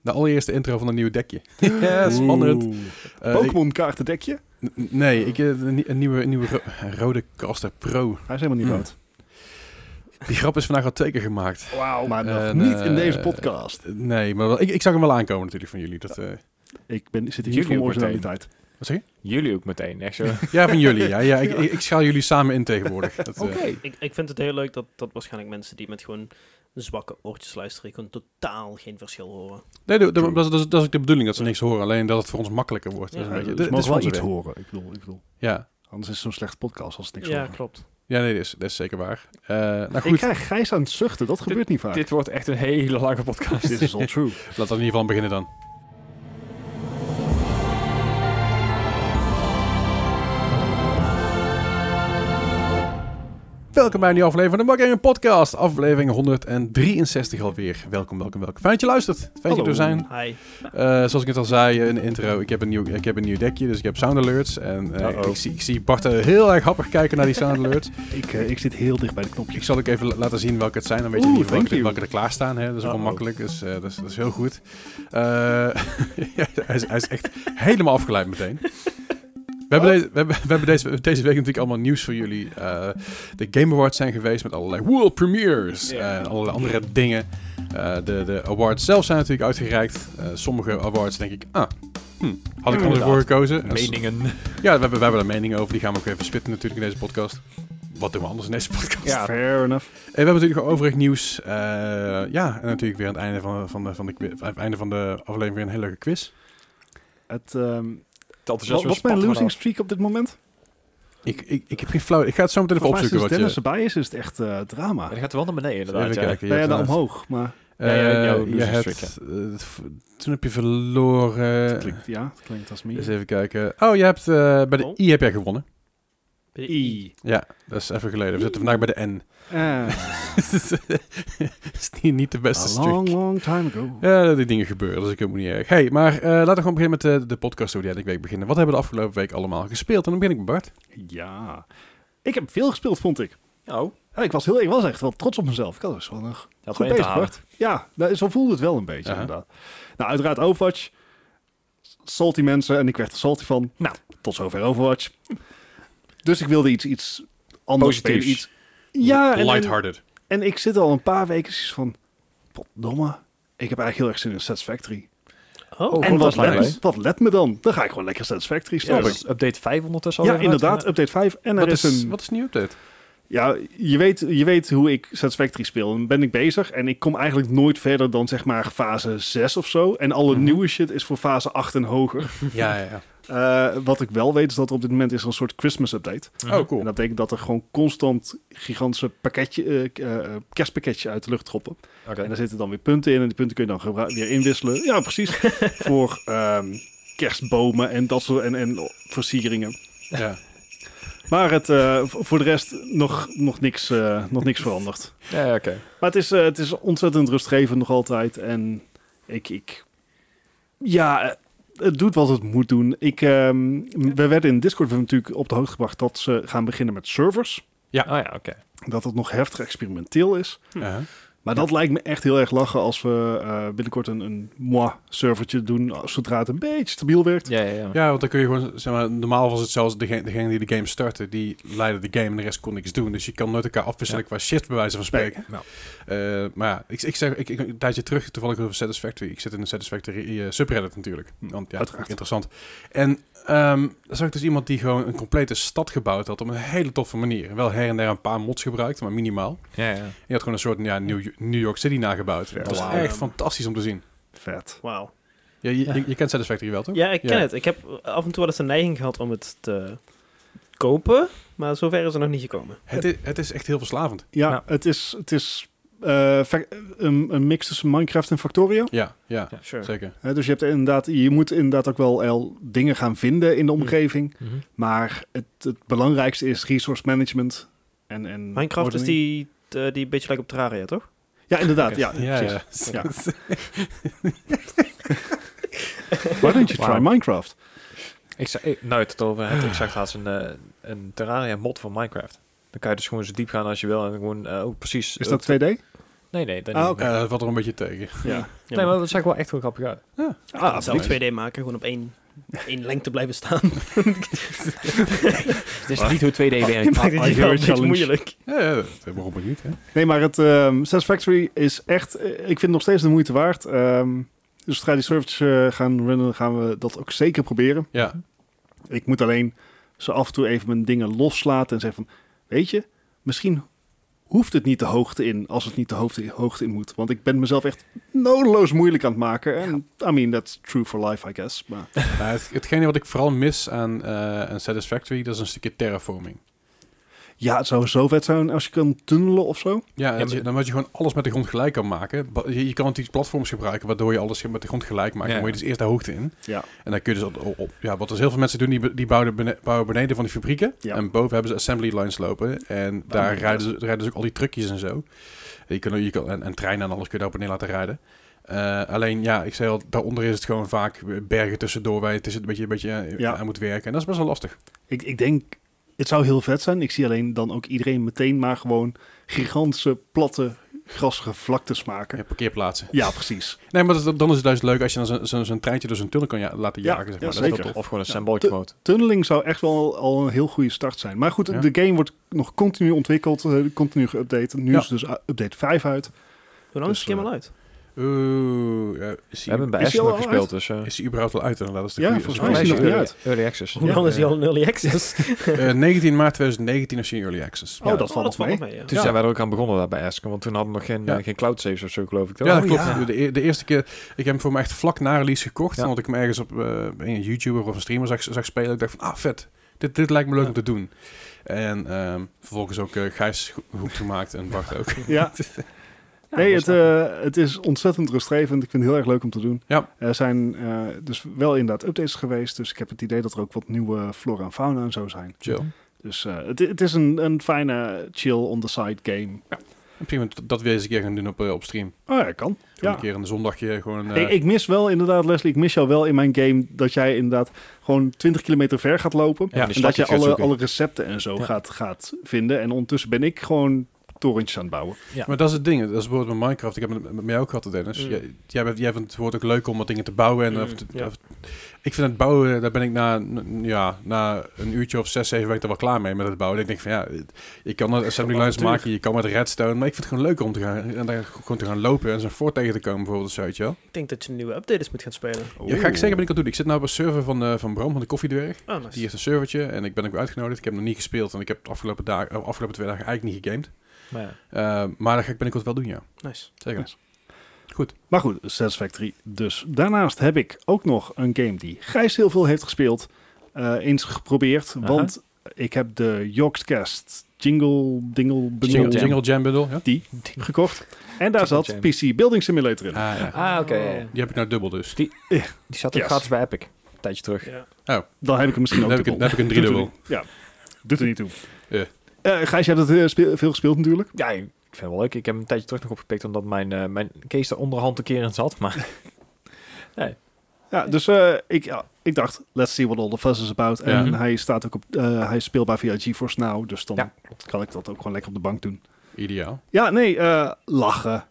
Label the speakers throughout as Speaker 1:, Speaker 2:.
Speaker 1: De allereerste intro van een nieuw dekje.
Speaker 2: Ja,
Speaker 1: spannend. Eh, ik-
Speaker 3: Pokémon kaartendekje.
Speaker 1: n- nee, ik, eh, een, nie- een nieuwe, een nieuwe ro- rode Caster Pro.
Speaker 3: Hij is helemaal niet
Speaker 1: Hmm.
Speaker 3: rood.
Speaker 1: Die grap is vandaag al twee keer gemaakt.
Speaker 3: Wauw. Maar nog
Speaker 1: En,
Speaker 3: niet
Speaker 1: eh,
Speaker 3: in deze podcast.
Speaker 1: Nee, maar wel- ik, ik zag hem wel aankomen natuurlijk van jullie. Dat, eh,
Speaker 3: Ik, ben, ik zit hier
Speaker 2: jullie
Speaker 3: voor mijn
Speaker 2: ook meteen.
Speaker 3: originaliteit.
Speaker 1: wat zeg je?
Speaker 2: Jullie ook meteen, echt zo.
Speaker 1: Ja, van jullie. Ja, ja, ik, ik, ik schaal jullie samen in tegenwoordig. Dat, eh,
Speaker 4: Ik, ik vind het heel leuk dat, dat waarschijnlijk mensen die met gewoon zwakke oortjes luisteren, gewoon totaal geen verschil horen.
Speaker 1: nee, dat, dat, dat, is- dat is ook de bedoeling, dat ze niks horen. Alleen dat het voor ons makkelijker wordt. dat is
Speaker 4: Ja,
Speaker 1: een beetje,
Speaker 3: dus
Speaker 1: Eh, dit-
Speaker 3: we mogen
Speaker 1: dit
Speaker 3: wel
Speaker 1: is
Speaker 3: iets
Speaker 1: onze
Speaker 3: horen. Ik bedoel, ik bedoel.
Speaker 1: weg. Ja.
Speaker 3: Anders is het zo'n slechte podcast als het niks
Speaker 4: ja,
Speaker 3: horen.
Speaker 4: klopt.
Speaker 1: ja, nee, dat is, dat is zeker waar. Eh, nou goed,
Speaker 3: Ik krijg Gijs aan het zuchten. Dat gebeurt niet vaak.
Speaker 2: Dit wordt echt een hele lange podcast.
Speaker 3: Dit is all true.
Speaker 1: laten we in ieder geval beginnen dan. Welkom bij een nieuwe aflevering van de Mark Gaming Podcast, aflevering 163 alweer. Welkom, welkom, welkom. Fijn dat je luistert. Fijn dat je
Speaker 3: Hallo.
Speaker 1: er zijn.
Speaker 4: Hi.
Speaker 1: Eh, zoals ik het al zei eh, in de intro, ik heb een nieuw, ik heb een nieuw dekje, dus ik heb sound alerts. En eh,
Speaker 2: Uh-oh.
Speaker 1: ik, zie, ik zie Bart eh, heel erg happig kijken naar die sound alerts.
Speaker 3: Ik, eh, ik zit heel dicht bij de
Speaker 1: Ik
Speaker 3: knopjes.
Speaker 1: zal ook even la- laten zien welke het zijn. Dan weet je
Speaker 3: Oeh,
Speaker 1: niet
Speaker 3: thank
Speaker 1: welke,
Speaker 3: you.
Speaker 1: welke er klaar staan. Hè? Dat is ook wel
Speaker 3: Uh-oh.
Speaker 1: makkelijk, dus eh, dat, is, dat is heel goed. Eh, hij, is, hij is echt helemaal afgeleid meteen. We hebben, deze, we hebben, we hebben deze, deze week natuurlijk allemaal nieuws voor jullie. Eh, de Game Awards zijn geweest met allerlei world premieres eh,
Speaker 2: Ja.
Speaker 1: en allerlei andere dingen. Eh, de, de awards zelf zijn natuurlijk uitgereikt. Eh, sommige awards denk ik, ah, hm,
Speaker 3: Hmm.
Speaker 1: had ik anders
Speaker 2: Inderdaad.
Speaker 1: voor gekozen. En s-
Speaker 2: Meningen.
Speaker 1: Ja, we hebben, we hebben er mening over. Die gaan we ook even spitten natuurlijk in deze podcast. Wat doen we anders in deze podcast?
Speaker 2: Ja.
Speaker 3: Fair enough.
Speaker 1: En Eh, we hebben natuurlijk nog overig nieuws. Eh, ja, en natuurlijk weer aan het einde van, van, de, van, de, qui- aan het einde van de aflevering weer een hele leuke quiz.
Speaker 3: Het, ehm,
Speaker 2: Dat is
Speaker 3: wat, wat is mijn losing streak op dit moment?
Speaker 1: Ik, ik, ik heb geen flauw. Ik ga het zo meteen even
Speaker 3: Volgens mij
Speaker 1: opzoeken.
Speaker 3: sinds
Speaker 1: Wat
Speaker 3: Dennis
Speaker 1: je,
Speaker 3: erbij is, is het echt eh, drama.
Speaker 2: Dat gaat wel naar beneden,
Speaker 1: even
Speaker 2: inderdaad.
Speaker 1: kijken.
Speaker 2: ja.
Speaker 1: je
Speaker 3: Nou ja,
Speaker 1: hebt
Speaker 3: naar
Speaker 1: een-
Speaker 3: omhoog. Maar
Speaker 1: eh,
Speaker 2: Ja, ja, jouw
Speaker 1: je
Speaker 2: losing
Speaker 1: hebt,
Speaker 2: streak,
Speaker 1: eh, v- toen heb je verloren.
Speaker 3: dat klinkt, ja, dat klinkt als
Speaker 1: Eens
Speaker 3: me.
Speaker 1: even kijken. Oh, je hebt eh, bij de
Speaker 4: Oh.
Speaker 1: I heb jij gewonnen.
Speaker 4: Bij de I.
Speaker 3: I.
Speaker 1: Ja, dat is even geleden. We zitten vandaag bij de N.
Speaker 3: Eh,
Speaker 1: dat is niet, niet de beste
Speaker 3: a
Speaker 1: streak.
Speaker 3: long, long time ago.
Speaker 1: Ja, dat die dingen gebeuren, dus ik heb me niet erg. Hey, maar eh, laten we gewoon beginnen met eh, de podcast hoe die elke week beginnen. Wat hebben we de afgelopen week allemaal gespeeld? En dan begin ik met Bart.
Speaker 3: Ja. Ik heb veel gespeeld, vond ik.
Speaker 2: Oh,
Speaker 3: Ja, ik, was heel, ik was echt wel trots op mezelf. Ik had dus wel een
Speaker 2: dat
Speaker 3: Goed
Speaker 2: is
Speaker 3: bezig, Bart. Ja, nou, zo voelde het wel een beetje,
Speaker 1: Aha.
Speaker 3: inderdaad. Nou, uiteraard Overwatch. Salty mensen, en ik werd er salty van.
Speaker 2: Nou.
Speaker 3: Tot zover Overwatch. Dus ik wilde iets, iets anders
Speaker 2: Positiefs.
Speaker 3: spelen. Iets, ja, en, en,
Speaker 1: Lighthearted.
Speaker 3: en ik zit al een paar weken zoiets van... Potdomme, ik heb eigenlijk heel erg zin in Satisfactory.
Speaker 4: Oh,
Speaker 2: Oh,
Speaker 3: en
Speaker 2: goed,
Speaker 3: wat
Speaker 2: dat lijkt
Speaker 3: let, wat let me dan? Dan ga ik gewoon lekker Satisfactory
Speaker 2: Ja,
Speaker 3: spelen.
Speaker 2: dat is update 5 ondertussen.
Speaker 3: Ja,
Speaker 2: al even
Speaker 3: inderdaad,
Speaker 2: uit.
Speaker 3: update 5. En er
Speaker 1: Wat
Speaker 3: is,
Speaker 1: is,
Speaker 3: een...
Speaker 1: wat is een nieuwe update?
Speaker 3: Ja, je weet, je weet hoe ik Satisfactory speel. Dan ben ik bezig en ik kom eigenlijk nooit verder dan zeg maar fase 6 of zo. En alle
Speaker 1: Mhm.
Speaker 3: nieuwe shit is voor fase 8 en hoger.
Speaker 1: Ja, ja, ja.
Speaker 3: Eh, wat ik wel weet is dat er op dit moment is er een soort Christmas update.
Speaker 1: Oh,
Speaker 3: En
Speaker 1: cool.
Speaker 3: dat betekent dat er gewoon constant gigantische pakketje, eh, k- eh, eh, kerstpakketje uit de lucht droppen.
Speaker 2: Oké.
Speaker 3: En daar zitten dan weer punten in en die punten kun je dan gebru- weer inwisselen. Ja, precies. voor ehm, kerstbomen en dat soort en, en versieringen.
Speaker 1: Ja.
Speaker 3: Maar het, eh, v- voor de rest nog, nog, niks, eh, nog niks veranderd.
Speaker 2: Ja, oké.
Speaker 3: Maar het is, eh, het is ontzettend rustgevend nog altijd. En ik, ik... Ja, eh, het doet wat het moet doen. Ik, ehm, We werden in Discord we hebben natuurlijk op de hoogte gebracht dat ze gaan beginnen met servers.
Speaker 2: Oh ja, oké.
Speaker 3: Dat het nog heftig experimenteel is.
Speaker 1: Ja.
Speaker 3: Maar dat lijkt me echt heel erg lachen als we eh, binnenkort een, een moi-servertje doen. eh, Zodra het een beetje stabiel werkt.
Speaker 2: Ja, ja, ja.
Speaker 1: ja, want dan kun je gewoon, zeg maar, normaal was het zelfs degene, degene die de game startte, die leidde de game en de rest kon niks doen. Dus je kan nooit elkaar afwisselen
Speaker 2: Ja.
Speaker 1: qua shift bij wijze van spreken.
Speaker 2: Nee.
Speaker 1: Eh, maar ja, ik, ik zeg, ik, ik- een tijdje terug, toevallig over Satisfactory. Ik zit in de Satisfactory eh, subreddit natuurlijk. Want ja, dat vind ik
Speaker 3: Uiteraard.
Speaker 1: interessant. En ehm daar zag ik dus iemand die gewoon een complete stad gebouwd had op een hele toffe manier. Wel her en der een paar mods gebruikt, maar minimaal.
Speaker 2: ja, ja.
Speaker 1: En je had gewoon een soort ja, New, New York City nagebouwd. Dat was
Speaker 4: Wauw.
Speaker 1: echt fantastisch om te zien.
Speaker 3: Vet.
Speaker 4: Wauw.
Speaker 1: Ja, je,
Speaker 2: Ja.
Speaker 1: je, je kent Satisfactory wel, toch?
Speaker 4: Ja, ik ken
Speaker 1: Oh, Ja.
Speaker 4: het. Ik heb af en toe wel eens een neiging gehad om het te kopen, maar zover is het nog niet gekomen.
Speaker 1: Het, is, het is echt heel verslavend.
Speaker 3: Ja,
Speaker 2: Ja.
Speaker 3: het is... Het is eh, fa- een, een mix tussen Minecraft en Factorio.
Speaker 1: Ja, ja,
Speaker 4: Sure.
Speaker 1: zeker.
Speaker 3: Hè, dus je, hebt inderdaad, je moet inderdaad ook wel el- dingen gaan vinden in de
Speaker 2: Mm.
Speaker 4: Hm.
Speaker 3: omgeving. Maar het, het belangrijkste is resource management. En, en
Speaker 4: Minecraft is
Speaker 3: ordening.
Speaker 4: die, eh, die een beetje lijkt op Terraria, toch?
Speaker 3: Ja, inderdaad. Ja,
Speaker 1: Ja,
Speaker 3: precies.
Speaker 1: ja.
Speaker 3: Ja. Why don't you try
Speaker 2: Wauw.
Speaker 3: Minecraft?
Speaker 2: Ik zei, ik- nou, het over hebt, ik zag laatst een, eh, een Terraria mod van Minecraft. Dan kan je dus gewoon zo diep gaan als je wil en gewoon, eh, oh, precies.
Speaker 3: Is dat 2D?
Speaker 2: Nee, nee. Dat
Speaker 3: Ah,
Speaker 2: niet.
Speaker 3: oké.
Speaker 1: Ja, dat Eh, valt er een beetje tegen.
Speaker 3: Ja.
Speaker 4: Ja,
Speaker 2: Nee, maar dat zag wel echt wel grappig uit.
Speaker 3: Ah,
Speaker 4: zelf
Speaker 3: nice.
Speaker 4: 2D maken, gewoon op één, één lengte blijven staan.
Speaker 2: Het is niet hoe 2D werkt. Ah,
Speaker 4: Maakt het
Speaker 3: I
Speaker 4: je
Speaker 3: hear a
Speaker 4: wel steeds
Speaker 3: challenge.
Speaker 4: moeilijk.
Speaker 1: Ja, ja dat, waarom ook niet, hè?
Speaker 3: Nee, maar het ehm, Satisfactory is echt... eh, ik vind het nog steeds de moeite waard. Ehm, dus zodra die servers eh, gaan runnen, gaan we dat ook zeker proberen.
Speaker 1: Ja.
Speaker 3: Ik moet alleen zo af en toe even mijn dingen loslaten en zeggen van... Weet je, misschien hoeft het niet de hoogte in als het niet de hoogte, hoogte in moet. Want ik ben mezelf echt nodeloos moeilijk aan het maken. En I mean, that's true for life, I guess. Maar,
Speaker 1: Maar het, hetgene wat ik vooral mis aan, eh, aan Satisfactory, dat is een stukje terraforming.
Speaker 3: ja, het zou zo vet zijn als je kan tunnelen of zo.
Speaker 1: Ja, dat
Speaker 2: maar-
Speaker 1: je- dan moet je gewoon alles met de grond gelijk kan maken. Ba- Je, je kan natuurlijk platforms gebruiken waardoor je alles met de grond gelijk maakt.
Speaker 2: Ja.
Speaker 1: Dan moet je dus eerst de hoogte in.
Speaker 3: Ja.
Speaker 1: En dan kun je dus op, op- op- ja, wat dus heel veel mensen doen, die, be- die bouwen, bene- bouwen beneden van die fabrieken.
Speaker 3: Ja. Oh,
Speaker 1: En boven hebben ze assembly lines lopen. En daar rijden, ze, rijden dus ook al die truckjes en zo. Je kan, je kan, en, en treinen en alles kun je daar op neer laten rijden. Eh, alleen ja, ik zei al, daaronder is het gewoon vaak bergen tussendoor waar je tussen een beetje, een beetje eh,
Speaker 3: Ja.
Speaker 1: aan moet werken. En dat is best wel lastig.
Speaker 3: Ik, ik denk, het zou heel vet zijn. Ik zie alleen dan ook iedereen meteen maar gewoon gigantische, platte, grassige vlaktes maken.
Speaker 1: Ja, parkeerplaatsen.
Speaker 3: Ja, precies.
Speaker 1: Nee, maar dat- dan is het juist leuk als je dan zo'n zo, zo'n treintje door zo'n tunnel kan ja- laten
Speaker 3: Ja,
Speaker 1: jagen. zeg
Speaker 3: ja,
Speaker 1: maar. Dat is
Speaker 3: zeker.
Speaker 1: wel tof.
Speaker 2: Of gewoon een sandbox mode.
Speaker 3: Tunneling zou echt wel al een heel goede start zijn. Maar goed,
Speaker 1: Ja.
Speaker 3: de game wordt nog continu ontwikkeld, eh, continu geüpdate. Nu
Speaker 1: Ja.
Speaker 3: is dus uh, update 5 uit.
Speaker 4: Hoe lang is
Speaker 3: Dus,
Speaker 4: het game
Speaker 3: eh,
Speaker 4: al uit?
Speaker 1: Oeh, ja, is,
Speaker 2: We
Speaker 1: hij,
Speaker 2: hebben hem bij
Speaker 3: Is die
Speaker 2: Aston nog
Speaker 3: al
Speaker 2: gespeeld, dus... eh,
Speaker 1: is hij überhaupt al uit? Inderdaad, dat is de
Speaker 3: Ja,
Speaker 1: goeie-
Speaker 3: volgens
Speaker 1: dat is
Speaker 2: Oh,
Speaker 3: mij is
Speaker 1: wel
Speaker 3: hij
Speaker 1: een
Speaker 3: nog
Speaker 1: goede-
Speaker 3: uit.
Speaker 2: Early access.
Speaker 4: Hoe
Speaker 1: Ja,
Speaker 4: lang is die
Speaker 1: eh,
Speaker 4: al in early access?
Speaker 1: Eh, 19 maart 2019 is hij in Early Access.
Speaker 3: Oh, dat valt nog
Speaker 4: valt
Speaker 3: mee.
Speaker 4: nog mee, ja.
Speaker 2: Toen zijn wij er ook aan begonnen daar bij Asken, want toen hadden we nog geen,
Speaker 1: Ja.
Speaker 2: eh, geen cloud saves of zo, geloof ik. toch?
Speaker 1: Ja, dat
Speaker 2: Oh,
Speaker 1: klopt.
Speaker 2: ja.
Speaker 1: De, e- de eerste keer, ik heb hem voor mij echt vlak na release gekocht.
Speaker 2: Ja.
Speaker 1: Omdat ik hem ergens op eh, een YouTuber of een streamer zag, zag spelen. Ik dacht van, ah vet, dit, dit lijkt me leuk
Speaker 2: Ja.
Speaker 1: om te doen. En ehm, vervolgens ook eh, Gijs go- goed gemaakt en Bart ook.
Speaker 3: Ja. nee, het, eh, het is ontzettend rustgevend. Ik vind het heel erg leuk om te doen.
Speaker 1: Ja.
Speaker 3: Er zijn eh, dus wel inderdaad updates geweest. Dus ik heb het idee dat er ook wat nieuwe flora en fauna en zo zijn.
Speaker 1: Chill.
Speaker 3: Dus eh, het, het is een, een fijne chill on the side game.
Speaker 1: Misschien moeten we dat weer eens een keer gaan doen op, eh, op stream.
Speaker 3: Oh ja, kan.
Speaker 1: Gewoon
Speaker 3: Ja.
Speaker 1: een keer een zondagje gewoon... eh,
Speaker 3: Ik, ik mis wel inderdaad, Leslie, ik mis jou wel in mijn game dat jij inderdaad gewoon 20 kilometer ver gaat lopen.
Speaker 1: Ja,
Speaker 3: en dat je
Speaker 2: slotjes
Speaker 3: alle,
Speaker 2: gaat
Speaker 3: alle recepten en zo
Speaker 2: Ja.
Speaker 3: gaat, gaat vinden. En ondertussen ben ik gewoon torentjes aan het bouwen.
Speaker 1: Maar dat is het ding. Dat is bijvoorbeeld met Minecraft. Ik heb het met, met mij ook gehad, Dennis.
Speaker 4: Mm.
Speaker 1: Jij, jij, bent, jij vindt het woord ook leuk om wat dingen te bouwen. En,
Speaker 4: Mm,
Speaker 1: of te-
Speaker 4: ja.
Speaker 1: of- ik vind het bouwen, daar ben ik na, n- ja, na een uurtje of zes, zeven ben ik er wel klaar mee met het bouwen. Ik denk van ja, je kan er assembly lines
Speaker 3: avontuur.
Speaker 1: maken, je kan met redstone. Maar ik vind het gewoon leuk om te gaan, en daar gewoon te gaan lopen en zo'n fort tegen te komen bijvoorbeeld. Zo, weet je wel.
Speaker 4: Ik denk dat je een nieuwe update is moet gaan spelen.
Speaker 1: Ja, ga ik zeggen, ben ik al doen. Ik zit nou op een server van, eh, van Bram, van de koffiedwerg.
Speaker 4: Oh, nice.
Speaker 1: Die heeft een servertje en ik ben ook weer uitgenodigd. Ik heb nog niet gespeeld en ik heb de afgelopen, dagen, of afgelopen twee dagen eigenlijk niet gegamed.
Speaker 2: Maar ja.
Speaker 1: Eh, maar dat ga ik binnenkort wel doen, ja.
Speaker 4: nice.
Speaker 1: Zeker.
Speaker 3: Maar goed, Satisfactory dus. Daarnaast heb ik ook nog een game die Gijs heel veel heeft gespeeld. eh, eens geprobeerd,
Speaker 2: Aha.
Speaker 3: want ik heb de Yorkscast Jingle Dingle
Speaker 1: Jingle,
Speaker 3: Bingle
Speaker 2: Jam.
Speaker 1: Jingle Jam Bundle, ja.
Speaker 3: gekocht. En daar zat
Speaker 2: Jam.
Speaker 3: PC Building Simulator in.
Speaker 1: Ah, ja.
Speaker 2: Ah, oké.
Speaker 4: Oh.
Speaker 1: Die heb ik nou dubbel dus.
Speaker 2: Die zat ook
Speaker 3: Yes.
Speaker 2: gratis bij Epic. Een tijdje terug.
Speaker 4: Ja.
Speaker 3: Dan heb ik hem misschien
Speaker 1: Dan
Speaker 3: ook
Speaker 1: heb ik, een-
Speaker 3: dubbel.
Speaker 1: dan heb ik een
Speaker 3: Doet er
Speaker 1: driedubbel.
Speaker 3: niet- Ja, doet er niet toe.
Speaker 1: Ja.
Speaker 3: Eh, Gijs, je hebt het eh, speel- veel gespeeld natuurlijk.
Speaker 2: Ja, ik vind het wel leuk. Ik heb hem een tijdje terug nog opgepikt, omdat mijn, eh, mijn case daar onderhand een keer in zat. Maar
Speaker 3: Ja, dus eh, ik, ja, ik dacht, let's see what all the fuss is about. En
Speaker 2: Ja.
Speaker 3: hij staat ook op, eh, hij is speelbaar via GeForce Now, dus dan
Speaker 2: Ja.
Speaker 3: kan ik dat ook gewoon lekker op de bank doen.
Speaker 1: Ideaal.
Speaker 3: Ja, nee, eh, lachen.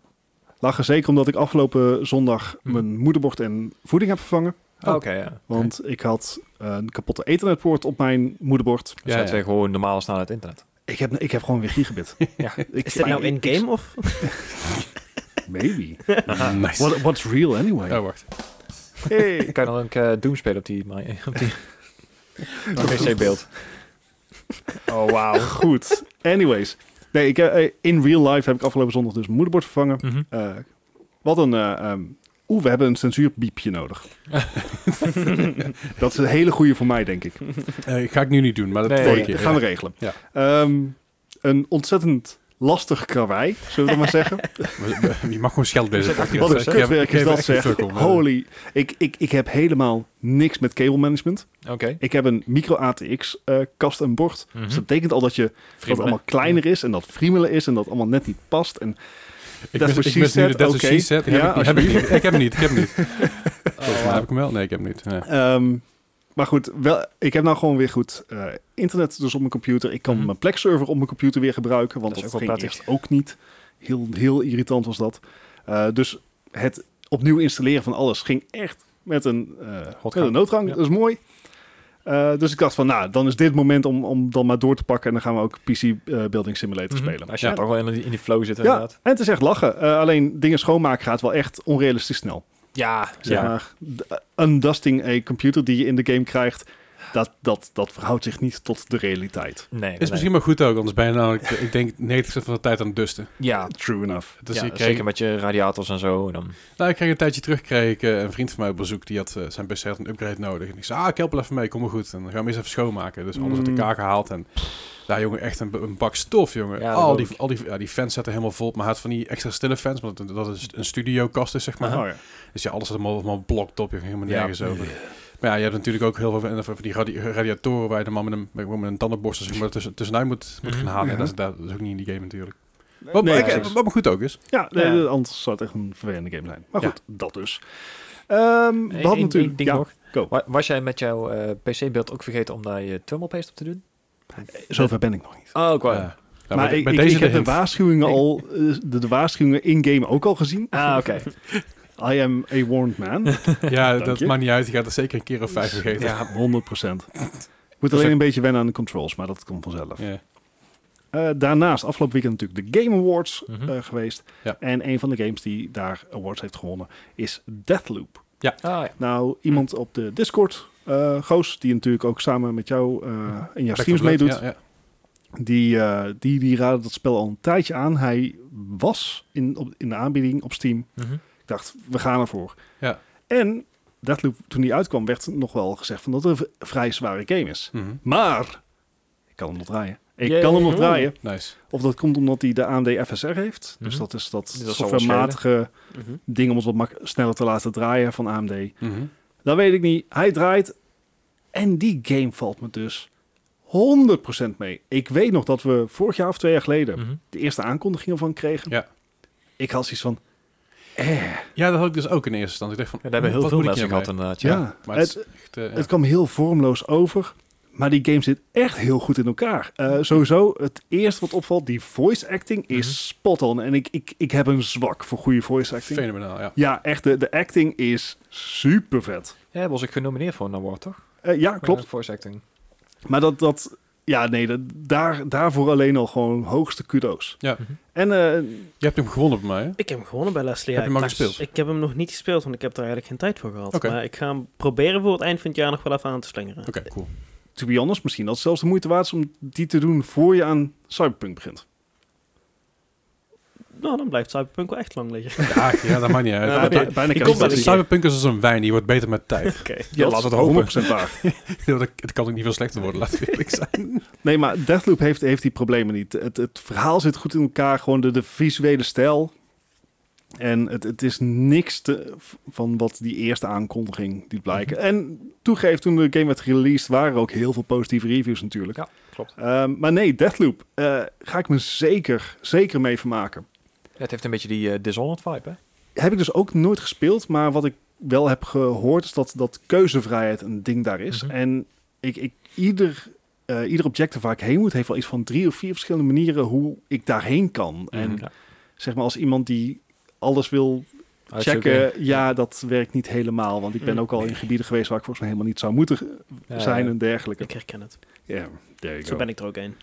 Speaker 3: Lachen zeker omdat ik afgelopen zondag
Speaker 2: Hm.
Speaker 3: mijn moederbord en voeding heb vervangen.
Speaker 2: Oh, oké, ja.
Speaker 3: Want ik had een kapotte ethernet-poort op mijn moederbord.
Speaker 2: Dus
Speaker 1: Ja,
Speaker 2: ja,
Speaker 1: ja.
Speaker 2: gewoon normale snelheid internet.
Speaker 3: Ik heb, ik heb gewoon weer gigabit.
Speaker 2: Ja.
Speaker 3: Ik-
Speaker 4: Is dit nou
Speaker 3: ik- ik-
Speaker 4: in-game of?
Speaker 3: Maybe.
Speaker 1: Nice.
Speaker 3: What, what's real anyway?
Speaker 1: Ah, Oh, wacht.
Speaker 3: Hey.
Speaker 2: Kan je dan ook eh, Doom spelen op die, mi- op die PC-beeld?
Speaker 3: Oh, wauw. Goed. Anyways. Nee, ik, eh, eh, in real life heb ik afgelopen zondag dus mijn moederbord vervangen.
Speaker 2: Mhm,
Speaker 3: Eh, wat een... eh, ehm, Oeh, we hebben een censuurbiepje nodig. dat is een hele goede voor mij, denk ik.
Speaker 1: Eh, ga ik nu niet doen, maar dat
Speaker 2: Nee,
Speaker 1: volgende keer.
Speaker 3: Nee, dat gaan we
Speaker 1: ja.
Speaker 3: regelen.
Speaker 1: Ja.
Speaker 3: Ehm, een ontzettend lastig karwei, zullen we dat maar zeggen.
Speaker 1: We- we- Je mag gewoon scheld bezig.
Speaker 3: Wat een kutwerk is dat, zeg. Holy. Ik, ik, ik heb helemaal niks met cable management.
Speaker 2: Oké.
Speaker 3: Ik heb een micro ATX eh, kast en bord.
Speaker 2: Mhm.
Speaker 3: Dus dat betekent al dat je dat het
Speaker 2: Friemelen.
Speaker 3: allemaal kleiner is en dat friemelen is en dat allemaal net niet past. En
Speaker 1: Ik
Speaker 3: That's
Speaker 1: mis,
Speaker 3: what
Speaker 1: ik
Speaker 3: she
Speaker 1: mis nu
Speaker 3: said,
Speaker 1: de That's what
Speaker 3: oké.
Speaker 1: she said. Die heb
Speaker 3: Ja,
Speaker 1: ik niet, heb ik niet. Ik heb hem niet. Ik heb hem niet.
Speaker 2: Oh,
Speaker 1: Volgens mij heb ik hem wel. Nee, ik heb hem niet. Nee.
Speaker 3: Ehm, maar goed, wel, ik heb nou gewoon weer goed eh, internet dus op mijn computer. Ik kan
Speaker 2: Mhm.
Speaker 3: mijn Plex-server op mijn computer weer gebruiken, want
Speaker 2: Dat
Speaker 3: dat,
Speaker 2: is ook wel
Speaker 3: ging
Speaker 2: prettig.
Speaker 3: eerst ook niet. Heel, heel irritant was dat. Eh, dus het opnieuw installeren van alles ging echt met een, eh, met een noodgang.
Speaker 2: Ja.
Speaker 3: Dat is mooi. Eh, dus ik dacht van, nou, dan is dit het moment om, om dan maar door te pakken. En dan gaan we ook PC eh, Building Simulator spelen.
Speaker 2: Als je
Speaker 3: Ja.
Speaker 2: toch wel in die, in die flow zit,
Speaker 3: Ja,
Speaker 2: Mhm. inderdaad.
Speaker 3: en het is echt lachen. Eh, alleen dingen schoonmaken gaat wel echt onrealistisch snel.
Speaker 2: Ja,
Speaker 3: Zeg
Speaker 2: ja.
Speaker 3: maar, d- undusting een computer die je in de game krijgt, dat, dat, dat verhoudt zich niet tot de realiteit.
Speaker 2: Nee,
Speaker 1: Is misschien maar goed ook, anders ben je namelijk, ik denk, 90% van de tijd aan het dusten.
Speaker 2: Ja,
Speaker 3: True enough.
Speaker 1: Dus
Speaker 2: ja,
Speaker 1: ik, kreeg,
Speaker 2: zeker met je radiators en zo. en Dan...
Speaker 1: nou, ik kreeg een tijdje terug, kreeg ik eh, een vriend van mij op bezoek, die had eh, zijn PC had een upgrade nodig. En ik zei, ah, ik help wel even mee, kom maar goed. En dan gaan we eens even schoonmaken. Dus alles uit
Speaker 3: Mm.
Speaker 1: elkaar gehaald en... Daar jongen, echt een, een bak stof, jongen.
Speaker 2: Ja, dat
Speaker 1: al
Speaker 2: ook.
Speaker 1: die, al die, ja, die fans zaten helemaal vol. Maar hij had van die extra stille fans, want dat- dat
Speaker 3: Mm.
Speaker 1: is een studiokast is, zeg maar.
Speaker 3: Oh, ja.
Speaker 1: Dus ja, alles zat allemaal, allemaal blokt op. Je ging helemaal
Speaker 2: Ja.
Speaker 1: nergens over. Maar ja, je hebt natuurlijk ook heel veel en van die radi- radiatoren waar je de man met een, met met een tandenborstel zeg maar, tussen, tussenuit moet, moet gaan
Speaker 2: Mhm.
Speaker 1: halen. En dat, is, dat is ook niet in die game natuurlijk. Wat,
Speaker 3: Mm-hmm. Nee,
Speaker 1: maar-
Speaker 3: ja,
Speaker 1: ik-
Speaker 3: precies.
Speaker 1: wat maar goed ook is.
Speaker 3: Ja, nee,
Speaker 2: Ja.
Speaker 3: anders zou het echt een vervelende game zijn. Maar
Speaker 1: Ja.
Speaker 3: goed, dat dus. Ehm we hadden
Speaker 2: Eén- één
Speaker 3: natuurlijk...
Speaker 2: ding
Speaker 3: ja,
Speaker 2: nog.
Speaker 3: go.
Speaker 2: Wa- Was jij met jouw PC-beeld ook vergeten om daar je thermal paste op te doen?
Speaker 3: Zover ben ik nog niet.
Speaker 2: Oh, ik
Speaker 1: Ja.
Speaker 2: wou-
Speaker 1: Ja,
Speaker 3: maar
Speaker 1: bij-
Speaker 3: ik,
Speaker 1: bij
Speaker 3: ik,
Speaker 1: deze
Speaker 3: ik heb de
Speaker 1: hint.
Speaker 3: waarschuwingen, al, eh, de, de waarschuwingen in-game ook al gezien.
Speaker 2: Ah, oké.
Speaker 3: I am a warned man.
Speaker 1: Ja,
Speaker 3: Dank
Speaker 1: dat
Speaker 3: je.
Speaker 1: maakt niet uit. Je gaat er zeker een keer of vijf vergeten.
Speaker 3: ja, 100%. Moet alleen een beetje wennen aan de controls, maar dat komt vanzelf.
Speaker 1: Ja.
Speaker 3: Eh, daarnaast, afgelopen weekend natuurlijk de Game Awards
Speaker 2: Mhm.
Speaker 3: eh, geweest.
Speaker 1: Ja.
Speaker 3: En een van de games die daar awards heeft gewonnen is Deathloop.
Speaker 2: Ah, ja.
Speaker 3: Nou, iemand
Speaker 1: Mhm.
Speaker 3: op de Discord, eh, Goos, die natuurlijk ook samen met jou eh in jouw
Speaker 1: Back
Speaker 3: streams
Speaker 1: for Blood,
Speaker 3: meedoet,
Speaker 1: Ja, ja.
Speaker 3: die, eh, die, die raadde dat spel al een tijdje aan. Hij was in, op, in de aanbieding op Steam.
Speaker 2: Mhm.
Speaker 3: Ik dacht, we gaan ervoor.
Speaker 1: Ja.
Speaker 3: En Deathloop, toen die uitkwam, werd nog wel gezegd van dat het een v- vrij zware game is.
Speaker 1: Mhm.
Speaker 3: Maar, ik kan hem nog draaien. Ik
Speaker 2: Yay.
Speaker 3: kan hem nog draaien.
Speaker 1: Nice.
Speaker 3: Of dat komt omdat hij de AMD FSR heeft. Dus
Speaker 2: Mhm.
Speaker 3: dat is dat
Speaker 2: Dus dat zal wel
Speaker 3: softwarematige
Speaker 4: Mhm.
Speaker 3: ding om het wat mak- sneller te laten draaien van AMD.
Speaker 1: Mhm.
Speaker 3: Dat weet ik niet. Hij draait. En die game valt me dus 100% mee. Ik weet nog dat we vorig jaar of twee jaar geleden
Speaker 2: Mhm.
Speaker 3: de eerste aankondiging ervan kregen.
Speaker 1: Ja.
Speaker 3: Ik had zoiets van,
Speaker 1: Ja, dat had ik dus ook in eerste instantie. Ik dacht van,
Speaker 2: Ja, daar hebben
Speaker 1: wat
Speaker 2: heel veel
Speaker 1: moet ik
Speaker 2: mensen
Speaker 1: hiermee?
Speaker 2: gehad, inderdaad.
Speaker 3: ja,
Speaker 2: Ja.
Speaker 1: Maar
Speaker 3: het,
Speaker 1: het, is echt, eh, ja.
Speaker 3: het kwam heel vormloos over. Maar die game zit echt heel goed in elkaar. Eh, sowieso, het eerste wat opvalt, die voice acting is
Speaker 2: Mhm.
Speaker 3: spot on. En ik, ik, ik heb een zwak voor goede voice acting.
Speaker 1: fenomenaal, ja.
Speaker 3: Ja, echt, de, de acting is super vet.
Speaker 2: Ja, was ik genomineerd voor een award, toch?
Speaker 3: ja, klopt.
Speaker 2: Eh, voice acting.
Speaker 3: Maar dat, dat ja, nee, dat, daar, daarvoor alleen al gewoon hoogste kudo's.
Speaker 1: Ja.
Speaker 2: Mhm.
Speaker 3: En eh,
Speaker 1: Je hebt hem gewonnen bij mij, hè?
Speaker 4: Ik heb hem gewonnen bij Leslie.
Speaker 1: Heb je hem
Speaker 4: ja.
Speaker 1: al
Speaker 4: Ik-
Speaker 1: gespeeld?
Speaker 4: Ik heb hem nog niet gespeeld, want ik heb daar eigenlijk geen tijd voor gehad.
Speaker 1: Oké.
Speaker 4: Maar ik ga hem proberen voor het eind van het jaar nog wel even aan te slingeren.
Speaker 1: Oké, cool.
Speaker 3: to be honest, misschien dat het zelfs de moeite waard is om die te doen voor je aan Cyberpunk begint.
Speaker 4: Nou, dan blijft Cyberpunk wel echt lang liggen.
Speaker 1: Ja, ja, dat maakt niet uit.
Speaker 4: Ja,
Speaker 1: Maar
Speaker 4: maar
Speaker 1: bij-
Speaker 3: Bij- bijna
Speaker 4: ik kom
Speaker 1: Cyber-
Speaker 4: wel een
Speaker 3: kerstversie.
Speaker 4: keer.
Speaker 1: Cyberpunk is als een wijn, die wordt beter met tijd.
Speaker 4: Oké.
Speaker 2: Ja, laat het hopen.
Speaker 3: 100% waar.
Speaker 1: dat het kan ook niet veel slechter worden, laten we eerlijk zijn.
Speaker 3: Nee, maar Deathloop heeft, heeft die problemen niet. Het, het verhaal zit goed in elkaar, gewoon de, de visuele stijl. En het, het is niks te, van wat die eerste aankondiging die blijken.
Speaker 2: Mhm.
Speaker 3: En toegeef, toen de game werd released, waren er ook heel veel positieve reviews natuurlijk.
Speaker 2: Ja, klopt.
Speaker 3: Ehm, maar nee, Deathloop eh, ga ik me zeker, zeker mee vermaken.
Speaker 2: Ja, het heeft een beetje die eh, Dishonored vibe, hè?
Speaker 3: Heb ik dus ook nooit gespeeld, maar wat ik wel heb gehoord is dat, dat keuzevrijheid een ding daar is.
Speaker 2: Mhm.
Speaker 3: En ik, ik, ieder, eh, ieder objective waar ik heen moet, heeft wel iets van drie of vier verschillende manieren hoe ik daarheen kan. En
Speaker 2: Mhm, Ja.
Speaker 3: zeg maar als iemand die alles wil
Speaker 2: Uitzoeken.
Speaker 3: checken, ja, dat werkt niet helemaal. Want ik ben
Speaker 4: Mm.
Speaker 3: ook al in gebieden geweest waar ik volgens mij helemaal niet zou moeten ge-
Speaker 2: Mhm. Ja,
Speaker 3: zijn
Speaker 2: eh, ja.
Speaker 3: en dergelijke.
Speaker 4: Ik herken het.
Speaker 3: Ja, there you
Speaker 4: Zo
Speaker 3: go.
Speaker 4: ben ik er ook een.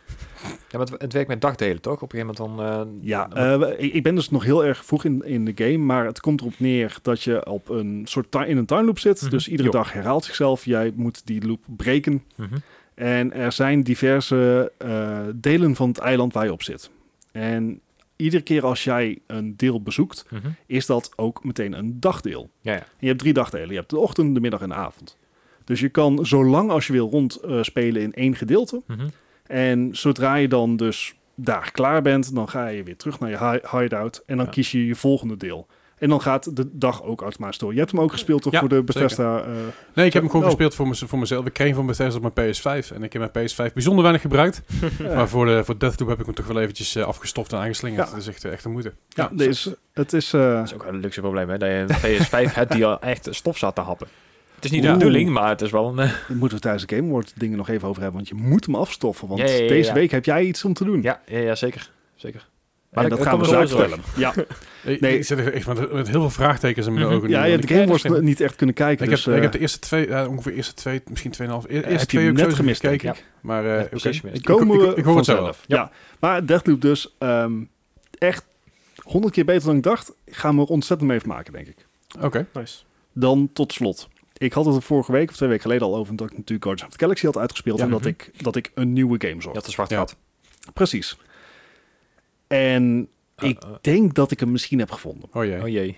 Speaker 2: Ja, maar het, het werkt met dagdelen, toch? Op een gegeven moment dan... eh,
Speaker 3: Ja,
Speaker 2: dan-
Speaker 3: eh, ik, ik ben dus nog heel erg vroeg in, in de game, maar het komt erop neer dat je op een soort ti- in een time loop zit.
Speaker 2: Mhm.
Speaker 3: Dus iedere
Speaker 2: Jo.
Speaker 3: dag herhaalt zichzelf. Jij moet die loop breken.
Speaker 2: Mhm.
Speaker 3: En er zijn diverse eh, delen van het eiland waar je op zit. En iedere keer als jij een deel bezoekt,
Speaker 2: Mhm.
Speaker 3: is dat ook meteen een dagdeel.
Speaker 2: Ja, ja.
Speaker 3: En je hebt drie dagdelen. Je hebt de ochtend, de middag en de avond. Dus je kan zo lang als je wil rondspelen spelen in één gedeelte.
Speaker 2: Mhm.
Speaker 3: En zodra je dan dus daar klaar bent, dan ga je weer terug naar je hi- hideout. En dan
Speaker 2: Ja.
Speaker 3: kies je je volgende deel. En dan gaat de dag ook automatisch door. Je hebt hem ook gespeeld toch
Speaker 1: Ja,
Speaker 3: voor de
Speaker 1: zeker.
Speaker 3: Bethesda. eh,
Speaker 1: Nee, ik heb hem gewoon
Speaker 3: Oh.
Speaker 1: gespeeld voor, mez- voor mezelf. Ik kreeg hem van Bethesda op mijn PS5. En ik heb mijn PS5 bijzonder weinig gebruikt.
Speaker 3: eh,
Speaker 1: Maar voor, de, voor Deathloop heb ik hem toch wel eventjes eh, afgestoft en aangeslingerd.
Speaker 3: Ja.
Speaker 1: Dat is echt, eh, echt een moeite.
Speaker 3: ja, dus het is... eh,
Speaker 2: Dat is ook een luxe probleem, hè? Dat je een PS5 hebt die al echt stof zat te happen. Het is niet de
Speaker 3: Oeh.
Speaker 2: bedoeling, maar het is wel een... eh,
Speaker 3: daar moeten we tijdens de Game Award dingen nog even over hebben. Want je moet hem afstoffen. Want
Speaker 2: Ja, ja, ja,
Speaker 3: deze
Speaker 2: ja.
Speaker 3: week heb jij iets om te doen.
Speaker 2: ja, ja, ja, zeker. Eh, Zeker. Maar
Speaker 3: en
Speaker 2: dat-
Speaker 3: dat
Speaker 2: dat
Speaker 3: gaan we
Speaker 2: kan
Speaker 3: zo
Speaker 2: wel zo.
Speaker 3: vertellen. Ja,
Speaker 1: Ik,
Speaker 3: Nee.
Speaker 1: ik zit er echt met, met heel veel vraagtekens in mijn
Speaker 4: Mhm.
Speaker 1: ogen.
Speaker 3: ja,
Speaker 1: nu,
Speaker 3: ja,
Speaker 1: want
Speaker 3: de
Speaker 1: ik-
Speaker 3: game was niet echt kunnen kijken.
Speaker 1: ik,
Speaker 3: dus,
Speaker 1: heb, ik
Speaker 3: eh,
Speaker 1: heb de eerste twee, ja, ongeveer eerste twee, misschien tweeënhalf. e- Eerste
Speaker 3: heb je
Speaker 1: twee ook
Speaker 3: net
Speaker 1: zo
Speaker 3: gemist,
Speaker 1: gekeken.
Speaker 2: denk
Speaker 1: Maar
Speaker 2: Ja,
Speaker 1: eh oké.
Speaker 2: precies,
Speaker 1: ik,
Speaker 2: gemist.
Speaker 1: ik,
Speaker 3: komen
Speaker 1: ik-
Speaker 3: we
Speaker 1: ik- ik hoor het zo wel.
Speaker 3: vanzelf. Ja. Maar Deathloop dus ehm, echt honderd keer beter dan ik dacht. Gaan we er ontzettend mee vermaken, denk ik.
Speaker 1: Oké.
Speaker 4: Nice.
Speaker 3: Dan tot slot. Ik had het er vorige week of twee weken geleden al over dat ik natuurlijk Guardians of the Galaxy had uitgespeeld
Speaker 1: Ja.
Speaker 3: en dat
Speaker 4: Mhm.
Speaker 3: ik, dat ik een nieuwe game zocht.
Speaker 2: Dat is zwart
Speaker 1: Ja.
Speaker 2: gat.
Speaker 3: Precies. En eh, ik
Speaker 2: Uh, uh.
Speaker 3: denk dat ik hem misschien heb gevonden.
Speaker 1: Oh jee.
Speaker 2: Oh jee.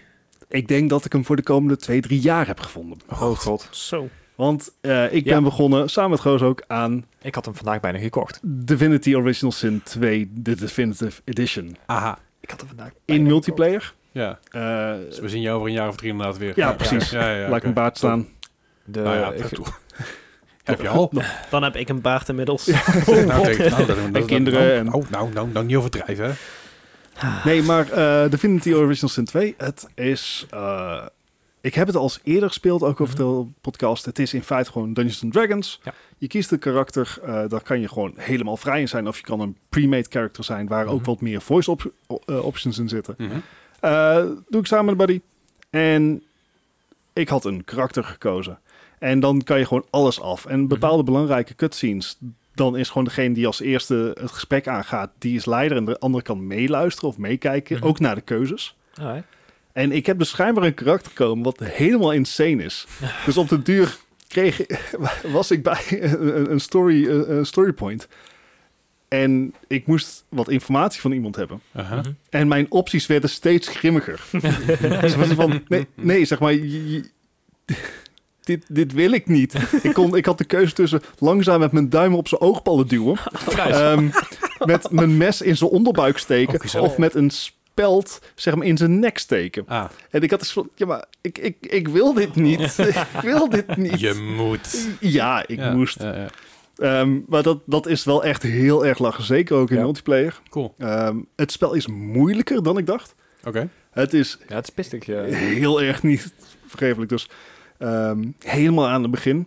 Speaker 3: Ik denk dat ik hem voor de komende twee, drie jaar heb gevonden.
Speaker 2: Oh god.
Speaker 4: Zo.
Speaker 3: Want eh, ik
Speaker 2: Ja.
Speaker 3: ben begonnen, samen met Goos ook, aan
Speaker 2: Ik had hem vandaag bijna gekocht.
Speaker 3: Divinity Original Sin 2, de Definitive Edition.
Speaker 1: Aha.
Speaker 2: Ik had hem vandaag
Speaker 3: In multiplayer.
Speaker 1: Ja,
Speaker 3: Eh,
Speaker 1: dus we zien jou over een jaar of drie inderdaad weer.
Speaker 3: Ja, precies.
Speaker 1: Ja, ja, ja,
Speaker 3: laat ik
Speaker 1: oké.
Speaker 3: mijn baard staan.
Speaker 2: De,
Speaker 1: Nou ja,
Speaker 2: ik-
Speaker 3: eh,
Speaker 1: dat doe- heb je al.
Speaker 4: Dan heb ik een baard inmiddels. Oh,
Speaker 1: Nou, kijk, nou, dat- dat- dat-
Speaker 3: kinderen Oh, en-
Speaker 1: Nou, nou, nou, nou, niet overdrijven. hè.
Speaker 2: Ah.
Speaker 3: Nee, maar eh Divinity Original Sin 2, het is... eh, ik heb het al eens eerder gespeeld, ook over de podcast. Het is in feite gewoon Dungeons and Dragons.
Speaker 2: Mhm. Ja.
Speaker 3: Je kiest een karakter, eh, daar kan je gewoon helemaal vrij in zijn. Of je kan een pre-made character zijn, waar ook
Speaker 2: Mhm.
Speaker 3: wat meer voice op- o- eh, options in zitten.
Speaker 1: Mhm.
Speaker 3: Eh, doe ik samen met een buddy. En ik had een karakter gekozen. En dan kan je gewoon alles af. En bepaalde belangrijke cutscenes. Dan is gewoon degene die als eerste het gesprek aangaat, die is leider. En de andere kan meeluisteren of meekijken.
Speaker 2: Mhm.
Speaker 3: Ook naar de keuzes.
Speaker 2: alright.
Speaker 3: En ik heb dus schijnbaar een karakter gekomen wat helemaal insane is. Dus op de duur kreeg, was ik bij een, een story, een story point. En ik moest wat informatie van iemand hebben.
Speaker 1: Aha.
Speaker 2: Mhm.
Speaker 3: En mijn opties werden steeds grimmiger. dus was het van, nee, nee, zeg maar, je- je- dit, dit wil ik niet. Ik, kon, ik had de keuze tussen langzaam met mijn duim op zijn oogballen duwen,
Speaker 2: Oh, Eh,
Speaker 3: ehm, met mijn mes in zijn onderbuik steken
Speaker 1: Ook zo.
Speaker 3: of met een speld zeg maar, in zijn nek steken.
Speaker 1: Ah,
Speaker 3: En ik had dus van, ja, maar ik, ik, ik wil dit niet. ik wil dit niet.
Speaker 1: je moet.
Speaker 3: Ja, ik
Speaker 1: Ja,
Speaker 3: moest.
Speaker 1: ja, ja.
Speaker 3: Ehm, maar dat, dat is wel echt heel erg lachen. Zeker ook in
Speaker 2: Ja.
Speaker 3: multiplayer.
Speaker 1: Cool.
Speaker 3: Ehm, het spel is moeilijker dan ik dacht.
Speaker 1: Oké.
Speaker 3: Het is
Speaker 2: Ja, het is pistig. ja.
Speaker 3: heel erg niet vergeeflijk. Dus ehm, helemaal aan het begin.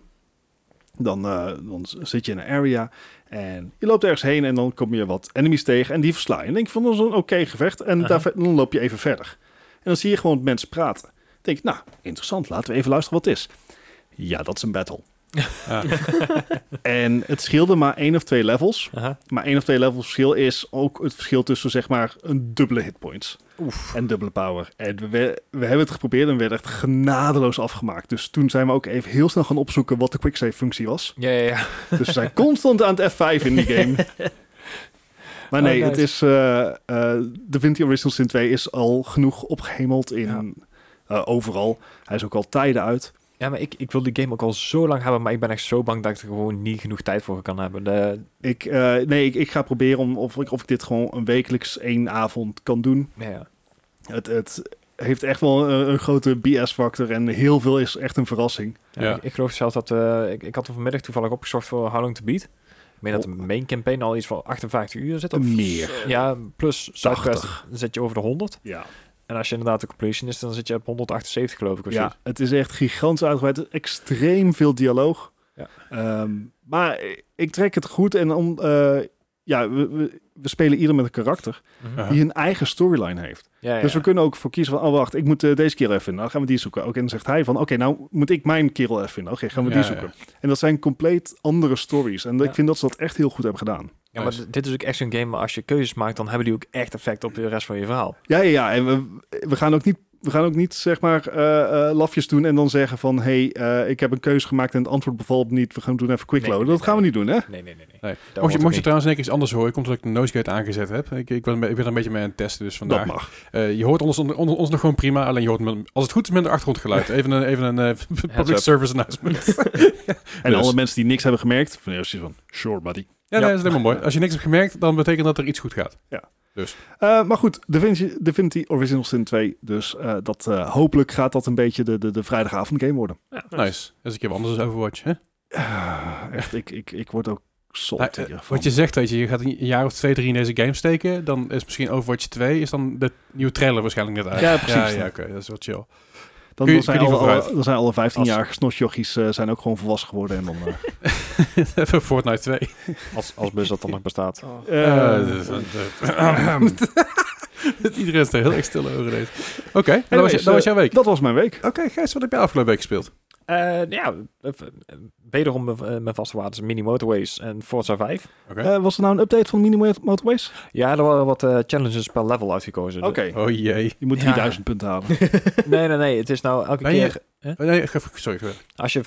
Speaker 3: Dan, eh, dan z- zit je in een area en je loopt ergens heen en dan kom je wat enemies tegen en die versla je. En denk je van, dat is een oké gevecht en
Speaker 4: Aha.
Speaker 3: daar ver- dan loop je even verder. En dan zie je gewoon mensen praten. Dan denk je, nou, interessant, laten we even luisteren wat het is. Ja, dat is een battle.
Speaker 1: Ah.
Speaker 3: En het scheelde maar één of twee levels.
Speaker 2: Aha.
Speaker 3: Maar één of twee levels verschil is ook het verschil tussen zeg maar een dubbele hitpoints en dubbele power. En we, we hebben het geprobeerd en we werden echt genadeloos afgemaakt. Dus toen zijn we ook even heel snel gaan opzoeken wat de quicksave functie was.
Speaker 2: Ja, ja, ja.
Speaker 3: Dus we zijn constant aan het F5 in die game. Maar
Speaker 2: Oh,
Speaker 3: nee,
Speaker 2: nice.
Speaker 3: het is eh eh Divinity Original Sin 2 is al genoeg opgehemeld in
Speaker 2: Ja.
Speaker 3: eh, overal. Hij is ook al tijden uit.
Speaker 2: Ja, maar ik, ik wil die game ook al zo lang hebben, maar ik ben echt zo bang dat ik er gewoon niet genoeg tijd voor kan hebben. De,
Speaker 3: Ik, eh, nee, ik, ik ga proberen om, of, ik, of ik dit gewoon een wekelijks één avond kan doen.
Speaker 2: ja, ja.
Speaker 3: Het, het heeft echt wel een, een grote BS-factor en heel veel is echt een verrassing.
Speaker 2: Ja,
Speaker 1: Ja.
Speaker 2: Ik, ik geloof zelfs dat... eh, ik, ik had er vanmiddag toevallig opgezocht voor How Long To Beat. Ik meen dat de main campaign al iets van 58 uur zit. Of,
Speaker 3: Meer.
Speaker 2: ja, plus Zuidwest zit je over de 100.
Speaker 3: Ja.
Speaker 2: En als je inderdaad de completion is, dan zit je op 178 geloof ik. Of
Speaker 3: ja, het is echt gigantisch uitgebreid. Extreem veel dialoog.
Speaker 2: Ja.
Speaker 3: Ehm, maar ik trek het goed en om, eh, ja, we, we, we spelen ieder met een karakter
Speaker 2: Mhm.
Speaker 1: Ja.
Speaker 3: die een eigen storyline heeft.
Speaker 2: ja, ja.
Speaker 3: Dus we kunnen ook voor kiezen van, oh wacht, ik moet eh, deze kerel even vinden. Nou gaan we die zoeken. Oké, en dan zegt hij van, oké, nou moet ik mijn kerel even vinden. Oké, gaan we die
Speaker 1: Ja, ja,
Speaker 3: zoeken. En dat zijn compleet andere stories. En
Speaker 2: Ja.
Speaker 3: ik vind dat ze dat echt heel goed hebben gedaan.
Speaker 2: Ja, maar d- dit is ook echt zo'n game, maar als je keuzes maakt, dan hebben die ook echt effect op de rest van je verhaal.
Speaker 3: Ja, ja, ja. En we, we gaan ook niet, we gaan ook niet zeg maar, eh, eh, lafjes doen en dan zeggen van... hé, hey, eh, ik heb een keuze gemaakt en het antwoord bevalt me niet. We gaan doen even quickloaden.
Speaker 2: Nee, nee,
Speaker 3: dat gaan we niet doen, hè?
Speaker 2: Nee, nee, nee. nee.
Speaker 1: Nee.
Speaker 2: Dat
Speaker 1: Mocht je,
Speaker 2: hoort
Speaker 1: mocht je
Speaker 2: ook
Speaker 1: trouwens in één keer iets anders horen, komt omdat ik de noisegate aangezet heb. Ik, ik, ben, ik ben er een beetje mee aan het testen, dus vandaar.
Speaker 3: Dat mag.
Speaker 1: Eh, je hoort ons, onder- onder- ons nog gewoon prima, alleen je hoort min- als het goed is minder achtergrondgeluid. Even een, even een eh, public
Speaker 2: up.
Speaker 1: service announcement.
Speaker 3: En
Speaker 1: Dus.
Speaker 3: alle mensen die niks hebben gemerkt... van, eerst van, sure, buddy.
Speaker 1: Ja,
Speaker 2: Ja.
Speaker 1: nee, dat is helemaal mooi. Als je niks hebt gemerkt, dan betekent dat er iets goed gaat.
Speaker 3: Eh, maar goed, Divinity, Divinity Original Sin 2. Dus eh, dat, eh, hopelijk gaat dat een beetje de, de, de vrijdagavond game worden.
Speaker 4: Ja,
Speaker 1: Nice. Dat is een keer wat anders dan Overwatch, hè?
Speaker 3: Ah, echt, ik, ik, ik word ook zot
Speaker 1: Nou, eh,
Speaker 3: hiervan.
Speaker 1: wat je zegt, weet je, je gaat een jaar of twee, drie in deze game steken, dan is misschien Overwatch 2, is dan de nieuwe trailer waarschijnlijk net uit.
Speaker 3: Ja, precies.
Speaker 1: Ja, ja oké, dat is wel chill. kun
Speaker 3: dan,
Speaker 1: je-
Speaker 3: dan zijn
Speaker 1: kun je
Speaker 3: alle,
Speaker 1: niet
Speaker 3: alle-
Speaker 1: vooruit.
Speaker 3: dan zijn alle 15-jarige snosjochies eh, zijn ook gewoon volwassen geworden. En dan, eh,
Speaker 1: Even Fortnite 2.
Speaker 2: niet. Als, als bus dat dan nog bestaat.
Speaker 4: Oh.
Speaker 1: Eh,
Speaker 3: dus, eh,
Speaker 1: dat is- dat- Iedereen is er heel erg stil over deze. Oké, dat, was,
Speaker 3: Anyways,
Speaker 1: je- dat was
Speaker 3: eh,
Speaker 1: jouw week.
Speaker 3: Dat was mijn week.
Speaker 1: Oké, Gijs, wat heb je afgelopen week gespeeld?
Speaker 2: Eh, ja, eh, eh, wederom mijn- eh, mijn vaste waarden, Mini Motorways en Forza 5.
Speaker 1: Oké.
Speaker 3: Eh, was er nou een update van Mini Motorways?
Speaker 2: Ja, er waren wat eh, challenges per level uitgekozen. dus
Speaker 3: Oké.
Speaker 1: oh jee.
Speaker 3: Je moet
Speaker 2: Ja.
Speaker 3: 3000 punten halen.
Speaker 2: Nee, nee, nee. Het is nou elke
Speaker 1: Ben je-
Speaker 2: keer...
Speaker 1: Oh, nee, ge- sorry. sorry.
Speaker 2: Als je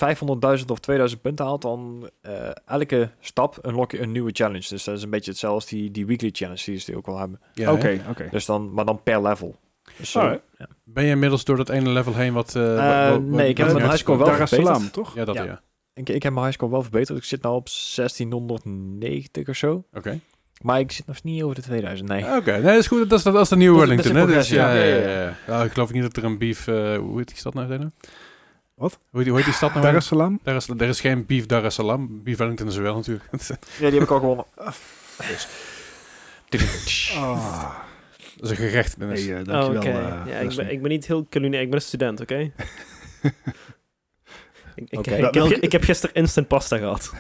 Speaker 2: 500.000 of 2000 punten haalt, dan eh, elke stap unlock je een nieuwe challenge. Dus dat is een beetje hetzelfde als die, die weekly challenge die ze ook wel hebben.
Speaker 1: Ja, hè?
Speaker 3: Oké, oké.
Speaker 2: Dus dan, maar dan per level. Dus, eh,
Speaker 3: Alright.
Speaker 1: Ben je inmiddels door dat ene level heen wat... eh, wat-
Speaker 2: Eh,
Speaker 1: wat-
Speaker 2: nee, ik heb
Speaker 1: wat-
Speaker 2: mijn
Speaker 1: wat-
Speaker 2: highscore wel
Speaker 3: Daar is
Speaker 2: verbeterd.
Speaker 3: salam, toch?
Speaker 1: Ja, dat
Speaker 2: Ja.
Speaker 1: ja.
Speaker 2: ik, ik heb mijn highscore wel verbeterd. Ik zit nou op 1690 of zo.
Speaker 1: Oké.
Speaker 2: Maar ik zit nog niet over de 2000, nee.
Speaker 1: Oké, nee, dat is goed. Dat is, dat is de nieuwe
Speaker 2: Dat is- dat is
Speaker 1: Wellington.
Speaker 2: een
Speaker 1: hè? Dus, ja, ja,
Speaker 2: progressie,
Speaker 1: ja,
Speaker 2: ja.
Speaker 1: ja. Ja, ik geloof niet dat er een beef... eh, hoe heet die stad nou? Dana?
Speaker 3: Wat?
Speaker 1: Hoe heet die, hoe heet die stad nou?
Speaker 3: Daar
Speaker 1: weer?
Speaker 3: is salam.
Speaker 1: Daar is, er is geen beef Dar es Salaam. Beef Wellington is er wel natuurlijk.
Speaker 2: Ja, die heb ik al gewonnen.
Speaker 3: Ah,
Speaker 1: dat is een gerecht. Dennis.
Speaker 3: hey, eh, dankjewel.
Speaker 4: Oh, Oké.
Speaker 3: eh,
Speaker 4: ja, ik,
Speaker 3: Leslie.
Speaker 4: ben, ik ben niet heel culinair, ik ben een student, oké? ik, ik,
Speaker 1: Oké.
Speaker 4: ik, heb,
Speaker 3: Welke-
Speaker 4: ge- ik heb gisteren instant pasta gehad.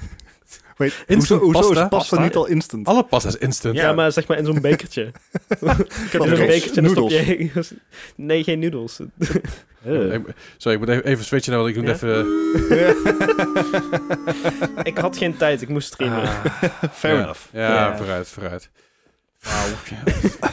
Speaker 3: Wait,
Speaker 1: Instant
Speaker 3: hoezo, hoezo
Speaker 1: pasta?
Speaker 3: is pasta
Speaker 2: Pasta?
Speaker 3: niet al instant?
Speaker 1: Alle pasta is instant.
Speaker 4: Ja, maar zeg maar in zo'n bekertje. ik heb
Speaker 3: Wat
Speaker 4: in
Speaker 3: is-
Speaker 4: zo'n bekertje en dan stop
Speaker 3: noedels?
Speaker 4: je... nee, geen noedels.
Speaker 2: Eh.
Speaker 1: Ik- sorry, ik moet even, even switchen naar wat ik doe.
Speaker 4: Ja.
Speaker 1: Even, eh,
Speaker 4: ik had geen tijd, ik moest streamen.
Speaker 2: Ah.
Speaker 3: Fair
Speaker 1: Ja.
Speaker 3: enough.
Speaker 1: ja,
Speaker 4: Ja.
Speaker 1: vooruit, vooruit.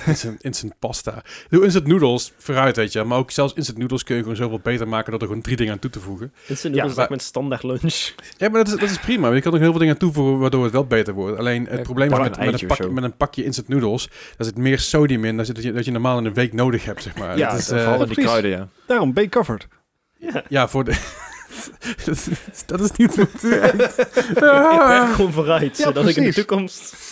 Speaker 1: instant, instant pasta. Doe instant noodles, vooruit weet je. Maar ook zelfs instant noodles kun je gewoon zoveel beter maken... door er gewoon drie dingen aan toe te voegen.
Speaker 4: Instant
Speaker 2: Ja,
Speaker 4: noedels is
Speaker 1: maar-
Speaker 4: ook mijn standaard lunch.
Speaker 1: Ja, maar dat is, dat is prima. Je kan nog heel veel dingen aan toevoegen... waardoor het wel beter wordt. Alleen het
Speaker 2: Ja,
Speaker 1: probleem is
Speaker 2: pak
Speaker 1: met,
Speaker 2: een
Speaker 1: met,
Speaker 2: eitje
Speaker 1: een
Speaker 2: of
Speaker 1: pakje,
Speaker 2: zo.
Speaker 1: met een pakje instant noodles... daar zit meer sodium in... dan zit dat, je, dat je normaal in een week nodig hebt, zeg maar.
Speaker 3: Ja,
Speaker 1: dat is,
Speaker 2: eh,
Speaker 1: eh,
Speaker 2: vooral die
Speaker 3: precies.
Speaker 2: kruiden, ja.
Speaker 3: Daarom, ben je covered.
Speaker 4: Ja.
Speaker 1: ja, voor de... dat, is, dat is niet goed.
Speaker 4: Ik werk gewoon vooruit,
Speaker 3: Ja,
Speaker 4: zodat ik in de
Speaker 3: precies.
Speaker 4: toekomst...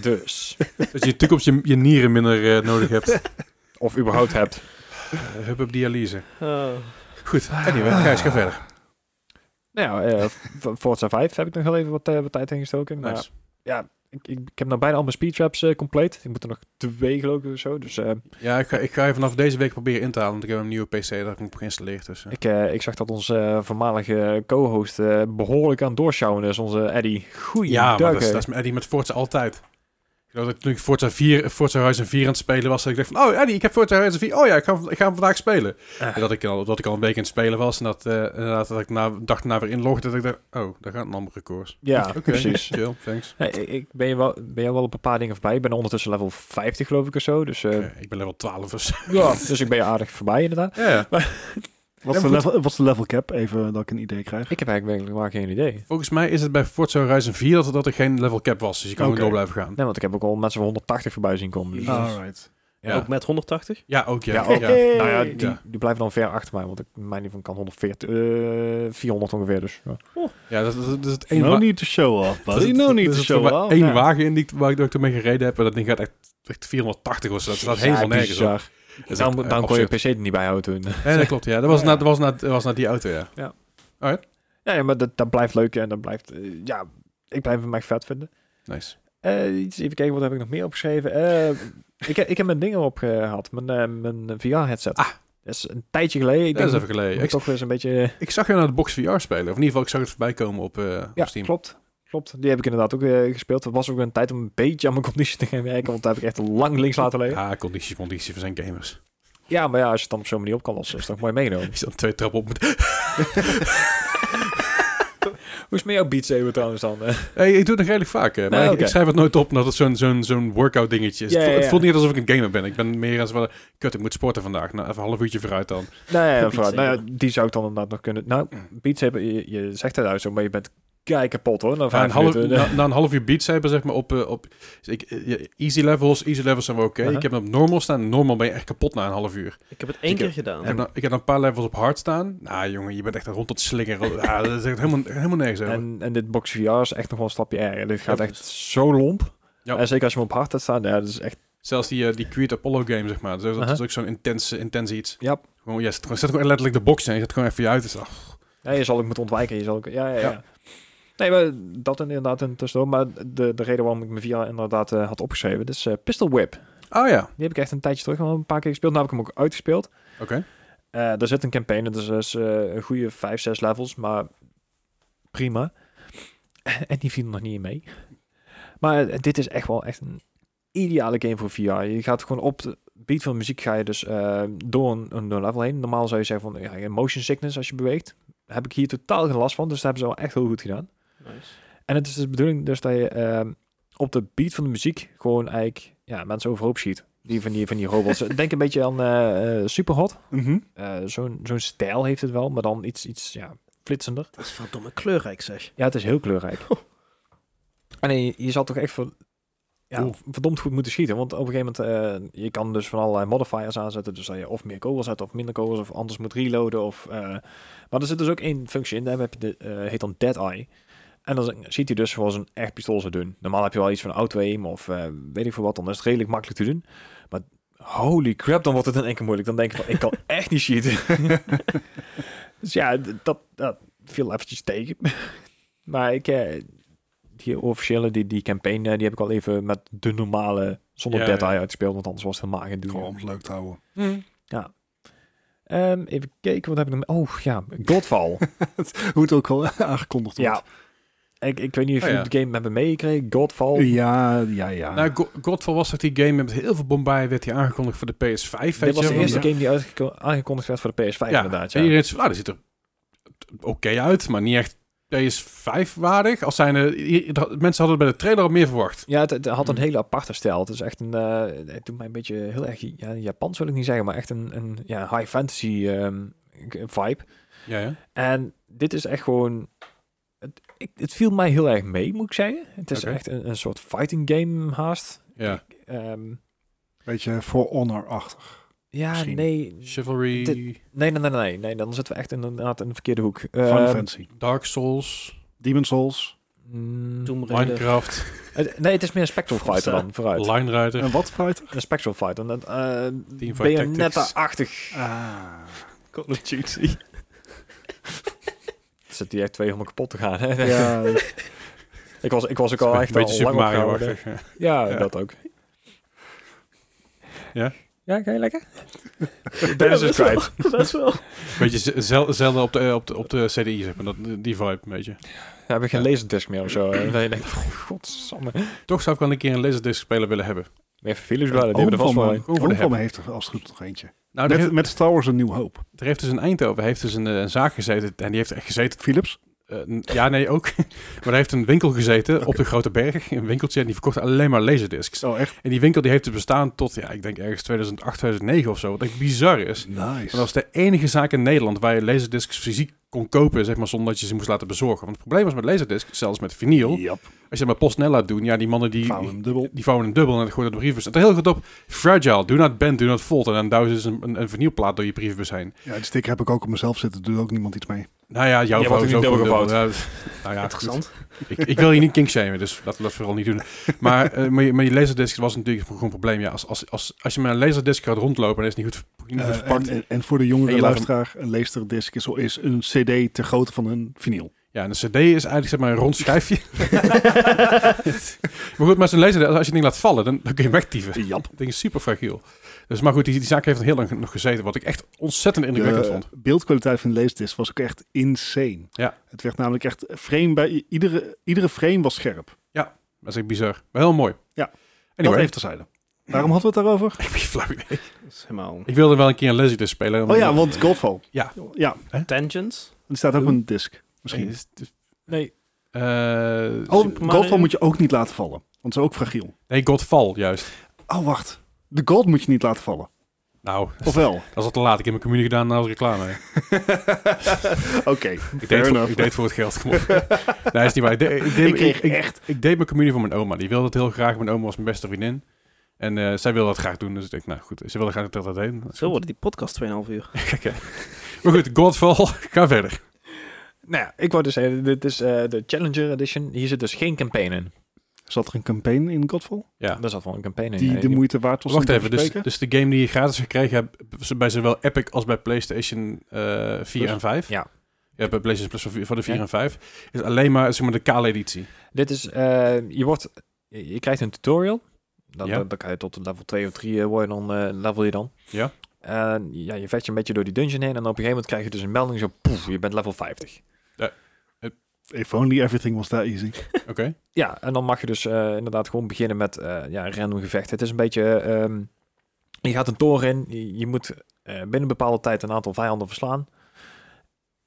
Speaker 2: Dus.
Speaker 1: Dat je in de toekomst je, je nieren minder eh, nodig hebt.
Speaker 2: Of überhaupt hebt.
Speaker 1: Eh, Hup op dialyse.
Speaker 4: Oh.
Speaker 1: Goed, anyway, Gijs, ga verder.
Speaker 2: Nou, eh, v- Forza 5 heb ik nog heel even wat, eh, wat tijd in gestoken. Maar
Speaker 1: Nice.
Speaker 2: ik, ik, ik heb nou bijna al mijn speedtraps eh compleet. Ik moet er nog twee geloof ik of zo. Dus eh,
Speaker 1: Ja, ik ga, ik ga je vanaf deze week proberen in te halen, want ik heb een nieuwe PC, daar heb ik hem op geïnstalleerd. Dus, eh.
Speaker 2: ik, eh, ik zag dat onze eh, voormalige co-host eh, behoorlijk aan het doorsjouwen is, onze Eddie. Goeie
Speaker 1: ja, maar
Speaker 2: dag,
Speaker 1: dat is,
Speaker 2: hè.
Speaker 1: dat is met Eddie met Forza altijd. Ik geloof dat toen ik Forza, 4, Forza Horizon 4 aan het spelen was, dat ik dacht van, oh Eddie, ik heb Forza Horizon 4, oh ja, ik ga, hem- ik ga hem vandaag spelen.
Speaker 2: Ah.
Speaker 1: En dat ik, al, dat ik al een week aan het spelen was en dat, eh, inderdaad, dat ik na, een dag daarna weer inlogde, dat ik dacht, oh, daar gaat een andere koers.
Speaker 2: Ja,
Speaker 1: Oké,
Speaker 2: precies.
Speaker 1: Chill, thanks.
Speaker 2: Nee, ik- ik ben je, wel, ben je wel op een paar dingen voorbij. Ik ben ondertussen level 50 geloof ik of zo. Dus, eh,
Speaker 1: Oké, ik ben level 12 of zo.
Speaker 2: ja. dus ik ben je aardig voorbij inderdaad.
Speaker 1: Ja, ja.
Speaker 3: Wat is de level- wat is de level cap? Even dat ik een idee krijg.
Speaker 2: Ik heb eigenlijk werkelijk maar geen idee.
Speaker 1: Volgens mij is het bij Forza Horizon 4 dat, dat er geen level cap was, dus je kan
Speaker 3: Oké.
Speaker 1: gewoon door blijven gaan.
Speaker 2: Nee, want ik heb ook al mensen van 180 voorbij zien komen. Dus,
Speaker 4: Ah.
Speaker 3: Alright.
Speaker 2: Ja.
Speaker 4: Ook met 180?
Speaker 1: Ja, ook ja.
Speaker 2: Ja, ook.
Speaker 1: ja.
Speaker 2: Nou ja, die,
Speaker 1: Ja.
Speaker 2: die blijven dan ver achter mij, want ik, mijn niveau kan 140, eh 400 ongeveer dus. Ja.
Speaker 1: Ja, dat, dat, dat is het ene
Speaker 3: No
Speaker 1: wa-
Speaker 3: need to show off,
Speaker 1: dat
Speaker 3: buddy.
Speaker 1: is-
Speaker 3: No
Speaker 1: dat
Speaker 3: need
Speaker 1: is Dus
Speaker 3: to
Speaker 1: het
Speaker 3: show
Speaker 1: maar
Speaker 3: off.
Speaker 1: één
Speaker 2: ja.
Speaker 1: wagen in die, waar ik door toen mee gereden heb. En dat ding gaat echt, echt 480 of zo. Dus Dat slaat helemaal nergens op.
Speaker 2: bizar.
Speaker 1: Dat is
Speaker 2: Daarom,
Speaker 1: echt, eh,
Speaker 2: daarom kon je
Speaker 1: absurd.
Speaker 2: PC er niet bij houden toen.
Speaker 1: Nee, dat klopt, ja. Dat was,
Speaker 3: Ja.
Speaker 1: na, dat was, na, dat was na die auto, ja.
Speaker 2: Ja, ja, maar dat, dat blijft leuk en dat blijft... eh, ja, ik blijf hem echt vet vinden.
Speaker 1: Nice.
Speaker 2: Eh, iets- even kijken, wat heb ik nog meer opgeschreven? Eh, ik, heb- ik heb mijn dingen opgehaald, mijn, eh, mijn VR-headset.
Speaker 1: Ah.
Speaker 2: Dat is een tijdje geleden. Ik
Speaker 1: dat is
Speaker 2: denk,
Speaker 1: even geleden.
Speaker 2: moet
Speaker 1: Ik,
Speaker 2: toch weer eens een beetje...
Speaker 1: ik zag jou naar de Box VR spelen. Of in ieder geval, ik zag het voorbij komen op, eh,
Speaker 2: Ja,
Speaker 1: op Steam.
Speaker 2: klopt. Klopt, die heb ik inderdaad ook eh, gespeeld. Het was ook een tijd om een beetje aan mijn conditie te gaan werken, want dat heb ik echt lang links laten liggen.
Speaker 1: Ja, Ah, conditie, conditie voor zijn gamers.
Speaker 2: Ja, maar ja, als je het dan op zo'n manier op kan lossen, is het toch mooi meegenomen.
Speaker 1: Die staan twee trappen op. met-
Speaker 2: Hoe is het met jouw Beat Saber trouwens dan? eh?
Speaker 1: Hey, ik doe het nog redelijk vaak, hè. Maar
Speaker 2: Nou,
Speaker 1: ik-
Speaker 2: oké.
Speaker 1: ik schrijf het nooit op omdat het zo'n zo'n zo'n workout dingetje is.
Speaker 2: Ja,
Speaker 1: het, voelt-
Speaker 2: ja,
Speaker 1: het
Speaker 2: ja.
Speaker 1: voelt niet alsof ik een gamer ben. Ik ben meer als wel... Kut, ik moet sporten vandaag. Nou, even een half uurtje vooruit dan.
Speaker 2: Nou ja,
Speaker 4: Beat
Speaker 2: vooruit. nou ja,
Speaker 4: Saber.
Speaker 2: die zou ik dan inderdaad nog kunnen... Nou, Beat Saber, je, je zegt het uit zo, maar je bent kei kapot hoor. Na
Speaker 1: Na
Speaker 2: vijf
Speaker 1: een, half,
Speaker 2: minuten.
Speaker 1: na, na een half uur beats hebben, zeg maar, op, eh, op dus ik, eh, easy levels. Easy levels zijn wel oké.
Speaker 2: Aha.
Speaker 1: Ik heb hem op normal staan. Normal ben je echt kapot na een half uur.
Speaker 4: Ik heb het één
Speaker 1: Ik heb-
Speaker 4: keer gedaan.
Speaker 1: Ik heb, dan, ik heb dan een paar levels op hard staan. Nou, jongen, je bent echt rond tot slinger. ja, dat is echt helemaal, helemaal nergens over.
Speaker 2: En, en dit box VR is echt nog wel een stapje erger. Dit gaat
Speaker 4: Ja,
Speaker 2: echt zo lomp.
Speaker 1: Ja.
Speaker 2: En zeker als je hem op hard hebt staan, ja, dat is echt...
Speaker 1: Zelfs die, eh, die Creed Apollo game, zeg maar. Dus dat
Speaker 2: Aha.
Speaker 1: is ook zo'n intense, intense iets.
Speaker 2: Ja.
Speaker 1: Gewoon, je zet gewoon, zet gewoon letterlijk de box in. Je zet gewoon even je uit. Dus, ach,
Speaker 2: Ja, je zal ook moeten ontwijken. Je zal ook, ja, ja, ja,
Speaker 1: Ja.
Speaker 2: Nee, maar dat inderdaad in tussendoor. Maar de, de reden waarom ik mijn VR inderdaad eh, had opgeschreven, dus eh, Pistol Whip.
Speaker 1: oh ja,
Speaker 2: Die heb ik echt een tijdje terug al een paar keer gespeeld. Nu heb ik hem ook uitgespeeld.
Speaker 1: oké.
Speaker 2: Eh daar zit een campaign in, dus dat is eh, een goede 5, 6 levels, maar prima. en die viel nog niet in mee. Maar eh, dit is echt wel echt een ideale game voor VR. Je gaat gewoon op de beat van de muziek ga je dus eh, door een, een level heen. Normaal zou je zeggen van ja, motion sickness als je beweegt. Heb ik hier totaal geen last van, dus dat hebben ze wel echt heel goed gedaan.
Speaker 4: Nice.
Speaker 2: En het is dus de bedoeling dus dat je ehm, op de beat van de muziek gewoon eigenlijk ja, mensen overhoop schiet. Die van die, van die robots. Denk een beetje aan eh, eh, Superhot.
Speaker 3: Mhm.
Speaker 2: Eh, Zo'n zo'n stijl heeft het wel, maar dan iets, iets ja, flitsender.
Speaker 4: Dat is verdomme kleurrijk, zeg.
Speaker 2: Ja, het is heel kleurrijk. Alleen Ah, je, je zal toch echt ver- ja,
Speaker 3: Oeh.
Speaker 2: verdomd goed moeten schieten. Want op een gegeven moment, eh, je kan dus van allerlei modifiers aanzetten. Dus dat je of meer kogels hebt of minder kogels of anders moet reloaden. Of, eh, maar er zit dus ook één functie in, daar heb je de, eh, heet dan Dead Eye. En dan ziet hij dus zoals een echt pistool zou doen. Normaal heb je wel iets van auto-aim of eh, weet ik veel wat. Dan is het redelijk makkelijk te doen. Maar holy crap, dan wordt het in één keer moeilijk. Dan denk je van, ik kan echt niet schieten. dus ja, d- dat, dat viel eventjes tegen. Maar ik, eh, die officiële, die, die campaign, eh, die heb ik al even met de normale, zonder
Speaker 1: Ja,
Speaker 2: dead
Speaker 1: ja.
Speaker 2: eye uitgespeeld, want anders was het helemaal geen doen.
Speaker 1: Gewoon om het leuk te houden.
Speaker 2: Ja. Ehm, even kijken, wat heb ik nog? Oh ja, Godfall.
Speaker 3: Hoe het ook al aangekondigd wordt.
Speaker 2: ja. Ik, ik weet niet of
Speaker 1: Oh,
Speaker 2: jullie
Speaker 1: ja.
Speaker 2: de game hebben meegekregen. Godfall.
Speaker 3: ja, ja. ja.
Speaker 1: Nou, Go- Godfall was toch die game met heel veel bombaai werd die aangekondigd voor de PS5. weet je
Speaker 2: Dit was de
Speaker 1: wel?
Speaker 2: eerste
Speaker 1: Ja.
Speaker 2: game die uitgeko- aangekondigd werd voor de PS5 inderdaad.
Speaker 1: En
Speaker 2: Ja.
Speaker 1: iedereen is, nou, dat ziet er oké uit, maar niet echt PS5-waardig. Als zijn, eh, i- i- mensen hadden bij de trailer al meer verwacht.
Speaker 2: Ja, het, het had een
Speaker 4: Hmm.
Speaker 2: hele aparte stijl. Het is echt een, eh, het doet mij een beetje heel erg, ja, Japans wil ik niet zeggen, maar echt een, een ja, high fantasy ehm, vibe.
Speaker 1: Ja, ja.
Speaker 2: En dit is echt gewoon. Het, ik, het viel mij heel erg mee, moet ik zeggen. Het is
Speaker 1: Oké.
Speaker 2: echt een, een soort fighting game haast.
Speaker 1: ja.
Speaker 2: Ehm,
Speaker 3: Beetje For Honor-achtig.
Speaker 2: ja,
Speaker 3: Misschien.
Speaker 2: nee,
Speaker 1: Chivalry,
Speaker 2: nee. Nee, nee, nee, nee. Dan zitten we echt in, inderdaad in de verkeerde hoek.
Speaker 3: Final
Speaker 2: Ehm,
Speaker 3: Fantasy.
Speaker 1: Dark Souls,
Speaker 3: Demon Souls.
Speaker 2: mm,
Speaker 4: Tomb Raider.
Speaker 1: Minecraft,
Speaker 2: het- nee, het is meer een Spectral Fighter dan, vooruit.
Speaker 1: Line Rider.
Speaker 3: En wat fighter?
Speaker 2: Een Spectral Fighter. En,
Speaker 1: Teamfight
Speaker 2: uh,
Speaker 1: Tactics.
Speaker 2: Bayonetta-achtig.
Speaker 3: Ah.
Speaker 4: Call of Duty.
Speaker 2: Zit die echt twee helemaal kapot te gaan. Hè?
Speaker 3: Ja,
Speaker 2: Ik, was, ik was ook al echt
Speaker 1: een beetje
Speaker 2: al
Speaker 1: Super
Speaker 2: lang
Speaker 1: Mario.
Speaker 2: opgehouden.
Speaker 1: -achtig, ja.
Speaker 2: Ja,
Speaker 1: Ja.
Speaker 2: dat ook.
Speaker 1: Ja?
Speaker 2: Ja, ga je lekker? Dennis is kwijt.
Speaker 4: Dat is wel.
Speaker 1: Beetje z- zel- zelden op de, op de, op de CDI, zeg maar. Dat, die vibe, een beetje.
Speaker 2: Dan heb ik geen laserdisc meer of zo. En dan denk ik, oh, godsamme.
Speaker 1: Toch zou ik wel een keer een laserdisc speler willen hebben.
Speaker 2: Meer vervelers wel, die
Speaker 1: Oh,
Speaker 3: Oom
Speaker 2: hebben er vast
Speaker 3: van
Speaker 2: wel
Speaker 3: me-
Speaker 2: een.
Speaker 1: Oom van
Speaker 3: Oom
Speaker 1: de
Speaker 3: van me
Speaker 1: Hep.
Speaker 3: heeft er als het goed is nog eentje.
Speaker 1: Nou, er,
Speaker 3: Met,
Speaker 1: heeft,
Speaker 3: met Star Wars een nieuw hoop.
Speaker 1: er heeft dus een Eindhoven, heeft dus een, eh, een zaak gezeten. En die heeft echt gezeten
Speaker 3: Philips?
Speaker 1: Eh, n- ja, nee, ook. maar hij heeft een winkel gezeten op de Grote Berg. Een winkeltje. En die verkocht alleen maar laserdiscs.
Speaker 3: Oh, echt?
Speaker 1: En die winkel die heeft het bestaan tot, ja, ik denk ergens 2008, 2009 of zo. Wat echt bizar is.
Speaker 3: Nice.
Speaker 1: En dat was de enige zaak in Nederland waar je laserdiscs fysiek kon kopen, zeg maar, zonder dat je ze moest laten bezorgen. Want het probleem was met laserdiscs, zelfs met vinyl.
Speaker 3: Jap,
Speaker 1: Als je dat met PostNL laat doen, ja, die mannen die...
Speaker 3: vouw hem dubbel.
Speaker 1: Die vouwen een dubbel en dat gooien dat de brievenbus. Het staat heel goed op. Fragile, do not bend, do not fold. En dan duwen ze dus een, een, een vinylplaat door je brievenbus heen.
Speaker 3: Ja, die sticker heb ik ook op mezelf zitten. Doet ook niemand iets mee.
Speaker 1: Nou ja, jouw
Speaker 2: Jij
Speaker 1: vrouw
Speaker 2: wordt
Speaker 1: is
Speaker 2: ook
Speaker 1: ook
Speaker 2: niet
Speaker 1: gewoon
Speaker 2: dubbel
Speaker 1: dubbel. Ja, nou ja, goed.
Speaker 4: Interessant.
Speaker 1: Ik, ik wil je niet kinkshamen, dus laten we dat vooral niet doen. Maar eh maar je- maar je laserdisc was natuurlijk gewoon een probleem. Ja, als, als, als, als je met een laserdisc gaat rondlopen, dan is het niet goed, ver- niet goed
Speaker 3: Eh,
Speaker 1: verpakt.
Speaker 3: en, en- en voor de
Speaker 1: En
Speaker 3: jongere
Speaker 1: je laat
Speaker 3: luisteraar, een leesterdisc is, is een cd ter grootte van een vinyl.
Speaker 1: ja, en een cd is eigenlijk zeg maar een rond schijfje. maar goed, maar zo'n laserdisc, als je het ding laat vallen, dan, dan kun je hem wegtieven.
Speaker 3: Jap.
Speaker 1: Dat ding is super fragiel. Dus, maar goed, die, die zaak heeft heel lang nog gezeten, wat ik echt ontzettend indrukwekkend
Speaker 3: De
Speaker 1: vond.
Speaker 3: beeldkwaliteit van de leesdisc was ook echt insane.
Speaker 1: Ja.
Speaker 3: Het werd namelijk echt frame bij... Iedere, iedere frame was scherp.
Speaker 1: Dat is echt bizar. Maar heel mooi.
Speaker 3: Ja.
Speaker 1: Anyway,
Speaker 3: Dat even terzijde. Waarom hadden we het daarover?
Speaker 1: ik heb geen flauw idee.
Speaker 4: Dat is helemaal...
Speaker 1: Ik wilde wel een keer een laserdisc spelen.
Speaker 3: Oh ja, want Godfall.
Speaker 1: Ja.
Speaker 3: Ja,
Speaker 4: Tangents.
Speaker 3: er staat ook op een disc.
Speaker 1: misschien...
Speaker 3: Misschien.
Speaker 1: is het-
Speaker 2: Nee,
Speaker 1: eh,
Speaker 3: Oh,
Speaker 4: Super Mario.
Speaker 3: Godfall moet je ook niet laten vallen. Want ze is ook fragiel.
Speaker 1: nee, Godfall, juist.
Speaker 3: Oh, wacht. De gold moet je niet laten vallen.
Speaker 1: Nou, dat
Speaker 3: Of
Speaker 1: is,
Speaker 3: wel?
Speaker 1: dat is al te laat. Ik heb mijn communie gedaan na als reclame.
Speaker 3: Oké,
Speaker 1: Ik
Speaker 3: fair
Speaker 1: deed, voor,
Speaker 3: enough.
Speaker 1: ik deed voor het geld. Kom op. nee, is niet waar. Ik, deed- ik deed,
Speaker 3: Ik kreeg
Speaker 1: ik-
Speaker 3: echt-
Speaker 1: ik deed mijn communie voor mijn oma. Die wilde het heel graag. Mijn oma was mijn beste vriendin. En eh, zij wilde dat graag doen. Dus ik denk, nou goed. Ze wilde graag dat dat heen.
Speaker 4: Zo worden die podcast 2,5 uur.
Speaker 1: Maar goed, Godfall. Ga verder.
Speaker 2: nou ja, ik wou dus zeggen, dit is eh, de Challenger Edition. Hier zit dus geen campaign in.
Speaker 3: Zat er een campaign in Godfall?
Speaker 1: Ja.
Speaker 2: Daar zat wel een campaign in.
Speaker 3: Die
Speaker 2: ja.
Speaker 3: de moeite waard was
Speaker 1: Wacht
Speaker 3: om te
Speaker 1: even. Dus,
Speaker 3: bespreken?
Speaker 1: dus de game die je gratis gekregen hebt... z- bij zowel Epic als bij PlayStation eh 4
Speaker 3: Plus.
Speaker 1: en 5...
Speaker 2: Ja.
Speaker 1: Ja, bij PlayStation Plus voor vier- voor de 4
Speaker 2: Ja.
Speaker 1: en 5. Is alleen maar, zeg maar de kale editie.
Speaker 2: Dit is, eh, je wordt, je krijgt een tutorial. Dan,
Speaker 1: Ja.
Speaker 2: dan, dan kan je tot level 2 of 3 worden, dan eh, level je dan.
Speaker 1: Ja.
Speaker 2: En ja, je vecht je een beetje door die dungeon heen en op een gegeven moment krijg je dus een melding zo, poef, je bent level 50.
Speaker 1: het-
Speaker 3: If only everything was that easy.
Speaker 1: Oké.
Speaker 2: Ja, en dan mag je dus eh, inderdaad gewoon beginnen met eh, ja, een random gevecht. Het is een beetje... ehm, je gaat een toren in. Je, je moet eh, binnen een bepaalde tijd een aantal vijanden verslaan.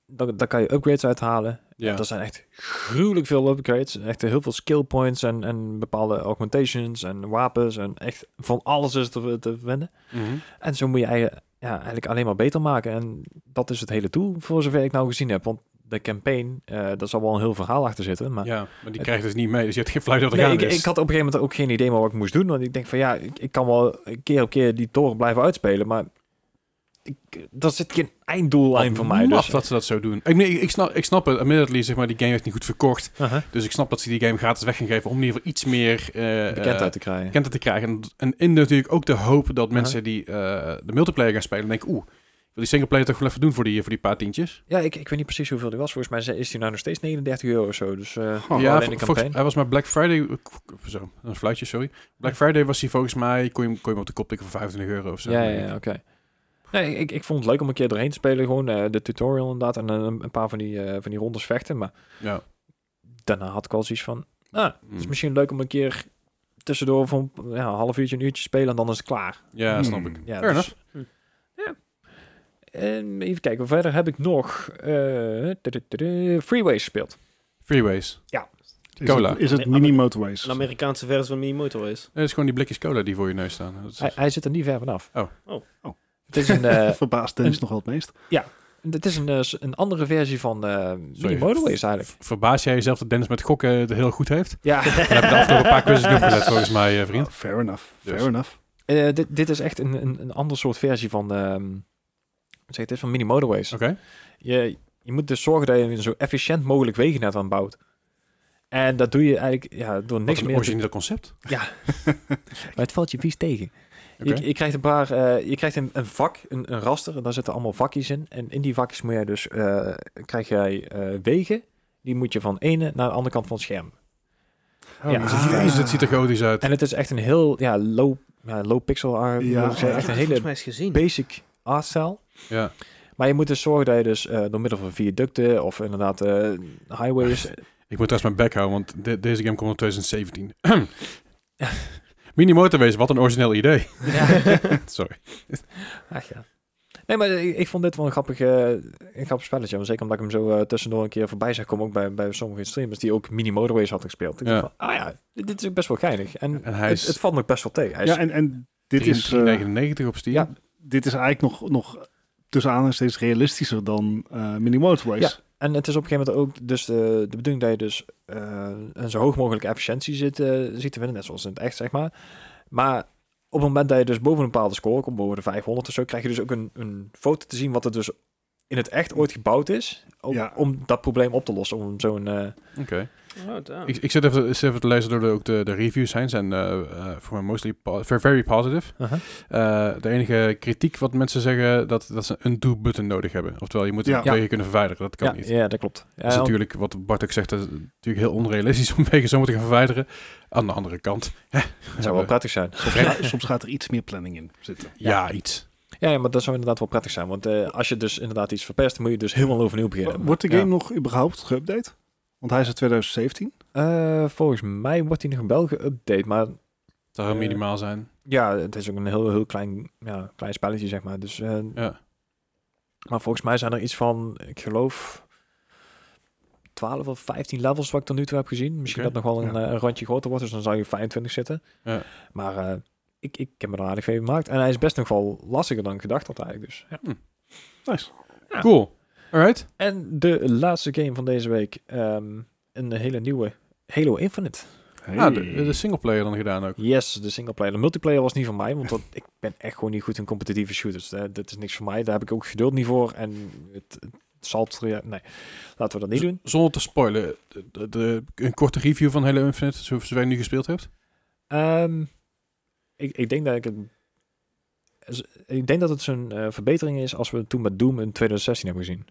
Speaker 2: Dan, dan kan je upgrades uithalen.
Speaker 1: Ja.
Speaker 2: Dat zijn echt gruwelijk veel upgrades. Echt heel veel skill points en, en bepaalde augmentations en wapens. En echt van alles is te, te vinden.
Speaker 1: Mhm.
Speaker 2: En zo moet je eigen- ja, eigenlijk alleen maar beter maken. En dat is het hele doel, voor zover ik nou gezien heb. Want de campaign, eh daar zal wel een heel verhaal achter zitten. Maar
Speaker 1: Ja, maar die krijgt dus niet mee. Dus je hebt geen fluit dat er
Speaker 2: Nee,
Speaker 1: gaande
Speaker 2: ik,
Speaker 1: is.
Speaker 2: ik had op een gegeven moment ook geen idee meer wat ik moest doen. Want ik denk van ja, ik, ik kan wel keer op keer die toren blijven uitspelen. Maar ik, daar zit geen einddoel aan voor mij.
Speaker 1: Maf
Speaker 2: Dus.
Speaker 1: dat ze dat zo doen. Ik, nee, ik, snap, ik snap het. Admittedly, zeg maar, die game heeft niet goed verkocht.
Speaker 2: Uh-huh.
Speaker 1: Dus ik snap dat ze die game gratis weg gaan geven om in ieder geval iets meer eh, eh,
Speaker 2: Bekendheid te krijgen.
Speaker 1: bekendheid te krijgen. En, en in natuurlijk ook de hoop dat mensen die eh, de multiplayer gaan spelen, denken, oeh, wil die singleplayer toch wel even doen voor die, voor die paar tientjes?
Speaker 2: Ja, ik, ik weet niet precies hoeveel die was. Volgens mij ze- is die nou nog steeds 39 euro of zo. Dus eh,
Speaker 3: Oh,
Speaker 1: ja, vol-
Speaker 2: alleen de campaign.
Speaker 1: volgens- hij was maar Black Friday, eh, zo, een fluitje, sorry. Black Friday was hij volgens mij, kon je, hem- kon je hem op de kop tikken voor 25 euro of zo.
Speaker 2: ja, ja, ja, oké. Nee, ik, ik vond het leuk om een keer doorheen te spelen. Gewoon eh, de tutorial inderdaad. En eh, een paar van die, eh, van die rondes vechten. Maar
Speaker 1: Ja.
Speaker 2: daarna had ik al zoiets van... Ah, het is
Speaker 1: Mm.
Speaker 2: misschien leuk om een keer tussendoor van ja, een half uurtje, een uurtje spelen. En dan is het klaar.
Speaker 1: Ja,
Speaker 3: Hmm.
Speaker 1: snap ik.
Speaker 2: Ja,
Speaker 1: Fair
Speaker 2: dus-
Speaker 4: enough.
Speaker 2: Ja. En even kijken, verder heb ik nog eh, tudududu, Freeways gespeeld.
Speaker 1: Freeways.
Speaker 3: Is
Speaker 1: Cola.
Speaker 3: het, is het
Speaker 4: Nee,
Speaker 3: mini
Speaker 4: Amer-
Speaker 3: motorways?
Speaker 4: Een Amerikaanse versie van Mini Motorways.
Speaker 1: Nee, dat is gewoon die blikjes cola die voor je neus staan. Dat is-
Speaker 2: Hij, hij zit er niet ver vanaf.
Speaker 1: Oh.
Speaker 4: Oh.
Speaker 3: Oh.
Speaker 2: Het is een, eh,
Speaker 3: Verbaast Dennis nog wel het meest.
Speaker 2: het is een, eh, s- een andere versie van eh Mini
Speaker 1: Sorry.
Speaker 2: Motorways eigenlijk.
Speaker 1: Verbaas jij jezelf dat Dennis met gokken het heel goed heeft?
Speaker 2: Ja,
Speaker 1: Dat heb ik de afgelopen paar quizzes nog gelet, volgens mij, eh, vriend.
Speaker 3: Oh, fair enough.
Speaker 1: Dus.
Speaker 3: Fair enough.
Speaker 2: eh, dit, dit is echt een, een, een ander soort versie van, ehm, hoe zeg, je het is van Mini Motorways.
Speaker 1: Oké.
Speaker 2: Je, je moet dus zorgen dat je een zo efficiënt mogelijk wegennet aanbouwt. En dat doe je eigenlijk ja, door
Speaker 1: Wat
Speaker 2: niks
Speaker 1: een
Speaker 2: meer te
Speaker 1: origineel concept.
Speaker 2: Maar het valt je vies tegen.
Speaker 1: Oké.
Speaker 2: Je, je krijgt een paar, eh, je krijgt een, een vak, een, een raster, en daar zitten allemaal vakjes in. En in die vakjes moet jij dus, eh, krijg jij eh, wegen, die moet je van de ene naar de andere kant van het scherm.
Speaker 1: Oh,
Speaker 2: Ja.
Speaker 1: jezus, jezus, het ziet er gotisch uit.
Speaker 2: En het is echt een heel ja, low, ja, low pixel art,
Speaker 3: Ja,
Speaker 2: moet ik zeggen.
Speaker 3: ja.
Speaker 2: echt een
Speaker 4: volgens
Speaker 2: hele
Speaker 4: mij eens gezien.
Speaker 2: basic artstyle.
Speaker 1: Ja.
Speaker 2: Maar je moet dus zorgen dat je dus eh, door middel van viaducten of inderdaad eh, highways...
Speaker 1: Ik moet trouwens mijn bek houden, want de- deze game komt in 2017. Mini Motorways, wat een origineel idee.
Speaker 2: ja.
Speaker 1: Sorry.
Speaker 2: Ach ja. Nee, maar ik, ik vond dit wel een grappig, eh, een grappig spelletje. Maar zeker omdat ik hem zo eh, tussendoor een keer voorbij zag komen. Ook bij, bij sommige streamers die ook mini motorways hadden gespeeld. Ik
Speaker 1: Ja.
Speaker 2: dacht van, ah ja, dit, dit is best wel geinig. En,
Speaker 1: En hij
Speaker 2: het,
Speaker 1: is
Speaker 2: het valt me best wel tegen. Hij is,
Speaker 3: Ja, en, en dit, is, eh,
Speaker 1: 399 op Steam.
Speaker 2: ja.
Speaker 3: dit is eigenlijk nog, nog tussen aan steeds realistischer dan eh, mini motorways.
Speaker 2: En het is op een gegeven moment ook dus de, de bedoeling dat je dus eh, een zo hoog mogelijke efficiëntie zit, eh, ziet te winnen. Net zoals in het echt, zeg maar. Maar op het moment dat je dus boven een bepaalde score komt, boven de 500 of zo, krijg je dus ook een, een foto te zien wat er dus in het echt ooit gebouwd is. Om,
Speaker 3: Ja.
Speaker 2: om dat probleem op te lossen. Om zo'n... eh,
Speaker 1: Oké.
Speaker 4: Oh, damn.
Speaker 1: Ik, ik zit even, zit even te lezen door de, ook de, de reviews zijn. Zijn eh, eh, voor mij mostly po- very positive.
Speaker 2: Aha.
Speaker 1: Eh, de enige kritiek wat mensen zeggen, dat, dat ze een do-button nodig hebben. Oftewel, je moet
Speaker 3: Ja.
Speaker 1: het wegen kunnen verwijderen. Dat kan
Speaker 2: ja,
Speaker 1: niet.
Speaker 2: Ja, dat klopt. Ja,
Speaker 3: Dus
Speaker 1: Dat is
Speaker 2: want-
Speaker 1: Dus natuurlijk, wat Bart ook zegt, dat is natuurlijk heel onrealistisch om wegen zo moeten gaan verwijderen. Aan de andere kant,
Speaker 2: Het zou wel prettig zijn.
Speaker 3: Soms, ga- soms gaat er iets meer planning in zitten.
Speaker 1: ja, iets.
Speaker 2: Ja, ja, maar dat zou inderdaad wel prettig zijn. Want eh, als je dus inderdaad iets verpest, moet je dus helemaal overnieuw beginnen.
Speaker 3: Wordt de game
Speaker 2: Ja.
Speaker 3: nog überhaupt geüpdate? Want hij is uit 2017.
Speaker 2: Eh, volgens mij wordt die nog wel geüpdate. Maar
Speaker 1: Het zou heel
Speaker 2: Eh,
Speaker 1: minimaal zijn.
Speaker 2: ja, het is ook een heel, heel klein, ja, klein spelletje, zeg maar. Dus, eh,
Speaker 1: Ja.
Speaker 2: Maar volgens mij zijn er iets van, ik geloof, 12 of 15 levels wat ik tot nu toe heb gezien. Misschien
Speaker 1: Oké,
Speaker 2: dat nog wel een,
Speaker 3: ja.
Speaker 2: eh, een rondje groter wordt, dus dan zou je 25 zitten.
Speaker 1: Ja.
Speaker 2: Maar eh, ik, ik heb me er aardig veel gemaakt. En hij is best nog wel lastiger dan ik gedacht had eigenlijk. Dus, ja.
Speaker 3: Nice.
Speaker 2: Ja.
Speaker 1: Cool. Alright.
Speaker 2: En de laatste game van deze week. ehm, een hele nieuwe Halo Infinite.
Speaker 1: Ah, de, de singleplayer dan gedaan ook.
Speaker 2: Yes, de singleplayer. De multiplayer was niet van mij, want dat, ik ben echt gewoon niet goed in competitieve shooters. Eh, dat is niks voor mij. Daar heb ik ook geduld niet voor. En het, het zal... het- ja, nee, laten we dat niet doen.
Speaker 1: Zonder te spoilen, de, de- de- een korte review van Halo Infinite, zo- zover je nu gespeeld hebt.
Speaker 2: Ehm, ik, ik denk dat ik het... z- Ik denk dat het zo'n eh, verbetering is als we het toen met Doom in 2016 hebben gezien.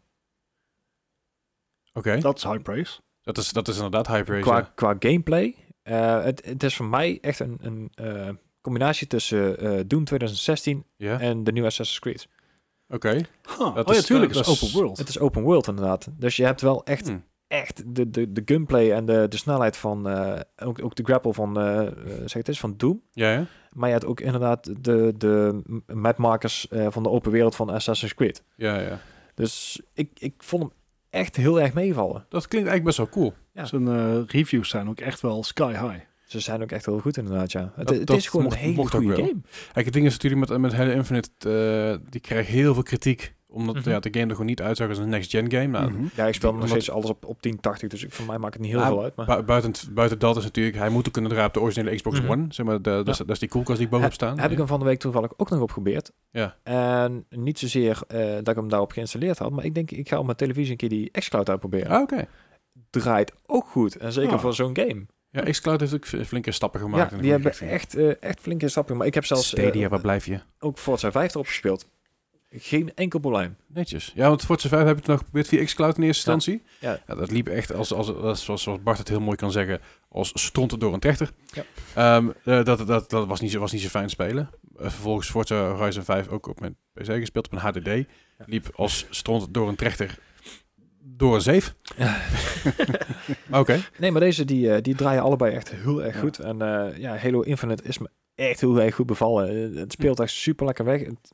Speaker 1: Oké,
Speaker 3: Dat is high praise.
Speaker 1: dat, is, dat is inderdaad high praise.
Speaker 2: Qua,
Speaker 1: ja.
Speaker 2: qua gameplay. eh, het, het is voor mij echt een, een eh, combinatie tussen eh, Doom 2016
Speaker 1: Ja,
Speaker 2: en de nieuwe Assassin's Creed.
Speaker 1: oké.
Speaker 3: Huh.
Speaker 1: Dat
Speaker 3: oh ja,
Speaker 1: is-
Speaker 3: tuurlijk.
Speaker 1: dat
Speaker 3: Het is
Speaker 1: is-
Speaker 3: open world.
Speaker 2: Het is open world inderdaad. Dus je hebt wel echt
Speaker 1: Hm.
Speaker 2: echt de, de, de gunplay en de, de snelheid van, eh, ook, ook de grapple van, eh, eh, zeg het eens, van Doom.
Speaker 1: Ja, ja.
Speaker 2: Maar je hebt ook inderdaad de, de m- mapmakers eh, van de open wereld van Assassin's Creed.
Speaker 1: ja, ja.
Speaker 2: Dus ik, ik vond hem echt heel erg meevallen.
Speaker 1: Dat klinkt eigenlijk best wel cool.
Speaker 2: Ja.
Speaker 3: Zijn eh, reviews zijn ook echt wel sky high.
Speaker 2: Ze zijn ook echt heel goed inderdaad, ja. Het,
Speaker 1: Dat-
Speaker 2: het
Speaker 1: dat
Speaker 2: is gewoon
Speaker 1: mocht-
Speaker 2: een hele
Speaker 1: mocht ook
Speaker 2: goede
Speaker 1: wel.
Speaker 2: game.
Speaker 1: Kijk, het ding is natuurlijk met, met Halo Infinite, eh, die krijgt heel veel kritiek. Omdat
Speaker 2: Mhm.
Speaker 1: ja, de game er gewoon niet uitzag als een next-gen game. Nou,
Speaker 3: Mhm.
Speaker 2: Ja, ik speel nog
Speaker 1: Omdat-
Speaker 2: steeds alles op, op 1080, dus ik, voor mij maakt het niet heel
Speaker 1: Ah,
Speaker 2: veel uit. Maar
Speaker 1: bu- buiten, het- buiten dat is natuurlijk, hij moet ook kunnen draaien op de originele Xbox
Speaker 2: Mhm.
Speaker 1: One. Zeg maar, de- dat, is, dat is die koelkast die bovenop staan.
Speaker 2: heb ik hem van de week toevallig ook nog op geprobeerd.
Speaker 1: Ja.
Speaker 2: En niet zozeer eh, dat ik hem daarop geïnstalleerd had, maar ik denk, ik ga op mijn televisie een keer die xCloud uitproberen.
Speaker 1: Ah, oké.
Speaker 2: Draait ook goed, en zeker
Speaker 3: Ah.
Speaker 2: voor zo'n game.
Speaker 1: Ja, Xcloud heeft ook v- flinke stappen gemaakt. in
Speaker 2: ja,
Speaker 1: de
Speaker 2: die
Speaker 1: goede
Speaker 2: hebben
Speaker 1: richting.
Speaker 2: echt, eh, echt flinke stappen. Maar ik heb zelfs eh,
Speaker 1: Stadia, waar blijf je?
Speaker 2: ook Forza 5 erop gespeeld. Geen enkel probleem.
Speaker 1: Netjes. Ja, want Forza 5 heb ik nog geprobeerd via Xcloud in eerste
Speaker 2: Ja.
Speaker 1: instantie.
Speaker 2: Ja.
Speaker 1: dat liep echt, als, als, als, zoals- zoals Bart het heel mooi kan zeggen, als stront door een trechter.
Speaker 2: Ja.
Speaker 1: Ehm, eh, dat dat, dat was, niet zo, was niet zo fijn spelen. Eh, vervolgens Forza Horizon 5 ook op mijn PC gespeeld, op een HDD. Liep als stront door een trechter door een zeef.
Speaker 2: Ja.
Speaker 1: Maar Oké.
Speaker 2: Nee, maar deze die, eh, die draaien allebei echt heel erg
Speaker 3: Ja.
Speaker 2: goed. En eh, ja, Halo Infinite is me echt heel erg goed bevallen. Eh, Het speelt echt super lekker weg. Het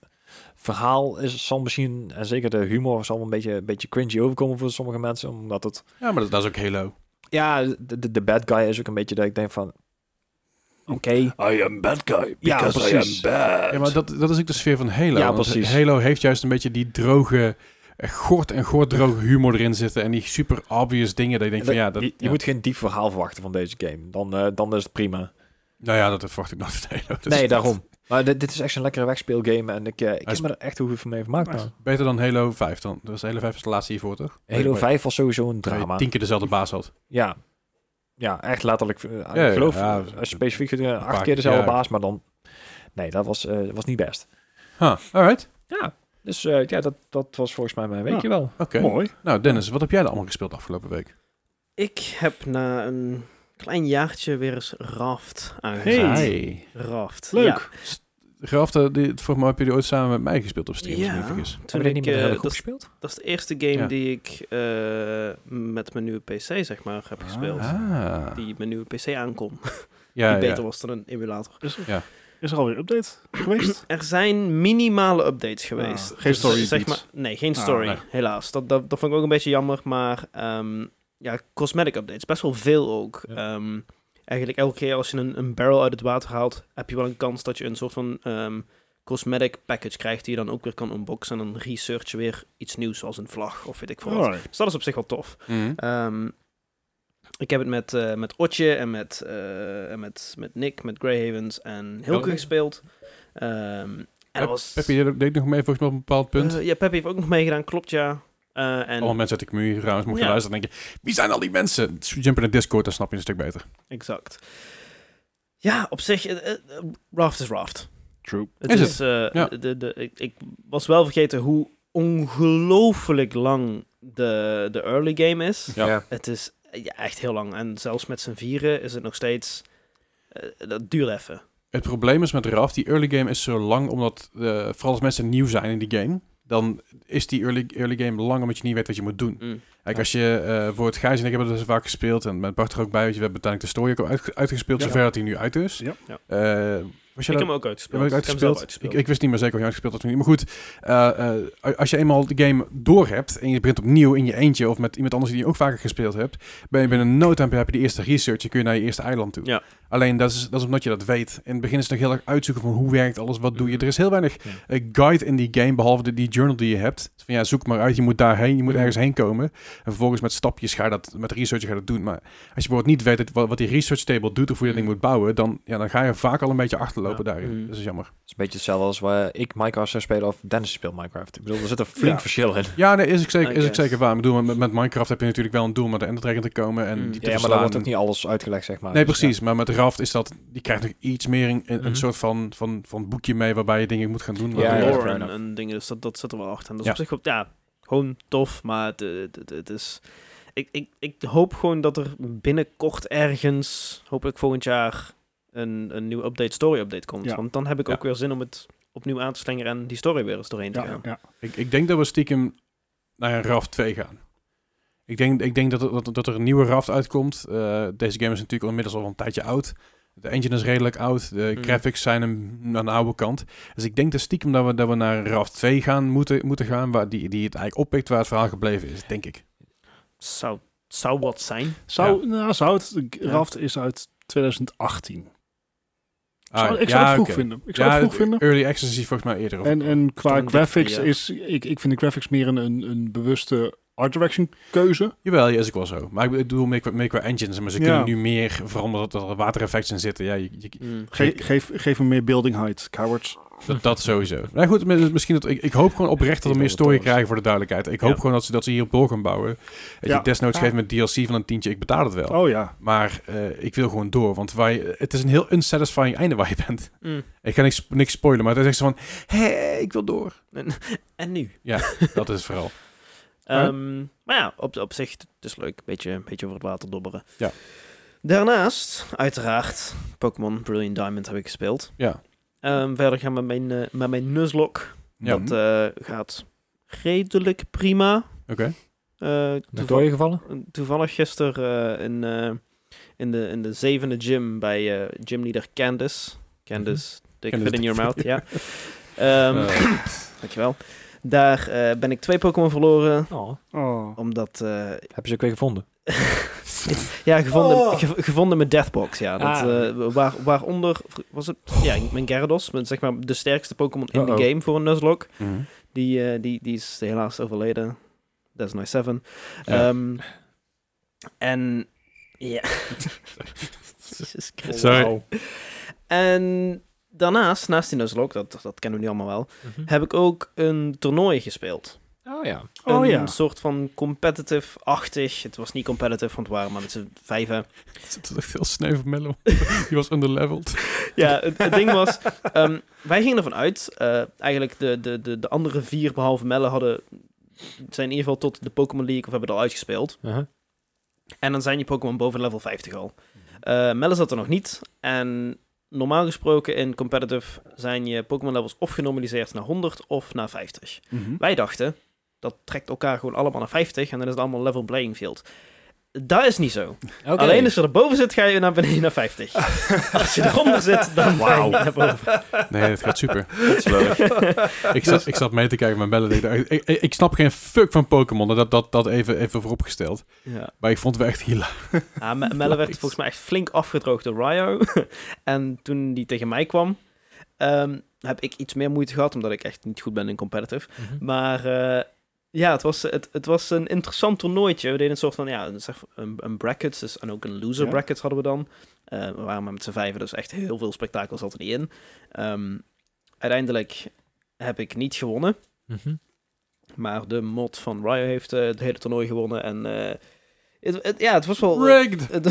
Speaker 2: verhaal is, zal misschien, en zeker de humor, zal wel een beetje, een beetje cringy overkomen voor sommige mensen. Omdat het,
Speaker 1: Ja, maar dat, dat is ook Halo.
Speaker 2: ja, de, de- de bad guy is ook een beetje dat ik denk van, oké.
Speaker 3: I am bad guy,
Speaker 2: Ja,
Speaker 3: because I
Speaker 2: precies.
Speaker 3: am bad.
Speaker 1: Ja, maar dat, dat is ook de sfeer van Halo.
Speaker 2: Ja,
Speaker 1: want
Speaker 2: precies.
Speaker 1: Halo heeft juist een beetje die droge, eh, gort en gort droge humor erin zitten. En die super obvious dingen dat je denkt van ja, dat,
Speaker 2: je je
Speaker 1: ja.
Speaker 2: moet geen diep verhaal verwachten van deze game. Dan, eh, dan is het prima.
Speaker 1: Nou ja, dat verwacht ik nooit van Halo. Dus
Speaker 2: nee, daarom. Maar dit, dit is echt een lekkere wegspeelgame. En ik, eh, ik
Speaker 1: Hij is-
Speaker 2: heb me er echt heel goed van mee vermaakt.
Speaker 3: Nice.
Speaker 2: man.
Speaker 1: Beter dan Halo 5 dan. Dus Halo 5 is de laatste hiervoor, toch?
Speaker 2: Halo 5 was sowieso een
Speaker 1: Waar je
Speaker 2: drama.
Speaker 1: tien keer dezelfde baas had.
Speaker 2: Ja. Ja, echt letterlijk. eh,
Speaker 1: ja,
Speaker 2: ik geloof
Speaker 1: ja.
Speaker 2: eh, specifiek eh, acht
Speaker 1: paar
Speaker 2: keer dezelfde
Speaker 1: keer, ja.
Speaker 2: baas, maar dan... Nee, dat was, eh, was niet best.
Speaker 1: Huh, alright.
Speaker 2: Ja, dus eh, ja, dat, dat was volgens mij mijn weekje wel.
Speaker 1: Oké.
Speaker 3: Mooi.
Speaker 1: Nou, Dennis, wat heb jij dan allemaal gespeeld de afgelopen week?
Speaker 4: Ik heb na een klein jaartje weer eens Raft aangezet.
Speaker 3: Hey.
Speaker 4: Raft. Ja,
Speaker 3: Leuk.
Speaker 1: Graf, eh, die, voor mij heb je die ooit samen met mij gespeeld op stream, als ik
Speaker 4: Ja.
Speaker 1: me niet vergis.
Speaker 4: toen
Speaker 2: Hebben we die
Speaker 4: ik,
Speaker 2: niet met de hele
Speaker 4: eh,
Speaker 2: groep
Speaker 4: dat, is-
Speaker 2: gespeeld?
Speaker 4: dat is de eerste game
Speaker 1: Ja.
Speaker 4: die ik eh, met mijn nieuwe PC, zeg maar, heb gespeeld.
Speaker 1: Ah.
Speaker 4: Die mijn nieuwe PC aankom.
Speaker 1: Ja,
Speaker 4: die
Speaker 1: ja.
Speaker 4: beter was dan een emulator.
Speaker 3: Is er alweer een update geweest?
Speaker 4: Er zijn minimale updates geweest.
Speaker 3: Ah,
Speaker 4: Dus, eh,
Speaker 3: geen story
Speaker 4: zeg
Speaker 3: beats.
Speaker 4: maar, Nee, geen
Speaker 3: Ah,
Speaker 4: story,
Speaker 1: nee.
Speaker 4: helaas. Dat, dat, dat vond ik ook een beetje jammer, maar ehm, ja, cosmetic updates, best wel veel ook.
Speaker 2: Ja.
Speaker 4: Ehm, eigenlijk elke keer als je een, een barrel uit het water haalt, heb je wel een kans dat je een soort van ehm, cosmetic package krijgt die je dan ook weer kan unboxen en dan research je weer iets nieuws, zoals een vlag of weet ik veel wat.
Speaker 3: Alright.
Speaker 4: Dus dat is op zich wel tof.
Speaker 1: Mhm.
Speaker 4: Ehm, ik heb het met, eh, met Otje en met, eh, en met, met Nick, met Greyhavens en Hilke
Speaker 1: Hilke.
Speaker 4: gespeeld. Ehm, en dat was...
Speaker 1: Oh. Heb je dat ook- deed nog mee volgens mij op een bepaald punt? Oh,
Speaker 4: Eh, ja, Peppy heeft ook nog meegedaan, klopt ja. Eh, en
Speaker 1: Allemaal mensen uit de community trouwens, mocht je
Speaker 4: Ja.
Speaker 1: luisteren, dan denk je, wie zijn al die mensen? Jump in de Discord, dan snap je een stuk beter.
Speaker 4: Exact. Ja, op zich, eh, eh, Raft is Raft.
Speaker 3: True.
Speaker 4: Het
Speaker 1: Is
Speaker 4: is,
Speaker 1: het?
Speaker 4: eh,
Speaker 1: Ja.
Speaker 4: de, de, ik, ik was wel vergeten hoe ongelooflijk lang de, de early game is.
Speaker 1: Ja.
Speaker 4: Het is eh, ja, echt heel lang. En zelfs met z'n vieren is het nog steeds... eh, dat duurt even.
Speaker 1: Het probleem is met Raft, die early game is zo lang, omdat eh, vooral als mensen nieuw zijn in die game, dan is die early, early game lang omdat je niet weet wat je moet doen.
Speaker 4: Mm.
Speaker 1: Kijk, als je eh, voor het Gijs en ik hebben dat vaak gespeeld en met Bart er ook bij, want je hebt uiteindelijk de story ook al uitge- uitgespeeld,
Speaker 3: Ja.
Speaker 1: zover dat hij nu uit is.
Speaker 3: Ja.
Speaker 4: Ja.
Speaker 1: Eh, was
Speaker 4: Ik
Speaker 1: je dat?
Speaker 4: heb hem ook
Speaker 1: Ja,
Speaker 4: uitgespeeld.
Speaker 1: ben ik
Speaker 4: heb hem zelf
Speaker 1: uitgespeeld? Ik, ik wist niet meer zeker of je uitgespeeld had toen niet. Maar goed, eh, eh, als je eenmaal de game door hebt en je begint opnieuw in je eentje of met iemand anders die je ook vaker gespeeld hebt, ben je binnen no time heb je die eerste research en kun je naar je eerste eiland toe.
Speaker 4: Ja.
Speaker 1: Alleen dat is, dat is omdat je dat weet. In het begin is het nog heel erg uitzoeken van hoe werkt alles, wat doe je.
Speaker 4: Mhm.
Speaker 1: Er is heel weinig eh, guide in die game, behalve de, die journal die je hebt. Van ja, zoek maar uit, je moet daarheen, je moet
Speaker 4: Mhm.
Speaker 1: ergens heen komen. En vervolgens met stapjes ga je dat, met research ga je dat doen. Maar als je bijvoorbeeld niet weet dat- wat, wat die research table doet of hoe je dat ding moet bouwen, dan, ja, dan ga je vaak al een beetje achterlopen
Speaker 2: Ja.
Speaker 1: daarin.
Speaker 4: Mhm.
Speaker 1: Dat is jammer.
Speaker 2: Het is een beetje hetzelfde als waar ik Minecraft zou spelen of Dennis speelt Minecraft. Ik bedoel, er zit een flink
Speaker 3: Ja.
Speaker 2: verschil in.
Speaker 1: Ja, nee, is ik zeker,
Speaker 4: I
Speaker 1: is ik
Speaker 4: guess.
Speaker 1: zeker waar. Ik bedoel, met, met Minecraft heb je natuurlijk wel een doel om naar de Ender Dragon te komen en
Speaker 4: Mm.
Speaker 1: die te
Speaker 2: Ja, maar
Speaker 1: verslaan.
Speaker 2: daar wordt ook niet alles uitgelegd, zeg maar.
Speaker 1: Nee,
Speaker 2: Dus,
Speaker 1: precies. Maar met Raft is dat, die krijgt nog iets meer een, een
Speaker 2: Mhm.
Speaker 1: soort van, van, van boekje mee waarbij je dingen moet gaan doen.
Speaker 2: Ja,
Speaker 1: waardoor-
Speaker 2: ja,
Speaker 4: lore
Speaker 2: fair
Speaker 4: en,
Speaker 2: enough.
Speaker 4: en dingen. Dus dat, dat zit er wel achter. En dat is
Speaker 1: Ja.
Speaker 4: op zich wel- ja, gewoon tof, maar het, het, het- het is... Ik, ik, ik hoop gewoon dat er binnenkort ergens, hopelijk volgend jaar, een, een nieuwe update, story update komt.
Speaker 3: Ja.
Speaker 4: Want dan heb ik
Speaker 1: Ja.
Speaker 4: ook weer zin om het opnieuw aan te slingeren en die story weer eens doorheen te
Speaker 3: Ja,
Speaker 4: gaan.
Speaker 3: ja.
Speaker 1: Ik, ik denk dat we stiekem naar een Raft 2 gaan. Ik denk, ik denk dat, er- dat, dat er een nieuwe raft uitkomt. Eh, deze game is natuurlijk inmiddels al een tijdje oud. De engine is redelijk oud. De
Speaker 3: Mhm.
Speaker 4: Mm.
Speaker 1: graphics zijn een, aan de oude kant. Dus ik denk dat stiekem dat we, dat we naar raft 2 gaan moeten, moeten gaan. Waar die, die het eigenlijk oppikt waar het verhaal gebleven is, denk ik.
Speaker 4: Zou, zou wat zijn.
Speaker 3: Zou, nou, zou het, Raft is uit 2018. Zou- ik zou
Speaker 1: Ah, ja,
Speaker 3: het vroeg
Speaker 1: oké.
Speaker 3: vinden. Ik zou het vroeg
Speaker 1: de
Speaker 3: vinden.
Speaker 1: Early access is volgens mij eerder. Of,
Speaker 3: En, en qua
Speaker 4: Zo'n dikke
Speaker 3: graphics
Speaker 4: jaar.
Speaker 3: is... Ik, ik vind de graphics meer een, een, een bewuste art direction keuze.
Speaker 1: Jawel, ja, is ook wel zo. Maar ik bedoel, meer qua, meer qua engines. Maar ze
Speaker 3: Ja.
Speaker 1: kunnen nu meer veranderen dat er watereffects in zitten. Ja, je, je-
Speaker 2: Hmm.
Speaker 3: Ge- geef, geef hem meer building height, cowards.
Speaker 1: Dat, dat sowieso. Nou goed, mi- misschien dat, ik, ik hoop gewoon oprecht dat we meer story krijgen voor de duidelijkheid. Ik hoop
Speaker 4: Ja.
Speaker 1: gewoon dat ze, dat ze hierop door gaan bouwen. En
Speaker 3: Ja.
Speaker 1: je desnoods
Speaker 2: Ah.
Speaker 1: geeft met DLC van een tientje, ik betaal het wel.
Speaker 3: Oh ja.
Speaker 1: Maar eh, ik wil gewoon door, want waar je- het is een heel unsatisfying einde waar je bent.
Speaker 4: Hmm.
Speaker 1: Ik ga niks, niks spoilen, maar het is echt zo van, hé, ik wil door.
Speaker 4: En nu?
Speaker 1: Dat is het vooral.
Speaker 4: Ehm, maar ja, op, op zich, het is leuk. Beetje, beetje over het water dobberen.
Speaker 1: Ja.
Speaker 4: Daarnaast, uiteraard, Pokémon Brilliant Diamond heb ik gespeeld.
Speaker 1: Ja.
Speaker 4: Ehm, verder gaan we met mijn, eh, met mijn Nuzlocke.
Speaker 1: Ja.
Speaker 4: Dat eh, gaat redelijk prima.
Speaker 1: Oké.
Speaker 4: Eh,
Speaker 2: Ben
Speaker 4: toeval-
Speaker 2: gevallen?
Speaker 4: toevallig gisteren eh, in, eh, in, de, in de zevende gym bij eh, gymleader Candice. Candice, dick
Speaker 1: Mhm. Candice
Speaker 4: fit in
Speaker 1: dick
Speaker 4: your
Speaker 1: fit.
Speaker 4: mouth, ja. Ehm,
Speaker 1: Eh,
Speaker 4: dankjewel. Daar eh, ben ik twee Pokémon verloren,
Speaker 2: Oh,
Speaker 3: Oh.
Speaker 4: omdat... eh,
Speaker 2: heb je ze ook weer gevonden?
Speaker 4: ja, gevonden,
Speaker 2: Oh.
Speaker 4: ge- gevonden met Deathbox, ja. Dat,
Speaker 2: Ah.
Speaker 4: eh, waar, waaronder, was het... Ja, mijn Gyarados, met, zeg maar de sterkste Pokémon in de
Speaker 2: Uh-oh.
Speaker 4: game voor een Nuzlocke.
Speaker 1: mhm.
Speaker 4: Die, eh, die, die is helaas overleden. That's nice seven.
Speaker 1: Ja.
Speaker 4: Ehm, en ja. Jezus Christus.
Speaker 1: Sorry.
Speaker 4: En daarnaast, naast die Nuzlocke, dat, dat kennen we nu allemaal wel, heb ik ook een toernooi gespeeld.
Speaker 2: Mhm. Oh ja.
Speaker 3: Oh
Speaker 4: een
Speaker 3: ja.
Speaker 4: soort van competitive-achtig. Het was niet competitive, want het waren maar met z'n vijven.
Speaker 1: Het is echt heel sneuvelmellow. Die was underleveled.
Speaker 4: Ja, het, het ding was, ehm, wij gingen ervan uit, eh, eigenlijk de, de, de, de andere vier behalve Melle hadden, zijn in ieder geval tot de Pokémon League of hebben er al uitgespeeld.
Speaker 2: Uh-huh.
Speaker 4: En dan zijn je Pokémon boven level 50 al. Eh Melle zat er nog niet. En normaal gesproken in competitive zijn je Pokémon levels of genormaliseerd naar 100 of naar 50.
Speaker 3: Mhm.
Speaker 4: Wij dachten, dat trekt elkaar gewoon allemaal naar 50 en dan is het allemaal level playing field. Dat is niet zo. Alleen als je erboven zit, ga je naar beneden naar 50. als je eronder zit, dan ga je naar boven.
Speaker 1: Nee, het gaat super. ik, zat, ik zat mee te kijken met bellen. Ik, dacht, ik, ik- ik snap geen fuck van Pokémon. Dat, dat, dat even, even vooropgesteld.
Speaker 4: Ja.
Speaker 1: Maar ik vond het wel echt hilarisch.
Speaker 4: Ja, Ah, Me- Melle werd volgens mij echt flink afgedroogd door Ryo. en toen die tegen mij kwam, ehm, heb ik iets meer moeite gehad, omdat ik echt niet goed ben in competitive.
Speaker 2: Mhm.
Speaker 4: Maar eh, ja, het was, het, het was een interessant toernooitje. We deden een soort van, ja, een, zeg- een, een brackets dus, en ook een loser
Speaker 3: Ja.
Speaker 4: brackets hadden we dan. Eh, we waren maar met z'n vijven, dus echt heel veel spektakel zat er niet in. Ehm, uiteindelijk heb ik niet gewonnen, maar de mod van Ryo heeft eh, het hele toernooi gewonnen. En eh, het, het- ja, het was wel...
Speaker 1: Rigged!
Speaker 4: Het,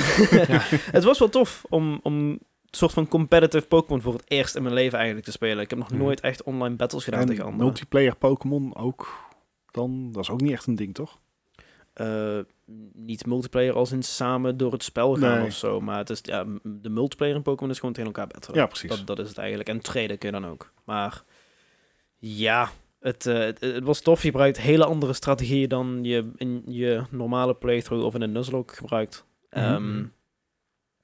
Speaker 4: het was wel tof om, om een soort van competitive Pokémon voor het eerst in mijn leven eigenlijk te spelen. Ik heb nog
Speaker 1: Mhm.
Speaker 4: nooit echt online battles gedaan tegen
Speaker 3: En
Speaker 4: anderen.
Speaker 3: multiplayer Pokémon ook. Dan, dat is ook niet echt een ding, toch?
Speaker 4: eh, niet multiplayer als in samen door het spel gaan
Speaker 3: Nee.
Speaker 4: of zo. Maar het is, ja, m- de multiplayer in Pokémon is gewoon tegen elkaar battelen.
Speaker 3: Ja, precies.
Speaker 4: dat, dat is het eigenlijk. En traden kun je dan ook. Maar ja, het, eh, het, het was tof. Je gebruikt hele andere strategieën dan je in je normale playthrough of in een Nuzlocke gebruikt. Ehm,
Speaker 2: Mhm. Ja,
Speaker 4: En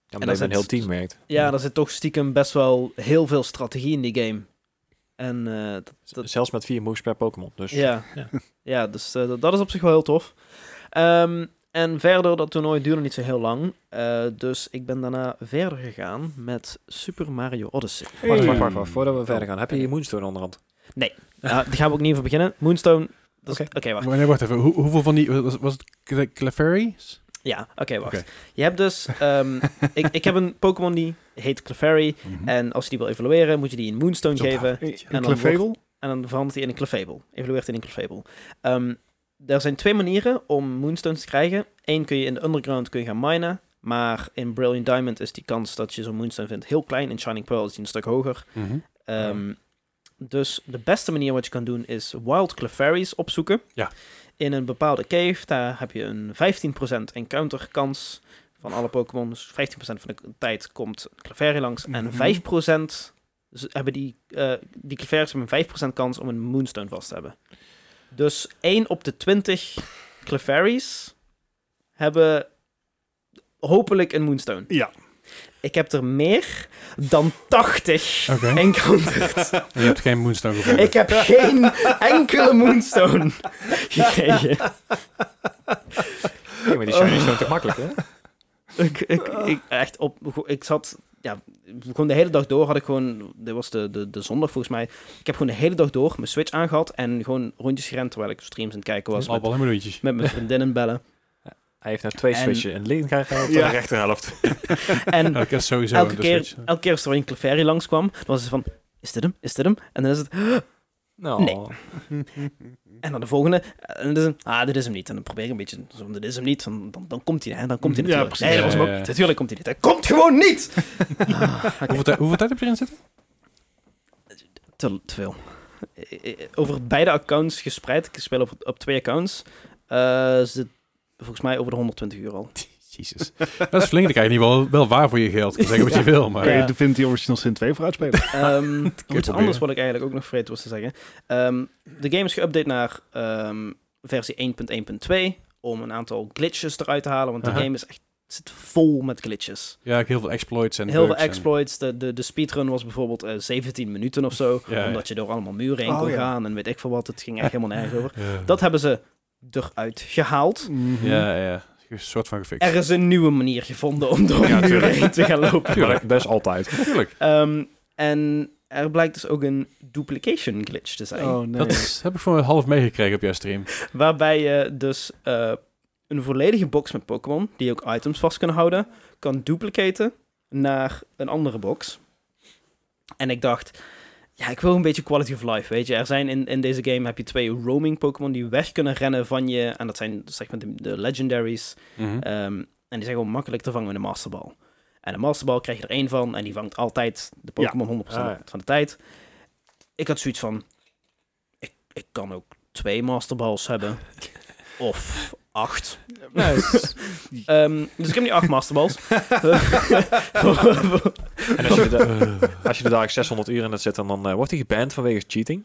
Speaker 2: maar
Speaker 4: dat
Speaker 2: dat je een heel
Speaker 4: zit-
Speaker 2: team werkt.
Speaker 4: Ja, er zit toch stiekem best wel heel veel strategie in die game. En eh, dat- dat,
Speaker 2: Dus Zelfs met vier moves per Pokémon. Dus
Speaker 4: Ja,
Speaker 2: Ja.
Speaker 4: ja. dus eh, dat- dat is op zich wel heel tof. Ehm, en verder, dat toernooi duurde niet zo heel lang. Eh, dus ik ben daarna verder gegaan met Super Mario Odyssey.
Speaker 2: Wacht,
Speaker 3: Hey.
Speaker 2: wacht, wacht, wacht. Voordat we verder gaan. Heb je je Moonstone onderhand?
Speaker 4: Nou, daar gaan we ook niet even beginnen. Moonstone. dat is- Oké,
Speaker 2: Oké.
Speaker 4: wacht.
Speaker 1: Maar nee, wacht even. Hoe, hoeveel van die... Was, was het Cla- Clefairies?
Speaker 4: Ja, oké, wacht.
Speaker 1: Oké.
Speaker 4: Je hebt dus... ehm, ik, ik heb een Pokémon die heet Clefairy.
Speaker 1: Mhm.
Speaker 4: En als je die wil evalueren, moet je die een Moonstone
Speaker 1: Zo
Speaker 4: geven.
Speaker 3: Een
Speaker 4: Eh, dan
Speaker 3: Clefable?
Speaker 4: En dan verandert hij in een Clefable. Evolueert hij in een Clefable. Ehm, er zijn twee manieren om Moonstones te krijgen. Eén kun je in de underground kun je gaan minen. Maar in Brilliant Diamond is die kans dat je zo'n Moonstone vindt heel klein. In Shining Pearl is die een stuk hoger.
Speaker 1: Mhm.
Speaker 4: Ehm, Dus de beste manier wat je kan doen is Wild Clefairies opzoeken.
Speaker 1: Ja.
Speaker 4: In een bepaalde cave, daar heb je een 15% encounter kans van alle Pokémon. Dus 15% van de tijd komt een Clefairy langs.
Speaker 3: Mhm.
Speaker 4: En 5% ze hebben die, eh die Clefairies hebben een 5% kans om een Moonstone vast te hebben. Dus 1 op de 20 Clefairies hebben hopelijk een Moonstone.
Speaker 3: Ja.
Speaker 4: Ik heb er meer dan 80
Speaker 1: Oké.
Speaker 4: encounters.
Speaker 1: Je hebt geen Moonstone gevonden.
Speaker 4: Ik heb geen enkele Moonstone gekregen.
Speaker 2: Nee, maar die shiny is zo te makkelijk, hè?
Speaker 4: ik, ik, ik, echt op, ik zat, ja, gewoon de hele dag door had ik gewoon, dit was de, de, de zondag volgens mij, ik heb gewoon de hele dag door mijn Switch aangehad en gewoon rondjes gerend terwijl ik streams aan het kijken was met,
Speaker 1: Allemaal meloentjes.
Speaker 4: met mijn vriendinnen bellen.
Speaker 2: Hij heeft nou twee
Speaker 4: En-
Speaker 2: switchen. Een linkerhelft en
Speaker 3: Ja.
Speaker 2: een rechterhelft.
Speaker 4: En
Speaker 1: Ik heb sowieso
Speaker 4: elke
Speaker 1: de
Speaker 4: keer,
Speaker 1: Switch.
Speaker 4: elke keer als er een Clefairy langskwam, dan was het van, is dit hem? Is dit hem? En dan is het,
Speaker 2: Nou,
Speaker 4: Nee. en dan de volgende, en dan is het, ah, dit is hem niet. En dan probeer ik een beetje, zo, dit is hem niet, dan, dan, dan komt hij, hè, dan komt hij
Speaker 3: Ja,
Speaker 4: natuurlijk.
Speaker 3: precies.
Speaker 4: Nee, dat was hem
Speaker 1: Ja, ja,
Speaker 4: ook,
Speaker 1: ja.
Speaker 4: natuurlijk komt hij niet. Hij komt gewoon niet! Ah, oké.
Speaker 1: Hoeveel, tijd- hoeveel tijd heb je erin zitten?
Speaker 4: te, te veel. Eh, eh, Over beide accounts gespreid. Ik speel op, op twee accounts. Eh, zit volgens mij over de 120 uur al.
Speaker 1: Jezus. Dat is flink. Dan krijg je in ieder geval wel waar voor je geld. Ik kan zeggen wat je wil, maar...
Speaker 3: Kun je
Speaker 4: Ja.
Speaker 3: Divinity Original Sin 2 voor uitspelen?
Speaker 4: Ehm iets
Speaker 1: proberen.
Speaker 4: anders wat ik eigenlijk ook nog vergeten was te zeggen. Ehm, de game is geüpdate naar ehm, versie 1.1.2 om een aantal glitches eruit te halen. Want
Speaker 1: Aha.
Speaker 4: de game is echt zit vol met glitches.
Speaker 1: Ja, ik heel veel exploits en
Speaker 4: Heel
Speaker 1: bugs
Speaker 4: veel
Speaker 1: en-
Speaker 4: exploits. De, de, de speedrun was bijvoorbeeld eh, 17 minuten of zo.
Speaker 1: Ja, ja.
Speaker 4: omdat je door allemaal muren heen
Speaker 3: Oh,
Speaker 4: kon
Speaker 3: ja.
Speaker 4: gaan en weet ik veel wat. Het ging echt helemaal nergens over.
Speaker 1: Ja.
Speaker 4: Dat hebben ze eruit gehaald.
Speaker 3: Mhm.
Speaker 1: Ja, ja. Een soort van gefixt.
Speaker 4: Mhm. Er is een nieuwe manier gevonden om door
Speaker 2: Ja,
Speaker 4: een muur
Speaker 2: tuurlijk.
Speaker 4: heen te gaan lopen.
Speaker 2: Maar dat- dat is altijd.
Speaker 1: Tuurlijk.
Speaker 4: Ehm, en er blijkt dus ook een duplication glitch te zijn.
Speaker 3: Oh nee.
Speaker 1: Dat is- heb ik voor een half meegekregen op jouw stream.
Speaker 4: Waarbij je dus eh, een volledige box met Pokémon, die ook items vast kunnen houden, kan duplicaten naar een andere box. En ik dacht, ja, ik wil een beetje quality of life, weet je. Er zijn in, in deze game heb je twee roaming Pokémon die weg kunnen rennen van je. En dat zijn zeg maar de, de legendaries.
Speaker 2: Hm.
Speaker 4: Ehm, en die zijn gewoon makkelijk te vangen met een masterbal. En een masterbal krijg je er één van en die vangt altijd de Pokémon 100%
Speaker 2: Ah, ja.
Speaker 4: van de tijd. Ik had zoiets van, ik, ik kan ook twee masterballs hebben. of acht. Ehm, dus ik heb nu acht masterballs.
Speaker 2: En als je, er, als je er dadelijk 600 uur in hebt zitten, dan eh, wordt hij geband vanwege cheating.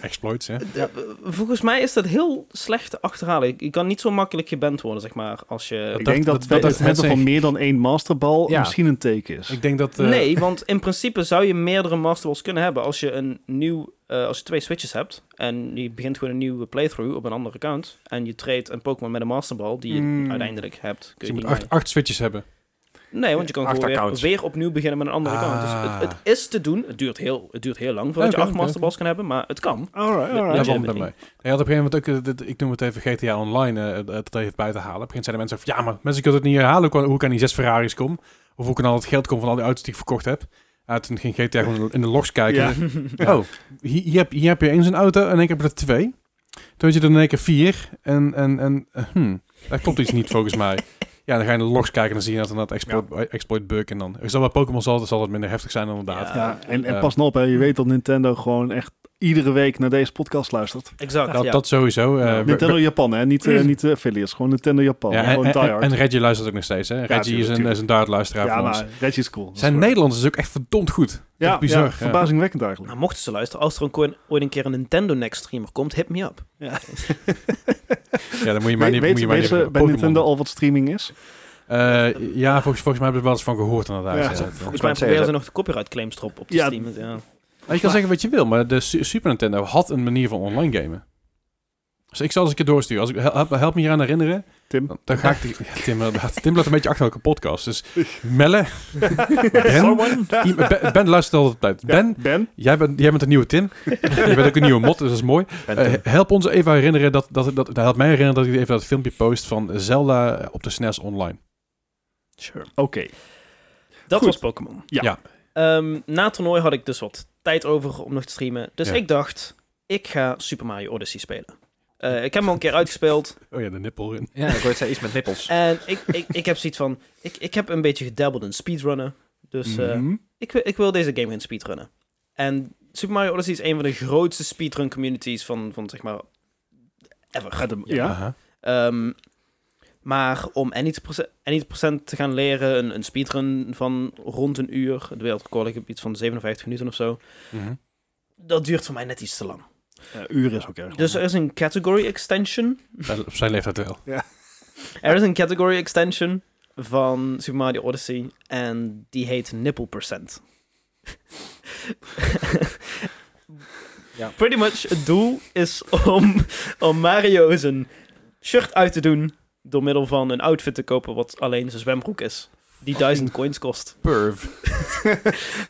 Speaker 1: Exploits, hè?
Speaker 4: Ja, Volgens mij is dat heel slecht te achterhalen. Je- Je kan niet zo makkelijk geband worden, zeg maar, als je...
Speaker 3: ik
Speaker 1: dat-
Speaker 3: denk dat,
Speaker 1: dat-
Speaker 3: bij
Speaker 1: dat-
Speaker 3: het hebben van meer dan één masterbal
Speaker 2: Ja.
Speaker 3: misschien een teken is.
Speaker 1: Ik denk dat... eh,
Speaker 4: Nee, want in principe zou je meerdere masterballs kunnen hebben als je een nieuw, eh, als je twee switches hebt en je begint gewoon een nieuwe playthrough op een andere account en je treedt een Pokémon met een masterball die je
Speaker 3: Hmm.
Speaker 4: uiteindelijk hebt.
Speaker 1: Dus je
Speaker 4: Kun je
Speaker 1: moet
Speaker 4: niet
Speaker 1: acht, acht switches hebben.
Speaker 4: mee. Nee, want je kan
Speaker 2: acht
Speaker 4: gewoon weer,
Speaker 2: accounts.
Speaker 4: weer opnieuw beginnen met een andere
Speaker 1: Ah.
Speaker 4: account. Dus het, het is te doen. Het duurt heel, het duurt heel lang voordat
Speaker 1: Oké,
Speaker 4: je acht
Speaker 1: oké,
Speaker 4: masterballs kan hebben, maar het kan.
Speaker 3: Alright,
Speaker 1: Ja,
Speaker 3: alright.
Speaker 4: Ja,
Speaker 1: waarom dan
Speaker 4: Jiminy.
Speaker 1: mij? Hij had op een gegeven moment ook, eh, dit- ik noem het even GTA Online, eh, eh, dat even buiten halen. Op een gegeven moment zeiden mensen van, ja, maar mensen kunnen het niet herhalen hoe, kan- hoe ik aan die zes Ferraris kom. Of hoe ik aan al het geld kom van al die auto's die ik verkocht heb. Uh, toen ging GTA gewoon in de logs kijken.
Speaker 3: Ja.
Speaker 1: Oh, hier, hier heb, hier heb je eens een auto en ik heb er twee. Toen had je er in één keer vier. En, en, en eh, hmm, daar klopt iets niet volgens mij. Ja, dan ga je in de logs kijken en dan zie je dat inderdaad exploit, exploit bug. En dan, zal bij Pokémon zal, het- zal het minder heftig zijn inderdaad.
Speaker 4: Ja.
Speaker 3: Ja, en, en
Speaker 1: Eh.
Speaker 3: pas nou op, hè, je weet dat Nintendo gewoon echt iedere week naar deze podcast luistert.
Speaker 4: Exact.
Speaker 1: Dat,
Speaker 4: ja.
Speaker 1: dat sowieso. eh, we-
Speaker 3: Nintendo Japan, hè? Niet, eh, niet eh, affiliates, gewoon Nintendo Japan.
Speaker 1: Ja, en,
Speaker 3: gewoon
Speaker 1: en-
Speaker 3: diehard.
Speaker 1: en Reggie luistert ook nog steeds. Hè? Reggie
Speaker 3: tuurlijk,
Speaker 1: is een,
Speaker 3: tuurlijk.
Speaker 1: is een diehard-luisteraar
Speaker 3: ja,
Speaker 1: van
Speaker 3: maar
Speaker 1: ons.
Speaker 3: Reggie is cool. dat is
Speaker 1: Zijn
Speaker 3: waar.
Speaker 1: Nederlands is ook echt verdomd goed.
Speaker 3: ja,
Speaker 1: echt bizar,
Speaker 3: ja,
Speaker 1: ja.
Speaker 3: verbazingwekkend eigenlijk.
Speaker 4: Nou, mochten ze luisteren, als er ook ooit- ooit een keer een Nintendo Next streamer komt, hit me up. Dus
Speaker 1: Ja, dan moet je maar
Speaker 3: weet
Speaker 1: niet...
Speaker 3: weet
Speaker 1: moet je maar
Speaker 3: weet
Speaker 1: niet
Speaker 3: ze bij
Speaker 1: Pokémon.
Speaker 3: Nintendo al wat streaming is?
Speaker 1: Eh, ja, volgens, volgens mij hebben we er wel eens van gehoord inderdaad.
Speaker 3: Ja.
Speaker 1: Ja.
Speaker 3: Volgens
Speaker 4: Volgens
Speaker 2: wou
Speaker 4: mij
Speaker 2: het
Speaker 4: proberen
Speaker 2: zeggen.
Speaker 4: ze nog de copyright claims erop op te
Speaker 3: Ja.
Speaker 4: streamen. Ja.
Speaker 1: Maar je kan zeggen wat je wil, maar de Su- Super Nintendo had een manier van online gamen. Dus ik zal eens een keer doorsturen. Als ik, help, help me hieraan herinneren.
Speaker 3: Tim.
Speaker 1: Dan, dan ga ik... die- Ja, Tim, inderdaad. Tim blijft een beetje achter elke podcast. Dus Melle, Ben,
Speaker 2: Someone?
Speaker 1: i- Ben, ben luistert altijd op tijd. Ben,
Speaker 3: Ben?
Speaker 1: jij bent, jij bent een nieuwe Tim. je bent ook een nieuwe mod, dus dat is mooi. Eh,
Speaker 2: Bent-
Speaker 1: help ons even herinneren dat, dat, dat, dat helpt mij herinneren dat ik even dat filmpje post van Zelda op de SNES online.
Speaker 4: Sure.
Speaker 3: Oké.
Speaker 4: Dat
Speaker 3: Goed.
Speaker 4: was Pokémon.
Speaker 3: Ja.
Speaker 1: Ja.
Speaker 4: Ehm, na het toernooi had ik dus wat tijd over om nog te streamen. Dus
Speaker 1: Ja.
Speaker 4: ik dacht, ik ga Super Mario Odyssey spelen. Eh, ik heb hem al een keer uitgespeeld.
Speaker 1: Oh ja, de nippel in.
Speaker 2: Ja, ik hoorde zei iets met nippels.
Speaker 4: En ik, ik, ik heb zoiets van, ik, ik heb een beetje gedabbeld in speedrunnen. Dus eh,
Speaker 3: Mhm.
Speaker 4: ik, wil- ik wil deze game gaan speedrunnen. En Super Mario Odyssey is een van de grootste speedrun communities van, van zeg maar, ever.
Speaker 3: Gaat hem- ja.
Speaker 1: Aha.
Speaker 4: Ehm, maar om Annie's proce- Annie's procent te gaan leren, een, een speedrun van rond een uur, het wereldrecord ik heb iets van 57 minuten of zo,
Speaker 1: Mhm.
Speaker 4: dat duurt voor mij net iets te lang.
Speaker 3: Eh, uur is ook erg.
Speaker 4: Dus er is een category extension.
Speaker 1: Op zijn leeftijd wel.
Speaker 4: Er is een category extension van Super Mario Odyssey en die heet Nipple Percent.
Speaker 2: Ja.
Speaker 4: Pretty much het doel is om, om Mario zijn shirt uit te doen door middel van een outfit te kopen wat alleen zijn zwembroek is. Die 1000 coins kost.
Speaker 1: Perv.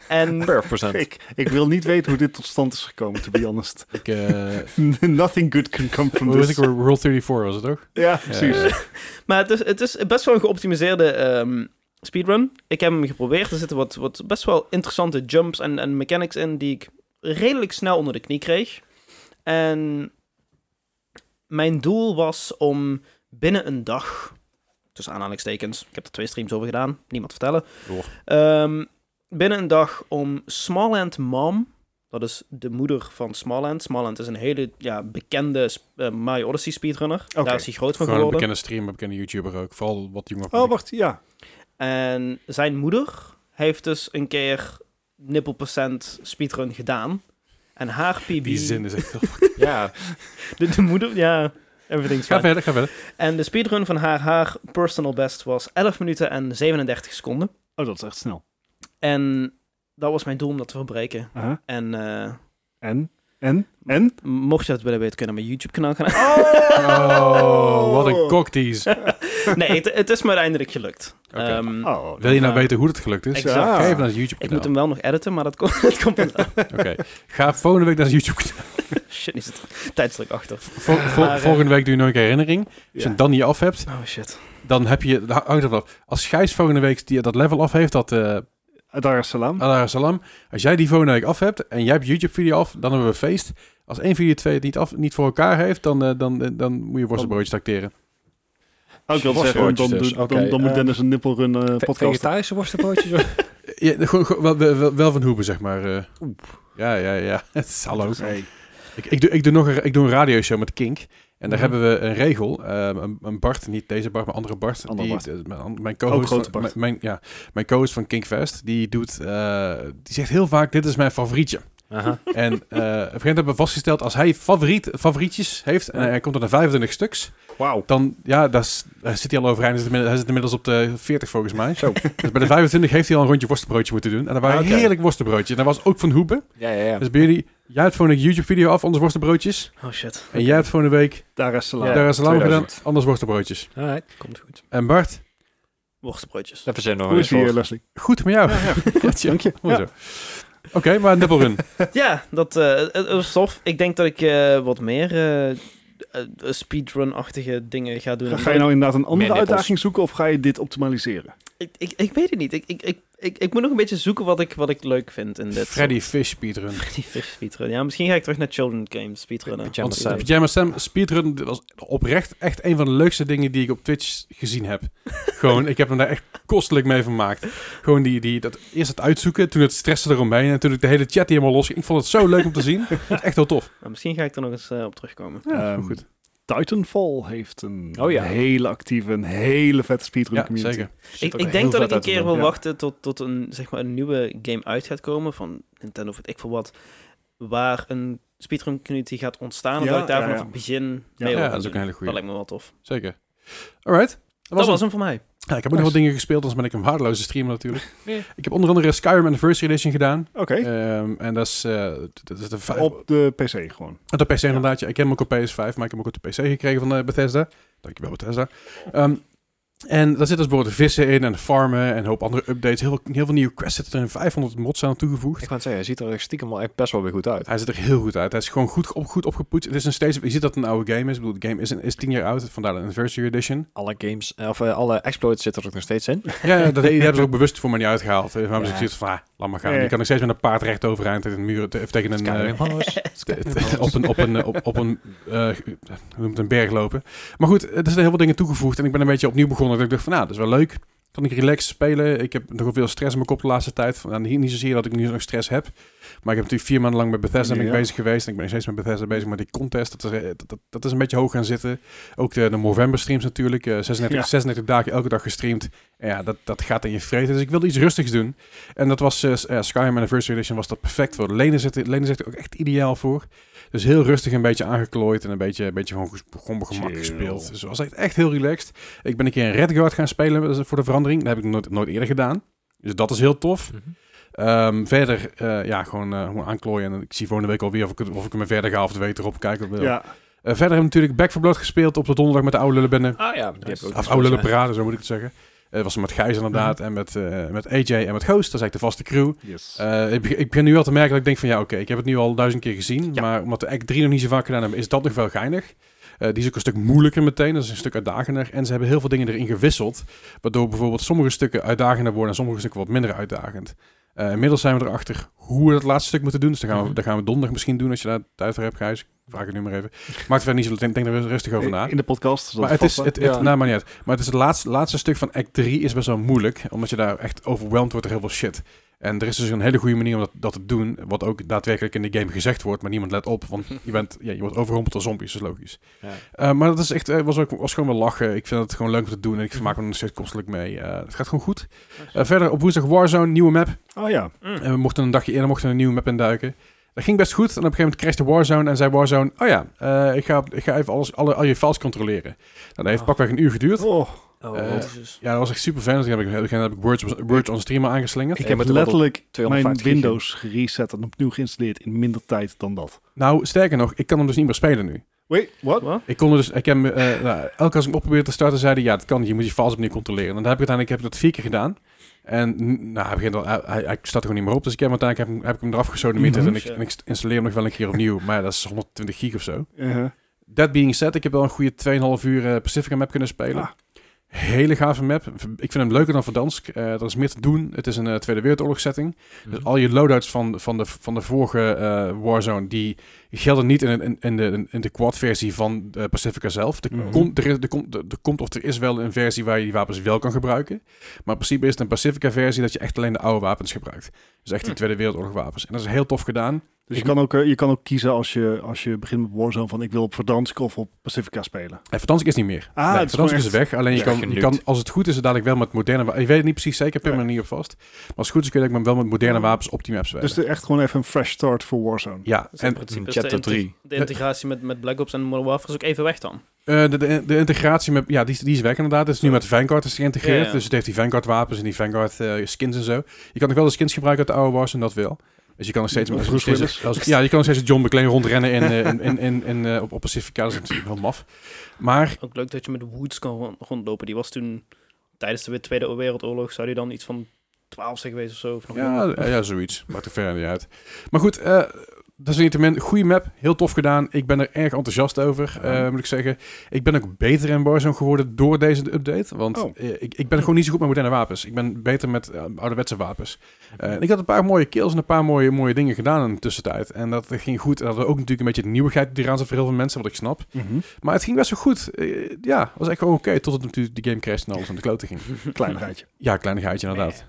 Speaker 4: En
Speaker 2: Perf procent.
Speaker 3: Ik, ik wil niet weten hoe dit tot stand is gekomen, to be honest.
Speaker 1: Ik, eh
Speaker 3: Nothing good can come from
Speaker 1: hoe was ik?
Speaker 3: this.
Speaker 1: World 34 was het toch?
Speaker 3: Ja, precies.
Speaker 1: Eh,
Speaker 4: Maar het is, het is best wel een geoptimiseerde ehm, speedrun. Ik heb hem geprobeerd. Er zitten wat, wat best wel interessante jumps en, en mechanics in die ik redelijk snel onder de knie kreeg. En mijn doel was om binnen een dag, tussen aanhalingstekens, ik heb er twee streams over gedaan, niemand vertellen.
Speaker 1: Door.
Speaker 4: Ehm, binnen een dag om Smallland Mom, dat is de moeder van Smallland. Smallland is een hele ja, bekende sp- eh, Mario Odyssey speedrunner.
Speaker 3: Oké.
Speaker 4: Daar is hij groot van
Speaker 1: Gewoon een
Speaker 4: geworden.
Speaker 1: bekende streamer, een bekende YouTuber ook. Vooral wat jonger.
Speaker 3: Oh, wacht, ja.
Speaker 4: En zijn moeder heeft dus een keer nippelpercent speedrun gedaan. En haar PB...
Speaker 1: Die zin is echt heel
Speaker 2: Ja,
Speaker 4: De, de moeder, ja, everything's
Speaker 1: Ga
Speaker 4: fine.
Speaker 1: verder, ga verder.
Speaker 4: En de speedrun van haar, haar personal best was 11 minuten en 37 seconden.
Speaker 3: Oh, dat is echt snel.
Speaker 4: En dat was mijn doel om dat te verbreken.
Speaker 3: Aha.
Speaker 4: En eh,
Speaker 3: En? En?
Speaker 1: Mm.
Speaker 3: En?
Speaker 4: mocht je dat willen weten, kunnen we mijn YouTube-kanaal gaan...
Speaker 1: Oh, wat een cocktease.
Speaker 4: nee, het, het is me uiteindelijk gelukt.
Speaker 1: Oké.
Speaker 4: Ehm,
Speaker 3: Oh,
Speaker 1: Wil je nou
Speaker 4: Ja.
Speaker 1: weten hoe het gelukt is?
Speaker 4: Exact.
Speaker 1: Ga even naar zijn YouTube
Speaker 4: ik
Speaker 1: kanaal.
Speaker 4: moet hem wel nog editen, maar dat, komt dat komt wel.
Speaker 1: Oké. Ga volgende week naar zijn YouTube kanaal.
Speaker 4: Shit, is het tijdsdruk achter.
Speaker 1: Vol- vol-
Speaker 4: Maar, eh,
Speaker 1: volgende week doe je nog een keer herinnering. Als je
Speaker 3: ja.
Speaker 1: het dan niet af hebt,
Speaker 4: Oh shit.
Speaker 1: dan heb je... dat Hangt ervan af. Als Gijs volgende week die, dat level af heeft, dat eh
Speaker 3: Dar es Salaam.
Speaker 1: Allah salam. Als jij die volgende week af hebt en jij hebt YouTube-video af, dan hebben we feest. Als één van je twee het niet, af, niet voor elkaar heeft, dan, eh, dan, eh, dan moet je worstenbroodjes tracteren.
Speaker 3: Oh, ik wil
Speaker 2: Jezus,
Speaker 3: zeggen, dan,
Speaker 2: woordjes dus.
Speaker 3: doet- dan,
Speaker 2: Oké,
Speaker 3: dan moet
Speaker 2: eh,
Speaker 3: Dennis een nippelrun eh podcast.
Speaker 2: vegetarische worstenbroodjes. of-
Speaker 1: Ja, gewoon, gewoon- wel, wel- wel- wel van hoeven, zeg maar. eh. Ja, ja, ja. Het is hallo.
Speaker 3: Nee.
Speaker 1: Ik, ik, doe, ik, doe nog een, ik doe een radioshow met Kink. En daar
Speaker 2: Mhm.
Speaker 1: hebben we een regel. ehm, een, een Bart, niet deze Bart, maar andere Bart.
Speaker 3: Andere
Speaker 1: die,
Speaker 3: Bart.
Speaker 1: eh, mijn, mijn
Speaker 3: Ook
Speaker 1: co-host
Speaker 3: grote
Speaker 1: van,
Speaker 3: Bart.
Speaker 1: Mijn, mijn- ja, mijn co-host van Kinkfest, die, doet, eh, die zegt heel vaak, dit is mijn favorietje.
Speaker 2: Aha.
Speaker 1: En eh, op een gegeven moment hebben we vastgesteld, als hij favoriet, favorietjes heeft, en hij komt er naar 25 stuks,
Speaker 3: Wauw.
Speaker 1: dan ja, daar is- daar zit hij al overeind. Hij zit inmiddels- Hij zit inmiddels op de 40 volgens mij. Dus bij de 25 heeft hij al een rondje worstenbroodje moeten doen. En dat waren
Speaker 2: Ah, oké.
Speaker 1: heerlijk worstenbroodje. En dat was ook van Hoeben.
Speaker 2: Ja, ja, ja.
Speaker 1: Dus bij jullie, jij hebt gewoon een YouTube-video af, anders worstenbroodjes.
Speaker 4: Oh shit.
Speaker 1: En jij hebt gewoon een week,
Speaker 3: Dar es Salaam.
Speaker 2: Ja.
Speaker 1: daar is lang gedaan,
Speaker 2: 2000.
Speaker 1: anders worstenbroodjes.
Speaker 2: Alright.
Speaker 4: Komt goed.
Speaker 1: En Bart,
Speaker 4: Worstenbroodjes.
Speaker 2: Dat verzinnen we
Speaker 3: Hoe
Speaker 2: nog
Speaker 3: is die,
Speaker 2: eens
Speaker 3: eh,
Speaker 2: voor.
Speaker 3: Leslie?
Speaker 1: goed met jou. Jeetje,
Speaker 3: Dank je.
Speaker 1: mooi zo. Oké, maar nippelrun.
Speaker 4: Ja, dat eh, het- het was tof. Ik denk dat ik eh, wat meer eh, eh, speedrun-achtige dingen ga doen.
Speaker 3: Ga, ga je nou inderdaad een andere
Speaker 2: Meer nippels.
Speaker 3: uitdaging zoeken of ga je dit optimaliseren?
Speaker 4: ik, ik, ik weet het niet. Ik, ik, ik, ik, ik moet nog een beetje zoeken wat ik, wat ik leuk vind in dit.
Speaker 1: Freddy Fish speedrun.
Speaker 4: Freddy Fish speedrun. Ja, misschien ga ik terug naar Children Games speedrunnen.
Speaker 2: Pyjama
Speaker 4: Want-
Speaker 2: Sam.
Speaker 1: Pyjama Sam speedrun dit was oprecht echt een van de leukste dingen die ik op Twitch gezien heb. Gewoon, ik heb hem daar echt kostelijk mee vermaakt. Gewoon die, die, dat, eerst het uitzoeken, toen het stressen eromheen en toen ik de hele chat helemaal los ging. Ik vond het zo leuk om te zien. Het is echt heel tof.
Speaker 4: Maar misschien ga ik er nog eens eh, op terugkomen.
Speaker 1: Ja,
Speaker 3: Ehm,
Speaker 1: goed.
Speaker 3: Titanfall heeft een
Speaker 2: Oh ja.
Speaker 3: hele actieve, een hele vette speedrun
Speaker 1: Ja,
Speaker 3: community.
Speaker 1: zeker.
Speaker 4: Dus Ik,
Speaker 2: ook
Speaker 4: ik
Speaker 2: heel
Speaker 4: denk dat
Speaker 2: vet
Speaker 4: ik een
Speaker 2: uit te
Speaker 4: keer
Speaker 2: doen,
Speaker 4: wil
Speaker 3: ja.
Speaker 4: wachten tot, tot een, zeg maar, een nieuwe game uit gaat komen van Nintendo of ik voor wat, waar een speedrun community gaat ontstaan. En
Speaker 3: Ja,
Speaker 4: dat ik daar
Speaker 3: ja,
Speaker 4: vanaf
Speaker 3: ja.
Speaker 4: het begin
Speaker 3: Ja.
Speaker 4: mee wil
Speaker 1: Ja,
Speaker 4: gaan
Speaker 1: dat is ook
Speaker 4: doen.
Speaker 1: een hele goeie.
Speaker 4: Dat lijkt me wel tof.
Speaker 1: Zeker. Alright. Dat
Speaker 4: Dat was, hem voor mij.
Speaker 1: Ja, ik heb ook nog wat dingen gespeeld, anders ben ik een waardeloze streamer natuurlijk. Ik heb onder andere Skyrim Anniversary Edition gedaan.
Speaker 3: Oké,
Speaker 1: Ehm, en dat is, eh, dat is de vijf...
Speaker 3: op de PC gewoon.
Speaker 1: Op de PC inderdaad. Ja. Ik heb hem ook op PS5, maar ik heb hem ook op de PC gekregen van eh, Bethesda. Dankjewel Bethesda. Ehm, en daar zitten dus bijvoorbeeld vissen in en farmen en een hoop andere updates. Heel, veel- heel veel nieuwe quests zitten er in 500 mods aan toegevoegd.
Speaker 2: Ik wou het zeggen, hij ziet er echt stiekem wel echt best wel weer goed uit.
Speaker 1: Hij ziet er heel goed uit. Hij is gewoon goed, op, goed opgepoetst. Het is een steeds, je ziet dat het een oude game is. Ik bedoel, de game is, is 10 jaar oud, vandaar de Anniversary Edition.
Speaker 2: Alle games, eh, of eh, alle exploits zitten er ook nog steeds in.
Speaker 1: Ja, ja, dat die hebben ze ook bewust voor mij niet uitgehaald. Maar hebben ze
Speaker 2: Ja.
Speaker 1: zoiets van, ah, laat maar gaan.
Speaker 3: Ja.
Speaker 1: Je kan nog steeds met een paard recht overeind tegen een muur, te- of tegen een... eh,
Speaker 2: Skyrim Horse.
Speaker 1: Het- op een, op een, eh, op, op een, eh, hoe noemt het, een berg lopen. Maar goed, eh, er zijn heel veel dingen toegevoegd. En ik ben een beetje opnieuw begonnen. Dat ik dacht van, nou, dat is wel leuk. Kan ik relaxed spelen? Ik heb nogal veel stress in mijn kop de laatste tijd. Van, nou, niet, niet zozeer dat ik nu nog stress heb. Maar ik heb natuurlijk vier maanden lang met Bethesda ben ik
Speaker 3: Ja.
Speaker 1: bezig geweest. En ik ben nog steeds met Bethesda bezig. Maar die contest, dat is, eh, dat, dat, dat is een beetje hoog gaan zitten. Ook de, de Movember streams natuurlijk. eh, 36,
Speaker 3: Ja.
Speaker 1: 36 dagen elke dag gestreamd. En ja, dat, dat gaat in je vreten. Dus ik wilde iets rustigs doen. En dat was eh, s- eh, Skyrim Anniversary Edition was dat perfect voor. Lenen zit, Lenen zit er ook echt ideaal voor. Dus heel rustig een beetje aangeklooid en een beetje, een beetje gewoon, ges- gewoon op gemak
Speaker 3: Chill.
Speaker 1: gespeeld. Dus het was echt, echt heel relaxed. Ik ben een keer in Redguard gaan spelen dat is voor de verandering. Dat heb ik nooit, nooit eerder gedaan. Dus dat is heel tof. Ehm, verder, eh, ja, gewoon, eh, gewoon aanklooien. En ik zie volgende week alweer of ik, het- of ik me verder ga of de week erop kijk.
Speaker 3: Ja.
Speaker 1: Eh, verder hebben we natuurlijk Back for Blood gespeeld op de donderdag met de oude lullenbende.
Speaker 2: Ah ja, die heb ik
Speaker 1: Of
Speaker 2: ook gespeeld,
Speaker 1: oude
Speaker 2: ja. Mhm.
Speaker 1: lullenparade, zo moet ik het zeggen. Eh, Dat was met Gijs inderdaad en met, eh, met AJ en met Ghost. Dat is eigenlijk de vaste crew.
Speaker 3: Yes.
Speaker 1: Eh, ik, beg- ik begin nu wel te merken dat ik denk van ja, oké, ik heb het nu al duizend keer gezien.
Speaker 2: Ja.
Speaker 1: Maar omdat de act 3 nog niet zo vaak gedaan hebben, is dat nog wel geinig. Eh, die is ook een stuk moeilijker meteen, dat is een stuk uitdagender. En ze hebben heel veel dingen erin gewisseld. Waardoor bijvoorbeeld sommige stukken uitdagender worden en sommige stukken wat minder uitdagend. Eh, inmiddels zijn we erachter hoe we dat laatste stuk moeten doen. Dus dan gaan we,
Speaker 2: Mhm.
Speaker 1: dan gaan we donderdag misschien doen als je daar tijd voor hebt, Gijs. Ik vraag het nu maar even. Maakt verder niet zo, denk, denk er rustig
Speaker 2: Eh,
Speaker 1: over na.
Speaker 3: In de podcast. dat
Speaker 1: Maar het is,
Speaker 3: vast,
Speaker 1: het, het,
Speaker 2: Ja.
Speaker 1: nou, maar niet uit. Maar het is het laatste, laatste stuk van act 3 is best wel moeilijk. Omdat je daar echt overweldigd wordt door heel veel shit. En er is dus een hele goede manier om dat, dat te doen. Wat ook daadwerkelijk in de game gezegd wordt. Maar niemand let op. Want je, bent, ja, je wordt overrompeld door zombies. Dat is logisch.
Speaker 2: Ja.
Speaker 1: Eh, maar dat is echt, eh, was, ook, was gewoon wel lachen. Ik vind het gewoon leuk om te doen. En ik vermaak me er nog steeds kostelijk mee. Eh, het gaat gewoon goed. Eh, verder op woensdag Warzone. Nieuwe map.
Speaker 3: hè? Oh ja.
Speaker 1: En we mochten een dagje eerder mochten een nieuwe map induiken. Dat ging best goed. En op een gegeven moment crashte Warzone en zei Warzone... Oh ja, eh, ik, ga, ik ga even alles, alle, al je files controleren. Nou, dat heeft
Speaker 2: Ah.
Speaker 1: pakweg een uur geduurd.
Speaker 3: Oh,
Speaker 2: Oh,
Speaker 1: Eh,
Speaker 2: wat-
Speaker 1: Ja, dat was echt super fijn. Dus toen heb ik, heb ik- heb ik Words, Words on Streamer aangeslingerd.
Speaker 2: Ik
Speaker 3: ik
Speaker 2: heb
Speaker 3: heb
Speaker 2: het
Speaker 3: letterlijk
Speaker 2: wel
Speaker 3: mijn
Speaker 2: 250 gig.
Speaker 3: Windows gereset en opnieuw geïnstalleerd in minder tijd dan dat.
Speaker 1: Nou, sterker nog, ik kan hem dus niet meer spelen nu.
Speaker 3: Wait, what?
Speaker 4: Wat?
Speaker 1: Ik kon er dus... Ik heb, hem, eh, nou, elke keer als ik hem opprobeerde te starten, zeiden... Ja, dat kan niet. Je moet je files opnieuw controleren. En dan heb ik uiteindelijk heb ik dat vier keer gedaan. En mm, nou, hij, begint al, hij, hij- hij staat er gewoon niet meer op. Dus ik heb hem uiteindelijk heb, ik hem- heb ik hem eraf gesodemieterd.
Speaker 3: Mhm.
Speaker 1: en, ik, en ik installeer hem nog wel een keer opnieuw. Maar ja, dat is 120 gig of zo.
Speaker 3: Eh,
Speaker 1: That being said, ik heb wel een goede 2,5 uur eh, Pacifica map kunnen spelen.
Speaker 3: Ah.
Speaker 1: Hele gave map. Ik vind hem leuker dan Verdansk. Eh er is meer te doen. Het is een eh, Tweede Wereldoorlog setting.
Speaker 3: Mhm.
Speaker 1: Dus al je loadouts van, van, de, van de vorige eh, Warzone, die gelden niet in, in, in de, in de quad versie van eh, Pacifica zelf. Er,
Speaker 3: Mhm.
Speaker 1: komt, er, is- er, komt, er komt of er is wel een versie waar je die wapens wel kan gebruiken. Maar in principe is het een Pacifica versie dat je echt alleen de oude wapens gebruikt. Dus echt
Speaker 3: Mhm.
Speaker 1: die
Speaker 4: Hm.
Speaker 1: Tweede Wereldoorlog wapens. En dat is heel tof gedaan.
Speaker 3: Dus
Speaker 1: Ik-
Speaker 3: je kan, ook, eh, je kan ook kiezen als je, als je begint met Warzone van ik wil op Verdansk of op Pacifica spelen.
Speaker 1: En Eh, Verdansk is niet meer.
Speaker 3: Ah,
Speaker 1: nee,
Speaker 3: het is
Speaker 1: Verdansk is
Speaker 3: gewoon echt-
Speaker 1: weg. Alleen je
Speaker 2: Ja,
Speaker 1: kan, je
Speaker 2: genukt.
Speaker 1: kan, als het goed is, het dadelijk wel met moderne wapens. Ik weet het niet precies zeker, ik pin me er niet op vast. Maar als het goed is, kun je dat wel met moderne wapens op die maps spelen.
Speaker 3: Dus de- echt gewoon even een fresh start voor Warzone.
Speaker 1: ja,
Speaker 4: Dus in
Speaker 1: en
Speaker 4: principe
Speaker 2: mm,
Speaker 4: is de
Speaker 2: chapter
Speaker 4: inte-
Speaker 2: drie.
Speaker 4: De integratie met, met Black Ops en Modern Warfare is ook even weg dan.
Speaker 1: eh, de, de, de integratie met, ja, die, is- die is weg inderdaad. Het is nu met Vanguard is geïntegreerd.
Speaker 4: Ja, ja.
Speaker 1: Dus het heeft die Vanguard wapens en die Vanguard eh, skins en zo. Je kan nog wel de skins gebruiken uit de oude Warzone, dat wel. Dus je kan nog steeds,
Speaker 3: Of
Speaker 1: als-
Speaker 3: Bruce
Speaker 1: steeds-
Speaker 3: Willis.
Speaker 1: als- ja, je kan nog steeds John McClane rondrennen in, eh, in, in, in, in, eh, op, op Pacifica. Dat is natuurlijk wel maf. Maar
Speaker 4: Ook leuk dat je met Woods kan ron- rondlopen. Die was toen tijdens de Tweede Wereldoorlog, zou die dan iets van 12 zijn geweest of zo? Of nog jonger.
Speaker 1: Ja, eh, ja, zoiets. Maakt er verder niet uit. Maar goed, eh dat is niet te min. Goede map, heel tof gedaan. Ik ben er erg enthousiast over, eh, moet ik zeggen. Ik ben ook beter in Warzone geworden door deze update. Want
Speaker 3: Oh.
Speaker 1: eh, ik, ik ben gewoon niet zo goed met moderne wapens. Ik ben beter met eh, ouderwetse wapens. Eh, en ik had een paar mooie kills en een paar mooie, mooie dingen gedaan in de tussentijd. En dat ging goed. En dat had ook natuurlijk een beetje de nieuwigheid die eraan zat voor heel veel mensen, wat ik snap.
Speaker 3: Mhm.
Speaker 1: Maar het ging best wel goed. Eh, ja, was echt gewoon oké. totdat natuurlijk de game crashed en alles aan de klote ging.
Speaker 3: Kleinigheidje.
Speaker 1: Ja, kleinigheidje inderdaad.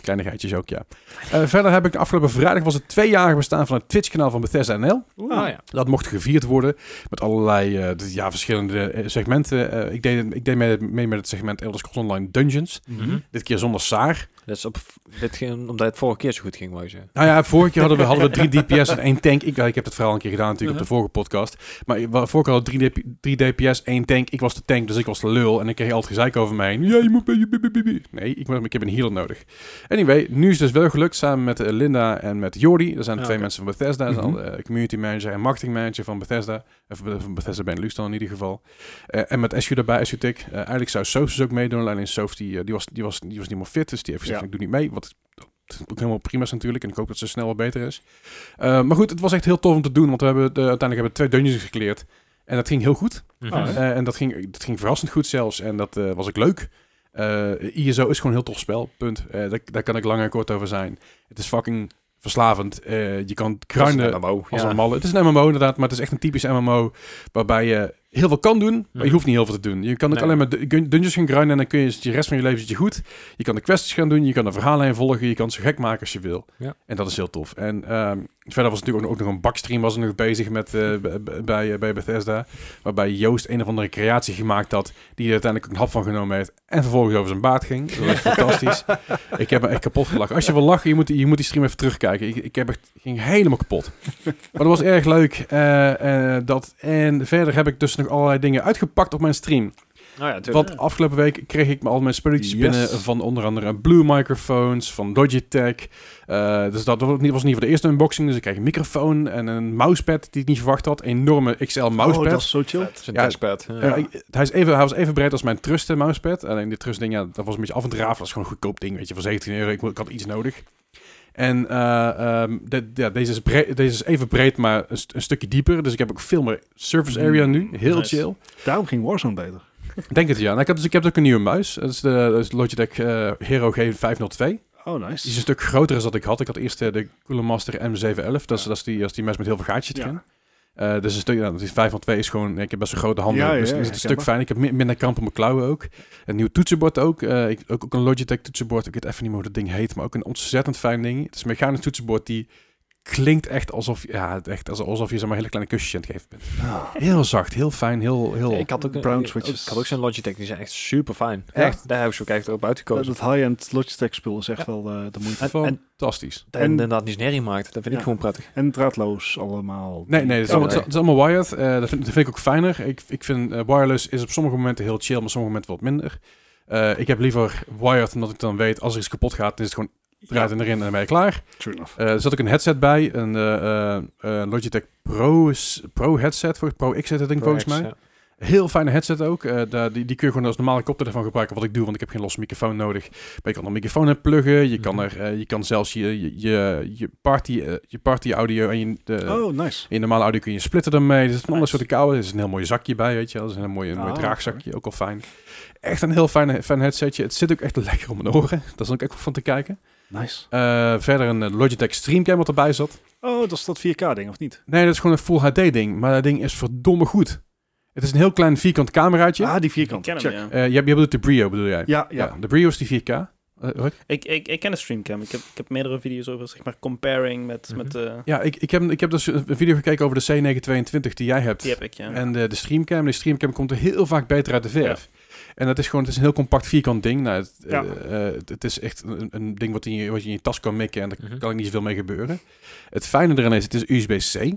Speaker 1: Kleinigheidjes ook, ja. Eh, verder heb ik de afgelopen vrijdag was het tweejarig bestaan van het Twitch-kanaal van Bethesda NL.
Speaker 2: Ah ja.
Speaker 1: Dat mocht gevierd worden met allerlei eh, d- ja, verschillende eh, segmenten. Eh, ik deed, ik deed mee, mee met het segment Elder Scrolls Online Dungeons.
Speaker 3: Oh,
Speaker 2: Mhm.
Speaker 1: Dit keer zonder Saar.
Speaker 2: Dat is Dus op, dit ging, omdat het vorige keer zo goed ging, wou je zeggen.
Speaker 1: Nou ja, vorige keer hadden we, hadden we drie DPS en één tank. Ik, ik heb het verhaal een keer gedaan natuurlijk op de vorige podcast. Maar ik- wa- vorige keer hadden we drie, DP drie DPS, één tank. Ik was de tank, dus ik was de lul. En ik kreeg altijd gezeik over mij. heen. Ja, je moet... je- je- je- je- Nee, ik, moet- ik heb een healer nodig. Anyway, nu is het dus wel gelukt samen met eh, Linda en met Jordi. Er zijn
Speaker 2: Ah,
Speaker 1: twee
Speaker 2: oké.
Speaker 1: mensen van Bethesda. Dat zijn
Speaker 3: Mhm.
Speaker 1: al, eh, community manager en marketing manager van Bethesda. Eh, van- van Bethesda Benelux dan in ieder geval. Eh, en met SU daarbij, SU Tick. Eh, eigenlijk zou Soos dus ook meedoen. Alleen Soos die, eh, die, was, die, was, die was niet meer fit. Dus die heeft gezegd,
Speaker 3: Ja.
Speaker 1: ik doe niet mee. Wat ook helemaal prima is natuurlijk. En ik hoop dat ze snel wat beter is. Eh, maar goed, het was echt heel tof om te doen. Want we hebben de, uiteindelijk hebben we twee dungeons gecleared. En dat ging heel goed.
Speaker 3: Ah,
Speaker 2: Mhm.
Speaker 1: Eh, en dat ging, dat ging verrassend goed zelfs. En dat eh, was ook leuk. Eh, ISO is gewoon een heel tof spel. Punt. Eh, daar, daar kan ik lang en kort over zijn. Het is fucking verslavend. Eh, je kan
Speaker 2: Dat is een
Speaker 1: kruinen
Speaker 2: MMO,
Speaker 1: als
Speaker 2: ja.
Speaker 1: een malle. Het is een MMO inderdaad, maar het is echt een typisch MMO waarbij je heel veel kan doen, maar
Speaker 2: Mhm.
Speaker 1: je hoeft niet heel veel te doen. Je kan ook
Speaker 2: Nee.
Speaker 1: alleen maar du- je kunt dungeons gaan grinden en dan kun je de rest van je leven zit je goed. Je kan de quests gaan doen, je kan de verhaallijn volgen, je kan ze gek maken als je wil.
Speaker 2: Ja.
Speaker 1: En dat is heel tof. En ehm, verder was natuurlijk ook, nog- ook nog een bakstream was er nog bezig met, eh, b- b- bij, eh, bij Bethesda, waarbij Joost een of andere creatie gemaakt had, die er uiteindelijk een hap van genomen heeft en vervolgens over zijn baard ging. Dat was fantastisch. Ik heb me echt kapot gelachen. Als je wil lachen, je moet, die- je moet die stream even terugkijken. Ik, ik heb echt, ging helemaal kapot. Maar dat was erg leuk. eh, eh, dat, en verder heb ik dus nog allerlei dingen uitgepakt op mijn stream.
Speaker 4: Oh
Speaker 2: Nou ja, natuurlijk.
Speaker 1: Want afgelopen week kreeg ik me al mijn spulletjes
Speaker 3: Yes.
Speaker 1: binnen van onder andere Blue microfoons, van Logitech. Eh, dus dat was niet was niet voor de eerste unboxing. Dus ik kreeg een microfoon en een mousepad die ik niet verwacht had. Een enorme XL mousepad.
Speaker 3: Oh, dat is zo chill.
Speaker 2: Het is een
Speaker 1: Ja,
Speaker 2: testpad. Ja.
Speaker 1: Ja, ik- hij, is even, hij was even breed als mijn Trusten mousepad. Alleen die Trust ding, ja, dat was een beetje af en te raven. Dat is gewoon een goedkoop ding, weet je. Voor 17 euro, ik, mo- ik had iets nodig. En eh, ehm, de- ja, deze, is breed, deze is even breed, maar een, st- een stukje dieper. Dus ik heb ook veel meer surface
Speaker 3: Mm,
Speaker 1: area nu. Heel
Speaker 4: Nice.
Speaker 1: chill.
Speaker 3: Daarom ging Warzone beter.
Speaker 1: Denk het, ja. En ik heb, dus, ik heb ook een nieuwe muis. Dat is de, dat is de Logitech eh, Hero G502.
Speaker 3: Oh,
Speaker 1: Die is
Speaker 3: nice.
Speaker 1: een stuk groter dan dat ik had. Ik had eerst eh, de Cooler Master M711. Dat is,
Speaker 3: Ja.
Speaker 1: dat is die, dat is die mes met heel veel gaatjes
Speaker 3: Ja.
Speaker 1: erin. Eh, dus een stuk, ja, dat is 5 van 2 is gewoon, ik heb best een grote handen,
Speaker 3: Ja, ja,
Speaker 1: dus
Speaker 3: ja,
Speaker 1: het is een stuk
Speaker 3: herkenbaar.
Speaker 1: fijn. Ik heb mi- minder kramp op mijn klauwen ook. Een nieuw toetsenbord ook. Eh, ik, ook, ook een Logitech toetsenbord, ik weet even niet meer hoe dat ding heet, maar ook een ontzettend fijn ding. Het is een mechanisch toetsenbord die klinkt echt alsof, ja, echt alsof je zeg maar hele kleine kusjes aan het geven bent.
Speaker 3: Ah,
Speaker 1: Heel zacht, heel fijn, heel... heel
Speaker 2: Ik had ook, een-
Speaker 3: Brown
Speaker 2: ik-
Speaker 3: switches.
Speaker 2: ik had ook zo'n Logitech, die zijn echt super fijn.
Speaker 1: Echt?
Speaker 2: Daar heb ik zo kijk erop
Speaker 3: dat
Speaker 2: uitgekozen.
Speaker 3: dat high-end Logitech spul is echt wel eh, de moeite.
Speaker 2: en- en-
Speaker 1: fantastisch.
Speaker 2: En,
Speaker 3: en-
Speaker 2: inderdaad niet sneri maakt. Dat vind ik
Speaker 3: Ja.
Speaker 2: gewoon prettig.
Speaker 3: En draadloos allemaal.
Speaker 1: Nee, nee, het is, allemaal,
Speaker 2: nee.
Speaker 1: het is allemaal wired. Eh, dat, vind, dat vind ik ook fijner. Ik, ik vind eh, wireless is op sommige momenten heel chill, maar op sommige momenten wat minder. Eh, ik heb liever wired, omdat ik dan weet, als er iets kapot gaat, dan is het gewoon eruit en erin en dan ben je klaar.
Speaker 3: True enough.
Speaker 1: Eh, er zat ook een headset bij, een eh, eh, eh, Logitech Pro, is- Pro headset, voor- Pro X heet het ding volgens mij.
Speaker 2: Ja.
Speaker 1: Heel fijne headset ook. Eh, daar- die, die kun je gewoon als normale koptelefoon gebruiken, wat ik doe, want ik heb geen losse microfoon nodig. Maar je kan er een microfoon in pluggen, je kan, er, eh, je kan zelfs je, je, je, je party, eh, je party audio en je, de,
Speaker 3: oh, nice.
Speaker 1: in normale audio kun je splitten ermee. Er zit een ander
Speaker 3: Nice.
Speaker 1: soort koude. Er is een heel mooi zakje bij, weet je wel. Er is een heel mooi, een mooi
Speaker 3: Ah,
Speaker 1: draagzakje, ook al fijn. Echt een heel fijn, fijn headsetje. Het zit ook echt lekker om mijn oren. Daar zat ik ook van te kijken.
Speaker 3: Nice.
Speaker 1: Eh, verder een eh, Logitech Streamcam wat erbij zat.
Speaker 3: Oh, dat is dat 4K-ding, of niet?
Speaker 1: Nee, dat is gewoon een Full HD ding. Maar dat ding is verdomme goed. Het is een heel klein vierkant cameraatje.
Speaker 3: Ah, die vierkant.
Speaker 4: ken hem,
Speaker 3: Check.
Speaker 4: ja.
Speaker 1: Eh, je, hebt- je bedoelt de Brio, bedoel jij?
Speaker 3: Ja, ja.
Speaker 1: De Brio is die 4K. Eh, wat?
Speaker 4: Ik, ik, ik ken de streamcam. Ik heb, ik heb meerdere video's over, zeg maar, comparing met...
Speaker 1: Mhm.
Speaker 4: met eh,
Speaker 1: ja, ik, ik, heb, ik heb dus een video gekeken over de C922 die jij hebt.
Speaker 4: die heb ik, ja.
Speaker 1: En eh, de, de streamcam, de streamcam komt er heel vaak beter uit de verf. En dat is gewoon, het is een heel compact vierkant ding. Nou, het,
Speaker 3: Ja.
Speaker 1: eh, eh, het- het is echt een, een ding wat, in je, wat je in je tas kan mikken en daar
Speaker 2: Mhm.
Speaker 1: kan niet zoveel mee gebeuren. Het fijne eraan is, het is USB-C.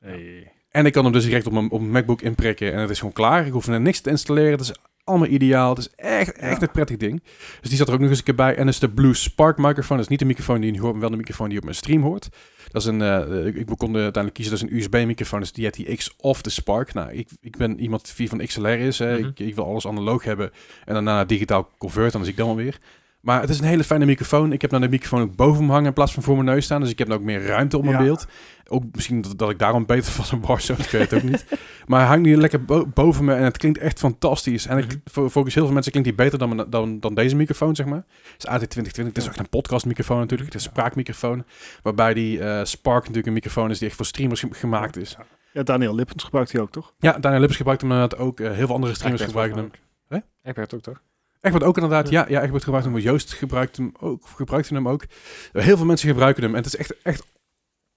Speaker 3: Hey.
Speaker 1: En ik kan hem dus direct op mijn, op mijn MacBook inprikken en het is gewoon klaar. Ik hoef er niks te installeren, het is allemaal ideaal. Het is echt, echt
Speaker 3: Ja.
Speaker 1: een prettig ding. Dus die zat er ook nog eens een keer bij. En dat is de Blue Spark microfoon. Dat is niet de microfoon die je nu hoort, maar wel de microfoon die op mijn stream hoort. Dat is een, eh, ik, ik kon uiteindelijk kiezen, dat is een USB-microfoon. Dus die had die X of de Spark. Nou, ik, ik ben iemand die van XLR is. Hè.
Speaker 2: Mhm.
Speaker 1: ik, ik wil alles analoog hebben en daarna naar digitaal convert. Dan zie ik dan wel weer. Maar het is een hele fijne microfoon. Ik heb nou de microfoon ook boven me hangen in plaats van voor mijn neus staan. Dus ik heb nou ook meer ruimte op mijn
Speaker 3: Ja.
Speaker 1: beeld. Ook misschien dat, dat ik daarom beter van een Warzone, ik weet het ook niet. Maar hij hangt nu lekker bo- boven me en het klinkt echt fantastisch. En
Speaker 3: Mhm.
Speaker 1: ik, voor, voor heel veel mensen klinkt die beter dan, mijn- dan, dan deze microfoon, zeg maar. Het is AT2020, het is echt een podcastmicrofoon natuurlijk. Het is een spraakmicrofoon. Waarbij die eh, Spark natuurlijk een microfoon is die echt voor streamers ge- gemaakt is.
Speaker 3: Ja, Daniel Lippens gebruikt die ook, toch?
Speaker 1: Ja, Daniel Lips gebruikt hem inderdaad ook. eh, heel veel andere streamers
Speaker 2: Egbert
Speaker 1: gebruiken hem.
Speaker 2: ook. Egbert ook, toch?
Speaker 1: Egbert ook inderdaad, ja. Ja, Egbert gebruikt hem. Joost gebruikt hem ook. Gebruikte hem ook. Heel veel mensen gebruiken hem. En het is echt, echt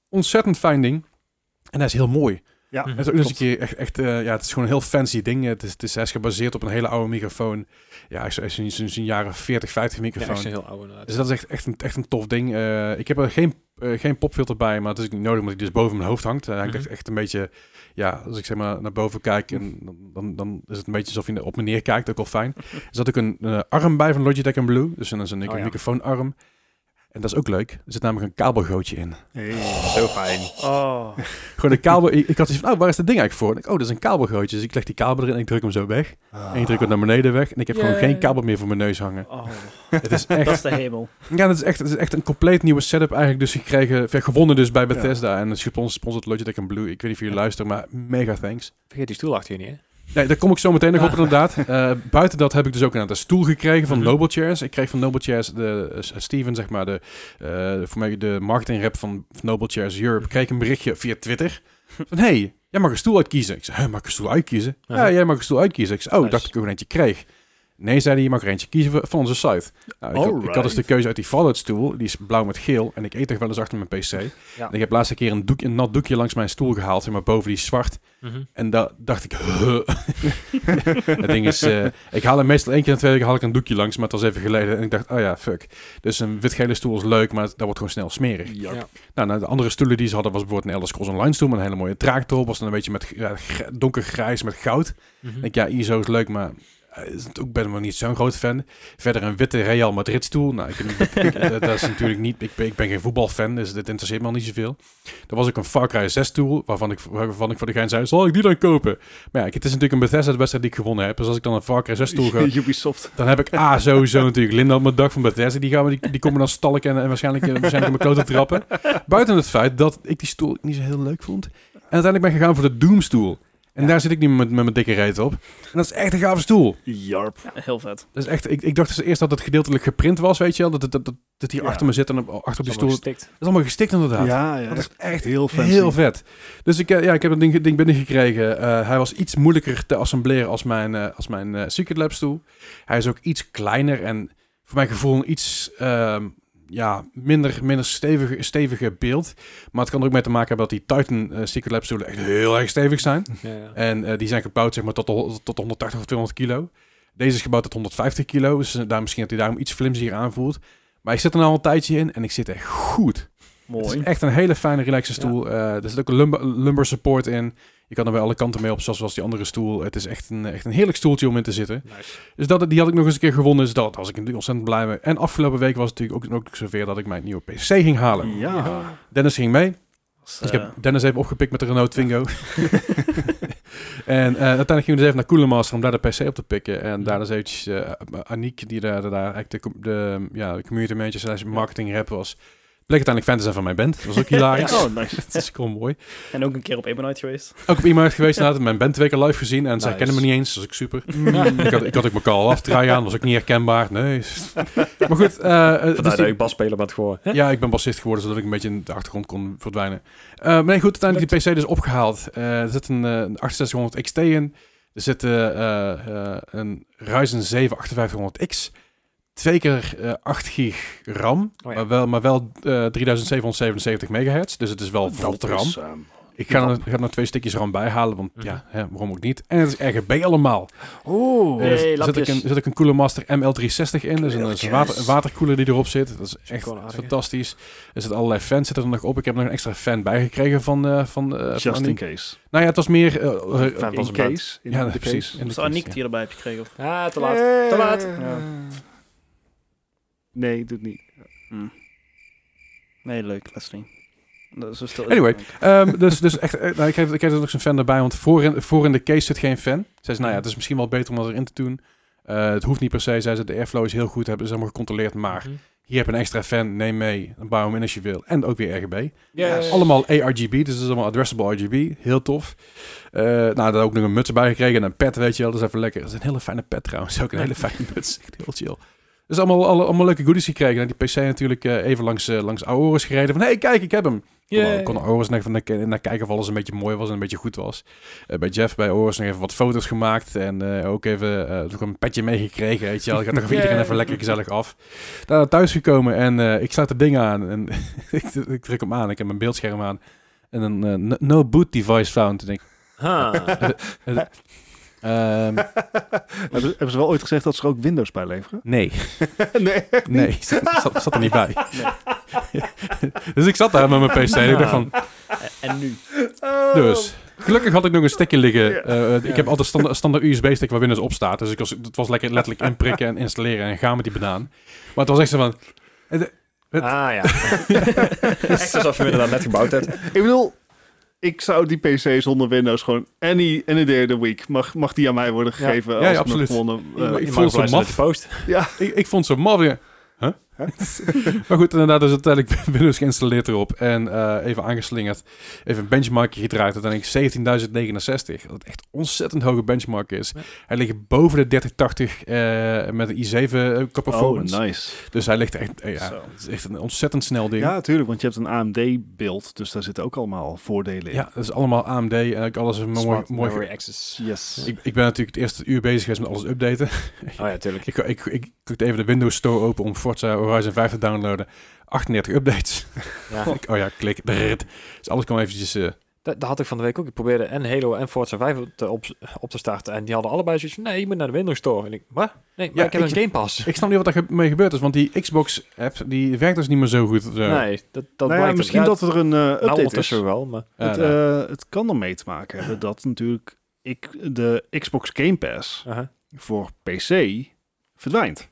Speaker 1: ontzettend fijn ding. En hij is heel mooi.
Speaker 3: Ja.
Speaker 2: Mhm.
Speaker 1: Het is ook nog eens een keer echt, echt eh, ja, het is gewoon een heel fancy ding. Het is, het is, hij is gebaseerd op een hele oude microfoon. Ja, hij is- hij is een, een, een jaren 40, 50
Speaker 2: Ja, echt
Speaker 1: microfoon.
Speaker 2: een heel oude nou, inderdaad.
Speaker 1: dus dat is echt, echt, een, echt een tof ding. Eh, ik heb er geen, eh, geen popfilter bij, maar dat is ook niet nodig, omdat hij dus boven mijn hoofd hangt. Hij hangt
Speaker 2: Mhm.
Speaker 1: echt, echt een beetje, ja, als ik zeg maar naar boven kijk, en dan, dan, dan is het een beetje alsof je op me neer kijkt, ook al fijn. Er zat ook een, eh, arm bij van Logitech en Blue, dus dan is een,
Speaker 3: Oh,
Speaker 1: een
Speaker 3: ja.
Speaker 1: microfoonarm. En dat is ook leuk. Er zit namelijk een kabelgootje in.
Speaker 3: Zo fijn.
Speaker 4: Oh,
Speaker 1: Gewoon een kabel. ik, ik had iets van, oh, waar is dat ding eigenlijk voor? En ik, oh, dat is een kabelgootje. Dus ik leg die kabel erin en ik druk hem zo weg.
Speaker 3: Ah.
Speaker 1: En ik druk hem naar beneden weg. En ik heb gewoon
Speaker 2: Yay.
Speaker 1: geen kabel meer voor mijn neus hangen.
Speaker 4: oh.
Speaker 1: Het is echt
Speaker 4: dat is de hemel.
Speaker 1: Ja, dat is echt, dat is echt een compleet nieuwe setup eigenlijk dus gekregen. ver- Gewonnen dus bij Bethesda. En het spons- sponsort Logitech en Blue. Ik weet niet of jullie luisteren, maar mega thanks.
Speaker 2: Vergeet die stoel achter je niet, hè?
Speaker 1: Nee, daar kom ik zo meteen nog op inderdaad. Eh, buiten dat heb ik dus ook een aantal stoel gekregen van
Speaker 2: Mhm.
Speaker 1: Noble Chairs. Ik kreeg van Noble Chairs, de, eh, Steven zeg maar, de, eh, voor mij de marketing rep van Noble Chairs Europe, kreeg een berichtje via Twitter. Van, hey, jij mag een stoel uitkiezen. Ik zei, hè, mag ik een stoel uitkiezen?
Speaker 2: Aha.
Speaker 1: Ja, jij mag een stoel uitkiezen. Ik zei, oh,
Speaker 2: Nice.
Speaker 1: dacht ik ook een eentje kreeg. Nee, zei hij, je mag er eentje kiezen van onze site. Nou, ik, had, ik had dus
Speaker 3: Alright.
Speaker 1: de keuze uit die Fallout stoel, die is blauw met geel. En ik eet toch wel eens achter mijn pc. En ik heb laatste keer een, doek, een nat doekje langs mijn stoel gehaald, zeg maar boven die zwart.
Speaker 2: Mhm.
Speaker 1: En daar dacht ik, huh. het ding is, eh, ik haal hem meestal één keer in de twee weken haal ik een doekje langs, maar het was even geleden. En ik dacht, oh ja, fuck. Dus een wit-gele stoel is leuk, maar dat wordt gewoon snel smerig.
Speaker 2: Ja.
Speaker 1: Nou, nou, de andere stoelen die ze hadden was bijvoorbeeld een Elder Scrolls Online stoel met een hele mooie draak erop. Was dan een beetje met ja, gr- donkergrijs met goud.
Speaker 2: Mhm.
Speaker 1: Ik denk, ja, ISO is leuk, maar eh, is het ook ben ik wel niet zo'n groot fan. Verder een witte Real Madrid stoel. Nou, ik, ik- dat, dat is natuurlijk niet... Ik ben, ik ben geen voetbalfan, dus dit interesseert me al niet zoveel. Er was ook een Far Cry 6 stoel, waarvan ik, waarvan ik voor de gein zei, zal ik die dan kopen? Maar ja, het is natuurlijk een Bethesda-wedstrijd die ik gewonnen heb. Dus als ik dan een Far Cry 6 stoel ga
Speaker 3: Ubisoft.
Speaker 1: dan heb ik A, sowieso natuurlijk Linda op mijn dag van Bethesda. Die, gaan we, die, die komen dan stalken en, en waarschijnlijk, eh, waarschijnlijk in mijn klote trappen. Buiten het feit dat ik die stoel niet zo heel leuk vond. En uiteindelijk ben ik gegaan voor de Doomstoel. En daar zit ik nu met, met mijn dikke reet op. En dat is echt een gave stoel.
Speaker 3: Jarp.
Speaker 4: Ja, heel vet.
Speaker 1: Dat is echt, ik, ik dacht dus eerst dat het gedeeltelijk geprint was, weet je wel. Dat het dat, dat, dat hier
Speaker 3: Ja.
Speaker 1: achter me zit en op- achter op die stoel. Dat
Speaker 2: Gestikt.
Speaker 1: is allemaal gestikt inderdaad.
Speaker 3: Ja, ja,
Speaker 1: Dat is
Speaker 3: echt,
Speaker 1: echt
Speaker 3: heel fancy.
Speaker 1: Heel vet. Dus ik, eh, ja, ik heb dat ding, ding binnengekregen. Eh, hij was iets moeilijker te assembleren als mijn, eh, als mijn eh, Secret Lab stoel. Hij is ook iets kleiner en voor mijn gevoel een iets ehm, ja, minder, minder stevige, stevige beeld. Maar het kan er ook mee te maken hebben dat die Titan eh, Secret Lab stoelen echt heel erg stevig zijn.
Speaker 2: Ja, ja.
Speaker 1: En eh, die zijn gebouwd zeg maar, tot, de hon- tot de 180 of 200 kilo. Deze is gebouwd tot 150 kilo. Dus eh, daar misschien dat hij daarom iets flimsier aanvoelt. Maar ik zit er nou al een tijdje in en ik zit echt goed. Het
Speaker 4: Mooi.
Speaker 1: is echt een hele fijne, relaxe stoel. Eh, er zit ook een lumbar, lumbar support in. Je kan er bij alle kanten mee op, zoals was die andere stoel. Het is echt een, echt een heerlijk stoeltje om in te zitten.
Speaker 2: Nice.
Speaker 1: Dus dat, die had ik nog eens een keer gewonnen. Dus dat was ik natuurlijk ontzettend blij mee. En afgelopen week was het natuurlijk ook, ook zover dat ik mijn nieuwe PC ging halen.
Speaker 2: Mm.
Speaker 3: Ja.
Speaker 1: Dennis ging mee.
Speaker 4: Dus,
Speaker 1: Dus ik
Speaker 4: eh,
Speaker 1: heb Dennis even opgepikt met de Renault Twingo. en eh, uiteindelijk gingen we dus even naar Coolemaster om daar de PC op te pikken. En daar dus eventjes eh, Aniek, die daar, daar eigenlijk de, com- de, ja, de community manager slash marketing rep was. Bleek uiteindelijk fan te zijn van mijn band. Dat was ook hilarisch.
Speaker 3: Oh, nice.
Speaker 1: Dat is gewoon mooi.
Speaker 4: En ook een keer op Ebonite geweest.
Speaker 1: Ook op iemand geweest inderdaad. Mijn band twee keer live gezien. En zij
Speaker 2: Nice. Mm.
Speaker 1: kennen me niet eens. Dat is ook super. ik, had, ik had ook mijn call afdraai aan. was ook niet herkenbaar. Nee. Maar goed. eh, het is
Speaker 2: Vandaar dat
Speaker 1: natuurlijk-
Speaker 2: ik basspeler bent geworden. Hè?
Speaker 1: ja, ik ben bassist geworden, zodat ik een beetje in de achtergrond kon verdwijnen. Eh, maar nee, goed, uiteindelijk die PC dus opgehaald. Eh, er zit een, eh, een 6800 XT in. Er zit eh, eh, eh, een Ryzen 7 5800X. Twee keer eh, 8 gig RAM,
Speaker 2: Oh ja.
Speaker 1: maar wel, maar wel eh, 3777 megahertz. Dus het is wel vol
Speaker 2: eh,
Speaker 1: RAM.
Speaker 3: is, ehm,
Speaker 1: Ik ga er, ga er nog twee stukjes RAM bij halen, want ja,
Speaker 2: Mhm.
Speaker 1: hè, waarom ook niet. En het is RGB allemaal.
Speaker 3: oh.
Speaker 1: Eh,
Speaker 2: Hey,
Speaker 1: er zit, ik
Speaker 2: lampjes.
Speaker 1: een, zit ook een Cooler Master ML360 in, dus een, dat is een water, een waterkoeler die erop zit. Dat is echt
Speaker 2: wel aardig, hè?
Speaker 1: fantastisch. Er zitten allerlei fans zitten er nog op. Ik heb nog een extra fan bijgekregen van, eh van, eh, van
Speaker 3: just in
Speaker 1: Aniek.
Speaker 3: case.
Speaker 1: Nou ja, het was meer... eh, eh,
Speaker 2: Fan van zijn
Speaker 3: In
Speaker 2: band.
Speaker 3: case. In
Speaker 1: ja,
Speaker 3: de
Speaker 1: precies.
Speaker 3: case.
Speaker 1: In de
Speaker 4: Dus
Speaker 1: case,
Speaker 4: Aniek
Speaker 1: ja.
Speaker 4: die je erbij hebt gekregen. of-
Speaker 2: Ah, te laat. Te
Speaker 3: Eh.
Speaker 2: laat.
Speaker 3: Nee, doet niet.
Speaker 4: Nee, leuk, Leslie. Dat is dus zo stil.
Speaker 1: Anyway. Ehm, dus, dus echt, eh, nou, ik, heb, ik heb er nog zo'n fan erbij, want voor in, voor in de case zit geen fan. Zij zei, nou ja, het is misschien wel beter om dat erin te doen. Eh, het hoeft niet per se, zei ze. De airflow is heel goed, hebben ze allemaal gecontroleerd. Maar
Speaker 2: Mhm.
Speaker 1: hier heb je een extra fan, neem mee. Bouw hem in als je wil. En ook weer RGB.
Speaker 2: Yes.
Speaker 1: Allemaal ARGB, dus dat is allemaal addressable RGB. Heel tof. Eh, nou, daar ook nog een muts bij gekregen en een pet, weet je wel. Dat is even lekker. Dat is een hele fijne pet trouwens. Ook een hele fijne muts. Echt heel chill. Dus allemaal, alle, allemaal leuke goodies gekregen. En die PC natuurlijk eh, even langs, eh, langs Aorus gereden. Van, hey, kijk, ik heb hem. Ik kon,
Speaker 2: Yay.
Speaker 1: kon Aorus nog even naar, naar kijken of alles een beetje mooi was en een beetje goed was. Eh, bij Jeff, bij Aorus nog even wat foto's gemaakt. En eh, ook even eh, ook een petje meegekregen, weet je wel. Ik had nog even iedereen
Speaker 2: Yay.
Speaker 1: even lekker gezellig af. Daar thuis gekomen en eh, ik sluit het ding aan. En ik, ik druk hem aan, ik heb mijn beeldscherm aan. En een eh, no- no boot device found. En ik,
Speaker 2: Ha.
Speaker 1: ehm,
Speaker 3: hebben, ze- hebben ze wel ooit gezegd dat ze er ook Windows bij leveren?
Speaker 1: nee.
Speaker 3: nee.
Speaker 1: Nee, zat, zat, zat er niet bij. dus ik zat daar met mijn PC en ik dacht van,
Speaker 4: En nu.
Speaker 1: dus. Gelukkig had ik nog een stekje liggen. Eh, ik heb altijd standaard, standaard USB-stick waar Windows op staat. Dus ik was, het was lekker letterlijk inprikken en installeren en gaan met die banaan. Maar het was echt zo van... Het-
Speaker 2: Ah ja. Echt alsof je hem inderdaad net gebouwd hebt.
Speaker 3: Ik bedoel, ik zou die PC zonder Windows gewoon any, any day of the week, mag, mag die aan mij worden gegeven
Speaker 1: Ja, ja,
Speaker 3: als ik hem
Speaker 1: absoluut.
Speaker 3: gewonnen. eh,
Speaker 1: Ik
Speaker 2: Je
Speaker 1: voel
Speaker 2: mag
Speaker 1: zo'n
Speaker 2: bewijzen met
Speaker 1: maf.
Speaker 2: de post.
Speaker 1: Ik, ik vond zo maf. Huh? Maar goed, inderdaad, dus uiteindelijk Windows geïnstalleerd erop en eh, even aangeslingerd. Even een benchmarkje gedraaid, uiteindelijk 17.069. Wat echt ontzettend hoge benchmark is.
Speaker 2: Ja.
Speaker 1: Hij ligt boven de 3080 eh met een i7 eh, qua performance.
Speaker 3: nice.
Speaker 1: Dus hij ligt echt, eh, ja,
Speaker 3: Zo.
Speaker 1: het is echt een ontzettend snel ding.
Speaker 3: Ja, natuurlijk, want je hebt een AMD-beeld, dus daar zitten ook allemaal voordelen in.
Speaker 1: Ja, dat is allemaal AMD en ook alles is mooi,
Speaker 2: Smart
Speaker 1: mooi
Speaker 2: memory access.
Speaker 3: Yes.
Speaker 1: Ik, ik ben natuurlijk het eerste uur bezig geweest met alles updaten.
Speaker 2: Oh ja, tuurlijk.
Speaker 1: Ik, ik, ik klikte even de Windows Store open om Forza Horizon 5 te downloaden. 38 updates.
Speaker 2: Ja.
Speaker 1: Ik- oh ja, klik. Brrrt. Dus alles kwam eventjes... eh,
Speaker 2: Dat, dat had ik van de week ook. Ik probeerde en Halo en Forza 5 op te, op, op te starten. En die hadden allebei zoiets van, nee, je moet naar de Windows Store. En ik, wat? Nee, maar
Speaker 1: Ja,
Speaker 2: ik heb
Speaker 1: ik-
Speaker 2: een Game Pass.
Speaker 1: ik snap niet wat daar ge- mee gebeurd is, want die Xbox-app die werkt dus niet meer zo goed. Zo.
Speaker 2: nee, dat, dat
Speaker 3: nou ja,
Speaker 2: blijkt
Speaker 3: misschien dat er een eh,
Speaker 2: Nou,
Speaker 3: update is.
Speaker 2: ondertussen wel, maar...
Speaker 1: Eh,
Speaker 3: het,
Speaker 1: nou,
Speaker 3: eh, het kan ermee te maken hebben dat natuurlijk ik, de Xbox Game Pass
Speaker 2: aha.
Speaker 3: voor PC verdwijnt.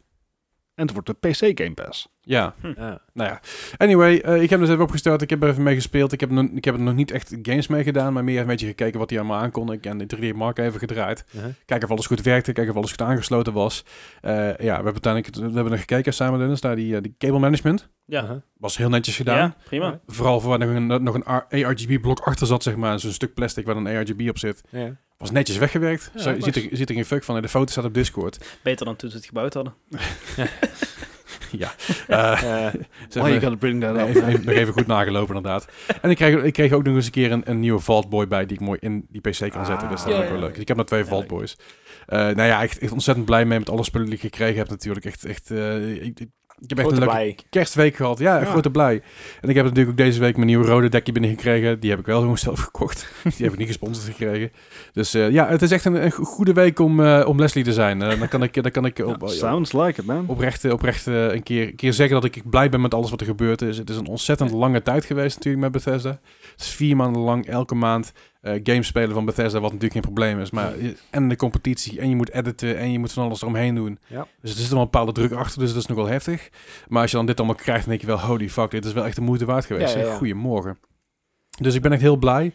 Speaker 3: En het wordt de PC Game Pass.
Speaker 1: Ja,
Speaker 2: Ja.
Speaker 1: nou ja. Anyway, eh, ik heb dus even opgestart. Ik heb er even mee gespeeld. Ik heb, nog- ik heb er nog niet echt games mee gedaan, maar meer een beetje gekeken wat die allemaal aankon. Ik en de 3D Mark even gedraaid.
Speaker 2: aha.
Speaker 1: Kijken of alles goed werkte, kijken of alles goed aangesloten was. Eh, ja, we hebben uiteindelijk het- we hebben er gekeken samen, Dennis, naar die, eh, die cable management.
Speaker 4: Ja,
Speaker 2: Aha.
Speaker 1: Was heel netjes gedaan.
Speaker 4: ja prima.
Speaker 1: Vooral voor waar nog een, nog een ARGB-blok achter zat, zeg maar. Zo'n stuk plastic waar een ARGB op zit.
Speaker 2: Ja.
Speaker 1: Was netjes weggewerkt.
Speaker 2: Ja,
Speaker 1: Zo, je,
Speaker 2: nice.
Speaker 1: ziet er, je ziet er geen fuck van. En De foto staat op Discord.
Speaker 4: Beter dan toen ze het gebouwd hadden.
Speaker 1: Eh,
Speaker 2: Eh,
Speaker 1: ze hebben-
Speaker 3: gotta bring that
Speaker 1: nee, even, even, nog even goed nagelopen, inderdaad. En ik kreeg, ik kreeg ook nog eens een keer een, een nieuwe Vault Boy bij die ik mooi in die PC kan zetten. dus dat is
Speaker 4: Ah.
Speaker 1: ook wel
Speaker 4: Ja, ja,
Speaker 1: leuk.
Speaker 4: ja.
Speaker 1: Ik heb nog twee Vault Boys. Eh, nou ja, echt, echt ontzettend blij mee met alle spullen die ik gekregen heb natuurlijk. Echt, echt, eh, ik, ik- ik heb echt
Speaker 2: Grote
Speaker 1: een leuke
Speaker 2: blij.
Speaker 1: kerstweek gehad. Ja,
Speaker 3: Ja.
Speaker 1: grote blij. En ik heb natuurlijk ook deze week mijn nieuwe rode dekje binnengekregen. Die heb ik wel gewoon zelf gekocht. Die heb ik niet gesponsord gekregen. Dus eh, ja, het is echt een, een goede week om, eh, om Leslie te zijn. Eh, dan kan ik, dan kan ik
Speaker 3: Oh,
Speaker 1: op,
Speaker 3: sounds like it, man.
Speaker 1: oprecht, oprecht eh, een, keer, een keer zeggen dat ik blij ben met alles wat er gebeurd is. Het is een ontzettend lange tijd geweest natuurlijk met Bethesda. Het is vier maanden lang elke maand eh games spelen van Bethesda, wat natuurlijk geen probleem is. Maar je- en de competitie, en je moet editen, en je moet van alles eromheen doen.
Speaker 2: Ja.
Speaker 1: Dus er zit wel een bepaalde druk achter, dus dat is nogal heftig. Maar als je dan dit allemaal krijgt, dan denk je wel, holy fuck, dit is wel echt de moeite waard geweest.
Speaker 2: Ja, ja, ja.
Speaker 1: Goedemorgen. Dus ik ben echt heel blij.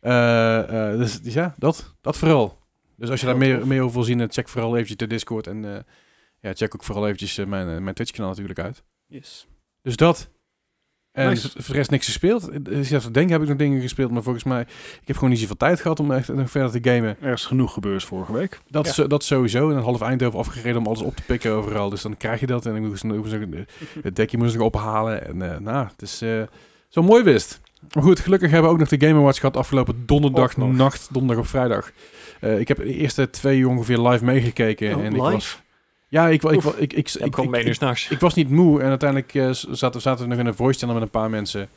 Speaker 1: Eh, eh, dus ja, dat, dat vooral. Dus als je daar
Speaker 2: Heel
Speaker 1: meer,
Speaker 2: tof.
Speaker 1: meer over wil zien, eh, check vooral eventjes de Discord. En eh, ja, check ook vooral eventjes eh, mijn, eh, mijn Twitch-kanaal natuurlijk uit.
Speaker 4: Yes.
Speaker 1: Dus dat. En
Speaker 3: Nice.
Speaker 1: v- voor de rest niks gespeeld. Eh, Dus ja, denk heb ik nog dingen gespeeld, maar volgens mij... Ik heb gewoon niet zoveel tijd gehad om echt nog verder te gamen.
Speaker 3: Er is genoeg gebeurd vorige week.
Speaker 1: Dat,
Speaker 2: Ja.
Speaker 1: zo- dat sowieso. En een half Eindhoven afgereden om alles op te pikken overal. Dus dan krijg je dat. En dan moest, moest ik- het dekje moest ik ophalen. En eh, nou, het is eh, zo mooi wist. Maar goed, gelukkig hebben we ook nog de Game Awards gehad afgelopen donderdag,
Speaker 3: Ook nog.
Speaker 1: nacht, donderdag of vrijdag. Eh, ik heb de eerste twee uur ongeveer live meegekeken.
Speaker 3: Oh,
Speaker 1: en
Speaker 3: live?
Speaker 1: Ik was, ja, ik, wa- ik, wa- ik, ik,
Speaker 2: Ik
Speaker 1: ik,
Speaker 2: kom
Speaker 1: ik,
Speaker 2: mee nu
Speaker 1: ik,
Speaker 2: s'nachts.
Speaker 1: ik was niet moe. En uiteindelijk eh, z- zaten, zaten we nog in een voice channel met een paar mensen.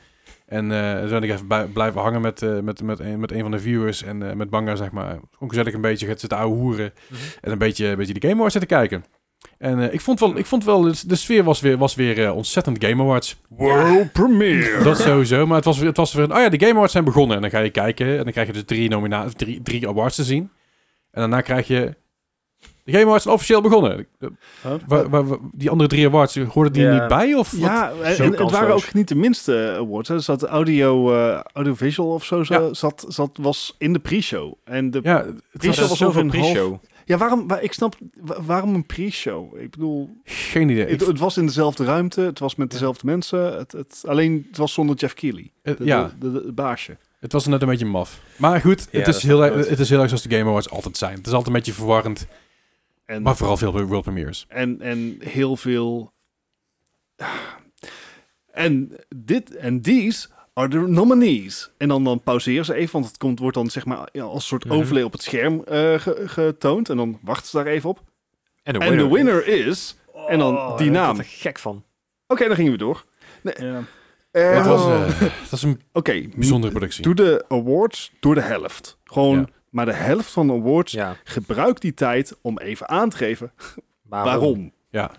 Speaker 1: En eh toen ben ik even bij- blijven hangen met, eh, met, met, een, met een van de viewers en eh, met Banga, zeg maar. Gewoon gezellig een beetje gaat zitten ouwe hoeren.
Speaker 3: Mhm.
Speaker 1: En een beetje, een beetje de Game Awards zitten kijken. En eh, ik vond wel, ik vond wel de, de sfeer was weer, was weer eh, ontzettend Game Awards.
Speaker 3: World premiere.
Speaker 1: Dat sowieso. Maar het was, weer- het was weer een, oh ja, de Game Awards zijn begonnen. En dan ga je kijken en dan krijg je dus drie, nomina drie, drie awards te zien. En daarna krijg je... De Game Awards zijn officieel begonnen. Eh, waar- waar- waar- die andere drie awards, hoorden die
Speaker 4: Ja.
Speaker 1: niet bij? Of wat?
Speaker 3: Ja, en, en het
Speaker 2: kansloos.
Speaker 3: waren ook niet de minste awards. hè. Er zat audio, eh, audiovisual of zo, zo- zat, zat, was in de pre-show. En de, ja.
Speaker 1: Ja, het
Speaker 3: Pre-show
Speaker 1: was
Speaker 3: was over een waarom, waar- ik snap, wa- waarom een pre-show? Ik bedoel,
Speaker 1: geen idee. Ik-
Speaker 3: het, het was in dezelfde ruimte, het was met dezelfde mensen. Het, het, alleen, het was zonder Jeff Keighley,
Speaker 1: eh,
Speaker 3: de,
Speaker 1: ja,
Speaker 3: de, de- de baasje.
Speaker 1: het was net een beetje maf. Maar goed,
Speaker 4: Ja,
Speaker 1: het,
Speaker 4: dat
Speaker 1: is
Speaker 4: is
Speaker 1: heel,
Speaker 4: ook
Speaker 1: erg-
Speaker 4: nooit.
Speaker 1: het is heel erg zoals de Game Awards altijd zijn. Het is altijd een beetje verwarrend,
Speaker 3: En,
Speaker 1: maar vooral veel world premieres.
Speaker 3: en, en heel veel... En dit en these are the nominees. En dan, dan pauzeer ze even, want het komt, wordt dan zeg maar ja, als soort
Speaker 2: Mhm.
Speaker 3: overlay op het scherm eh, ge- getoond. En dan wachten ze daar even op.
Speaker 2: En de
Speaker 3: En de winner is... en dan die
Speaker 2: Oh, daar
Speaker 3: naam.
Speaker 2: word ik er gek van.
Speaker 3: Oké, dan gingen we door.
Speaker 4: Ja.
Speaker 3: Eh,
Speaker 1: Het was,
Speaker 3: oh.
Speaker 1: eh, het was een
Speaker 3: Oké,
Speaker 1: bijzondere productie.
Speaker 3: doe de awards door de helft. Gewoon,
Speaker 1: Ja.
Speaker 3: maar de helft van de awards.
Speaker 2: Ja,
Speaker 3: Gebruik die tijd om even aan te geven
Speaker 2: waarom?
Speaker 3: waarom.
Speaker 1: Ja,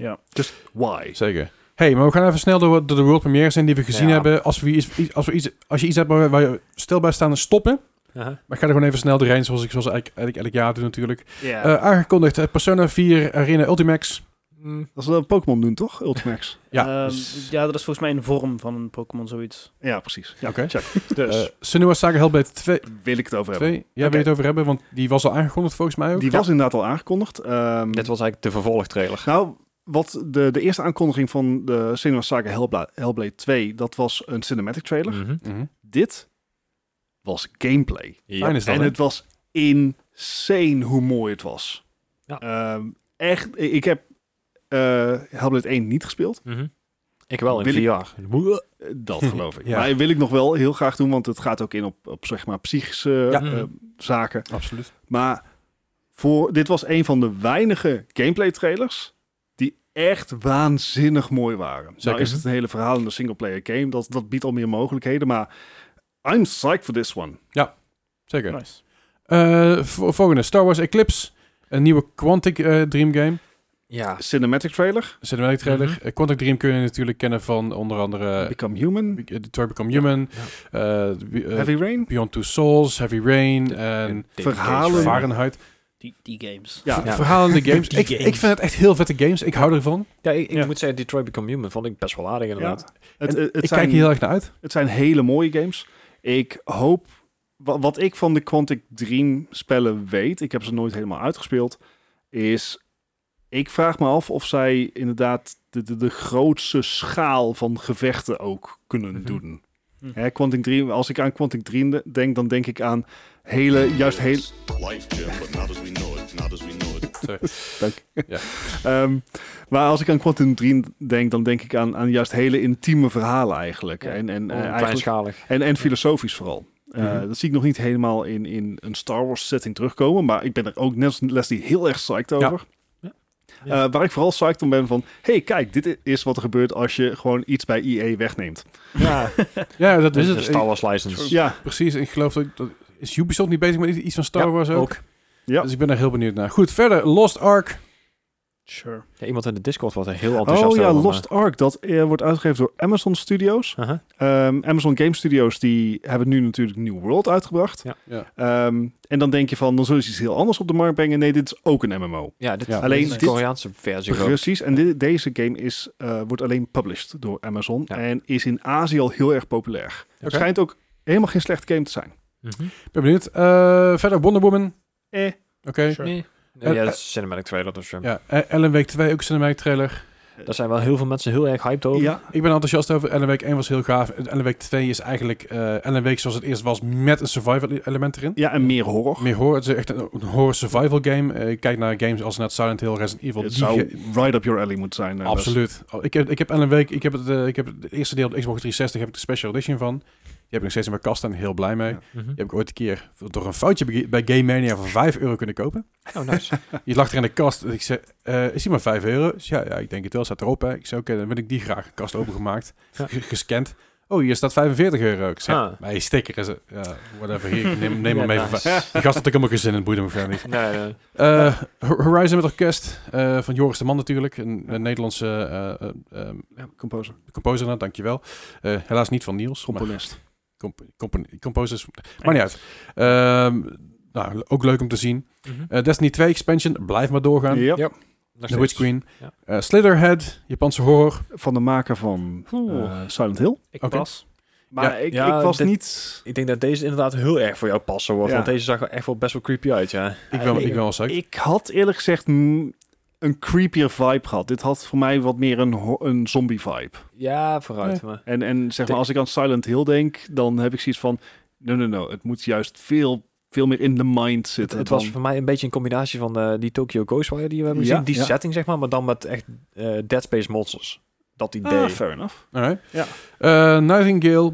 Speaker 3: Why?
Speaker 1: zeker. hey, maar we gaan even snel door, door de world premieres heen die we gezien
Speaker 2: Ja.
Speaker 1: hebben. Als, we iets, als, we iets, als je iets hebt waar, waar je stil bij staan, stoppen.
Speaker 2: Aha.
Speaker 1: Maar ik ga er gewoon even snel doorheen, zoals ik zoals eigenlijk, eigenlijk elk jaar doe natuurlijk.
Speaker 3: Ja.
Speaker 1: Eh, aangekondigd, eh, Persona 4 Arena Ultimax.
Speaker 2: Mm,
Speaker 3: dat is wel een Pokémon doen, toch? Ultimax.
Speaker 1: Ja,
Speaker 4: Ehm,
Speaker 1: dus,
Speaker 4: ja, dat is volgens mij een vorm van een Pokémon, zoiets.
Speaker 3: ja, precies. Ja,
Speaker 1: Oké.
Speaker 3: check. Dus,
Speaker 1: eh, Senua Saga Hellblade 2.
Speaker 3: wil ik het over hebben.
Speaker 1: Jij wil je het over hebben? Want die was al aangekondigd volgens mij ook.
Speaker 3: Die was inderdaad al aangekondigd. Ehm,
Speaker 2: Dit was eigenlijk de vervolgtrailer.
Speaker 3: Nou, wat de, de eerste aankondiging van de Cinema Saga Hellbla- Hellblade 2, dat was een cinematic trailer.
Speaker 2: Mhm.
Speaker 3: Dit was gameplay.
Speaker 2: Ja.
Speaker 1: Fijn is dat,
Speaker 3: En
Speaker 1: hè?
Speaker 3: het was insane hoe mooi het was.
Speaker 2: Ja.
Speaker 3: Ehm, echt, ik heb eh Hellblade 1 niet gespeeld.
Speaker 2: Mhm. Ik wel, in
Speaker 3: Wil ik-
Speaker 2: VR.
Speaker 3: Eh, Dat geloof ik.
Speaker 1: Ja.
Speaker 3: Maar wil ik nog wel heel graag doen, want het gaat ook in op, op zeg maar psychische
Speaker 1: Ja.
Speaker 3: eh,
Speaker 2: Mhm.
Speaker 3: zaken.
Speaker 1: Absoluut.
Speaker 3: Maar voor, dit was een van de weinige gameplay trailers die echt waanzinnig mooi waren. Nou
Speaker 1: Zeker.
Speaker 3: is het een hele verhalende singleplayer game, dat, dat biedt al meer mogelijkheden, maar I'm psyched for this one.
Speaker 1: Zeker.
Speaker 4: Nice.
Speaker 1: Eh, vo- volgende, Star Wars Eclipse. Een nieuwe Quantic eh, Dream game.
Speaker 2: Ja.
Speaker 3: Cinematic trailer,
Speaker 1: Cinematic trailer.
Speaker 2: Mhm.
Speaker 1: Eh, Quantic Dream kun je natuurlijk kennen van onder andere...
Speaker 3: Become Human,
Speaker 1: eh, Detroit Become Human. eh, Be- eh,
Speaker 3: Heavy Rain.
Speaker 1: Beyond Two Souls, Heavy Rain en
Speaker 3: verhalen.
Speaker 1: Fahrenheit.
Speaker 4: Die, die games.
Speaker 3: Ja,
Speaker 2: Ja.
Speaker 1: Verhalende games.
Speaker 4: Die
Speaker 1: Ik,
Speaker 4: games.
Speaker 1: ik vind het echt heel vette games. Ik hou ervan.
Speaker 2: Ja, ik, ik
Speaker 3: Ja.
Speaker 2: moet zeggen, Detroit Become Human vond ik best wel aardig inderdaad.
Speaker 3: Het, het,
Speaker 1: ik
Speaker 3: het zijn,
Speaker 1: kijk hier heel erg naar uit.
Speaker 3: het zijn hele mooie games. Ik hoop... wa- Wat ik van de Quantic Dream spellen weet... Ik heb ze nooit helemaal uitgespeeld. Is... Ik vraag me af of zij inderdaad... de, de, de grootste schaal van gevechten ook kunnen
Speaker 2: Mhm.
Speaker 3: doen.
Speaker 4: Hm.
Speaker 3: Hè, Quantic Dream, als ik aan Quantic Dream de- denk... dan denk ik aan hele... juist heel,
Speaker 5: Life, Jim, but not as we know it, not as we know it.
Speaker 3: Ehm, maar als ik aan Quantum Dream denk, dan denk ik aan, aan juist hele intieme verhalen eigenlijk.
Speaker 2: Ja,
Speaker 3: en, en, eh,
Speaker 2: Eigenlijk
Speaker 3: eigenlijk
Speaker 2: Kleinschalig.
Speaker 3: En, en filosofisch vooral. Eh,
Speaker 1: Mhm.
Speaker 3: Dat zie ik nog niet helemaal in, in een Star Wars setting terugkomen. Maar ik ben er ook net als Leslie heel erg psyched over.
Speaker 2: Ja.
Speaker 3: Eh, waar ik vooral psyched om ben van... hey, kijk, dit is wat er gebeurt als je gewoon iets bij EA wegneemt.
Speaker 2: Ja,
Speaker 1: Ja, dat
Speaker 3: Dus
Speaker 2: dat
Speaker 1: is
Speaker 2: is een
Speaker 1: Dus het.
Speaker 2: Star Wars license.
Speaker 3: Ja,
Speaker 1: Ik- precies. Ik geloof dat, dat- is Ubisoft niet bezig met iets van Star
Speaker 2: Ja,
Speaker 1: Wars ook.
Speaker 3: Ja.
Speaker 1: Dus ik ben daar heel benieuwd naar. Goed, verder Lost Ark.
Speaker 4: Sure.
Speaker 2: Ja, iemand in de Discord was er heel enthousiast
Speaker 3: oh ja,
Speaker 2: over,
Speaker 3: Lost Ark. Dat eh, wordt uitgegeven door Amazon Studios.
Speaker 2: maar- Aha.
Speaker 3: Ehm, Amazon Game Studios die hebben nu natuurlijk New World uitgebracht.
Speaker 2: Ja.
Speaker 1: Ja.
Speaker 3: Ehm, en dan denk je van, dan zullen ze iets heel anders op de markt brengen. Nee, dit is ook een MMO.
Speaker 2: Ja, dit
Speaker 1: Ja.
Speaker 2: alleen
Speaker 3: Alleen
Speaker 2: is de
Speaker 3: dit-
Speaker 2: Koreaanse versie. geloof ik.
Speaker 3: Precies, en dit- deze game is, eh, wordt alleen published door Amazon
Speaker 2: Ja.
Speaker 3: en is in Azië al heel erg populair. Het
Speaker 1: Oké.
Speaker 3: schijnt ook helemaal geen slechte game te zijn.
Speaker 2: Mhm.
Speaker 1: Ik ben benieuwd. Eh, verder Wonder Woman.
Speaker 3: Eh.
Speaker 1: Oké.
Speaker 4: Sure.
Speaker 2: Nee.
Speaker 1: Eh,
Speaker 2: ja, dat is cinematic trailer. Dus, eh,
Speaker 1: Ja, eh, Ellen Week 2, ook cinematic trailer.
Speaker 2: Daar zijn wel heel veel mensen heel erg hyped over.
Speaker 3: Oh. Ja,
Speaker 1: Ik ben enthousiast over. Ellen Week 1 was heel gaaf. En Ellen Week 2 is eigenlijk eh Ellen Week zoals het eerst was met een survival e- element erin.
Speaker 3: ja, en meer horror.
Speaker 1: Meer horror. Het is echt een, een horror survival game. Eh, ik kijk naar games als net Silent Hill, Resident Evil.
Speaker 3: Het
Speaker 1: die
Speaker 3: zou
Speaker 1: ge-
Speaker 3: right up your alley moeten zijn. eh, Bas.
Speaker 1: Absoluut. Oh, Ik heb, ik heb Ellen Week, ik heb, het, eh, ik heb het eerste deel op de Xbox 360, heb ik de special edition van. Die heb ik nog steeds in mijn kast en heel blij mee.
Speaker 3: Ja.
Speaker 2: Mhm.
Speaker 1: Die heb ik ooit een keer door een foutje bij- bij Game Mania voor 5 euro kunnen kopen.
Speaker 2: Oh, nice.
Speaker 1: Die lag er in de kast. En ik zei, eh, is die maar 5 euro? Ik zei, Ja, ja, ik denk het wel. Staat erop, hè. Ik zei, oké, dan ben ik die graag. Kast opengemaakt,
Speaker 2: Ja.
Speaker 1: ge- gescand. Oh, hier staat 45 euro. Ik zei,
Speaker 2: Ah.
Speaker 1: maar je sticker is... het." Ja, whatever, hier, ik neem, neem
Speaker 2: Ja,
Speaker 1: hem even.
Speaker 2: nice.
Speaker 1: van- Die gast had ook helemaal geen zin in, boeide me verder niet.
Speaker 2: Nee, nee.
Speaker 1: Eh, Ho- Horizon met Orkest, eh, van Joris de Man natuurlijk. Een, een Nederlandse eh, eh, ehm,
Speaker 3: Ja, composer,
Speaker 1: composer, nou, dankjewel. Eh, helaas niet van Niels. maar-
Speaker 3: componist.
Speaker 1: comp compon- composers. Maar niet uit. Ehm, nou, ook leuk om te zien.
Speaker 2: Mhm.
Speaker 1: Eh Destiny 2 expansion, blijf maar doorgaan.
Speaker 3: Ja,
Speaker 2: Ja. Nog
Speaker 1: The
Speaker 2: steeds.
Speaker 1: Witch Queen.
Speaker 2: Ja.
Speaker 1: Eh, Slitherhead, Japanse horror.
Speaker 3: Van de maker van
Speaker 4: Oeh.
Speaker 3: eh, Silent Hill.
Speaker 4: Ik
Speaker 1: Oké.
Speaker 4: pas.
Speaker 3: Maar
Speaker 1: Ja.
Speaker 3: ik,
Speaker 2: Ja,
Speaker 3: ik was
Speaker 2: dit-
Speaker 3: niet...
Speaker 2: Ik denk dat deze inderdaad heel erg voor jou passen wordt.
Speaker 3: Ja.
Speaker 2: Want deze zag er echt wel best wel creepy uit, ja.
Speaker 1: Ik ben,
Speaker 3: Eh,
Speaker 1: ik ben wel zeker.
Speaker 3: Ik had eerlijk gezegd mm, een creepier vibe gehad. Dit had voor mij wat meer een, ho- een zombie vibe.
Speaker 2: Ja, vooruit. Maar.
Speaker 3: En, en zeg maar,
Speaker 2: De-
Speaker 3: als ik aan Silent Hill denk, dan heb ik zoiets van... No, no, no. Het moet juist veel, veel meer in de mind
Speaker 2: Het,
Speaker 3: zitten.
Speaker 2: het was
Speaker 3: dan-
Speaker 2: voor mij een beetje een combinatie van eh, die Tokyo Ghostwire die we hebben
Speaker 3: Ja,
Speaker 2: gezien. Die
Speaker 3: ja.
Speaker 2: setting, zeg maar. Maar dan met echt eh, Dead Space Monsters. Dat idee.
Speaker 3: Ah, fair enough.
Speaker 1: Alright.
Speaker 3: Ja.
Speaker 1: Eh, Nightingale.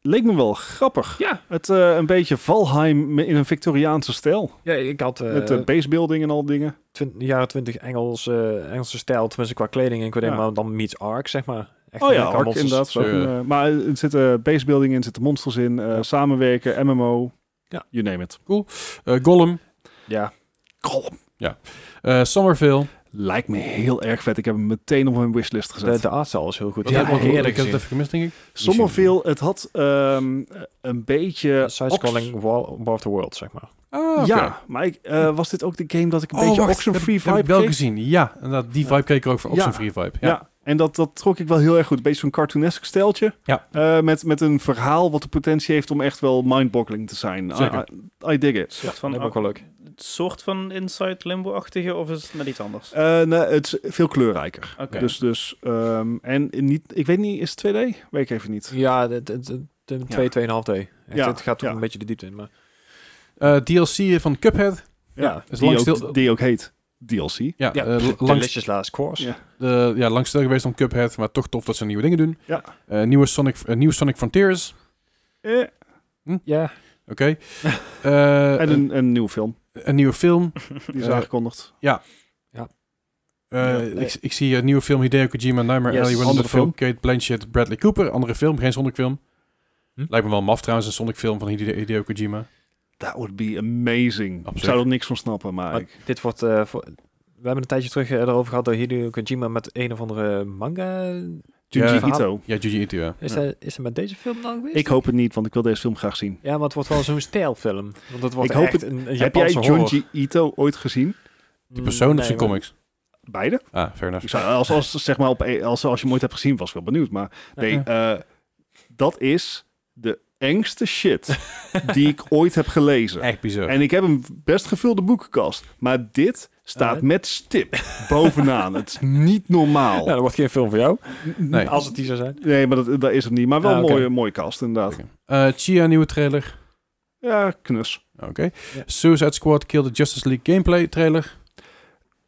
Speaker 3: Leek me wel grappig.
Speaker 4: Ja.
Speaker 3: Het eh, een beetje Valheim in een Victoriaanse stijl.
Speaker 2: ja, ik had eh
Speaker 3: Met eh, basebuilding en al die dingen.
Speaker 2: twin- jaren 20 Engels, eh, Engelse stijl. Tenminste, qua kleding en qua dingen.
Speaker 3: Ja.
Speaker 2: Maar dan meets Ark, zeg maar. Echt
Speaker 3: Oh ja,
Speaker 2: lekker
Speaker 3: Ark
Speaker 2: monsters.
Speaker 3: inderdaad. is ook een, eh, maar er zitten basebuilding in, er zitten monsters in. eh, Samenwerken, MMO.
Speaker 2: Ja.
Speaker 3: You name it.
Speaker 1: eh, Gollum.
Speaker 2: Ja.
Speaker 3: Gollum.
Speaker 1: eh, Somerville.
Speaker 3: Lijkt me heel erg vet. Ik heb hem meteen op mijn wishlist gezet.
Speaker 2: De, de artstyle is heel goed.
Speaker 1: Wat- wat-
Speaker 2: heerlijk
Speaker 1: Ik heb het
Speaker 2: gezien.
Speaker 1: even gemist, denk ik.
Speaker 3: Somerville, het had ehm, een beetje...
Speaker 2: Side-scrolling War, War of the World, zeg maar.
Speaker 1: Ah, oké.
Speaker 3: Ja, maar ik, eh, was dit ook de game dat ik een
Speaker 1: Oh,
Speaker 3: beetje
Speaker 1: wacht,
Speaker 3: Oxenfree
Speaker 1: dat heb
Speaker 3: vibe
Speaker 1: ik wel
Speaker 3: kreeg?
Speaker 1: gezien. Ja, inderdaad, die
Speaker 3: Ja.
Speaker 1: vibe keek er ook voor.
Speaker 3: Ja.
Speaker 1: Oxenfree vibe.
Speaker 3: Ja.
Speaker 1: Ja.
Speaker 3: en dat, dat trok ik wel heel erg goed. Een beetje zo'n cartoonesk steltje.
Speaker 1: Ja.
Speaker 3: Eh, met, met een verhaal wat de potentie heeft om echt wel mindboggling te zijn. I-
Speaker 1: Zeker.
Speaker 3: I, I dig it.
Speaker 4: Soort van
Speaker 2: dat heb ik
Speaker 4: ook
Speaker 2: ook wel leuk.
Speaker 4: soort van Inside Limbo-achtige of is het net iets anders?
Speaker 3: Eh, nee, het is veel kleurrijker.
Speaker 4: Oké.
Speaker 3: Dus, dus, ehm, en niet, ik weet niet, is het 2D? Weet ik even niet.
Speaker 2: Ja, het- het- het- het- twee, 2,5D. Echt,
Speaker 3: Ja,
Speaker 2: Het gaat toch
Speaker 3: ja.
Speaker 2: een beetje de diepte in, maar...
Speaker 1: Eh, DLC van Cuphead.
Speaker 2: Ja,
Speaker 1: is
Speaker 3: die,
Speaker 1: lang
Speaker 3: ook,
Speaker 1: stil-
Speaker 3: die ook heet DLC.
Speaker 1: Ja,
Speaker 2: Ja,
Speaker 1: eh,
Speaker 2: pff,
Speaker 1: langs,
Speaker 2: Delicious Last Course.
Speaker 3: Ja.
Speaker 1: eh, ja, lang stil geweest om Cuphead, maar toch tof dat ze nieuwe dingen doen.
Speaker 3: Ja.
Speaker 1: Eh, nieuwe Sonic, eh, nieuwe Sonic Frontiers.
Speaker 3: Eh,
Speaker 2: Ja.
Speaker 1: Oké. Eh,
Speaker 3: en
Speaker 1: een,
Speaker 3: een, een nieuwe film,
Speaker 1: een nieuwe film.
Speaker 3: die is
Speaker 1: Eh,
Speaker 3: aangekondigd.
Speaker 1: Eh,
Speaker 3: Ja,
Speaker 1: ik, ik zie een nieuwe film Hideo Kojima, Nightmare
Speaker 3: Yes,
Speaker 1: Alley, Willem
Speaker 3: andere
Speaker 1: Dafoe,
Speaker 3: film.
Speaker 1: Kate Blanchett, Bradley Cooper. Andere film, geen Sonic film.
Speaker 2: Hm?
Speaker 1: Lijkt me wel maf trouwens, een Sonic film van Hideo, Hideo Kojima.
Speaker 3: That would be amazing.
Speaker 1: Absoluut.
Speaker 3: Ik zou er niks van snappen, maar...
Speaker 2: Maar
Speaker 3: ik-
Speaker 2: dit wordt... eh, voor- we hebben een tijdje terug eh, erover gehad door Hideo Kojima met een of andere manga.
Speaker 3: Junji
Speaker 1: Ja.
Speaker 3: Ito.
Speaker 1: Ja, Juji Ito, ja.
Speaker 2: Is,
Speaker 3: Ja.
Speaker 2: dat, is dat met deze film dan geweest?
Speaker 3: Ik hoop het niet, want ik wil deze film graag zien.
Speaker 2: Ja, maar het wordt wel zo'n stijlfilm. Want het wordt
Speaker 3: Ik hoop
Speaker 2: echt
Speaker 3: het-
Speaker 2: een, een
Speaker 3: Heb jij
Speaker 2: Japanse horror.
Speaker 3: Junji Ito ooit gezien?
Speaker 1: Die persoon
Speaker 2: Mm,
Speaker 1: of zijn
Speaker 2: nee, maar-
Speaker 1: comics?
Speaker 3: Beide?
Speaker 1: Ah, fair enough.
Speaker 3: Ik zou, als, als, zeg maar op, e- als, als je hem ooit hebt gezien, was ik wel benieuwd. Maar nee, eh, dat is de engste shit die ik ooit heb gelezen.
Speaker 1: Echt bizar.
Speaker 3: En ik heb een best gevulde boekenkast. Maar dit staat
Speaker 2: Eh?
Speaker 3: met stip bovenaan. Het is niet
Speaker 2: Ja,
Speaker 3: normaal.
Speaker 2: dat wordt geen film voor jou.
Speaker 1: nee.
Speaker 2: Als het die zou zijn.
Speaker 3: Nee, maar dat, dat is het niet. Maar wel
Speaker 2: Ah,
Speaker 3: een
Speaker 2: oké.
Speaker 3: mooie, mooie kast, inderdaad.
Speaker 1: Eh, Chia, nieuwe trailer.
Speaker 3: Ja, knus.
Speaker 1: Oké.
Speaker 2: Ja.
Speaker 1: Suicide Squad Kill the Justice League gameplay trailer.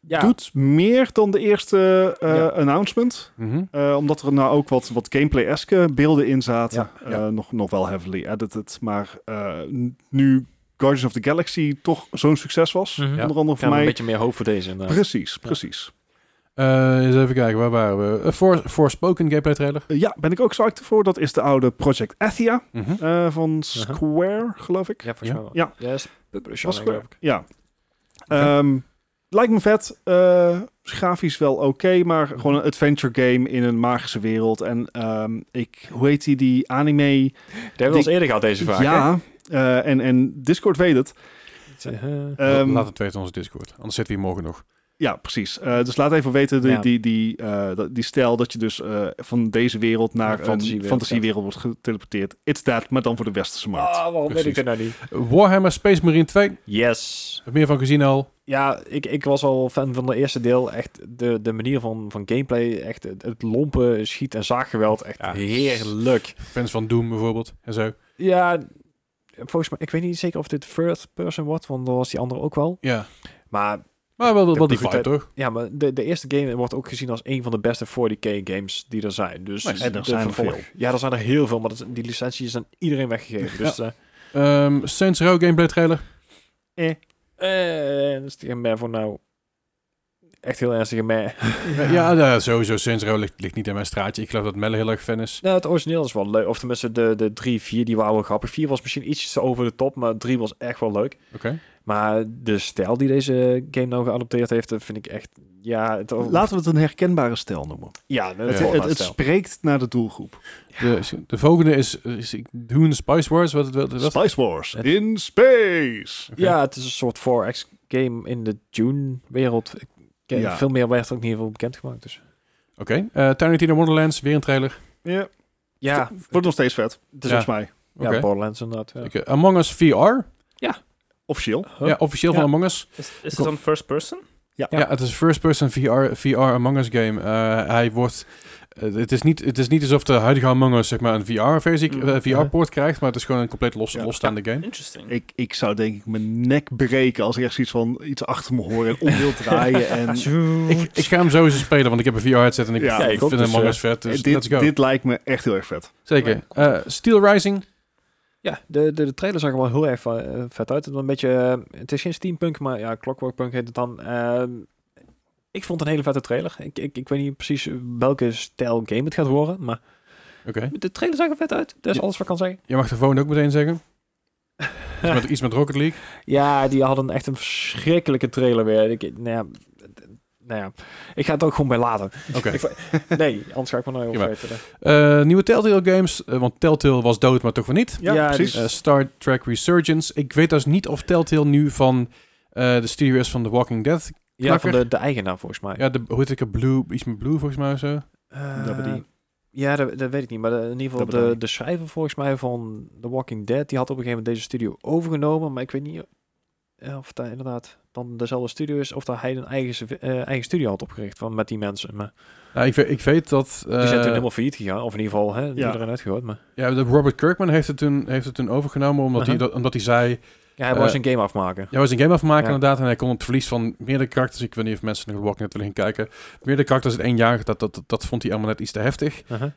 Speaker 2: Ja.
Speaker 3: Doet meer dan de eerste eh,
Speaker 2: Ja.
Speaker 3: announcement.
Speaker 1: Mhm.
Speaker 3: Eh, omdat er nou ook wat, wat gameplay-eske beelden in zaten.
Speaker 1: Ja.
Speaker 3: Eh, nog, nog wel heavily edited. Maar eh, n- nu Guardians of the Galaxy toch zo'n succes was.
Speaker 2: Mhm.
Speaker 3: Onder andere
Speaker 2: Ik
Speaker 3: voor
Speaker 2: heb een
Speaker 3: mij.
Speaker 2: beetje meer hoop voor deze. inderdaad.
Speaker 3: Precies, precies.
Speaker 1: Eh, eens even kijken, waar waren we? Eh, For, Forspoken gameplay trailer.
Speaker 3: Eh, ja, ben ik ook psyched voor. Dat is de oude Project Athia
Speaker 1: Mhm.
Speaker 3: eh, van Square, geloof ik.
Speaker 2: Uh-huh. Ja, volgens mij wel.
Speaker 3: Ja.
Speaker 2: Ja, is publisher,
Speaker 3: Was
Speaker 2: geloof ik.
Speaker 3: Ja. Ehm, lijkt me vet. Eh, grafisch wel oké, maar gewoon een adventure game in een magische wereld. En ehm, ik, hoe heet die, die anime?
Speaker 2: Die hebben we al eens eerder gehad, deze vraag. hè?
Speaker 3: ja, eh, en, en Discord weet het.
Speaker 2: Eh,
Speaker 3: Ehm,
Speaker 1: Laat het weten in onze Discord. Anders zitten we hier morgen nog.
Speaker 3: Ja, precies. Eh, dus laat even weten, die,
Speaker 2: Ja.
Speaker 3: die, die, eh, dat- die stijl dat je dus eh, van deze wereld naar
Speaker 2: Naar
Speaker 3: een
Speaker 2: fantasiewereld,
Speaker 3: fantasiewereld wordt geteleporteerd. It's that, maar dan voor de westerse markt.
Speaker 2: Ah, waarom weet
Speaker 1: Precies.
Speaker 2: ik dat nou niet?
Speaker 1: Warhammer Space Marine 2. Heb
Speaker 2: Yes.
Speaker 1: je meer van gezien al.
Speaker 2: Ja, ik, ik was al fan van de eerste deel. Echt de, de manier van, van gameplay. Echt het, het lompe schiet- en zaaggeweld. Echt
Speaker 1: Ja.
Speaker 2: heerlijk.
Speaker 1: Fans van Doom bijvoorbeeld. En zo.
Speaker 2: Ja, volgens mij... Ik weet niet zeker of dit first person wordt. Want dat was die andere ook wel.
Speaker 1: Ja.
Speaker 2: Maar
Speaker 1: Maar wel, wel, wel die
Speaker 2: Goed,
Speaker 1: vibe, toch?
Speaker 2: ja, maar de, de eerste game wordt ook gezien als een van de beste 40k games die er zijn. Dus
Speaker 1: Nice.
Speaker 3: En er
Speaker 2: de
Speaker 3: zijn er
Speaker 2: vervolg-
Speaker 3: veel.
Speaker 2: Ja, er zijn er heel veel. Maar dat, is- die licenties zijn iedereen weggegeven. Dus... eh,
Speaker 1: Ehm Saints Row gameplay trailer.
Speaker 2: Eh, dat is tegen mij voor nou. Echt heel ernstig in mij.
Speaker 3: Ah,
Speaker 1: Ja, ja, sowieso. Saints Row ligt, ligt niet in mijn straatje. Ik geloof dat Melle heel erg fan is.
Speaker 2: Nou, het origineel is wel leuk. Of tenminste, de, de 3, 4, die waren wel grappig. 4 was misschien iets te over de top, maar 3 was echt wel leuk.
Speaker 1: Oké.
Speaker 2: Maar de stijl die deze game nou geadopteerd heeft, dat vind ik echt... Ja, het,
Speaker 3: Oh. Laten we het een herkenbare stijl noemen.
Speaker 2: ja, dat
Speaker 1: het-
Speaker 2: is
Speaker 3: Het,
Speaker 2: wel
Speaker 3: het,
Speaker 2: een
Speaker 3: het
Speaker 2: stijl.
Speaker 3: spreekt naar de doelgroep.
Speaker 1: De, de volgende is, is Dune Spice Wars. Wat, wat, wat,
Speaker 3: Spice Wars in space.
Speaker 1: Oké.
Speaker 2: Ja, het is een soort 4X game in de Dune-wereld. Ik ken-
Speaker 3: Ja.
Speaker 2: Veel meer werd er ook niet heel veel bekendgemaakt. Dus.
Speaker 1: Oké. Eh, Tiny Tina Wonderlands. Weer een trailer.
Speaker 3: Ja,
Speaker 2: Ja,
Speaker 3: wordt nog steeds vet,
Speaker 2: het is
Speaker 1: Ja.
Speaker 2: ook-
Speaker 3: volgens mij.
Speaker 2: ja,
Speaker 1: Oké.
Speaker 2: Borderlands inderdaad. Ja.
Speaker 1: Oké, eh, Among Us VR.
Speaker 3: Officieel.
Speaker 2: Huh?
Speaker 1: Ja, officieel
Speaker 2: Ja.
Speaker 1: van Among Us.
Speaker 4: Is, is het dan first person?
Speaker 1: Ja.
Speaker 2: Ja.
Speaker 1: het is first-person VR, VR Among Us game. Eh, hij wordt... eh, het, is niet, het is niet alsof de huidige Among Us zeg maar, een VR-versie,
Speaker 4: Mm.
Speaker 1: VR-poort krijgt, maar het is gewoon een compleet los,
Speaker 3: Ja.
Speaker 1: losstaande game.
Speaker 4: Interesting.
Speaker 3: Ik, ik zou denk ik mijn nek breken als ik echt zoiets van iets achter me hoor en om wil draaien. En
Speaker 4: Dus
Speaker 1: Ik, ik ga hem sowieso spelen, want ik heb een VR-headset en ik
Speaker 3: Ja, ik
Speaker 1: vind
Speaker 2: ook, dus,
Speaker 1: Among
Speaker 2: eh,
Speaker 1: Us vet, dus let's
Speaker 3: dit,
Speaker 1: go.
Speaker 3: dit lijkt me echt heel erg vet.
Speaker 1: Zeker. Eh, Steel Rising.
Speaker 2: Ja, de, de, de trailer zag er wel heel erg va- eh, vet uit. Het, was een beetje, eh, het is geen steampunk, maar ja, clockwork punk heet het dan. Ehm, ik vond het een hele vette trailer. Ik, ik, ik weet niet precies welke stijl game het gaat worden, maar
Speaker 1: Oké.
Speaker 2: de trailer zag er vet uit. Dat is
Speaker 1: Ja.
Speaker 2: alles wat ik kan zeggen.
Speaker 1: Je mag de volgende ook meteen zeggen. Iets met, iets met Rocket League.
Speaker 2: Ja, die hadden echt een verschrikkelijke trailer weer. Ik, nou, ja, d- nou ja, ik ga het ook gewoon bij laten.
Speaker 1: Oké.
Speaker 2: Ik vo- nee, anders ga ik me nou heel
Speaker 1: Jawel.
Speaker 2: vergeten.
Speaker 1: Eh, nieuwe Telltale games, eh, want Telltale was dood, maar toch weer niet.
Speaker 3: Ja,
Speaker 2: Ja,
Speaker 3: precies.
Speaker 2: dus-
Speaker 1: Eh, Star Trek Resurgence. Ik weet dus niet of Telltale nu van eh, de studio is van The Walking Dead.
Speaker 2: Ja, van
Speaker 1: Knakker.
Speaker 2: de, de eigenaar volgens mij.
Speaker 1: Ja, de, hoe heet ik het? Blue, iets met Blue volgens mij of zo.
Speaker 2: Eh,
Speaker 3: Dat bedoel-
Speaker 2: ja, dat, dat weet ik niet. Maar de- in ieder geval,
Speaker 3: Dat bedoel
Speaker 2: de,
Speaker 3: ik.
Speaker 2: de schrijver volgens mij van The Walking Dead, die had op een gegeven moment deze studio overgenomen. Maar ik weet niet eh, of dat inderdaad dan dezelfde studio is, of dat hij een eigen, serv- eh, eigen studio had opgericht van, met die mensen. Maar
Speaker 1: Nou, ik, weet, ik weet dat...
Speaker 2: die zijn
Speaker 1: eh,
Speaker 2: toen helemaal failliet gegaan, of in ieder geval, hè,
Speaker 3: Ja.
Speaker 2: iedereen uitgehoord. Maar
Speaker 1: ja, de Robert Kirkman heeft het toen, heeft het toen overgenomen omdat,
Speaker 2: Aha.
Speaker 1: hij, dat, omdat hij zei...
Speaker 2: ja, hij
Speaker 1: Eh,
Speaker 2: wou zijn game afmaken.
Speaker 1: Jij was een game afmaken
Speaker 2: Ja.
Speaker 1: inderdaad en hij kon het verlies van meerdere karakters... Ik weet niet of mensen naar de Walking Dead willen gaan kijken. Meerdere karakters in één jaar, dat, dat, dat, dat vond hij allemaal net iets te heftig.
Speaker 2: Uh-huh.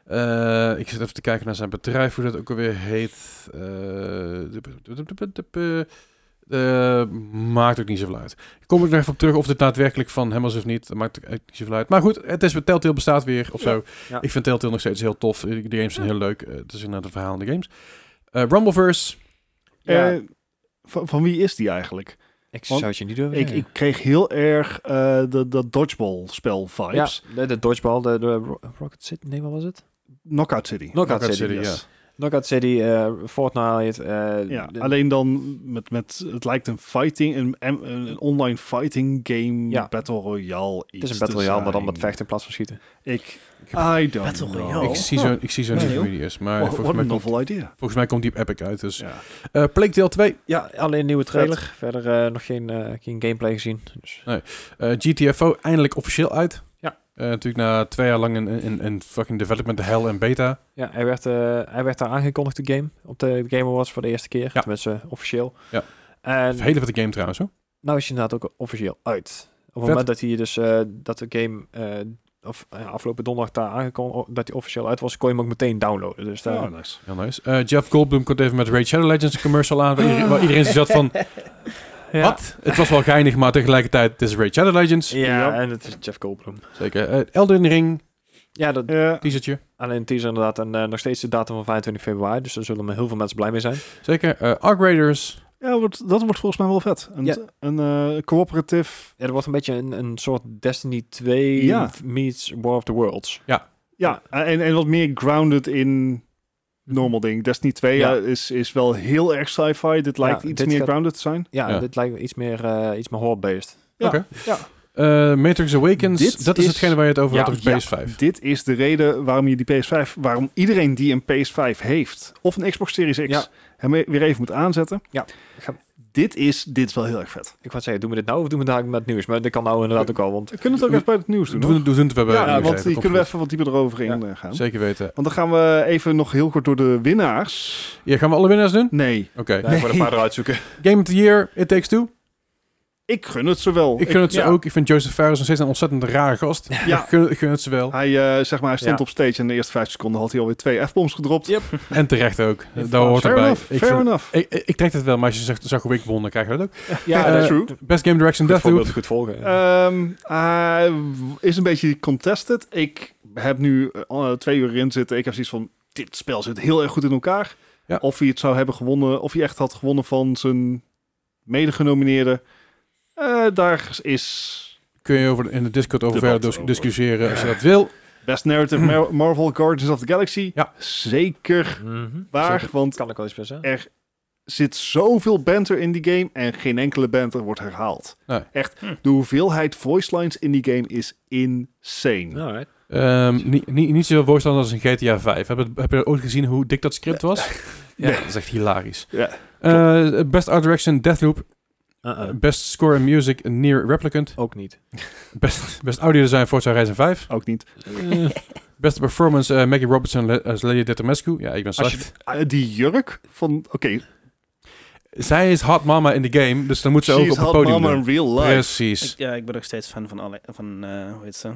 Speaker 1: Eh, ik zit even te kijken naar zijn bedrijf, hoe dat ook alweer heet. Eh, dup- dup- dup- dup- dup- eh, eh, maakt ook niet zoveel uit. Kom ik nog even op terug of dit daadwerkelijk van hem was of niet. Dat maakt ook niet zoveel uit. Maar goed, het is Telltale bestaat weer of zo.
Speaker 2: Ja.
Speaker 1: Ik vind Telltale nog steeds heel tof. Eh, De games zijn heel leuk. Eh, Het is inderdaad een verhaal in de games. Eh, Rumbleverse.
Speaker 4: Ja.
Speaker 3: Eh, van, van wie is die eigenlijk?
Speaker 2: Ik
Speaker 3: want
Speaker 2: zou het je niet durven
Speaker 3: Ik,
Speaker 2: zeggen.
Speaker 3: ik kreeg heel erg eh dat, dat dodgeball-spel
Speaker 2: ja,
Speaker 3: vibes.
Speaker 2: de, de dodgeball, de, de Ro- Rocket City, nee, wat was het?
Speaker 3: Knockout City.
Speaker 2: Knockout,
Speaker 1: Knockout
Speaker 2: City,
Speaker 1: City,
Speaker 2: yes. Knockout City, eh, Fortnite. eh,
Speaker 3: Ja,
Speaker 2: de-
Speaker 3: alleen dan met, met, het lijkt een fighting, een, een, een online fighting game,
Speaker 2: Ja.
Speaker 3: Battle Royale.
Speaker 2: het is een Battle Royale, maar dan met vechten in plaats van schieten.
Speaker 3: Ik, I don't
Speaker 4: Battle
Speaker 3: know.
Speaker 4: Royale?
Speaker 1: Oh, Ik zie zo, ik zie zo niet
Speaker 4: Nee,
Speaker 1: hoe
Speaker 4: joh.
Speaker 1: die is. Maar
Speaker 3: Wa-
Speaker 1: volgens,
Speaker 3: What a
Speaker 1: mij komt,
Speaker 3: novel idea.
Speaker 1: volgens mij komt die op Epic uit. Dus.
Speaker 3: Ja.
Speaker 1: Eh, Plague Tale 2.
Speaker 2: Ja, alleen nieuwe trailer. Verder eh, nog geen, eh, geen gameplay gezien. Dus.
Speaker 1: Eh, GTFO eindelijk officieel uit.
Speaker 2: Ja.
Speaker 1: Eh, natuurlijk na twee jaar lang in, in, in fucking development hell en beta.
Speaker 2: Ja, hij werd, eh, hij werd daar aangekondigd, de game. Op de Game Awards voor de eerste keer.
Speaker 1: Ja.
Speaker 2: Tenminste, eh, officieel.
Speaker 1: Ja.
Speaker 2: En
Speaker 1: Een hele vette game trouwens hoor.
Speaker 2: nou is hij inderdaad ook officieel uit. Op het
Speaker 1: Vet.
Speaker 2: moment dat hij dus eh, dat de game eh, of, eh, afgelopen donderdag daar aangekondigd dat hij officieel uit was, kon je hem ook meteen downloaden. Dus daar,
Speaker 3: Oh, nice.
Speaker 1: Heel nice. Eh, Jeff Goldblum komt even met Raid Shadow Legends een commercial aan. Waar iedereen, waar iedereen zo zat van,
Speaker 2: ja.
Speaker 1: wat? Het was wel geinig, maar tegelijkertijd, het is Raid Shadow Legends.
Speaker 2: Ja, en het is Jeff Goldblum.
Speaker 1: Zeker. Eh, Elden Ring,
Speaker 2: Ja, dat,
Speaker 3: Ja,
Speaker 1: teasertje.
Speaker 2: alleen teaser inderdaad. En eh, nog steeds de datum van 25 februari. Dus daar zullen heel veel mensen blij mee zijn.
Speaker 1: Zeker. Eh Arc Raiders.
Speaker 3: ja wordt, dat wordt volgens mij wel vet. Een,
Speaker 2: Ja.
Speaker 3: een eh coöperatief,
Speaker 2: Ja, er wordt een beetje een, een soort Destiny 2
Speaker 3: Ja.
Speaker 2: meets War of the Worlds.
Speaker 3: ja, eh, en, en wat meer grounded in normal ding. Destiny 2
Speaker 2: Ja.
Speaker 3: ja. is, is wel heel erg sci-fi. Dit lijkt iets
Speaker 2: dit
Speaker 3: meer
Speaker 2: gaat-
Speaker 3: grounded te zijn.
Speaker 2: Ja,
Speaker 1: Ja.
Speaker 2: dit lijkt me iets meer, eh, iets meer horror-based.
Speaker 3: Ja.
Speaker 1: Oké.
Speaker 3: Ja.
Speaker 1: Eh, Matrix Awakens.
Speaker 3: Dit
Speaker 1: dat is,
Speaker 3: is-
Speaker 1: hetgene waar je het over
Speaker 2: Ja,
Speaker 1: had op
Speaker 3: ja.
Speaker 1: PS5.
Speaker 3: Dit is de reden waarom je die PS5, waarom iedereen die een PS5 heeft of een Xbox Series X
Speaker 2: Ja.
Speaker 3: hem e- weer even moet aanzetten.
Speaker 2: Ja. Ga-
Speaker 3: Dit is, dit is wel heel erg vet.
Speaker 2: Ik wou zeggen, doen we dit nou of doen we daar met het nieuws? Maar dat kan nou inderdaad ook al, want...
Speaker 3: We kunnen het ook even bij het nieuws doen.
Speaker 1: Doen, doen, doen,
Speaker 3: hoor.
Speaker 1: doen, we hebben
Speaker 3: Ja,
Speaker 1: nieuws
Speaker 3: want
Speaker 1: even, eh,
Speaker 3: die
Speaker 1: komt
Speaker 3: kunnen we
Speaker 1: goed.
Speaker 3: even wat dieper erover in eh, gaan.
Speaker 1: Zeker weten.
Speaker 3: Want dan gaan we even nog heel kort door de winnaars.
Speaker 1: Ja, gaan we alle winnaars doen?
Speaker 3: Nee,
Speaker 1: Oké.
Speaker 2: Nee, ik wou een eh, paar eruit zoeken.
Speaker 1: Game of the Year, It Takes Two.
Speaker 3: ik gun het ze wel.
Speaker 1: Ik gun het ze
Speaker 3: ja.
Speaker 1: ook. Ik vind Joseph Fares nog steeds een ontzettend rare gast.
Speaker 3: Ja.
Speaker 1: Ik, gun, ik gun het ze wel.
Speaker 3: Hij, eh, zeg maar, hij stond
Speaker 2: Ja.
Speaker 3: op stage en in de eerste vijf seconden had hij alweer twee F-bombs gedropt.
Speaker 2: Ja.
Speaker 1: En terecht ook. Daar hoort
Speaker 3: fair
Speaker 1: erbij.
Speaker 3: enough,
Speaker 1: ik,
Speaker 3: fair
Speaker 1: vind-
Speaker 3: enough.
Speaker 1: ik, ik, ik trek het wel, maar als je zegt, zag hoe ik won, dan krijg je dat ook.
Speaker 3: Ja,
Speaker 1: Eh,
Speaker 3: true.
Speaker 1: Best Game Direction
Speaker 2: Goed
Speaker 1: Deathloop.
Speaker 2: voorbeeld, goed volgen.
Speaker 3: Ehm, hij w- is een beetje contested. Ik heb nu eh, al twee uur in zitten. Ik heb zoiets van, dit spel zit heel erg goed in elkaar.
Speaker 1: Ja.
Speaker 3: Of hij het zou hebben gewonnen, of hij echt had gewonnen van zijn mede-genomineerde. Eh, daar is
Speaker 1: Kun je over, in de Discord over
Speaker 5: Debat
Speaker 1: verder dus-
Speaker 5: over.
Speaker 1: discussiëren als je dat wil.
Speaker 3: Best Narrative Mar- Marvel Guardians of the Galaxy.
Speaker 1: Ja.
Speaker 3: Zeker
Speaker 2: Mhm.
Speaker 3: waar,
Speaker 1: Zeker.
Speaker 3: want
Speaker 2: Kan ik wel eens best, hè?
Speaker 3: er zit zoveel banter in die game en geen enkele banter wordt herhaald.
Speaker 1: Nee.
Speaker 3: Echt,
Speaker 4: Hm.
Speaker 3: de hoeveelheid voice lines in die game is insane.
Speaker 2: Alright.
Speaker 1: Ehm, niet, niet, niet zoveel voorstander als een GTA 5. Heb, je- heb je ooit gezien hoe dik dat script was? Ja, dat is echt hilarisch.
Speaker 3: Ja.
Speaker 1: Eh, best Art Direction Deathloop.
Speaker 2: Uh-uh.
Speaker 1: Best Score and Music Near Replicant.
Speaker 2: Ook niet.
Speaker 1: Best, best Audio Design Forza Horizon 5.
Speaker 3: Ook niet.
Speaker 1: Eh, beste performance eh, Maggie Robertson le- als Lady Detamescu. Ja, ik ben
Speaker 3: Als
Speaker 1: slecht.
Speaker 3: je, eh, die jurk van, oké,
Speaker 1: Zij is hot mama in de game, dus dan moet ze ook
Speaker 3: she's
Speaker 1: op het
Speaker 3: hot
Speaker 1: podium.
Speaker 3: mama
Speaker 1: doen.
Speaker 3: in real life.
Speaker 1: Precies.
Speaker 4: Ik, ja, ik ben nog steeds fan van, Ale van eh, hoe heet ze? Eh,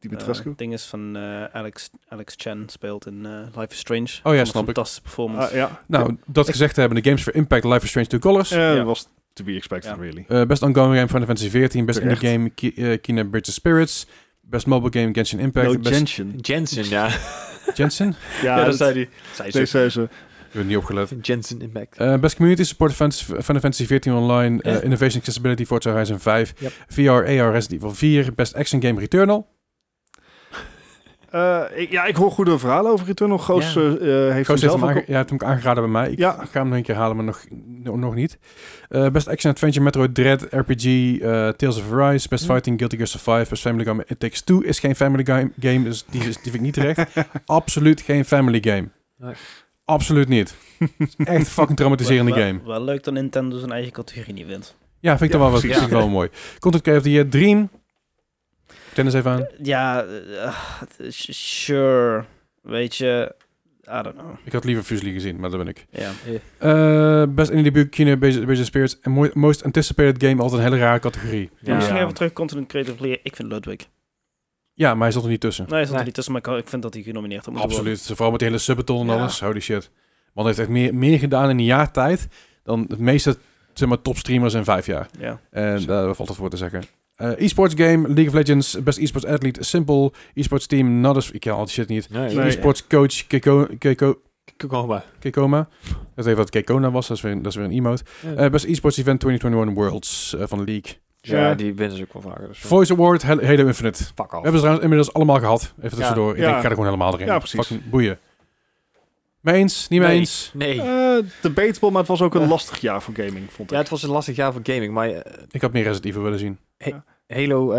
Speaker 3: Dimitrescu.
Speaker 4: het ding is van eh, Alex, Alex Chen speelt in eh, Life is Strange.
Speaker 1: Oh ja,
Speaker 4: Een
Speaker 1: snap ik.
Speaker 4: Fantastische performance.
Speaker 3: Ah, ja.
Speaker 1: Nou, dat gezegd hebben, de Games for Impact, Life is Strange Two Colors.
Speaker 3: Eh, dat
Speaker 4: ja.
Speaker 3: was to be expected,
Speaker 4: Ja.
Speaker 3: really.
Speaker 1: Eh, best ongoing game Final Fantasy 14, best
Speaker 3: Terecht.
Speaker 1: indie game Ki eh, Kina Bridge of Spirits, best mobile game Genshin Impact,
Speaker 3: No,
Speaker 1: best
Speaker 3: Genshin.
Speaker 2: Jensen, ja.
Speaker 1: Jensen,
Speaker 3: Ja,
Speaker 2: ja, dat
Speaker 3: dat-
Speaker 2: zei hij. Zei ze.
Speaker 3: deze zei ze.
Speaker 1: ik heb niet opgelet.
Speaker 2: ook. Jensen Impact.
Speaker 1: Eh, best community support Fantasy- Final Fantasy 14 online, eh,
Speaker 2: Ja.
Speaker 1: innovation accessibility Forza Horizon 5,
Speaker 2: Yep.
Speaker 1: VR AR Resident Evil 4, E best action game Returnal.
Speaker 3: Eh, ik- ja, ik hoor goede verhalen over Returnal. Goos
Speaker 2: Ja.
Speaker 3: eh, eh, heeft
Speaker 1: Ik heeft
Speaker 3: zelf
Speaker 1: hem
Speaker 3: ook...
Speaker 1: aange- ja, heeft hem ook aangeraden bij mij. Ik
Speaker 3: Ja.
Speaker 1: ga hem nog een keer halen, maar nog, no- nog niet. Eh, best Action Adventure, Metroid Dread, RPG, eh, Tales of Arise, Best
Speaker 3: Mhm.
Speaker 2: Hmm.
Speaker 1: Fighting, Guilty Gear Survive, Best Family Game. It Takes Two is geen family game, game dus die, is- die vind ik niet terecht. Absoluut geen family game.
Speaker 2: Nee.
Speaker 1: Absoluut niet. Echt fucking traumatiserende
Speaker 4: Wel-
Speaker 1: game.
Speaker 4: Wel, wel leuk dat Nintendo zijn eigen categorie niet wint.
Speaker 1: Ja, vind ik dan
Speaker 3: Ja,
Speaker 1: wel, wat,
Speaker 3: precies.
Speaker 1: vind ik wel mooi. Content Key of the Year, Dream. Ken eens even aan.
Speaker 4: Ja, eh, ah, s- sure. Weet je, I don't know.
Speaker 1: Ik had liever Fusely gezien, maar dat ben ik.
Speaker 4: Ja.
Speaker 1: Eh, best Indie Debut, Kino, Basic Spirits. En mo- Most Anticipated Game, altijd een hele rare categorie.
Speaker 2: Ja.
Speaker 4: Misschien even terug, Continent Creative Leader. Ik vind Ludwig.
Speaker 1: Ja, maar hij zat er niet tussen.
Speaker 4: Nee, hij zat
Speaker 2: Nee.
Speaker 4: er niet tussen, maar ik- ik vind dat hij genomineerd had moeten
Speaker 1: Absoluut. Vooral met die hele subbeton en
Speaker 2: Ja.
Speaker 1: alles. Holy shit. Want hij heeft echt meer, meer gedaan in een jaar tijd dan het meeste zeg maar, topstreamers in vijf jaar.
Speaker 4: worden. Ja.
Speaker 1: En daar valt het voor te zeggen. Eh, esports game, League of Legends, best esports athlete, Simple, esports team, Nodus, ik ken al die shit niet.
Speaker 2: Nee,
Speaker 3: Nee.
Speaker 1: Esports coach, Keiko, Keiko,
Speaker 2: Ik ook al bij.
Speaker 1: Keikoma. Dat heeft wat Keikona was, dat is weer, dat is weer een emote.
Speaker 2: Ja.
Speaker 1: Eh, best esports event 2021 Worlds eh, van de League.
Speaker 2: Ja,
Speaker 3: Ja.
Speaker 2: die winnen ze ook wel vaker. Dus
Speaker 1: Voice Award, Hel- Halo Infinite.
Speaker 2: fuck
Speaker 1: We
Speaker 2: off.
Speaker 1: hebben ze trouwens inmiddels allemaal gehad. Even
Speaker 2: Ja.
Speaker 1: tussendoor. Ik
Speaker 3: Ja.
Speaker 1: denk, ik ga er gewoon helemaal erin.
Speaker 3: Ja, precies.
Speaker 1: Fucking boeien. Mee eens? Niet mee
Speaker 2: Nee.
Speaker 1: eens?
Speaker 2: Nee.
Speaker 3: Eh, debatable, maar het was ook een
Speaker 2: Ja.
Speaker 3: lastig jaar voor gaming, vond
Speaker 2: Ja,
Speaker 3: ik.
Speaker 2: het was een lastig jaar voor gaming, maar eh,
Speaker 1: Ik had meer Resident Evil willen zien.
Speaker 2: Halo, eh,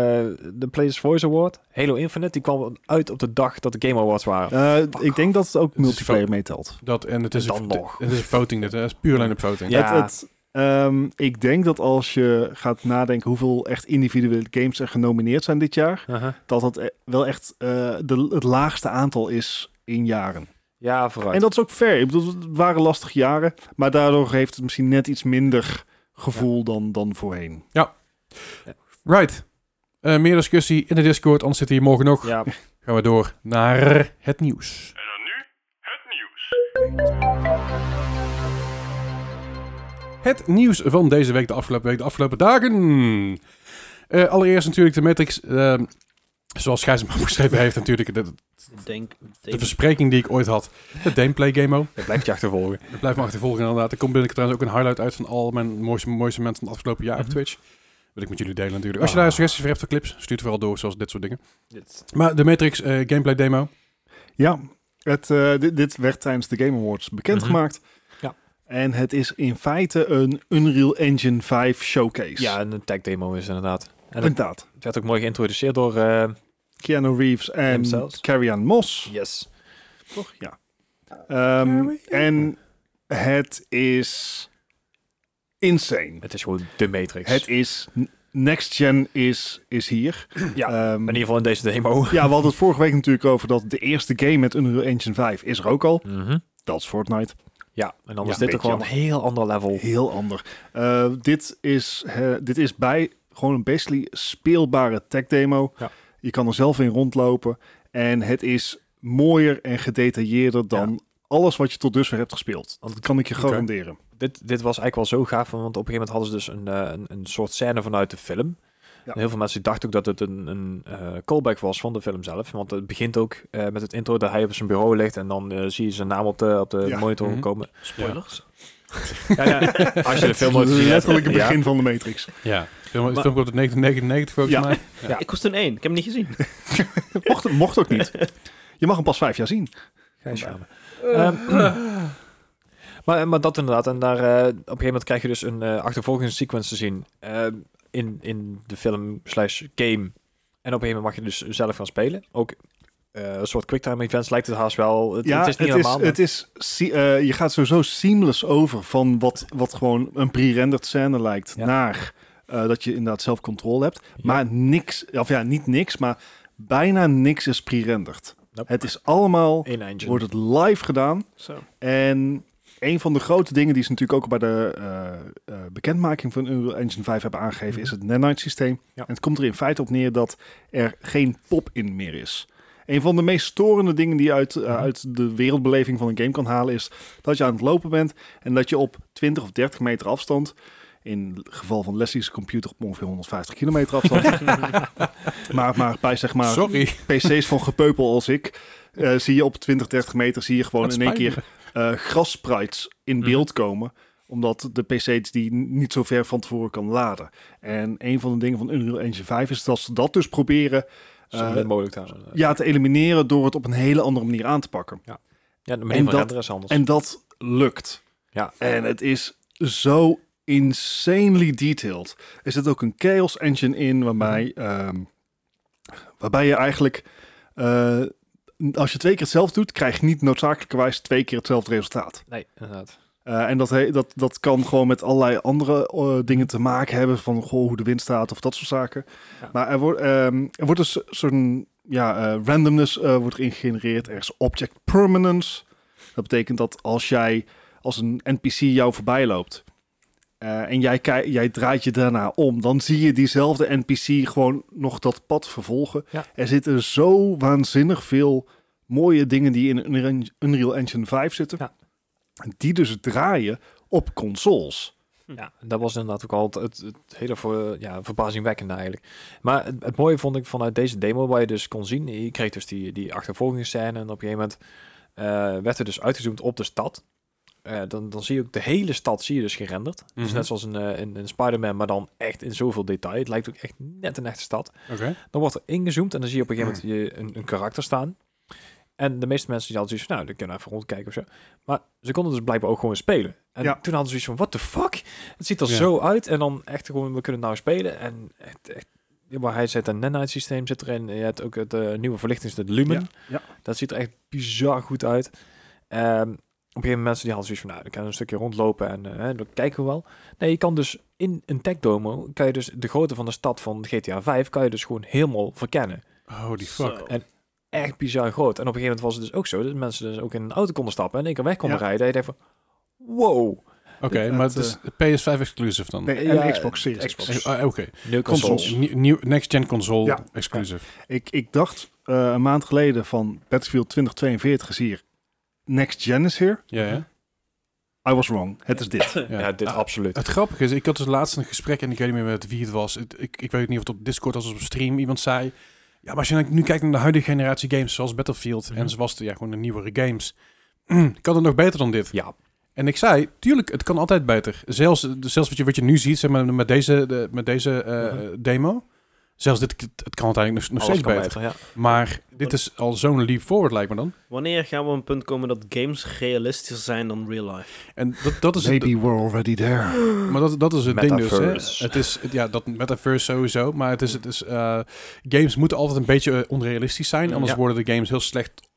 Speaker 2: de Players Voice Award, Halo Infinite, die kwam uit op de dag dat de Game Awards waren.
Speaker 3: Eh, ik denk dat het ook
Speaker 1: is
Speaker 3: multiplayer
Speaker 1: veel-
Speaker 3: meetelt.
Speaker 1: Dat, en het is,
Speaker 2: Dan
Speaker 1: een,
Speaker 2: nog.
Speaker 1: het is een voting dit. hè. Het is puur alleen op voting.
Speaker 2: Ja.
Speaker 3: Het, het, ehm, ik denk dat als je gaat nadenken hoeveel echt individuele games er genomineerd zijn dit jaar, dat dat eh, wel echt eh, de, het laagste aantal is in jaren.
Speaker 2: Ja, vooruit.
Speaker 3: En dat is ook fair. Ik bedoel, het waren lastige jaren, maar daardoor heeft het misschien net iets minder gevoel dan, dan voorheen.
Speaker 1: Right. Eh, meer discussie in de Discord, anders zit hier morgen nog.
Speaker 2: Ja,
Speaker 1: Gaan we door naar het nieuws.
Speaker 5: En dan nu het nieuws.
Speaker 1: Het nieuws van deze week, de afgelopen week, de afgelopen dagen. Eh, allereerst natuurlijk de Matrix. ehm, zoals Gijs hem opgeschreven heeft natuurlijk. De,
Speaker 4: Ik Denk,
Speaker 1: de
Speaker 4: denk,
Speaker 1: verspreking die ik ooit had. De gameplay Gameo.
Speaker 2: dat blijft je achtervolgen.
Speaker 1: Ik blijf me achtervolgen inderdaad. Er komt binnenkort trouwens ook een highlight uit van al mijn mooiste, mooiste mensen van het afgelopen jaar
Speaker 2: Mhm.
Speaker 1: op Twitch. Wil ik met jullie delen natuurlijk. Als je daar
Speaker 2: Ah.
Speaker 1: suggesties voor hebt voor clips, stuur het vooral door, zoals dit soort dingen. Maar de Matrix eh, gameplay demo.
Speaker 3: Ja, het, eh, dit, dit werd tijdens de Game Awards bekendgemaakt.
Speaker 2: Mhm. Ja.
Speaker 3: En het is in feite een Unreal Engine 5 showcase.
Speaker 2: Ja, en een tech demo is inderdaad. En het
Speaker 3: inderdaad.
Speaker 2: werd ook mooi geïntroduceerd door... eh,
Speaker 3: Keanu Reeves en
Speaker 2: Hemzelf.
Speaker 3: Carrie-Anne Moss.
Speaker 2: yes.
Speaker 3: Toch? Ja. Ehm, en het is insane.
Speaker 2: Het is gewoon de Matrix.
Speaker 3: Het is next gen is, is hier.
Speaker 2: Ja,
Speaker 3: Ehm,
Speaker 2: Eh, in ieder geval in deze demo.
Speaker 3: ja, we hadden het vorige week natuurlijk over dat de eerste game met Unreal Engine 5 is er ook al.
Speaker 2: Mhm.
Speaker 3: Dat is Fortnite.
Speaker 2: Ja, en dan
Speaker 3: Ja,
Speaker 2: is dit
Speaker 3: beetje
Speaker 2: ook gewoon een heel ander level.
Speaker 3: Heel ander. Eh, dit, is, eh, dit is bij gewoon een basically speelbare tech demo.
Speaker 2: Ja.
Speaker 3: Je kan er zelf in rondlopen. En het is mooier en gedetailleerder dan alles wat je tot dusver hebt gespeeld. Dat kan ik je
Speaker 1: Oké.
Speaker 3: garanderen.
Speaker 2: Dit, dit was eigenlijk wel zo gaaf, want op een gegeven moment hadden ze dus een, eh, een, een soort scène vanuit de film.
Speaker 3: Ja.
Speaker 2: En heel veel mensen dachten ook dat het een, een eh, callback was van de film zelf. Want het begint ook eh, met het intro dat hij op zijn bureau ligt en dan eh, zie je zijn naam op de, op de
Speaker 3: Ja.
Speaker 2: monitor
Speaker 1: Mhm.
Speaker 2: komen.
Speaker 4: spoilers?
Speaker 2: Ja, ja, als je de film
Speaker 3: Het
Speaker 2: nooit
Speaker 3: is
Speaker 2: gezien hebt.
Speaker 3: letterlijk het
Speaker 2: Ja.
Speaker 3: begin van de Matrix.
Speaker 1: Ja. Het film, het
Speaker 2: Maar-
Speaker 1: film komt uit 1999 volgens
Speaker 3: Ja.
Speaker 1: mij.
Speaker 4: Ik was toen één. Ik heb hem niet gezien.
Speaker 3: Mocht, mocht ook niet. Je mag hem pas vijf jaar zien.
Speaker 2: Geen schamen. Ehm, maar, maar dat inderdaad. En daar, eh, op een gegeven moment krijg je dus een eh, achtervolgingssequence te zien eh, in, in de film slash game. En op een gegeven moment mag je dus zelf gaan spelen. Ook eh, een soort quicktime events lijkt het haast wel. Het, het is niet helemaal. maar-
Speaker 3: het is se- eh, je gaat sowieso seamless over van wat, wat gewoon een pre-rendered scène lijkt
Speaker 2: Ja.
Speaker 3: naar eh, dat je inderdaad zelf controle hebt.
Speaker 2: Ja.
Speaker 3: Maar niks, of ja, niet niks, maar bijna niks is pre-rendered.
Speaker 2: Nope.
Speaker 3: Het is allemaal,
Speaker 2: Eén engine.
Speaker 3: wordt het live gedaan.
Speaker 4: Zo.
Speaker 3: En een van de grote dingen die ze natuurlijk ook bij de eh, eh, bekendmaking van Unreal Engine 5 hebben aangegeven, is het Nanite systeem.
Speaker 2: Mhm. Ja.
Speaker 3: En het komt er in feite op neer dat er geen pop-in meer is. Een van de meest storende dingen die je uit, eh,
Speaker 2: Mhm.
Speaker 3: uit de wereldbeleving van een game kan halen, is dat je aan het lopen bent en dat je op 20 of 30 meter afstand, in het geval van Leslie's computer op ongeveer 150 kilometer afstand, maar, maar bij zeg maar
Speaker 1: Sorry.
Speaker 3: PC's van gepeupel als ik, eh, zie je op 20, 30 meter zie je gewoon
Speaker 1: Dat
Speaker 3: in één
Speaker 1: spijt me.
Speaker 3: keer eh grassprites in beeld komen. Omdat de PC's die n- niet zo ver van tevoren kan laden. En een van de dingen van Unreal Engine 5 is dat ze dat dus proberen
Speaker 2: Zo
Speaker 3: eh,
Speaker 2: min mogelijk daar. Ja,
Speaker 3: ja, te elimineren door het op een hele andere manier aan te pakken.
Speaker 2: de manier
Speaker 3: en
Speaker 2: van
Speaker 3: dat-
Speaker 2: renderen is anders.
Speaker 3: En dat lukt.
Speaker 2: ja.
Speaker 3: En het is zo insanely detailed. Er zit ook een chaos engine in waarbij, ehm, waarbij je eigenlijk... eh, als je twee keer hetzelfde doet, krijg je niet noodzakelijkerwijs twee keer hetzelfde resultaat.
Speaker 2: Nee, inderdaad.
Speaker 3: Eh, en dat, he- dat, dat kan gewoon met allerlei andere eh, dingen te maken hebben. Van goh, hoe de wind staat of dat soort zaken.
Speaker 2: Ja.
Speaker 3: Maar er wordt, ehm, er wordt dus zo'n ja, eh, randomness eh, wordt erin gegenereerd. Er is object permanence. Dat betekent dat als jij als een NPC jou voorbij loopt. eh, en jij, kei- jij draait je daarna om. Dan zie je diezelfde NPC gewoon nog dat pad vervolgen.
Speaker 2: Ja.
Speaker 3: Er zitten zo waanzinnig veel mooie dingen die in Unreal- Unreal Engine 5 zitten.
Speaker 2: Ja.
Speaker 3: Die dus draaien op consoles.
Speaker 2: Ja, dat was inderdaad ook al het, het, het hele ver- ja, verbazingwekkende eigenlijk. Maar het, het mooie vond ik vanuit deze demo, waar je dus kon zien, je kreeg dus die, die achtervolgingsscène en op een gegeven moment eh, werd er dus uitgezoomd op de stad. Eh, dan, dan zie je ook de hele stad zie je dus gerenderd. Dus
Speaker 1: Mhm.
Speaker 2: net zoals een, eh, een, een Spider-Man, maar dan echt in zoveel detail. Het lijkt ook echt net een echte stad.
Speaker 1: Oké.
Speaker 2: Dan wordt er ingezoomd en dan zie je op een
Speaker 3: Hmm.
Speaker 2: gegeven moment je een, een karakter staan. En de meeste mensen die hadden zoiets van, nou, dan kunnen we even rondkijken of zo. Maar ze konden dus blijkbaar ook gewoon spelen. En
Speaker 3: Ja.
Speaker 2: toen hadden ze zoiets van, what the fuck? Het ziet er
Speaker 1: Ja.
Speaker 2: zo uit. En dan echt gewoon, we kunnen het nou spelen. En echt, echt, ja, maar hij zet een nanite systeem zit erin. Je hebt ook het eh, nieuwe verlichting, het Lumen.
Speaker 3: Ja, ja.
Speaker 2: Dat ziet er echt bizar goed uit. Ehm, op een gegeven moment mensen die hadden zoiets van, nou, dan kan je een stukje rondlopen en eh, hè, dan kijken we wel. Nee, je kan dus in een tech domo, kan je dus de grootte van de stad van GTA 5, kan je dus gewoon helemaal verkennen
Speaker 1: Holy fuck. Eh,
Speaker 4: Zo.
Speaker 2: echt bizar groot. En op een gegeven moment was het dus ook zo dat mensen dus ook in een auto konden stappen en in één keer weg konden
Speaker 3: Ja.
Speaker 2: rijden. En je denkt van, wow.
Speaker 1: Oké,
Speaker 3: Het-
Speaker 1: maar dus
Speaker 3: het,
Speaker 1: het is PS5 exclusive dan?
Speaker 3: eh, Nee, en
Speaker 2: Ja,
Speaker 3: Xbox Series.
Speaker 2: Xbox.
Speaker 3: X.
Speaker 1: Eh, ah, Oké,
Speaker 2: Nieuwe
Speaker 3: Consoles.
Speaker 2: consoles.
Speaker 1: Nieuw- nieuw- next-gen console
Speaker 3: Ja.
Speaker 1: exclusive.
Speaker 3: Ik, ik dacht eh, een maand geleden van Battlefield 2042 is hier. Next Gen is here.
Speaker 1: Ja, ja.
Speaker 3: I was wrong. Het is dit.
Speaker 1: ja.
Speaker 2: Ja, dit
Speaker 1: Ah,
Speaker 2: absoluut.
Speaker 1: Het grappige is, ik had dus laatst een gesprek en ik weet niet meer met wie het was. Het- ik, ik weet niet of het op Discord was of op stream. Iemand zei, ja, maar als je nu kijkt naar de huidige generatie games zoals Battlefield
Speaker 2: Mhm.
Speaker 1: en zoals de, ja, gewoon de nieuwere games. kan het nog beter dan dit?
Speaker 2: Ja.
Speaker 1: En ik zei, tuurlijk, het kan altijd beter. Zelfs, zelfs wat, je, wat je nu ziet zeg maar, met deze, de- met deze eh, demo. Zelfs dit, het kan uiteindelijk nog, nog
Speaker 2: Mhm. Alles
Speaker 1: steeds
Speaker 2: kan
Speaker 1: beter.
Speaker 2: ja.
Speaker 1: Maar dit is al zo'n leap forward, lijkt me dan.
Speaker 4: Wanneer gaan we op een punt komen dat games realistischer zijn dan real life?
Speaker 1: En dat, dat is het.
Speaker 3: Maybe we're already there.
Speaker 1: Maar dat, dat is het ding dus.
Speaker 2: Metaverse.
Speaker 1: Hè? Het is, het- ja, dat metaverse sowieso. Maar het is, het is, eh, games moeten altijd een beetje eh, onrealistisch zijn. Anders
Speaker 2: Mhm, Ja.
Speaker 1: worden de games heel slecht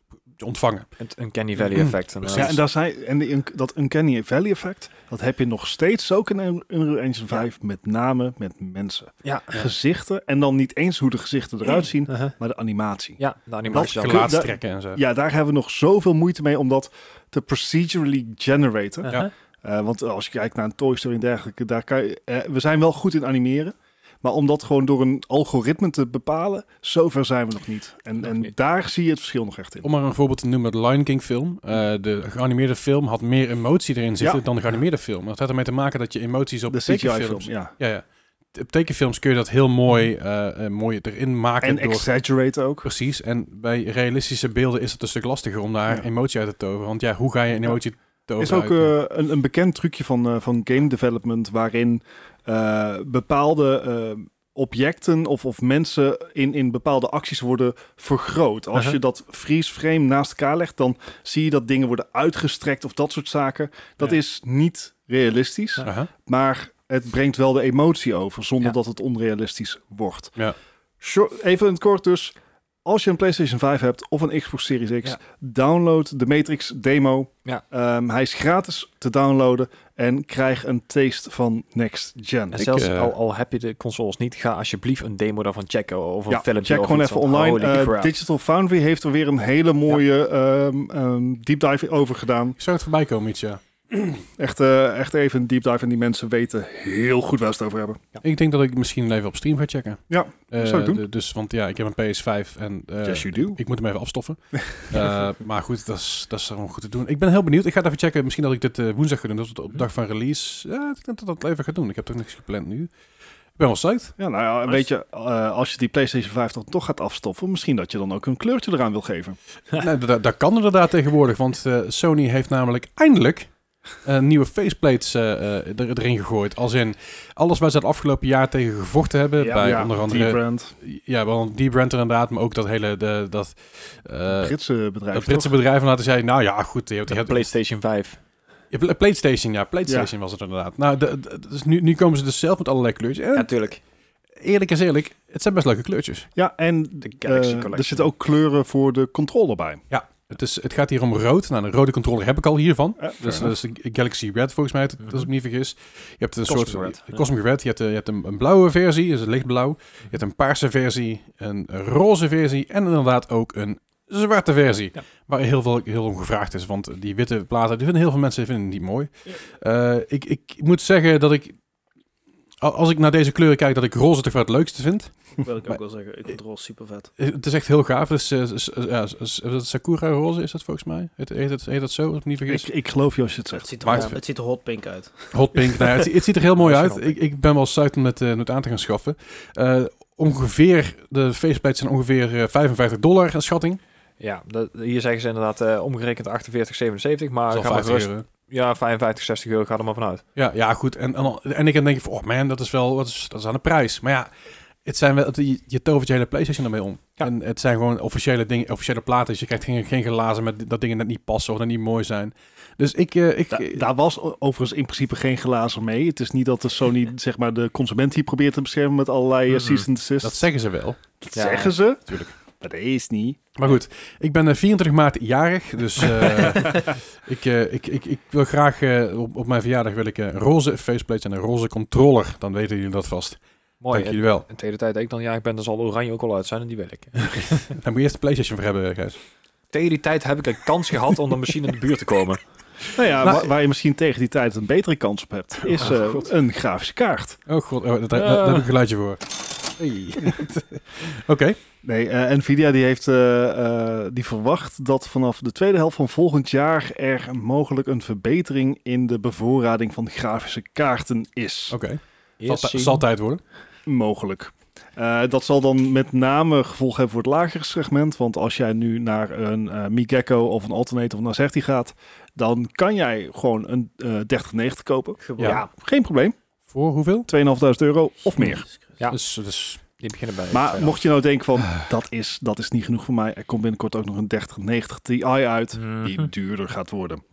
Speaker 1: ontvangen.
Speaker 2: Het Uncanny Valley effect. eh, inderdaad.
Speaker 3: Ja, en, daar zijn, en die, dat Uncanny Valley effect, dat heb je nog steeds ook in Unreal Engine 5. Met name met mensen.
Speaker 2: Ja.
Speaker 3: Gezichten. En dan niet eens hoe de gezichten eruit zien,
Speaker 2: Uh-huh.
Speaker 3: maar de animatie.
Speaker 2: Ja, de animatie.
Speaker 3: Dat-
Speaker 2: dan.
Speaker 3: Klaar.
Speaker 1: Gelaatstrekken en zo.
Speaker 3: Ja, daar hebben we nog zoveel moeite mee om dat te procedurally generaten.
Speaker 2: Uh-huh.
Speaker 1: Ja.
Speaker 3: Eh, want als je kijkt naar een Toy Story en dergelijke, daar kan je, eh, we zijn wel goed in animeren. Maar om dat gewoon door een algoritme te bepalen, zover zijn we nog niet. En,
Speaker 2: Nog
Speaker 3: en
Speaker 2: niet.
Speaker 3: daar zie je het verschil nog echt in.
Speaker 1: Om maar een voorbeeld te noemen, de Lion King film. Eh, de geanimeerde film had meer emotie erin zitten
Speaker 3: Mm. Ja.
Speaker 1: dan de geanimeerde film. Dat had ermee te maken dat je emoties op
Speaker 3: De CGI-film,
Speaker 1: tekenfilms...
Speaker 3: ja. Mm.
Speaker 1: Ja, ja. Op tekenfilms kun je dat heel mooi, eh, eh, mooi erin maken.
Speaker 3: En
Speaker 1: door...
Speaker 3: exaggerate ook.
Speaker 1: Precies, en bij realistische beelden is het een stuk lastiger om daar
Speaker 3: Ja.
Speaker 1: emotie uit te toveren. Want ja, hoe ga je een
Speaker 3: Ja.
Speaker 1: emotie
Speaker 3: is
Speaker 1: toveren?
Speaker 3: ook
Speaker 1: uit-
Speaker 3: eh, een, een bekend trucje van, eh, van game development, waarin eh, bepaalde eh, objecten of, of mensen in, in bepaalde acties worden vergroot. Als
Speaker 2: Uh-huh.
Speaker 3: je dat freeze frame naast elkaar legt, dan zie je dat dingen worden uitgestrekt of dat soort zaken. Dat
Speaker 1: Ja.
Speaker 3: is niet realistisch,
Speaker 1: Aha.
Speaker 3: maar het brengt wel de emotie over, zonder
Speaker 2: Ja.
Speaker 3: dat het onrealistisch wordt.
Speaker 1: Ja.
Speaker 3: Sure, even in het kort dus. Als je een PlayStation 5 hebt of een Xbox Series X,
Speaker 2: Ja.
Speaker 3: download de Matrix demo.
Speaker 2: Ja.
Speaker 3: Ehm, hij is gratis te downloaden en krijg een taste van Next Gen.
Speaker 2: En
Speaker 1: Ik,
Speaker 2: zelfs
Speaker 1: eh,
Speaker 2: al, al heb je de consoles niet, ga alsjeblieft een demo daarvan checken. Of een
Speaker 3: Ja,
Speaker 2: filmpje.
Speaker 3: check
Speaker 2: of
Speaker 3: gewoon
Speaker 2: iets,
Speaker 3: even
Speaker 2: want
Speaker 3: online.
Speaker 2: holy
Speaker 3: Eh,
Speaker 2: crap.
Speaker 3: Digital Foundry heeft er weer een hele mooie ehm, ehm, deep dive over gedaan.
Speaker 1: Ik zou het voorbij komen iets, ja.
Speaker 3: Echt, eh, echt even een deep dive en die mensen weten heel goed waar ze het over hebben.
Speaker 1: Ik denk dat ik misschien even op stream ga checken.
Speaker 3: Ja,
Speaker 1: Eh,
Speaker 3: zou ik doen.
Speaker 1: de- Dus, want ja, ik heb een PS5 en eh,
Speaker 3: yes, you do.
Speaker 1: ik moet hem even afstoffen. Eh, maar goed, dat is, dat is gewoon goed te doen. Ik ben heel benieuwd. Ik ga het even checken. Misschien dat ik dit eh, woensdag ga doen. Dat is
Speaker 3: Mhm.
Speaker 1: op de dag van release. Ja, ik denk dat ik dat even ga doen. Ik heb toch niks gepland nu. Ik ben wel psyched.
Speaker 3: Ja, nou ja,
Speaker 4: Nice.
Speaker 3: weet je, eh, als je die PlayStation 5 dan toch gaat afstoffen, misschien dat je dan ook een kleurtje eraan wil geven.
Speaker 1: Nou, dat, dat kan inderdaad tegenwoordig, want eh, Sony heeft namelijk eindelijk eh, nieuwe faceplates eh, eh, er, erin gegooid. Als in alles waar ze het afgelopen jaar tegen gevochten hebben, bij onder andere...
Speaker 3: brand
Speaker 1: Ja, wel die brand inderdaad, maar ook dat hele... De, dat, eh,
Speaker 3: Britse bedrijf.
Speaker 1: dat Britse bedrijf inderdaad, die zei, nou ja, goed, je hebt, je
Speaker 2: De
Speaker 1: hebt-
Speaker 2: PlayStation 5.
Speaker 1: je hebt- PlayStation, ja, PlayStation was het inderdaad. Nou, de- de- dus nu, nu komen ze dus zelf met allerlei kleurtjes. En
Speaker 2: Natuurlijk.
Speaker 1: eerlijk is eerlijk, het zijn best leuke kleurtjes.
Speaker 3: toch? Ja, en
Speaker 2: De Galaxy
Speaker 3: eh, er
Speaker 2: Collection.
Speaker 3: zitten ook kleuren voor de controller bij.
Speaker 1: Ja. Het, is, het gaat hier om rood. Nou, een rode controller heb ik al hiervan.
Speaker 3: Eh, fair
Speaker 1: Dat is, dat
Speaker 3: enough.
Speaker 1: is de Galaxy Red volgens mij, dat- als ik me niet vergis. Je hebt een
Speaker 2: Mhm. Cosmic
Speaker 1: soort
Speaker 2: Red, ja.
Speaker 1: Cosmic Red. Je hebt, eh, je hebt een, een blauwe versie, dus lichtblauw. Je hebt een paarse versie, een roze versie en inderdaad ook een zwarte versie.
Speaker 2: Ja.
Speaker 1: Waar heel veel heel om gevraagd is, want die witte platen, die vinden heel veel mensen vinden die mooi. Eh, ik, ik moet zeggen dat ik, a- als ik naar deze kleuren kijk, dat ik roze toch wel het leukste vind.
Speaker 4: Wil ik
Speaker 1: Maar-
Speaker 4: ook wel zeggen. Ik vind roze super vet.
Speaker 1: Eh, Het is echt heel gaaf. Dus, eh, s- eh, ja, s- s- eh, Sakura roze is dat volgens mij? Heet, heet, het, heet dat zo, als ik me niet vergis?
Speaker 3: Ik, ik geloof je als je het
Speaker 4: Het
Speaker 3: zegt.
Speaker 4: ziet, er,
Speaker 1: Maar
Speaker 4: gewoon-
Speaker 1: het-
Speaker 4: het ziet er hot pink uit.
Speaker 1: Hot pink. nou ja, het, het ziet er heel mooi
Speaker 2: Ja,
Speaker 1: uit.
Speaker 2: hotpink.
Speaker 1: Ik, ik ben wel zuid om het, eh, om het aan te gaan schaffen. Eh, ongeveer, de faceplates zijn ongeveer eh, 55 dollar aan schatting.
Speaker 2: Ja, dat, hier zeggen ze inderdaad eh, omgerekend 48, 77, maar
Speaker 1: Dat is
Speaker 2: ga
Speaker 1: al
Speaker 2: maar
Speaker 1: 50
Speaker 2: gerust-
Speaker 1: euro.
Speaker 2: ja, 55, 60 euro, ga er maar vanuit.
Speaker 1: Ja, ja, goed. En, en, al- en ik dan denk ik van, oh man, dat is wel dat is, dat is aan de prijs. Maar ja, het zijn wel, het- je, je tovert je hele PlayStation ermee om.
Speaker 2: Ja.
Speaker 1: En het zijn gewoon officiële dingen, officiële platen. Dus je krijgt geen, geen glazen met dat dingen net niet passen of dat niet mooi zijn. Dus ik... eh, ik
Speaker 3: Da- daar was o- overigens in principe geen glazen mee. Het is niet dat de Sony zeg maar, de consument hier probeert te beschermen met allerlei eh,
Speaker 2: Mhm.
Speaker 3: cease and desist.
Speaker 1: dat zeggen ze wel.
Speaker 3: Dat
Speaker 2: Ja,
Speaker 3: zeggen ze.
Speaker 1: tuurlijk.
Speaker 3: Maar dat is niet.
Speaker 1: Maar goed, ik ben eh, 24 maart jarig, dus eh, ik, eh, ik, ik, ik wil graag eh, op, op mijn verjaardag wil ik eh, een roze faceplate en een roze controller. Dan weten jullie dat vast.
Speaker 2: Mooi.
Speaker 1: Dank
Speaker 2: En,
Speaker 1: jullie wel.
Speaker 2: en tegen de tijd dat ik dan jarig ben, dan zal oranje ook al uit zijn en die wil ik.
Speaker 1: Dan moet je eerst de PlayStation voor hebben, eh, Gijs.
Speaker 2: tegen die tijd heb ik een kans gehad om dan misschien in de buurt te komen.
Speaker 3: Nou ja,
Speaker 1: Nou,
Speaker 3: waar, waar je misschien tegen die tijd een betere kans op hebt, is eh, een grafische kaart.
Speaker 1: Oh god, oh, dat- daar, daar heb ik een geluidje voor. Oké,
Speaker 3: Nee, eh, Nvidia die heeft, eh, eh, die verwacht dat vanaf de tweede helft van volgend jaar er mogelijk een verbetering in de bevoorrading van grafische kaarten is.
Speaker 1: oké. Zal,
Speaker 2: Eerst
Speaker 1: ti-
Speaker 2: zien.
Speaker 1: zal tijd worden.
Speaker 3: Mogelijk. Eh, dat zal dan met name gevolg hebben voor het lagere segment. Want als jij nu naar een eh Mi Gecko of een Alternator of een Azerty gaat, dan kan jij gewoon een eh 3090 kopen.
Speaker 4: Gewoon.
Speaker 3: Ja, geen probleem.
Speaker 1: Voor hoeveel?
Speaker 3: 2500 euro of meer.
Speaker 4: Jezus Christus.
Speaker 2: Ja.
Speaker 1: Dus, dus
Speaker 2: Die beginnen bij. eh,
Speaker 3: Maar mocht je nou denken van, dat is, dat is niet genoeg voor mij. Er komt binnenkort ook nog een 3090 Ti uit,
Speaker 2: Mm.
Speaker 3: die duurder gaat worden.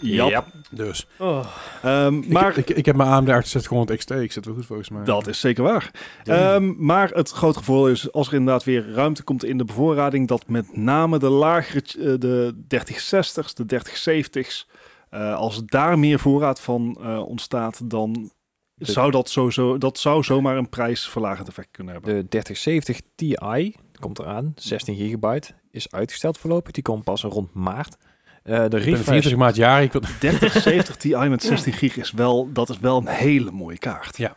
Speaker 3: Ja.
Speaker 1: dus.
Speaker 4: Oh,
Speaker 3: Ehm, maar
Speaker 1: Maar ik, ik, heb mijn AMD 860 XT, ik zit wel goed volgens mij.
Speaker 3: dat is zeker waar. Ehm, maar het grote gevoel is, als er inderdaad weer ruimte komt in de bevoorrading, dat met name de lagere, eh, de 3060s, de 3070s, eh, als daar meer voorraad van eh, ontstaat, dan
Speaker 2: De-
Speaker 3: zou dat, sowieso, dat zou zomaar een prijsverlagend effect kunnen hebben.
Speaker 2: De 3070 Ti komt eraan, 16 gigabyte, is uitgesteld voorlopig. Die komt pas rond maart. Eh, de
Speaker 1: ik ben
Speaker 2: refresh
Speaker 1: 24 maart jarig. Ik wil,
Speaker 3: 3070 Ti met 16 gig is wel, dat is wel een hele mooie kaart.
Speaker 2: Ja.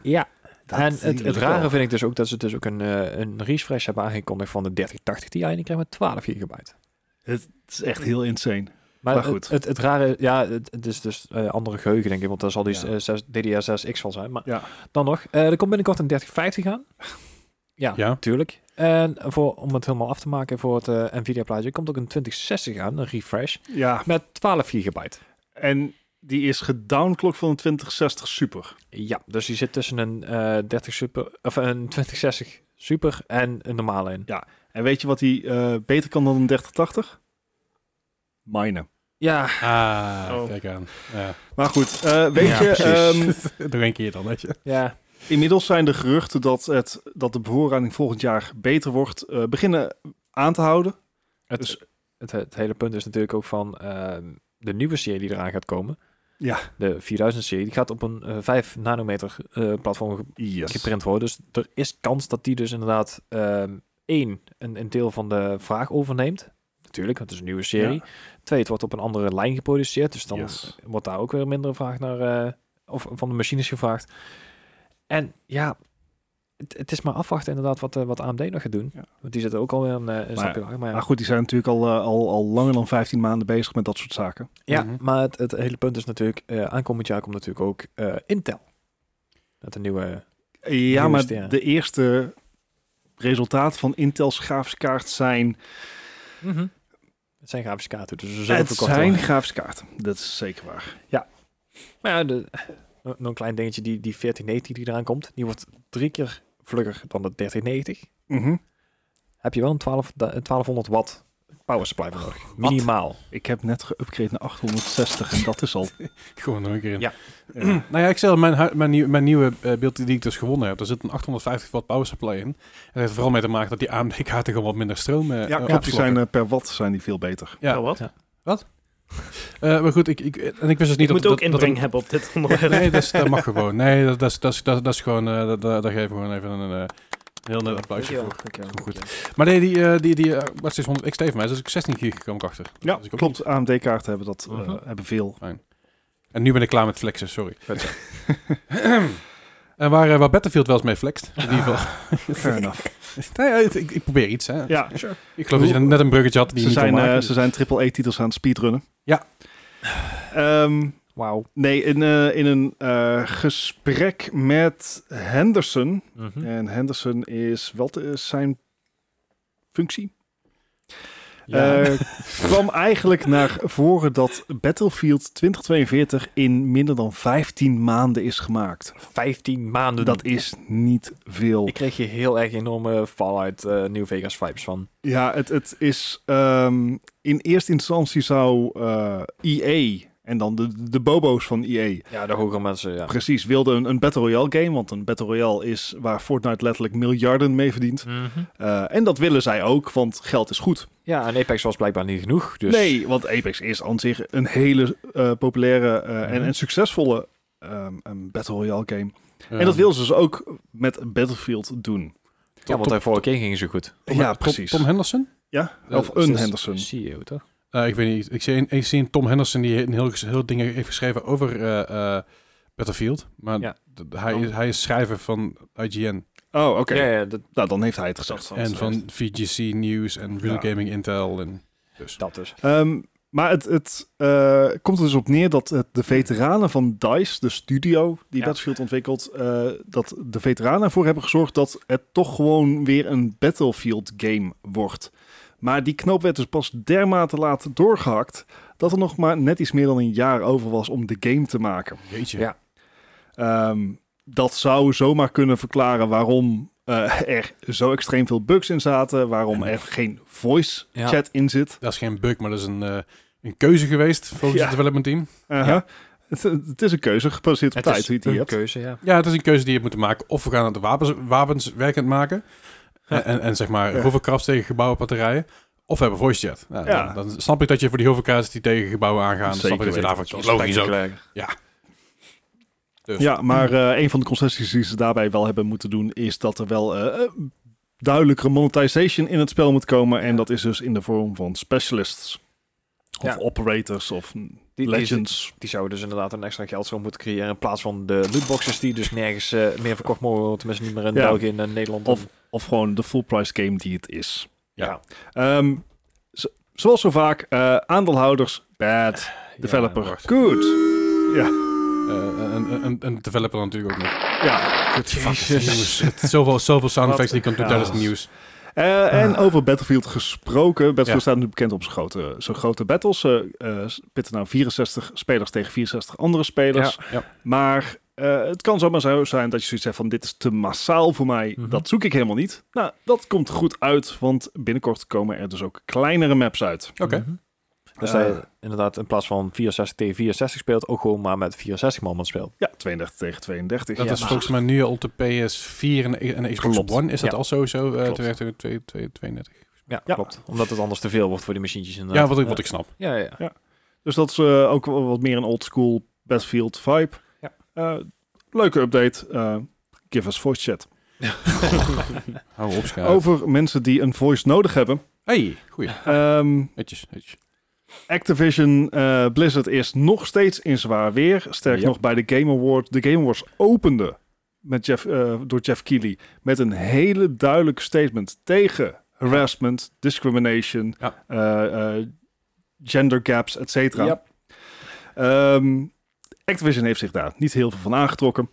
Speaker 3: Dat
Speaker 2: en het,
Speaker 3: zie ik
Speaker 2: het rare
Speaker 3: wel.
Speaker 2: vind ik dus ook dat ze dus ook een, eh, een refresh hebben aangekondigd van de 3080 Ti en die krijgen we 12 gigabyte.
Speaker 3: Het is echt heel insane.
Speaker 2: Maar,
Speaker 3: Maar goed.
Speaker 2: goed. Het, het, rare, ja, het, het is dus eh, andere geheugen denk ik, want daar zal die
Speaker 3: Ja.
Speaker 2: eh, 6 DDR6X van zijn. Maar
Speaker 3: Ja.
Speaker 2: dan nog, eh, er komt binnenkort een 3050 aan. Ja,
Speaker 1: ja,
Speaker 2: natuurlijk. En voor, om het helemaal af te maken voor het eh, Nvidia plaatje, komt ook een 2060 aan, een refresh,
Speaker 3: Ja,
Speaker 2: met 12 gigabyte.
Speaker 3: en die is gedownclock van een 2060 Super.
Speaker 2: Ja, dus die zit tussen een, eh 30 super, of een 2060 super en een normale in.
Speaker 3: En weet je wat die eh, beter kan dan een 3080? Minen.
Speaker 2: Ja,
Speaker 1: ah,
Speaker 4: Oh.
Speaker 1: kijk aan. Ja.
Speaker 3: Maar goed, eh, weet
Speaker 2: Ja,
Speaker 3: je,
Speaker 2: precies.
Speaker 3: ehm,
Speaker 1: Nog een keer dan, weet je.
Speaker 2: ja.
Speaker 3: inmiddels zijn de geruchten dat, het, dat de bevoorrading volgend jaar beter wordt eh, beginnen aan te houden.
Speaker 2: Het,
Speaker 3: Dus-
Speaker 2: het, het hele punt is natuurlijk ook van ehm, de nieuwe serie die eraan gaat komen.
Speaker 3: Ja.
Speaker 2: De 4000 serie, die gaat op een eh, 5 nanometer eh, platform ge-
Speaker 3: Yes.
Speaker 2: geprint worden. Dus er is kans dat die dus inderdaad ehm één, een, een deel van de vraag overneemt. Natuurlijk, want het is een nieuwe serie. Twee, het wordt op een andere lijn geproduceerd. Dus dan
Speaker 3: Yes.
Speaker 2: wordt daar ook weer minder vraag naar, eh, of van de machines gevraagd. En ja, het, het is maar afwachten inderdaad wat, eh, wat AMD nog gaat doen.
Speaker 3: Ja.
Speaker 2: Want die zitten ook alweer een, eh, een stapje lager. Maar ja,
Speaker 3: Maar goed, die zijn natuurlijk al, eh, al, al langer dan 15 maanden bezig met dat soort zaken.
Speaker 2: Ja,
Speaker 1: Mhm.
Speaker 2: maar het, het hele punt is natuurlijk, eh, aankomend jaar komt natuurlijk ook eh, Intel. Met een nieuwe...
Speaker 3: Ja, maar
Speaker 2: Nieuwste, ja.
Speaker 3: de eerste resultaten van Intel's grafische kaart zijn
Speaker 2: Mhm. Het zijn grafische kaarten, dus ze zullen
Speaker 3: Het
Speaker 2: verkocht
Speaker 3: zijn
Speaker 2: worden.
Speaker 3: grafische kaarten. Dat is zeker waar.
Speaker 2: Maar ja, de, nog een klein dingetje, die, die 1490 die eraan komt, die wordt drie keer Mhm. vlugger dan de 1390. Heb je wel een 12, da- een 1200 watt power supply voor nodig. Minimaal.
Speaker 3: Ik heb net geüpgrade naar 860 en dat is al...
Speaker 1: Gewoon nog een keer in.
Speaker 2: Ja.
Speaker 1: nou ja, ik zeg al, mijn, hu- mijn, nieuw- mijn nieuwe eh, beeld die ik dus gewonnen heb, daar zit een 850 watt power supply in. En dat heeft vooral mee te maken dat die AMD-kaarten gewoon wat minder stroom eh eh,
Speaker 3: ja, klopt. Die
Speaker 1: opslokken.
Speaker 3: zijn eh, per watt zijn die veel beter.
Speaker 1: Ja.
Speaker 4: Oh, wat?
Speaker 2: Ja.
Speaker 1: Eh, maar goed, ik, ik, en ik wist dus niet
Speaker 4: Ik
Speaker 1: dat...
Speaker 4: moet ook
Speaker 1: dat, dat-
Speaker 4: inbreng hebben op dit onderwerp.
Speaker 1: nee, dat, is, dat mag gewoon. Nee, dat, dat, is- dat, is- dat, dat is gewoon... eh, dat, dat, daar geven we gewoon even een, eh, heel net applausje voor.
Speaker 2: Dankjewel.
Speaker 1: Goed. Maar nee, die, eh, die, die eh, wat is 100 XT van mij, dus ik 16 gig kwam ik achter.
Speaker 3: Ja,
Speaker 1: Dus ik ook
Speaker 3: klopt. AMD-kaarten hebben dat eh,
Speaker 1: Mhm.
Speaker 3: hebben veel.
Speaker 1: En nu ben ik klaar met flexen, sorry. en waar, eh, waar Battlefield wel eens mee flext. In ieder geval.
Speaker 3: Fair enough.
Speaker 1: Nee, ja, het- ik, ik probeer iets, hè.
Speaker 3: Ja,
Speaker 1: Ik geloof dat je net een bruggetje had die je
Speaker 3: ze
Speaker 1: niet
Speaker 3: zijn,
Speaker 1: kon
Speaker 3: eh,
Speaker 1: maken.
Speaker 3: ze zijn AAA-titels aan het speedrunnen.
Speaker 1: Ja.
Speaker 3: Ehm,
Speaker 2: Wauw.
Speaker 3: nee, in, eh, in een eh, gesprek met Henderson...
Speaker 2: Mhm.
Speaker 3: En Henderson is... Wat is zijn functie?
Speaker 2: Ja.
Speaker 3: Eh, kwam eigenlijk naar voren dat Battlefield 2042 in minder dan 15 maanden is gemaakt.
Speaker 2: 15 maanden.
Speaker 3: Dat is niet veel.
Speaker 2: Ik kreeg hier heel erg enorme Fallout eh, New Vegas vibes van.
Speaker 3: Ja, het, het is... ehm, in eerste instantie zou eh EA... En dan de, de bobo's van EA.
Speaker 2: Ja, de hogere mensen, ja.
Speaker 3: Precies, wilden een, een Battle Royale game. Want een Battle Royale is waar Fortnite letterlijk miljarden mee verdient.
Speaker 2: Mhm.
Speaker 3: Eh, en dat willen zij ook, want geld is goed.
Speaker 2: Ja, en Apex was blijkbaar niet genoeg. Dus
Speaker 3: Nee, want Apex is aan zich een hele eh, populaire eh, en,
Speaker 2: Mhm.
Speaker 3: en succesvolle ehm, een Battle Royale game.
Speaker 1: Ja.
Speaker 3: En dat wil ze dus ook met Battlefield doen.
Speaker 2: ja, want de vorige keer ging ze goed.
Speaker 1: Tom-
Speaker 3: ja,
Speaker 1: Tom-
Speaker 3: precies.
Speaker 1: Tom, Henderson?
Speaker 3: Ja,
Speaker 1: Eh,
Speaker 3: of een
Speaker 2: Dus-
Speaker 3: Henderson.
Speaker 2: CEO, toch?
Speaker 1: Eh, ik weet niet. Ik zie, een, ik zie een Tom Henderson die een heel, heel ding heeft geschreven over eh, eh, Battlefield. Maar
Speaker 2: Ja.
Speaker 1: d- hij, is, hij is schrijver van IGN
Speaker 3: Oh, oké.
Speaker 2: Ja, ja, dat,
Speaker 3: Nou, dan heeft hij het gezegd.
Speaker 2: dat,
Speaker 1: en van VGC News en Real
Speaker 3: Ja.
Speaker 1: Gaming Intel. En, dus.
Speaker 2: dat dus.
Speaker 3: Ehm, maar het, het eh, komt er dus op neer dat het de veteranen van DICE, de studio die
Speaker 2: Ja.
Speaker 3: Battlefield ontwikkelt, eh, dat de veteranen ervoor hebben gezorgd dat het toch gewoon weer een Battlefield game wordt. Maar die knoop werd dus pas dermate laat doorgehakt dat er nog maar net iets meer dan een jaar over was om de game te maken.
Speaker 1: Jeetje.
Speaker 2: Ja.
Speaker 3: Ehm, dat zou zomaar kunnen verklaren waarom eh, er zo extreem veel bugs in zaten, waarom er geen voice
Speaker 2: Ja.
Speaker 3: chat in zit.
Speaker 1: Dat is geen bug, maar dat is een, eh, een keuze geweest volgens
Speaker 3: Ja.
Speaker 1: het development team.
Speaker 3: Uh-huh. Het, het is een keuze gebaseerd op
Speaker 2: Het
Speaker 3: tijd
Speaker 2: is
Speaker 3: hoe je die
Speaker 2: een
Speaker 3: hebt.
Speaker 2: keuze, ja.
Speaker 1: Ja, het is een keuze die je hebt moeten maken. Of we gaan het wapens, wapens werkend maken. En, en, en zeg maar
Speaker 3: Ja.
Speaker 1: hoverkrabs tegen gebouwen, batterijen. Of we hebben voice chat. Nou,
Speaker 3: Ja.
Speaker 1: dan, dan snap ik dat je voor die hoverkrabs die tegen gebouwen aangaan. Dan snap ik
Speaker 3: Zeker
Speaker 1: dat je
Speaker 3: weten.
Speaker 1: daarvoor kiest. Logisch ook. Dus.
Speaker 3: Ja, maar eh, een van de concessies die ze daarbij wel hebben moeten doen is dat er wel eh, eh, duidelijkere monetization in het spel moet komen. En dat is dus in de vorm van specialists. Of
Speaker 2: Ja.
Speaker 3: operators of mm,
Speaker 2: Die- die-
Speaker 3: legends.
Speaker 2: Die zouden dus inderdaad een extra geld zo moeten creëren. In plaats van de lootboxes die dus nergens eh, meer verkocht mogen. worden. Tenminste niet meer in
Speaker 3: Ja.
Speaker 2: België en eh, Nederland.
Speaker 3: Of- Of gewoon de full price game die het is.
Speaker 1: Ja.
Speaker 3: Ehm, zo- zoals zo vaak, eh, aandeelhouders, bad. Developer,
Speaker 1: wacht.
Speaker 3: good.
Speaker 1: Eh, een, een, een developer natuurlijk ook nog.
Speaker 3: Ja.
Speaker 1: Goed, fuck, het nieuws. Het- Zoveel, zoveel sound effects die je kan doen
Speaker 3: Ja.
Speaker 1: tijdens het nieuws.
Speaker 3: Eh, En over Battlefield gesproken. Battlefield
Speaker 1: Ja.
Speaker 3: staat nu bekend op zijn grote, zijn grote battles. Ze eh, pitten nou 64 spelers tegen 64 andere spelers.
Speaker 1: Ja.
Speaker 3: Maar eh, het kan zomaar zo zijn dat je zoiets hebt van... dit is te massaal voor mij,
Speaker 2: Mhm.
Speaker 3: dat zoek ik helemaal niet. Nou, dat komt goed uit, want binnenkort komen er dus ook kleinere maps uit.
Speaker 1: Oké.
Speaker 2: Mhm. Dus
Speaker 3: Eh,
Speaker 2: dat je inderdaad in plaats van 64 tegen 64 speelt. Ook gewoon maar met 64 man man speelt.
Speaker 3: Ja, 32 tegen 32.
Speaker 1: Dat
Speaker 3: Ja,
Speaker 1: is
Speaker 3: maar-
Speaker 1: volgens mij nu al op de PS4 en, en Xbox
Speaker 3: Klopt.
Speaker 1: One. Is dat
Speaker 2: Ja.
Speaker 1: al sowieso eh
Speaker 2: Klopt.
Speaker 1: 32, 32, 32?
Speaker 2: Ja,
Speaker 3: Ja.
Speaker 2: klopt. Omdat het anders te veel wordt voor die machientjes inderdaad.
Speaker 1: Ja, wat ik, wat ik snap.
Speaker 2: Ja, ja, ja.
Speaker 3: Dus dat is eh, ook wel wat meer een old school Battlefield vibe.
Speaker 2: Ja.
Speaker 3: Eh, leuke update. Eh, give us voice chat.
Speaker 1: Hou op, schaar.
Speaker 3: Over mensen die een voice nodig hebben.
Speaker 1: Hey, goeie.
Speaker 3: Ehm,
Speaker 1: Netjes, netjes.
Speaker 3: Activision eh, Blizzard is nog steeds in zwaar weer. Sterk
Speaker 1: Ja.
Speaker 3: nog bij de Game Awards. De Game Awards opende met Jeff, eh, door Jeff Keighley met een hele duidelijk statement tegen harassment, discrimination,
Speaker 1: Ja.
Speaker 3: eh, eh, gender gaps, et cetera.
Speaker 2: Ja.
Speaker 3: Ehm, Activision heeft zich daar niet heel veel van aangetrokken.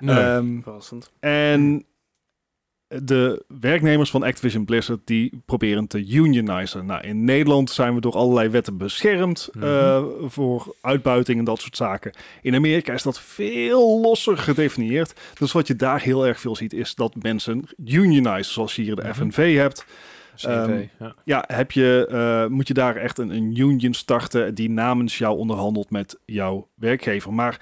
Speaker 1: Nee.
Speaker 3: Ehm,
Speaker 4: Verrassend.
Speaker 3: en de werknemers van Activision Blizzard die proberen te unionizen. Nou, in Nederland zijn we door allerlei wetten beschermd
Speaker 2: Mhm.
Speaker 3: eh, voor uitbuiting en dat soort zaken. In Amerika is dat veel losser gedefinieerd. Dus wat je daar heel erg veel ziet is dat mensen unionizen, zoals je hier de
Speaker 2: Mhm.
Speaker 3: FNV hebt.
Speaker 2: CNV, E ja.
Speaker 3: Ja, heb je, eh, moet je daar echt een, een union starten die namens jou onderhandelt met jouw werkgever. Maar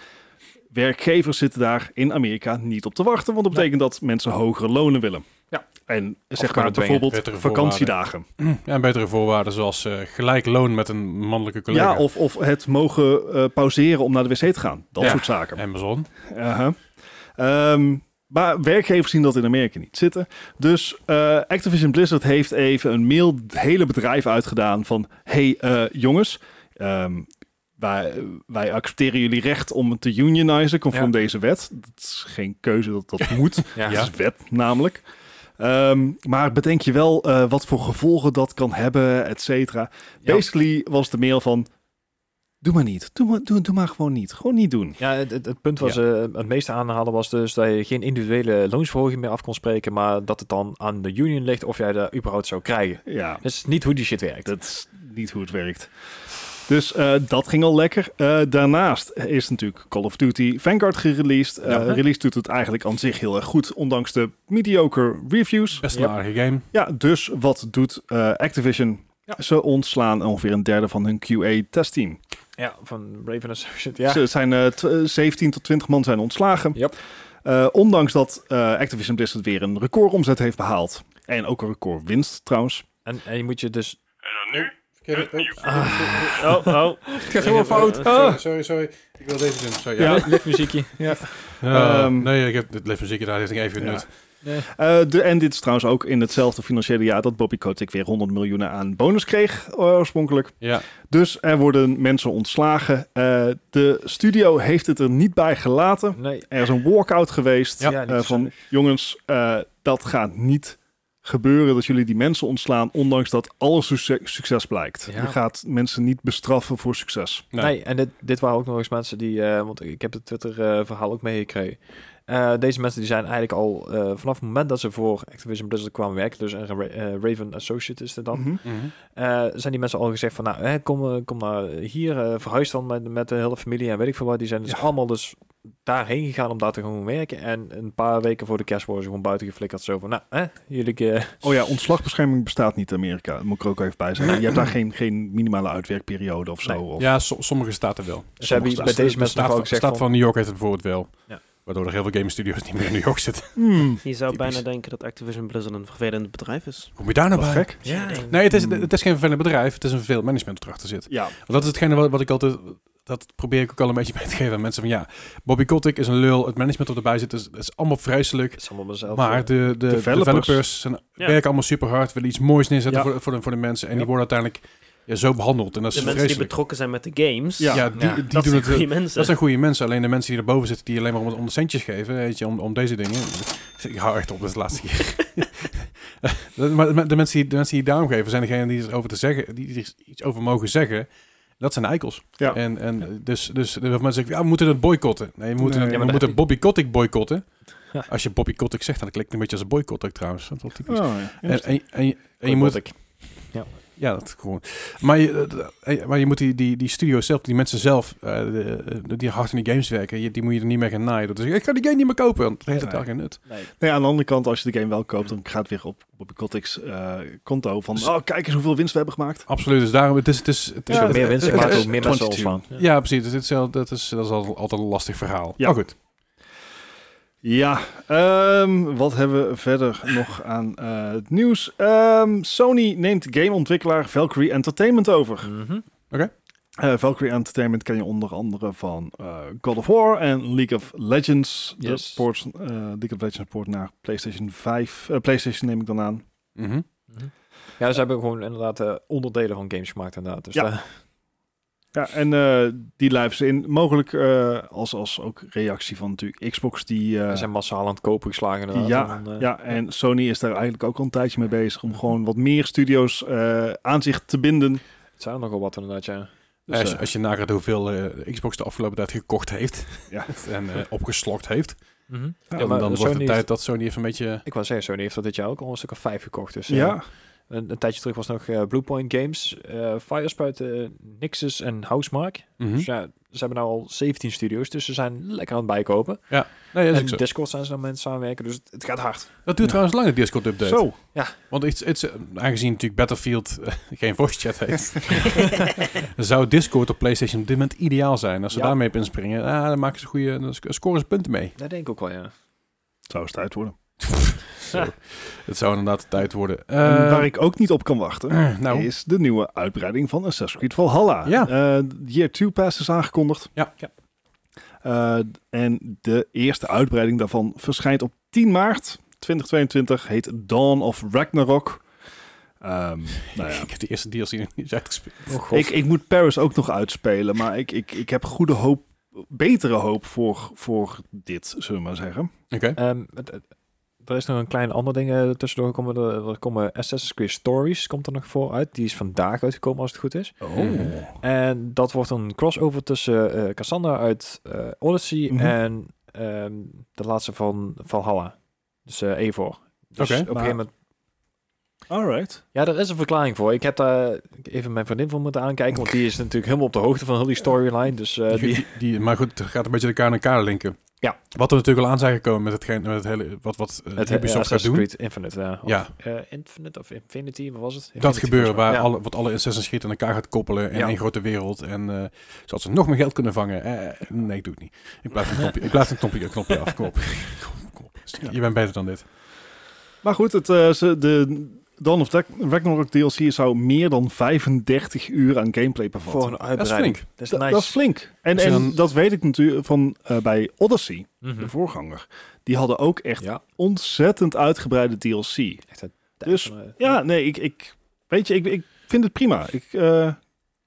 Speaker 3: werkgevers zitten daar in Amerika niet op te wachten, want dat betekent dat mensen hogere lonen willen.
Speaker 2: Ja.
Speaker 3: En zeg
Speaker 2: kunnen
Speaker 3: maar
Speaker 2: dwingen.
Speaker 3: bijvoorbeeld
Speaker 1: Wettige voorwaarden.
Speaker 3: vakantiedagen.
Speaker 1: Ja, en betere voorwaarden zoals eh, gelijk loon met een mannelijke collega.
Speaker 3: Ja, of, of het mogen eh, pauzeren om naar de wc te gaan. Dat
Speaker 1: Ja.
Speaker 3: soort zaken.
Speaker 1: Amazon.
Speaker 3: Aha. Ehm, maar werkgevers zien dat in Amerika niet zitten. Dus eh, Activision Blizzard heeft even een mail het hele bedrijf uitgedaan van... hey, eh, jongens, ehm, wij, wij accepteren jullie recht om te unionizen conform deze wet. Dat is geen keuze, dat, dat moet.
Speaker 2: Ja.
Speaker 3: Dat is wet namelijk. Ehm, maar bedenk je wel eh, wat voor gevolgen dat kan hebben, et cetera.
Speaker 2: Ja.
Speaker 3: Basically was de mail van... Doe maar niet. Doe maar, doe, doe maar gewoon niet. Gewoon niet doen.
Speaker 2: Ja, het, het, het punt was eh, het meeste aanhalen was dus dat je geen individuele loonsverhoging meer af kon spreken, maar dat het dan aan de union ligt of jij daar überhaupt zou krijgen.
Speaker 3: Ja,
Speaker 2: Dat is niet hoe die shit werkt.
Speaker 3: Dat is niet hoe het werkt. Dus eh, dat ging al lekker. Eh, daarnaast is natuurlijk Call of Duty Vanguard gereleased. Eh
Speaker 2: Ja.
Speaker 3: Release doet het eigenlijk aan zich heel erg goed, ondanks de mediocre reviews.
Speaker 1: Best een
Speaker 2: Ja.
Speaker 1: aardige game.
Speaker 3: Ja, dus wat doet eh, Activision? Ze ontslaan ongeveer een derde van hun QA-testteam.
Speaker 2: Ja, van Raven Associates. Ja.
Speaker 3: Ze zijn eh, tw- eh, 17 tot 20 man zijn ontslagen.
Speaker 2: Yep.
Speaker 3: Eh, ondanks dat eh, Activision Blizzard weer een recordomzet heeft behaald. En ook een recordwinst trouwens.
Speaker 2: En, en je moet je dus...
Speaker 5: En dan nu
Speaker 1: Het
Speaker 4: Oh, oh.
Speaker 1: gaat helemaal fout. Sorry, sorry, sorry. Ik wil deze doen. Sorry, ja.
Speaker 2: Liftmuziekje. Ja.
Speaker 1: Eh,
Speaker 3: Ehm,
Speaker 1: nee, ik heb het liftmuziekje daar heeft ik even
Speaker 3: Ja.
Speaker 1: nut.
Speaker 3: Eh, de, en dit is trouwens ook in hetzelfde financiële jaar dat Bobby Kotick weer 100 miljoen aan bonus kreeg eh, oorspronkelijk.
Speaker 1: Ja.
Speaker 3: Dus er worden mensen ontslagen. Eh, de studio heeft het er niet bij gelaten.
Speaker 2: Nee.
Speaker 3: Er is een walkout geweest
Speaker 2: Ja. Ja, niet
Speaker 3: eh, van
Speaker 2: verstandig.
Speaker 3: jongens, eh, dat gaat niet gebeuren dat jullie die mensen ontslaan, ondanks dat alles succes, succes blijkt.
Speaker 2: Ja.
Speaker 3: Je gaat mensen niet bestraffen voor succes.
Speaker 1: Nee.
Speaker 2: Nee. en dit, dit waren ook nog eens mensen die, eh, want ik heb het Twitter-verhaal ook meegekregen. Eh, deze mensen die zijn eigenlijk al eh, vanaf het moment dat ze voor Activision Blizzard kwamen werken, dus een Ra- eh, Raven Associate is dat dan,
Speaker 3: Mhm.
Speaker 1: Mhm.
Speaker 2: eh, zijn die mensen al gezegd van, nou, hè, kom, eh, kom naar hier, eh, verhuis dan met, met de hele familie en weet ik veel wat. Die zijn dus allemaal dus daarheen gegaan om daar te gaan werken. En een paar weken voor de kerst worden ze gewoon buiten geflikkerd. Zo van, nou, hè, jullie... eh,
Speaker 3: Oh ja, ontslagbescherming bestaat niet in Amerika. Dat moet ik er ook even bij zeggen. Je hebt daar geen, geen minimale uitwerkperiode of zo.
Speaker 2: Nee.
Speaker 3: Of,
Speaker 1: Ja, so- sommige staten wel.
Speaker 2: ze hebben bij
Speaker 3: staten-
Speaker 2: deze
Speaker 1: De
Speaker 2: mensen
Speaker 1: staat,
Speaker 2: nog ook
Speaker 1: van, de
Speaker 2: gezegd
Speaker 1: staat
Speaker 2: van,
Speaker 1: van New York heeft het bijvoorbeeld wel.
Speaker 2: Ja.
Speaker 1: Waardoor er heel veel game studios niet meer in New York zitten.
Speaker 3: Hmm,
Speaker 4: Je zou
Speaker 1: Typisch.
Speaker 4: bijna denken dat Activision Blizzard een vervelend bedrijf is.
Speaker 1: Kom je daar nou
Speaker 3: wat
Speaker 1: bij?
Speaker 3: gek.
Speaker 4: Ja.
Speaker 1: Nee, het is, het is geen vervelend bedrijf. Het is een vervelend management dat erachter zit.
Speaker 3: Ja,
Speaker 1: Want dat is hetgene wat, wat ik altijd... Dat probeer ik ook al een beetje mee te geven aan mensen. Van ja, Bobby Kotick is een lul. Het management dat erbij zit is, is allemaal vreselijk.
Speaker 2: het is allemaal mezelf. eh,
Speaker 1: Maar de, de
Speaker 3: eh, Developers.
Speaker 1: developers, zijn,
Speaker 4: Ja.
Speaker 1: werken allemaal super hard. Willen iets moois neerzetten
Speaker 3: Ja.
Speaker 1: voor, voor, de, voor de mensen. En
Speaker 3: Ja.
Speaker 1: die worden uiteindelijk ja, zo behandeld. En dat is
Speaker 4: De mensen die
Speaker 1: vreselijk.
Speaker 4: betrokken zijn met de games,
Speaker 3: Ja.
Speaker 1: ja, die,
Speaker 2: Ja,
Speaker 1: die
Speaker 4: dat
Speaker 1: doen
Speaker 4: zijn
Speaker 1: het... eh,
Speaker 4: goede mensen.
Speaker 1: Dat zijn goede mensen. Alleen de mensen die erboven zitten, die alleen maar om, om de centjes geven, weet je, om, om deze dingen. Ik hou echt op, dat is de laatste keer. Dat- maar de, de mensen die, de mensen die daarom geven, zijn degenen die erover te zeggen, die er iets over mogen zeggen. Dat zijn de eikels.
Speaker 3: Ja.
Speaker 1: En, en dus, dus de mensen zeggen, ja, we moeten het boycotten. Nee, we moeten,
Speaker 3: Nee.
Speaker 1: we
Speaker 3: Ja,
Speaker 2: maar
Speaker 1: moeten
Speaker 2: dat-
Speaker 1: Bobby Kotick boycotten.
Speaker 2: Ja.
Speaker 1: Als je Bobby Kotick zegt, dan klinkt het een beetje als een boycott ook trouwens. Dat is wel typisch.
Speaker 3: Oh, ja.
Speaker 1: En, en, en, je- en je moet,
Speaker 2: ik.
Speaker 1: ja, dat gewoon. Maar je, eh, maar je moet die, die, die studio's zelf, die mensen zelf, eh, de- de- die hard in die games werken, je- die moet je er niet meer gaan naaien. Dat is, ik ga die game niet meer kopen, want dat heeft het
Speaker 3: Nee.
Speaker 1: daar geen nut.
Speaker 2: Nee.
Speaker 3: Nou ja, aan de andere kant, als je de game wel koopt, dan gaat het weer op Bobby Kotick's eh, conto van,
Speaker 1: Dus-
Speaker 3: oh, kijk eens hoeveel winst we hebben gemaakt.
Speaker 1: Absoluut, dus daarom, het is... Het is, het is
Speaker 2: Dus
Speaker 3: Ja,
Speaker 2: hoe meer
Speaker 1: het-
Speaker 2: winst
Speaker 1: het-
Speaker 2: maakt,
Speaker 1: het-
Speaker 2: hoe meer mensen
Speaker 3: 22.
Speaker 2: ontslaan.
Speaker 1: Ja, precies. Dat is, hetzelfde- dat is, dat is altijd, altijd een lastig verhaal.
Speaker 3: Ja.
Speaker 1: Maar goed.
Speaker 3: Ja, ehm, wat hebben we verder nog aan eh, het nieuws? Ehm, Sony neemt gameontwikkelaar Valkyrie Entertainment over.
Speaker 2: Mhm.
Speaker 3: Eh, Valkyrie Entertainment ken je onder andere van eh, God of War en League of Legends.
Speaker 2: Yes.
Speaker 3: De port, eh, League of Legends port naar PlayStation 5. eh, PlayStation neem ik dan aan.
Speaker 1: Mhm.
Speaker 2: Ja, ze hebben gewoon inderdaad eh, onderdelen van games gemaakt inderdaad. Dus
Speaker 3: Ja.
Speaker 2: daar-
Speaker 3: Ja, en eh, die lijven ze in. Mogelijk eh, als, als ook reactie van natuurlijk Xbox die... eh,
Speaker 2: daar zijn massaal aan het kopen geslagen inderdaad.
Speaker 3: Ja,
Speaker 2: En dan, eh,
Speaker 3: ja, en Sony is daar eigenlijk ook al een tijdje mee bezig om gewoon wat meer studio's eh, aan zich te binden.
Speaker 2: Het zijn er nogal wat inderdaad, ja.
Speaker 3: Dus,
Speaker 1: als, je-
Speaker 3: eh,
Speaker 1: als je nagaat hoeveel eh, Xbox de afgelopen tijd gekocht heeft
Speaker 3: Ja.
Speaker 1: en eh, opgeslokt heeft,
Speaker 3: Ja,
Speaker 1: dan,
Speaker 2: Mhm. maar
Speaker 1: dan wordt
Speaker 2: Sony
Speaker 1: het
Speaker 2: heeft-
Speaker 1: tijd dat Sony even een beetje...
Speaker 2: Ik wou zeggen, Sony heeft dat dit jaar ook al een stuk of vijf gekocht. Dus eh,
Speaker 3: ja,
Speaker 2: een, een tijdje terug was nog eh, Bluepoint Games, eh Firesprite, eh, Nixus en Housemark.
Speaker 1: Mhm.
Speaker 2: Dus ja, ze hebben nou al 17 studio's, dus ze zijn lekker aan het bijkopen.
Speaker 1: Nee, dat, is
Speaker 2: en
Speaker 1: ook zo.
Speaker 2: Discord zijn ze dan mee aan het samenwerken, dus het, het gaat hard.
Speaker 1: dat duurt trouwens lang, de Discord-update.
Speaker 3: Zo,
Speaker 1: Want iets, iets, eh, aangezien natuurlijk Battlefield eh, geen voice chat heeft, zou Discord op PlayStation op dit moment ideaal zijn. Als ze
Speaker 2: Ja.
Speaker 1: daarmee op inspringen, ah, dan maken ze goede dan sc- scoren ze punten mee.
Speaker 2: Dat denk ik ook wel, ja.
Speaker 3: zou het tijd worden.
Speaker 1: Het zou inderdaad tijd worden. Eh,
Speaker 3: En waar ik ook niet op kan wachten,
Speaker 1: nou,
Speaker 3: is de nieuwe uitbreiding van Assassin's Creed Valhalla.
Speaker 1: Ja.
Speaker 3: Eh, Year 2 Pass is aangekondigd.
Speaker 1: ja, ja.
Speaker 3: Eh, en de eerste uitbreiding daarvan verschijnt op 10 maart 2022. Heet Dawn of Ragnarok. Ehm, nou ja.
Speaker 1: ik heb de eerste DLC nog niet uitgespeeld.
Speaker 2: Oh god.
Speaker 3: ik, ik moet Paris ook nog uitspelen. Maar ik, ik, ik heb goede hoop, betere hoop voor, voor dit, zullen we maar zeggen.
Speaker 1: Oké.
Speaker 2: Ehm, het- het- er is nog een klein ander ding eh, tussendoor gekomen. Er, er komen Assassin's Creed Stories, komt er nog voor uit. Die is vandaag uitgekomen als het goed is.
Speaker 3: Oh.
Speaker 2: En dat wordt een crossover tussen eh, Cassandra uit eh, Odyssey
Speaker 3: Mhm.
Speaker 2: en ehm, de laatste van Valhalla. Dus eh Eivor. Dus
Speaker 1: Oké,
Speaker 2: op een
Speaker 3: maar-
Speaker 2: gegeven moment...
Speaker 3: Alright.
Speaker 2: Ja, er is een verklaring voor. Ik heb daar even mijn vriendin voor moeten aankijken, want die is natuurlijk helemaal op de hoogte van heel die storyline. Dus eh,
Speaker 1: Die-
Speaker 2: die...
Speaker 1: die, die, maar goed, het gaat een beetje elkaar aan elkaar linken.
Speaker 2: Ja.
Speaker 1: Wat er natuurlijk al aan zijn gekomen met, hetgeen, met het hele, wat, wat eh,
Speaker 2: Het eh,
Speaker 1: Ubisoft gaat
Speaker 2: Assassin's
Speaker 1: doen.
Speaker 2: Creed Infinite, ja. Of,
Speaker 1: Ja.
Speaker 2: eh, Infinite of Infinity, wat was het?
Speaker 1: Dat gebeuren waar
Speaker 2: alle
Speaker 1: alle, wat alle Assassin's Creed aan elkaar gaat koppelen in
Speaker 2: Ja.
Speaker 1: één grote wereld. En eh, zodat ze nog meer geld kunnen vangen. Eh, nee, ik doe het niet. Ik blijf een knopje, ik blijf een knopje, een knopje af. Kom op. Kom, kom op. Je bent beter dan dit.
Speaker 3: Maar goed, het, eh, ze- de Dawn of Rag- Ragnarok DLC zou meer dan 35 uur aan gameplay bevatten.
Speaker 2: Voor een
Speaker 1: Dat is
Speaker 2: uitbreiding.
Speaker 1: flink.
Speaker 2: Dat is
Speaker 3: Da-
Speaker 2: nice.
Speaker 3: Dat is flink. En,
Speaker 1: Dus
Speaker 3: en
Speaker 1: dan-
Speaker 3: dat weet ik natuurlijk van eh, bij Odyssey,
Speaker 2: Mhm.
Speaker 3: de voorganger. Die hadden ook echt
Speaker 2: Ja,
Speaker 3: ontzettend uitgebreide DLC.
Speaker 2: echt een tijd
Speaker 3: Dus,
Speaker 2: van, eh,
Speaker 3: Ja, nee, ik, ik weet je, ik, ik vind het prima. Ik, eh,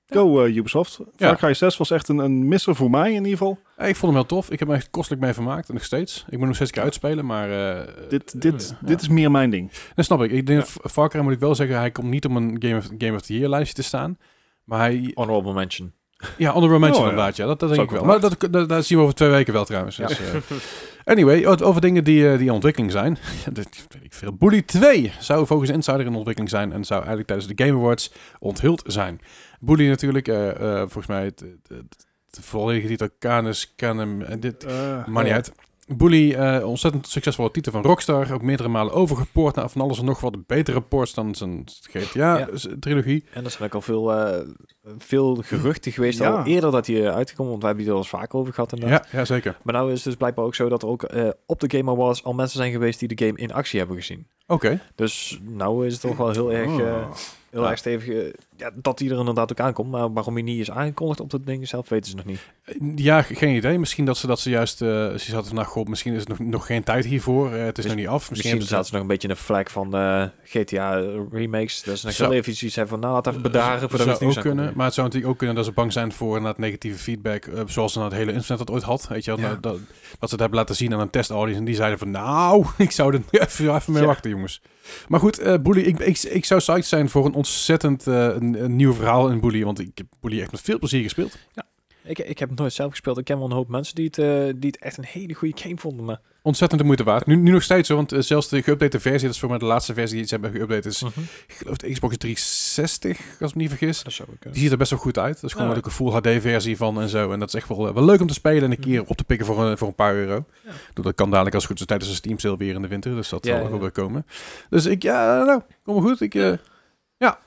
Speaker 3: go eh, Ubisoft. Far Cry 6 was echt een, een misser voor mij in ieder geval.
Speaker 1: Eh, ik vond hem heel tof. Ik heb me echt kostelijk mee vermaakt. en Nog steeds. Ik moet hem nog steeds een keer uitspelen, maar... eh,
Speaker 3: Dit, dit,
Speaker 1: eh, ja.
Speaker 3: dit is meer mijn ding.
Speaker 1: Dat snap ik. Ik denk dat Far Cry, moet ik wel zeggen, hij komt niet om een Game of, Game of the Year lijstje te staan. Maar hij...
Speaker 2: Honorable mention.
Speaker 1: Ja, honorable mention
Speaker 3: Oh, ja.
Speaker 1: inderdaad. Ja, dat, dat denk ik
Speaker 3: Zou ik
Speaker 1: wel.
Speaker 3: wel
Speaker 1: Maar dat, dat, dat zien we over twee weken wel trouwens. Dus, eh, anyway, o- over dingen die, eh, die in ontwikkeling zijn. Dit weet ik veel. Bully 2 zou volgens Insider in ontwikkeling zijn en zou eigenlijk tijdens de Game Awards onthuld zijn. Bully natuurlijk, eh, eh, volgens mij het, het, het, het volledige titel Canis Canem. en dit, maar niet uit. Bully, eh, ontzettend succesvolle titel van Rockstar. Ook meerdere malen overgepoord naar van alles en nog wat betere ports dan zijn
Speaker 2: Ja.
Speaker 1: GTA-trilogie.
Speaker 2: En er zijn ook al veel, eh, veel geruchten geweest
Speaker 3: Ja.
Speaker 2: al eerder dat hij eh, uitgekomen, want wij hebben het er al eens vaak over gehad.
Speaker 1: ja.
Speaker 2: inderdaad.
Speaker 1: Ja, zeker.
Speaker 2: Maar nou is het dus blijkbaar ook zo dat er ook eh, op de Game Awards al mensen zijn geweest die de game in actie hebben gezien.
Speaker 1: Oké.
Speaker 2: Dus nou is het toch wel heel erg, eh,
Speaker 3: Oh.
Speaker 2: heel
Speaker 1: Ja.
Speaker 2: erg stevig eh, ja, dat hij er inderdaad ook aankomt. Maar waarom hij niet is aangekondigd op dat ding zelf, weten ze nog niet.
Speaker 1: Ja, ge- geen idee. Misschien dat ze dat ze juist... eh, ze hadden vandaag god, misschien is het nog, nog geen tijd hiervoor. Eh, het is
Speaker 2: Dus-
Speaker 1: nog niet af.
Speaker 2: Misschien
Speaker 1: hebben ze-
Speaker 2: zaten ze nog een beetje in de vlag van eh, GTA remakes. Dat ze nog
Speaker 1: Zou-
Speaker 2: heel even iets hebben van, nou laat even bedaren.
Speaker 1: Dat
Speaker 2: voordat
Speaker 1: Eh,
Speaker 2: we
Speaker 1: zou ook
Speaker 2: het nieuws
Speaker 1: kunnen.
Speaker 2: aankondigen.
Speaker 1: Maar het zou natuurlijk ook kunnen dat ze bang zijn voor inderdaad negatieve feedback. eh, zoals inderdaad het hele internet dat ooit had. Weet je, wel.
Speaker 2: Ja.
Speaker 1: Nou, dat, wat ze het hebben laten zien aan een testaudience. En die zeiden van nou, ik zou er even, even mee
Speaker 2: Ja.
Speaker 1: wachten jongens. Maar goed, eh Bully, ik, ik, ik zou psyched zijn voor een ontzettend eh, een, een nieuw verhaal in Bully. Want ik heb Bully echt met veel plezier gespeeld.
Speaker 2: Ik, ik heb het nooit zelf gespeeld. Ik ken wel een hoop mensen die het, eh, die het echt een hele goede game vonden. Maar...
Speaker 1: Ontzettend de moeite waard. Nu, nu nog steeds hoor, want eh, zelfs de geüpdate versie, dat is voor mij de laatste versie die ze hebben geüpdate,
Speaker 2: Hm.
Speaker 1: is ik geloof de Xbox 360, als ik me niet vergis.
Speaker 2: Dat zou ik.
Speaker 1: Die ziet er best wel goed uit. Dat is gewoon
Speaker 2: Ja.
Speaker 1: ook een full HD-versie van en zo. En dat is echt wel, eh, wel leuk om te spelen en een keer op te pikken voor een, voor een paar euro.
Speaker 2: Ja.
Speaker 1: Doe Dat kan dadelijk als het goed is tijdens de Steam sale weer in de winter. Dus dat
Speaker 2: Ja,
Speaker 1: zal ook
Speaker 2: ja.
Speaker 1: wel weer komen. Dus ik, ja, nou, kom maar goed. Ik, eh, ja,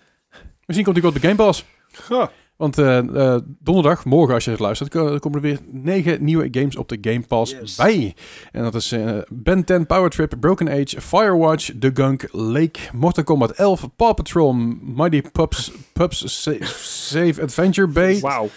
Speaker 1: misschien komt ik wel op de Game Pass.
Speaker 3: Ja.
Speaker 1: Want eh, eh, donderdag, morgen als je het luistert, ko- komen er weer negen nieuwe games op de Game Pass
Speaker 4: Yes.
Speaker 1: bij. En dat is eh Ben 10 Power Trip, Broken Age, Firewatch, The Gunk, Lake, Mortal Kombat 11, Paw Patrol, Mighty Pups, Pups Sa- Save Adventure Bay.
Speaker 2: Wauw.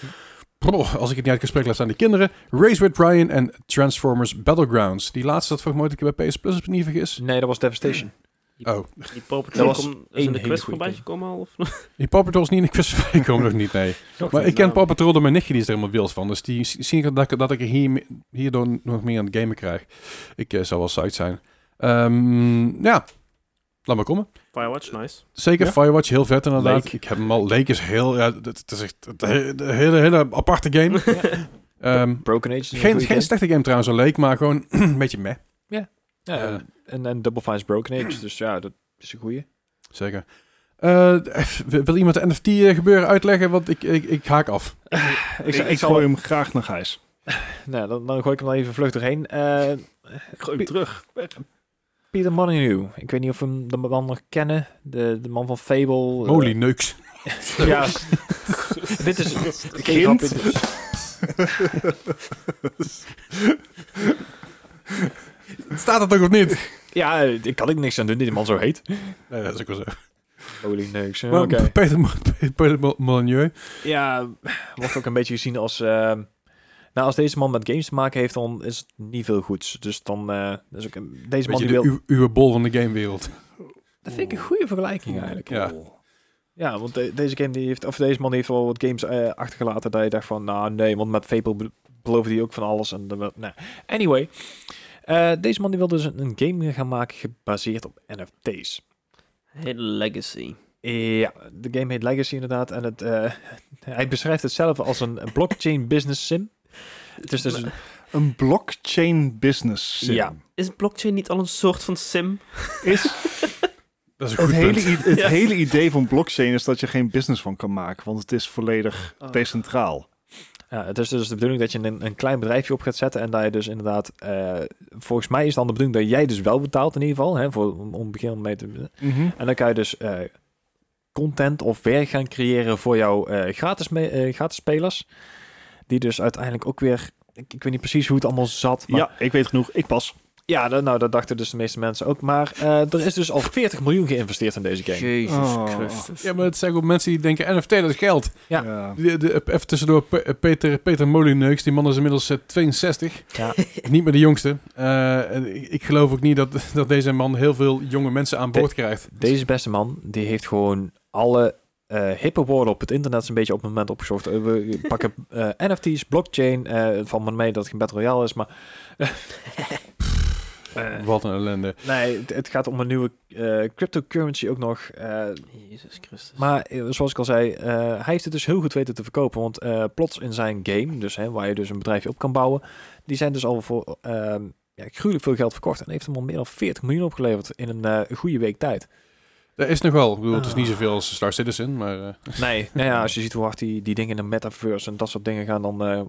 Speaker 1: Brr, als ik het niet uit gesprek laat staan, die kinderen. Race with Ryan en Transformers Battlegrounds. Die laatste dat volgens mij ook een keer bij PS Plus, als ik me niet vergis.
Speaker 2: Nee, dat was Devastation.
Speaker 1: Oh,
Speaker 4: Die Pauper
Speaker 2: Dat was
Speaker 4: Trollen is
Speaker 2: één
Speaker 4: in de
Speaker 2: hele goede
Speaker 4: quest voorbij
Speaker 2: game.
Speaker 4: gekomen al? Of? Nou,
Speaker 1: die Paw Patrol is niet in de quiz voorbij komen nog niet, nee. Maar ik ken Paw Patrol door mijn nichtje, die is er helemaal wild van. Dus die zie ik dat, ik- dat ik er hier, hierdoor nog meer aan het gamen krijg. Ik eh, zou wel zout zijn. Ehm, ja, laat maar komen.
Speaker 4: Firewatch, nice.
Speaker 1: Zeker
Speaker 3: Ja.
Speaker 1: Firewatch, heel vet inderdaad.
Speaker 2: Lake.
Speaker 1: Ik heb hem al. Lake is heel... Ja, het- het is echt een he- een hele, hele aparte game. Ehm,
Speaker 2: Broken Age. is een
Speaker 1: geen,
Speaker 2: goede
Speaker 1: geen
Speaker 2: game.
Speaker 1: slechte game trouwens, een Lake, maar gewoon een beetje meh.
Speaker 2: Ja,
Speaker 1: eh.
Speaker 2: en, en Double Fine is Broken Age. Dus ja, dat is een goeie.
Speaker 1: Zeker. Eh, wil wil iemand de NFT eh, gebeuren uitleggen? Want ik, ik, ik haak af.
Speaker 2: Ik,
Speaker 3: ik,
Speaker 2: zal- ik zal,
Speaker 3: gooi hem graag naar Gijs.
Speaker 2: nou, dan, dan gooi ik hem dan even vlug doorheen. Eh,
Speaker 3: Ik gooi hem terug.
Speaker 2: Peter Molyneux. Ik weet niet of we hem de man nog kennen. De, de man van Fable. eh,
Speaker 1: Moly neuks.
Speaker 2: Ja. dit is geen grap, dit is-
Speaker 1: Staat dat ook of niet?
Speaker 2: Ja, ik kan ik niks aan doen. Die man zo heet.
Speaker 1: Nee, dat is ook wel zo.
Speaker 2: Holy neuks. hè?
Speaker 1: Maar
Speaker 2: Oké.
Speaker 1: Peter, Mo- Peter Mo- Molyneux.
Speaker 2: Ja, wordt ook een beetje gezien als... ehm, nou, als deze man met games te maken heeft, dan is het niet veel goeds. Dus dan eh, is ook een- deze man
Speaker 1: Beetje
Speaker 2: die
Speaker 1: de
Speaker 2: wil...
Speaker 1: uw- uwe bol van de gamewereld.
Speaker 2: Dat vind ik een goede vergelijking eigenlijk.
Speaker 1: Ja.
Speaker 2: Ja, want de- deze, game die heeft, of deze man die heeft wel wat games eh, achtergelaten dat je dacht van, nou nee, want met Fable be- beloofde hij ook van alles. En, dan wel- nou. Anyway, eh, deze man die wil dus een, een game gaan maken gebaseerd op NFT's.
Speaker 4: Hele legacy.
Speaker 2: Ja, de game heet Legacy inderdaad en het, eh, hij beschrijft het zelf als een een blockchain business sim. Het is dus
Speaker 3: Een blockchain business. sim.
Speaker 2: Ja.
Speaker 4: Is blockchain niet al een soort van sim?
Speaker 3: Is
Speaker 1: Dat is een goed
Speaker 3: het hele,
Speaker 1: punt.
Speaker 3: i- het
Speaker 4: Ja.
Speaker 3: hele idee van blockchain is dat je geen business van kan maken, want het is volledig
Speaker 4: Oh.
Speaker 3: decentraal.
Speaker 2: Ja, het is dus de bedoeling dat je een, een klein bedrijfje op gaat zetten en dat je dus inderdaad, eh, volgens mij is dan de bedoeling dat jij dus wel betaalt in ieder geval, hè, voor, om, om begin mee te... En dan kan je dus eh, content of werk gaan creëren voor jouw eh, gratis, me- eh, gratis spelers, die dus uiteindelijk ook weer, ik, ik weet niet precies hoe het allemaal zat, maar
Speaker 3: Ja, ik weet genoeg. Ik pas.
Speaker 2: ja, dat, nou, dat dachten dus de meeste mensen ook, maar eh, er is dus al 40 miljoen geïnvesteerd in deze game.
Speaker 4: Jezus
Speaker 3: Oh.
Speaker 4: Christus.
Speaker 1: Ja, maar het zijn ook mensen die denken NFT, dat is geld.
Speaker 2: Ja.
Speaker 3: Ja.
Speaker 1: De, de, even tussendoor, Pe- eh, Peter, Peter Molyneux, die man is inmiddels eh, 62.
Speaker 2: Ja.
Speaker 1: Niet meer de jongste. Eh, en ik, ik geloof ook niet dat, dat deze man heel veel jonge mensen aan boord krijgt.
Speaker 2: Deze beste man, die heeft gewoon alle eh, hippe woorden op het internet een beetje op het moment opgezocht. Eh, we pakken eh, NFT's, blockchain, eh van me mee dat het geen Battle Royale is, maar... Eh,
Speaker 1: Wat een ellende.
Speaker 2: nee, het, het gaat om een nieuwe eh, cryptocurrency ook nog. eh,
Speaker 4: Jezus Christus.
Speaker 2: maar eh, zoals ik al zei, eh, hij heeft het dus heel goed weten te verkopen. Want eh, plots in zijn game, dus, hè, waar je dus een bedrijfje op kan bouwen, die zijn dus al voor ehm, ja, gruwelijk veel geld verkocht. En heeft hem al meer dan 40 miljoen opgeleverd in een eh, goede week tijd.
Speaker 1: Dat is nogal. Ik bedoel, het is
Speaker 2: Ah.
Speaker 1: niet zoveel als Star Citizen, maar... eh,
Speaker 2: Nee, nou ja, als je ziet hoe hard die, die dingen in de metaverse en dat soort dingen gaan, dan eh,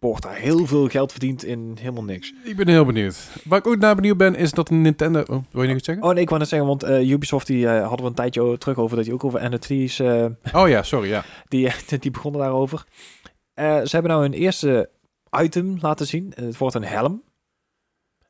Speaker 2: wordt daar heel veel geld verdiend in helemaal niks.
Speaker 1: ik ben heel benieuwd. Waar ik ook naar benieuwd ben, is dat Nintendo... Oh, wil je nog iets zeggen?
Speaker 2: Oh nee, ik wou net zeggen, want eh, Ubisoft die eh, hadden we een tijdje o- terug over dat die ook over NFT's, eh,
Speaker 1: Oh ja, sorry, ja.
Speaker 2: die, die begonnen daarover. Eh, ze hebben nou hun eerste item laten zien. Eh, Het wordt een helm.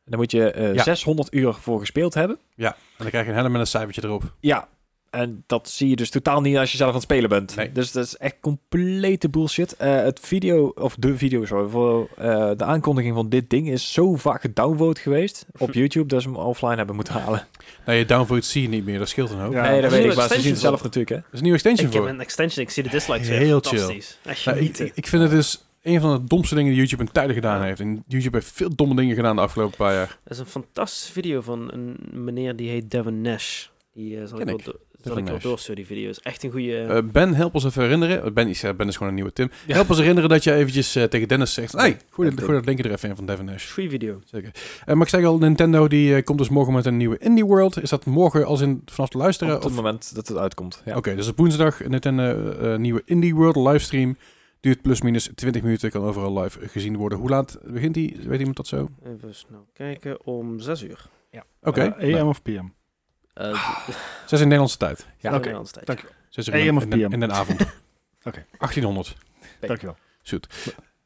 Speaker 2: En daar moet je eh,
Speaker 1: Ja.
Speaker 2: 600 uur voor gespeeld hebben.
Speaker 1: En dan krijg je een helm en een cijfertje erop.
Speaker 2: Ja. En dat zie je dus totaal niet als je zelf aan het spelen bent.
Speaker 1: Nee.
Speaker 2: Dus dat is echt complete bullshit. Eh, het video, of de video, sorry, voor eh, de aankondiging van dit ding is zo vaak gedownvote geweest op YouTube dat ze hem offline hebben moeten halen.
Speaker 1: Nou, je downvote zie je niet meer, dat scheelt een hoop.
Speaker 3: Ja.
Speaker 2: nee, dat
Speaker 4: er
Speaker 2: weet
Speaker 4: zijn
Speaker 2: ik, maar ze
Speaker 4: extensions
Speaker 2: zien het zelf
Speaker 4: op.
Speaker 2: natuurlijk, hè.
Speaker 1: Er is een nieuwe extension
Speaker 4: Ik heb
Speaker 1: voor.
Speaker 4: een extension, ik zie de dislikes weer.
Speaker 1: Heel
Speaker 4: Fantastisch. Echt
Speaker 1: Nou, ik,
Speaker 4: genieten.
Speaker 1: ik ik vind het dus een van de domste dingen die YouTube in tijden gedaan heeft. En YouTube heeft veel domme dingen gedaan de afgelopen paar jaar.
Speaker 4: Dat is een fantastische video van een meneer die heet Devin Nash. Die eh zal
Speaker 1: Ken
Speaker 4: ik,
Speaker 1: ik.
Speaker 4: wel, do- zal
Speaker 1: Devin
Speaker 4: ik wel
Speaker 1: Nash.
Speaker 4: doorsturen, die video. Is echt een goede...
Speaker 1: Eh, ben, help ons even herinneren. eh, Ben, is, eh, ben is gewoon een nieuwe Tim.
Speaker 2: Ja.
Speaker 1: Help ons herinneren dat je eventjes eh, tegen Dennis zegt... Hey, gooi
Speaker 2: Ja,
Speaker 1: dat- gooi dat linkje er even in van Devin Nash.
Speaker 4: free video.
Speaker 1: Eh, maar ik zei al, Nintendo die eh, komt dus morgen met een nieuwe Indie World. Is dat morgen als in vanaf te luisteren?
Speaker 2: Op
Speaker 1: of-
Speaker 2: het moment dat het uitkomt. Ja.
Speaker 1: Oké, dus op woensdag een Nintendo eh, nieuwe Indie World livestream. Duurt plus minus 20 minuten, kan overal live gezien worden. Hoe laat begint die? Weet iemand dat zo? Oké.
Speaker 4: Even snel kijken. Om 6 uur.
Speaker 2: Eh,
Speaker 1: nou,
Speaker 3: AM of PM?
Speaker 4: Eh
Speaker 1: zes in Nederlandse tijd.
Speaker 2: Ja,
Speaker 4: ja,
Speaker 3: oké.
Speaker 4: oké.
Speaker 3: Dank
Speaker 1: Zes uur
Speaker 3: AM
Speaker 1: in,
Speaker 3: of
Speaker 1: in, de-
Speaker 3: PM?
Speaker 1: in de avond.
Speaker 3: Oké.
Speaker 1: 1800.
Speaker 3: Dankjewel.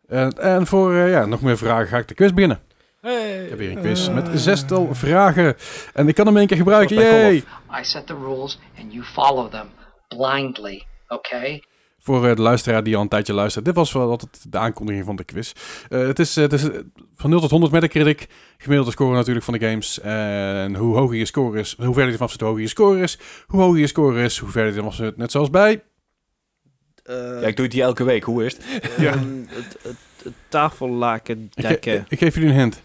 Speaker 1: En, en voor eh, ja, nog meer vragen ga ik de quiz beginnen.
Speaker 2: Hey.
Speaker 1: Ik heb hier een quiz met zestal vragen. En Eh. ik kan hem in één keer gebruiken.
Speaker 2: Zoals bij
Speaker 1: Yay!
Speaker 6: I set the rules and you follow them blindly, okay?
Speaker 1: Voor eh, de luisteraar die al een tijdje luistert. Dit was wel altijd de aankondiging van de quiz. Eh, het, is, eh, het is eh, van 0 tot 100 met de critic. Gemiddelde score natuurlijk van de games. En hoe hoger je score is, hoe verder je vanaf zit, hoe hoger je score is. Hoe hoger je score is, hoe verder je vanaf zit. Net zoals bij...
Speaker 2: Ja, ik doe het die elke week. Hoe is het?
Speaker 4: ja. Eh, ehm, het, het, het tafellaken
Speaker 1: Ik, ge-
Speaker 4: dekken.
Speaker 1: ik geef jullie een hint.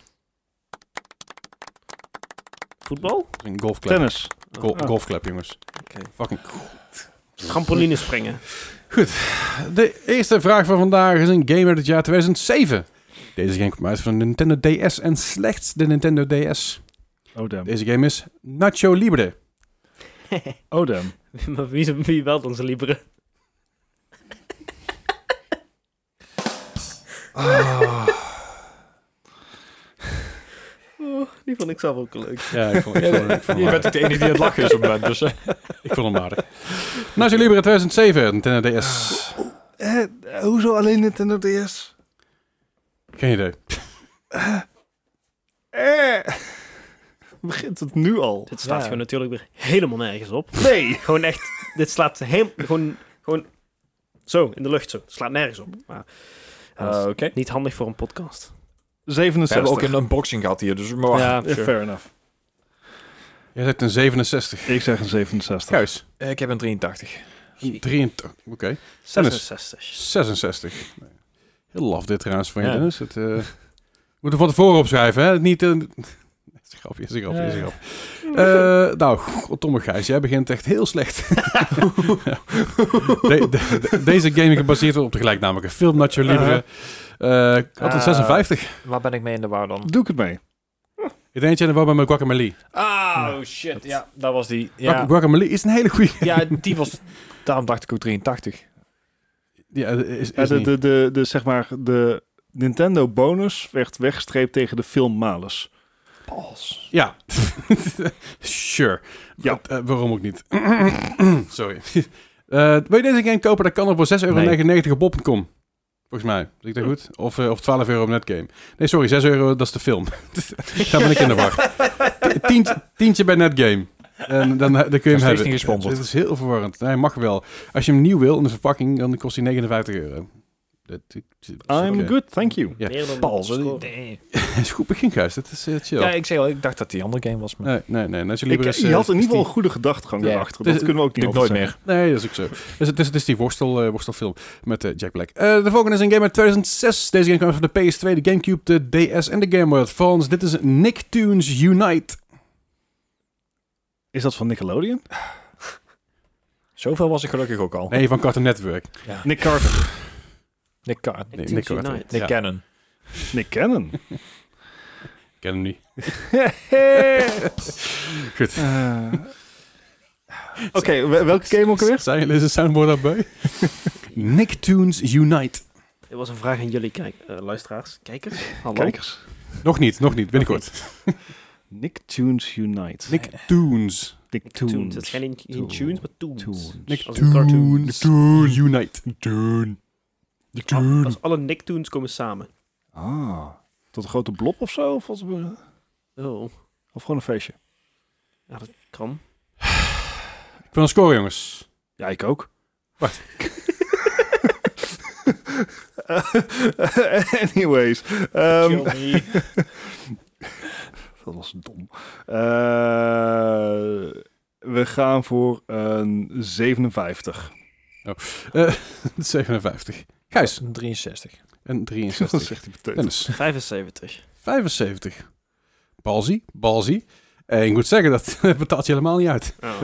Speaker 4: Voetbal?
Speaker 1: Een golfclap.
Speaker 3: Tennis.
Speaker 1: Gol-
Speaker 3: Ah.
Speaker 1: Golfclap, jongens.
Speaker 4: Oké.
Speaker 1: Fucking
Speaker 4: Trampoline springen.
Speaker 1: De eerste vraag van vandaag is een game uit het jaar 2007. Deze game komt uit van de Nintendo DS en slechts de Nintendo DS.
Speaker 3: Oh, Odem.
Speaker 1: Deze game is Nacho Libre.
Speaker 3: Odem.
Speaker 4: maar wie, wie wel dan zijn Libre?
Speaker 2: Ah.
Speaker 4: Oh, die vond ik zelf ook leuk.
Speaker 1: Ja, ik vond, ik vond, ik vond,
Speaker 2: Je bent ook de enige die aan het lachen is op het moment, dus... eh.
Speaker 1: ik vond hem aardig. Nazi Libre 2007, Nintendo DS.
Speaker 3: Eh, hoezo alleen Nintendo DS?
Speaker 1: Geen idee.
Speaker 3: Eh. Begint het nu al?
Speaker 4: Dit staat
Speaker 2: Ja.
Speaker 4: gewoon natuurlijk weer helemaal nergens op.
Speaker 3: Nee.
Speaker 4: Gewoon echt, dit slaat helemaal, gewoon, gewoon zo, in de lucht zo. Het slaat nergens op. Maar, ja, dat is
Speaker 2: Ah, Oké.
Speaker 4: Niet handig voor een podcast.
Speaker 2: We hebben ook
Speaker 3: 67.
Speaker 2: een unboxing gehad hier, dus... Maar,
Speaker 4: Ja,
Speaker 3: Eh, Fair enough.
Speaker 1: Jij zegt een 67.
Speaker 3: Ik zeg een 67.
Speaker 1: Kuis.
Speaker 2: Eh, Ik heb een 83.
Speaker 1: Een 83. Oké.
Speaker 4: 66.
Speaker 1: 66. Nee. Heel laf dit trouwens van je,
Speaker 2: Ja.
Speaker 1: Dennis. Het, eh, moet er van tevoren opschrijven, hè? Niet... eh, is een grapje, is een grapje, is een grapje. Eh, nou, goddomme Gijs, jij begint echt heel slecht. De- de- de- deze game gebaseerd wordt op de gelijknamige film Nacho Libre. Eh, ik had een
Speaker 2: Eh.
Speaker 1: 56.
Speaker 2: Waar ben ik mee in de war dan?
Speaker 3: Doe ik het mee.
Speaker 1: Ik denk dat jij er wel bij mijn Guacamole.
Speaker 2: Ah, oh, shit. Ja, dat was die.
Speaker 1: Ja.
Speaker 2: Ja,
Speaker 1: Guacamole is een hele goede.
Speaker 2: ja die was... Daarom dacht ik ook 83.
Speaker 1: Ja, is,
Speaker 3: Ja,
Speaker 1: is
Speaker 3: Eh, de,
Speaker 1: niet.
Speaker 3: de, de, de, zeg maar, de Nintendo bonus werd weggestreept tegen de film Malus.
Speaker 2: Pas.
Speaker 1: ja. sure.
Speaker 3: Ja.
Speaker 1: Wat, eh, waarom ook niet? Sorry. Eh wil je deze game kopen? Dat kan er voor 6,99 euro op bol.com. Volgens mij. Zie ik dat goed? Of, eh, of 12 euro op Netgame. Nee, sorry. 6 euro, dat is de film. Daar ben ik in de war. Tientje, tientje bij Netgame. En dan, eh, dan kun je hem
Speaker 2: steeds
Speaker 1: hebben.
Speaker 2: niet gesponsord.
Speaker 1: Het is heel verwarrend. Hij mag wel. Als je hem nieuw wil in de verpakking, dan kost hij 59 euro. Dat, dat- dat is
Speaker 3: I'm
Speaker 1: oké.
Speaker 3: good, thank you.
Speaker 1: Ja.
Speaker 4: Meer dan
Speaker 2: Pas.
Speaker 4: de score.
Speaker 1: is goed begin, Gijs. Dat is eh, chill.
Speaker 2: Ja, ik zei al, ik dacht dat die andere game was. Maar...
Speaker 1: Nee, nee, nee. Nacho
Speaker 3: Ik,
Speaker 1: Libre is,
Speaker 3: je
Speaker 1: eh,
Speaker 3: had in
Speaker 1: is
Speaker 3: ieder geval
Speaker 1: die-
Speaker 3: een goede gedachtegang
Speaker 2: Ja.
Speaker 3: erachter.
Speaker 1: Dus
Speaker 3: Dat kunnen we ook niet
Speaker 2: Doe ik nooit
Speaker 3: over
Speaker 2: meer.
Speaker 1: Nee, dat is ook zo. Dus het is, het is die worstel, eh, worstelfilm met eh, Jack Black. Eh, de volgende is een game uit 2006. Deze game kwam van de PS2, de Gamecube, de DS en de Game Boy Advance. Dit is Nicktoons Unite.
Speaker 3: zeggen. Is dat van Nickelodeon?
Speaker 2: Zoveel was ik gelukkig ook al.
Speaker 1: Nee, van Cartoon Network.
Speaker 3: Nick Carter.
Speaker 2: Nick, Ca-
Speaker 1: Nee,
Speaker 4: Nicktoons
Speaker 1: Nick Carter.
Speaker 4: Unite.
Speaker 2: Nick
Speaker 1: Ja, ik
Speaker 2: Cannon.
Speaker 3: Nick Cannon.
Speaker 1: ken hem niet.
Speaker 3: Eh, Oké, we- welke game ook weer?
Speaker 1: Zijn jullie een soundboard daarbij? Nicktoons Unite.
Speaker 4: Dit was een vraag aan jullie kijk, eh, luisteraars. Kijkers? Hallo?
Speaker 3: Kijkers.
Speaker 1: Nog niet, nog niet. Binnenkort.
Speaker 3: Nicktoons Unite.
Speaker 1: Nicktoons.
Speaker 4: Tunes. Het
Speaker 3: Nicktoons.
Speaker 4: zijn geen geen tunes, maar tunes.
Speaker 3: Tunes.
Speaker 4: Als een cartoon.
Speaker 1: Nicktoons Unite.
Speaker 4: Al- Als alle Nicktoons komen samen.
Speaker 3: Ah. Tot een grote blob of zo? Of, wat-
Speaker 4: Oh,
Speaker 3: of gewoon een feestje?
Speaker 4: ja, dat kan.
Speaker 1: Ik wil een score, jongens.
Speaker 3: Ja, ik ook.
Speaker 1: Wat?
Speaker 3: Anyways. ehm, dat was dom. Eh, we gaan voor een 57.
Speaker 1: Eh 57. Gijs,
Speaker 2: Een 63.
Speaker 1: een
Speaker 3: Dat
Speaker 1: 63.
Speaker 3: zegt hij meteen.
Speaker 1: Dennis.
Speaker 4: 75.
Speaker 1: 75. Balzi, balzi. En Eh, ik moet zeggen, dat betaalt je helemaal niet uit.
Speaker 4: Oh.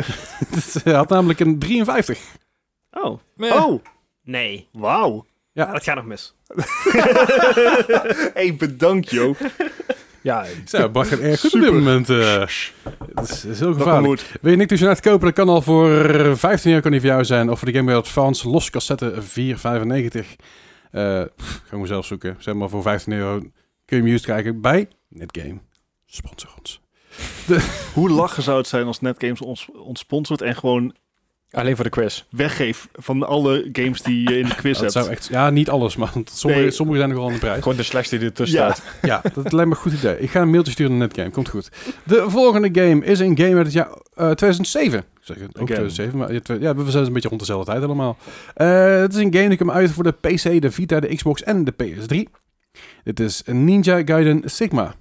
Speaker 1: Hij had namelijk een 53.
Speaker 4: Oh,
Speaker 3: Oh,
Speaker 4: nee.
Speaker 3: wauw.
Speaker 4: Ah, dat gaat nog mis.
Speaker 3: hey, bedankt, joh.
Speaker 2: Ja,
Speaker 1: Zo, Bart gaat erg goed op dit
Speaker 3: Super.
Speaker 1: moment. eh. dat, is, dat is heel
Speaker 3: Dat
Speaker 1: gevaarlijk.
Speaker 3: moet.
Speaker 1: Wil je Nick Unite kopen? Dat kan al voor 15 euro kan die voor jou zijn. Of voor de Game Boy Advance los cassette 4,95. Eh pff, ga ik zelf zoeken. Zeg maar voor 15 euro kun je hem used krijgen bij Netgame. Sponsor ons.
Speaker 3: Hoe lachen zou het zijn als Netgames ons, ons sponsort en gewoon
Speaker 2: Alleen voor de quiz.
Speaker 3: weggeeft van alle games die je in de quiz
Speaker 1: Dat
Speaker 3: hebt.
Speaker 1: zou echt, ja, niet alles, maar want sommige,
Speaker 3: Nee.
Speaker 1: sommige zijn nogal aan de prijs.
Speaker 2: Gewoon de slechtste die ertussen
Speaker 3: Ja.
Speaker 2: staat.
Speaker 1: Ja, dat lijkt me een goed idee. Ik ga een mailtje sturen naar Netgame. Komt goed. De volgende game is een game uit het jaar eh, 2007. Ik zeg het ook
Speaker 3: Again.
Speaker 1: 2007, maar ja, twe- ja, we zijn een beetje rond dezelfde tijd allemaal. Eh, het is een game die kwam uit voor de PC, de Vita, de Xbox en de PS3. Dit is Ninja Gaiden Sigma.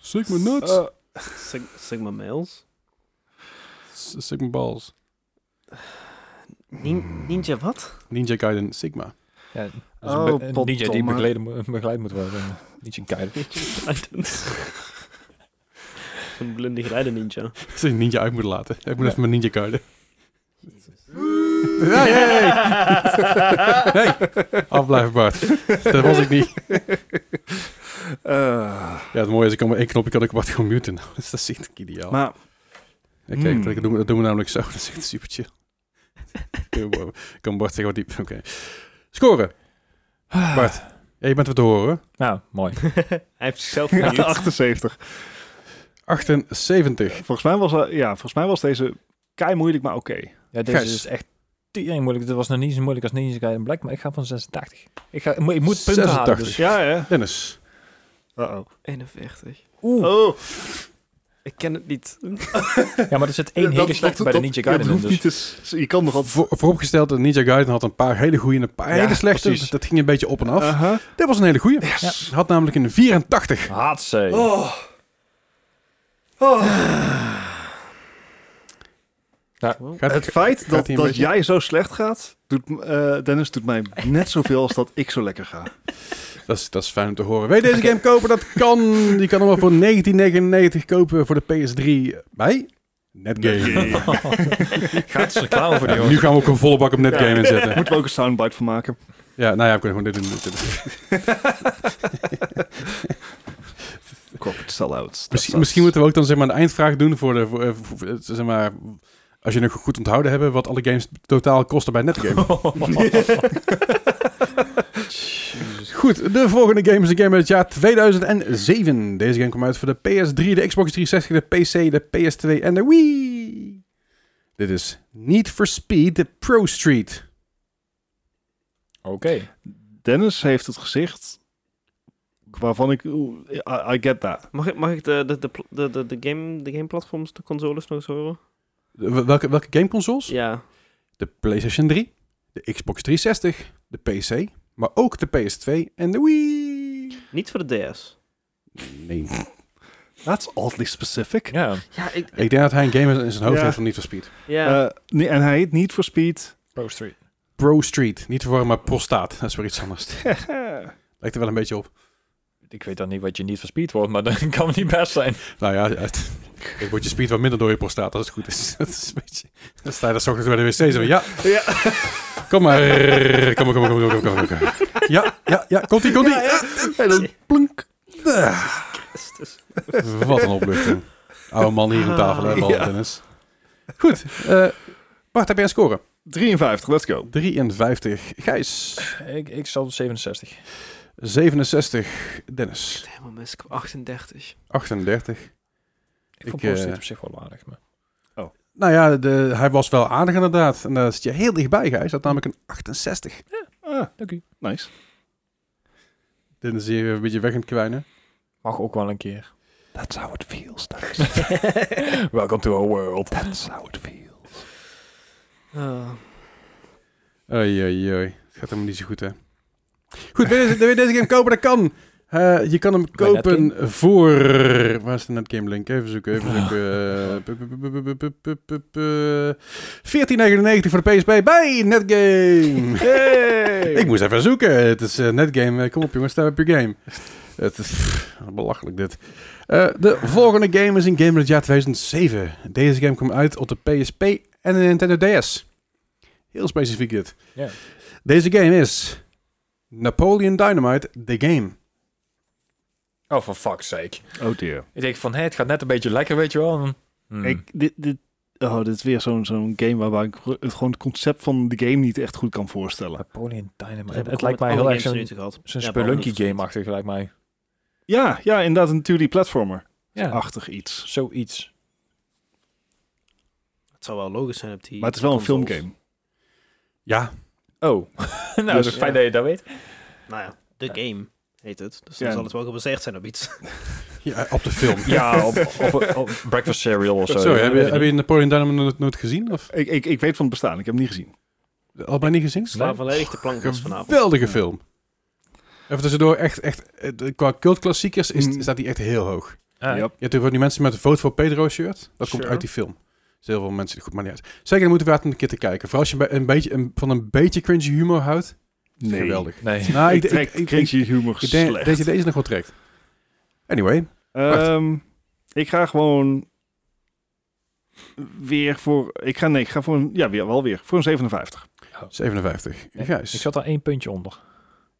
Speaker 1: Sigma nuts.
Speaker 3: Eh,
Speaker 4: Sig- Sigma Males.
Speaker 1: S- Sigma balls.
Speaker 4: Nin- Ninja wat?
Speaker 1: Ninja Gaiden Sigma.
Speaker 2: Ja, dat is
Speaker 3: Oh,
Speaker 2: Dus een be- een ninja die
Speaker 3: potdomme.
Speaker 2: begeleid, moet- begeleid moet worden. Niet een keider.
Speaker 4: Een blinde geleide ninja.
Speaker 1: Als ik ninja uit moet laten. Ik moet
Speaker 2: Ja.
Speaker 1: even mijn Ninja Gaiden. Hey, hey, hey. hey. Afblijven Bart. Dat was ik niet.
Speaker 3: eh,
Speaker 1: Ja, het mooie is, ik kan maar één knopje kan ik wat gewoon muten. Dus dat is echt ideaal.
Speaker 3: maar
Speaker 1: Ja, kijk,
Speaker 3: Hmm.
Speaker 1: dat, doen we, dat doen we namelijk zo. Dat is echt super chill. Ik kan Bart zeggen wat diep. Oké. Scoren.
Speaker 3: Ah.
Speaker 1: Bart, ja, je bent wat te horen.
Speaker 2: Nou, mooi.
Speaker 4: Hij heeft zichzelf gemute.
Speaker 3: 78.
Speaker 1: 78.
Speaker 3: Volgens mij was, eh, ja, volgens mij was deze kei moeilijk, maar oké.
Speaker 2: Ja, deze
Speaker 1: Gijs.
Speaker 2: is echt tering moeilijk. Dit was nog niet zo moeilijk als Ninja Gaiden Black, maar ik ga van 86. Ik, ga, ik moet- ik moet punten halen.
Speaker 1: 86.
Speaker 2: Dus.
Speaker 3: Ja, ja.
Speaker 1: Dennis.
Speaker 3: Uh-oh.
Speaker 4: 41.
Speaker 2: Oeh.
Speaker 4: Oh. Ik ken het niet.
Speaker 2: Ja, maar er zit één hele slechte bij de Ninja Gaiden in.
Speaker 3: hoeft niet
Speaker 2: Dus.
Speaker 3: te... s- Je kan nog wat...
Speaker 1: Voor, vooropgesteld, dat Ninja Gaiden had een paar hele goede en een paar
Speaker 3: Ja,
Speaker 1: hele slechte.
Speaker 3: precies. Uh-huh.
Speaker 1: Dat ging een beetje op en af.
Speaker 3: Aha.
Speaker 1: Dit was een hele goede. Had namelijk een 84.
Speaker 2: Haatse.
Speaker 1: Gaat,
Speaker 3: Het feit
Speaker 1: gaat hij
Speaker 3: Oh. dat, dat
Speaker 1: een beetje-
Speaker 3: jij zo slecht gaat, doet, m- eh, Dennis, doet mij net zoveel als dat ik zo lekker ga.
Speaker 1: Dat is, dat is fijn om te horen. Wil je deze game kopen? Dat kan. Je kan hem al voor 1999 kopen voor de PS3 bij
Speaker 3: Dus
Speaker 1: Netgame.
Speaker 2: Gaat ze reclame voor die
Speaker 1: Ja,
Speaker 2: jongen.
Speaker 1: nu gaan we ook een volle bak op Netgame inzetten.
Speaker 3: Moeten we ook een soundbite van maken.
Speaker 1: Ja, nou ja, we kunnen gewoon dit doen.
Speaker 3: Corporate sell-outs. Dat
Speaker 1: Misschien,
Speaker 3: sounds-
Speaker 1: misschien moeten we ook dan zeg maar een eindvraag doen voor de... Voor, eh, voor- voor- zeg maar, als je nog goed onthouden hebben wat alle games totaal kosten bij Netgame. Goed, de volgende game is een game uit het jaar 2007. Deze game kwam uit voor de PS3, de Xbox 360, de PC, de PS2 en de Wii. Dit is Need for Speed, de Pro Street.
Speaker 2: Oké.
Speaker 3: Dennis heeft het gezicht waarvan ik... oeh, I, I get that.
Speaker 4: Mag ik, mag ik de, de, de, pl- de, de, de game, de gameplatforms, de consoles nog eens horen?
Speaker 1: De- Welke, welke gameconsoles?
Speaker 4: Ja.
Speaker 1: De PlayStation 3, de Xbox 360, de PC, maar ook de PS2 en de Wii.
Speaker 4: Niet voor de DS.
Speaker 1: Nee.
Speaker 3: That's oddly specific.
Speaker 2: Ja.
Speaker 4: Ja, ik...
Speaker 1: Ik denk dat hij een game in zijn hoofd
Speaker 3: Ja.
Speaker 1: heeft van Need for Speed.
Speaker 4: Ja.
Speaker 3: Eh, nee, en hij heet Need for Speed.
Speaker 2: Pro Street.
Speaker 1: Pro Street. Niet te verwarren, maar prostaat. Dat is weer iets anders. Lijkt er wel een beetje op.
Speaker 2: Ik weet dan niet wat je niet verspied wordt, maar dat kan niet best zijn.
Speaker 1: Nou ja, het, ik word je speed wat minder door je prostaat als het goed is. Dat is een beetje... Dan sta je daar 's ochtends bij de wc en zo. Ja,
Speaker 3: ja.
Speaker 1: kom maar. Kom maar, kom maar, kom maar, kom maar. Kom maar. Ja, ja, ja. Komt-ie, komt-ie.
Speaker 3: En dan plunk.
Speaker 1: Wat een opluchting. Oude man hier aan tafel, hè,
Speaker 4: Ah,
Speaker 1: Bal
Speaker 3: ja.
Speaker 1: Dennis. Goed. eh Bart, heb jij een score?
Speaker 3: 53, let's go.
Speaker 1: 53. Gijs.
Speaker 2: Ik, ik zal op 67.
Speaker 1: 67. Dennis.
Speaker 4: Helemaal mis. Ik heb 38.
Speaker 1: 38.
Speaker 2: Ik vond
Speaker 1: Ik,
Speaker 2: Pro Street
Speaker 1: eh,
Speaker 2: op zich wel aardig. Maar...
Speaker 1: Nou ja, de, hij was wel aardig inderdaad. En daar zit je heel dichtbij, Gijs. Hij had namelijk een 68.
Speaker 3: Ah,
Speaker 2: Dank u.
Speaker 3: nice.
Speaker 1: Dennis is hier een beetje weg aan het kwijnen.
Speaker 2: Mag ook wel een keer. That's how it feels, Welcome to our world. That's how it feels.
Speaker 4: Ah.
Speaker 1: Oei, oei, oei. Het gaat helemaal niet zo goed, hè. Goed, wil je, wil je deze game kopen? Dat kan. Eh, je kan hem
Speaker 2: Bij
Speaker 1: kopen voor... Waar is de netgame link? Even zoeken, even zoeken. Eh, pu- pu- pu- pu- pu- pu- pu- pu- pu- 14,99 Eh, voor de PSP bij Netgame. Ik moest even zoeken. Het is eh, Netgame. Eh, Kom op jongens, sta op je game. Het is pff, belachelijk dit. Eh, de volgende game is een game uit het jaar 2007. Deze game kwam uit op de PSP en de Nintendo DS. Heel specifiek dit.
Speaker 2: Ja.
Speaker 1: Deze game is Napoleon Dynamite The Game.
Speaker 2: Oh, for fuck's sake.
Speaker 3: Oh dear.
Speaker 2: Ik denk van, hé, het gaat net een beetje lekker, weet je wel. En- Hmm.
Speaker 3: Ik, dit, dit, oh, dit is weer zo'n zo'n game waarbij ik gro- het, gewoon het concept van de game niet echt goed kan voorstellen.
Speaker 2: Napoleon Dynamite.
Speaker 4: Ze hebben
Speaker 2: Het,
Speaker 4: gewoon
Speaker 2: lijkt
Speaker 4: met
Speaker 2: mij heel
Speaker 4: alle
Speaker 2: erg
Speaker 4: games
Speaker 2: zo'n
Speaker 4: minuten gehad.
Speaker 2: zo'n
Speaker 4: Ja,
Speaker 2: Spelunky
Speaker 4: behalve Need for
Speaker 2: game-achtig, lijkt mij.
Speaker 3: Ja, ja, inderdaad een 2D platformer.
Speaker 2: Ja,
Speaker 3: Achtig iets.
Speaker 2: zoiets.
Speaker 4: Speed. Het zou wel logisch zijn op die
Speaker 3: Maar het is wel een
Speaker 4: consoles.
Speaker 3: filmgame.
Speaker 1: Ja,
Speaker 2: Oh, nou, dat
Speaker 3: Dus,
Speaker 2: is fijn dat je dat weet.
Speaker 4: Nou ja, de game heet het. Dus
Speaker 3: Ja.
Speaker 4: dan zal het wel gebaseerd zijn op iets.
Speaker 1: ja op de film.
Speaker 2: Ja, op, op, op breakfast cereal of zo.
Speaker 1: Sorry, heb je,
Speaker 2: Weet ik
Speaker 1: heb
Speaker 2: niet.
Speaker 1: je Napoleon Dynamite nooit, nooit gezien? Of
Speaker 3: Ik, ik, ik weet van het bestaan, ik heb hem niet gezien.
Speaker 1: al bijna niet gezien?
Speaker 4: Sla volledig de plank was vanavond.
Speaker 1: Geweldige film. Even tussendoor, echt, echt, eh, de- qua cultklassiekers is,
Speaker 3: Mm.
Speaker 1: staat die echt heel hoog.
Speaker 2: Ah,
Speaker 3: Yep.
Speaker 1: Je hebt natuurlijk ook die mensen met een Vote voor Pedro shirt. Dat komt
Speaker 4: Sure.
Speaker 1: uit die film. Dus heel veel mensen, goed, maar niet uit. Zeker, dan moeten we het een keer te kijken. Vooral als je bij- een beetje, een- van een beetje cringy humor houdt.
Speaker 3: Nee.
Speaker 1: Geweldig.
Speaker 2: Nee.
Speaker 1: Nou,
Speaker 3: ik
Speaker 1: ik,
Speaker 3: trek
Speaker 1: ik- ik-
Speaker 3: cringy humor
Speaker 1: ik denk
Speaker 3: slecht.
Speaker 1: dat je deze nog wel trekt. Anyway,
Speaker 3: Ehm, ik ga gewoon weer voor... Ik ga, nee, ik ga voor een... Ja, weer, wel weer. Voor een 57.
Speaker 1: Oh. 57.
Speaker 2: Nee,
Speaker 1: Gijs.
Speaker 2: Ik zat daar één puntje onder.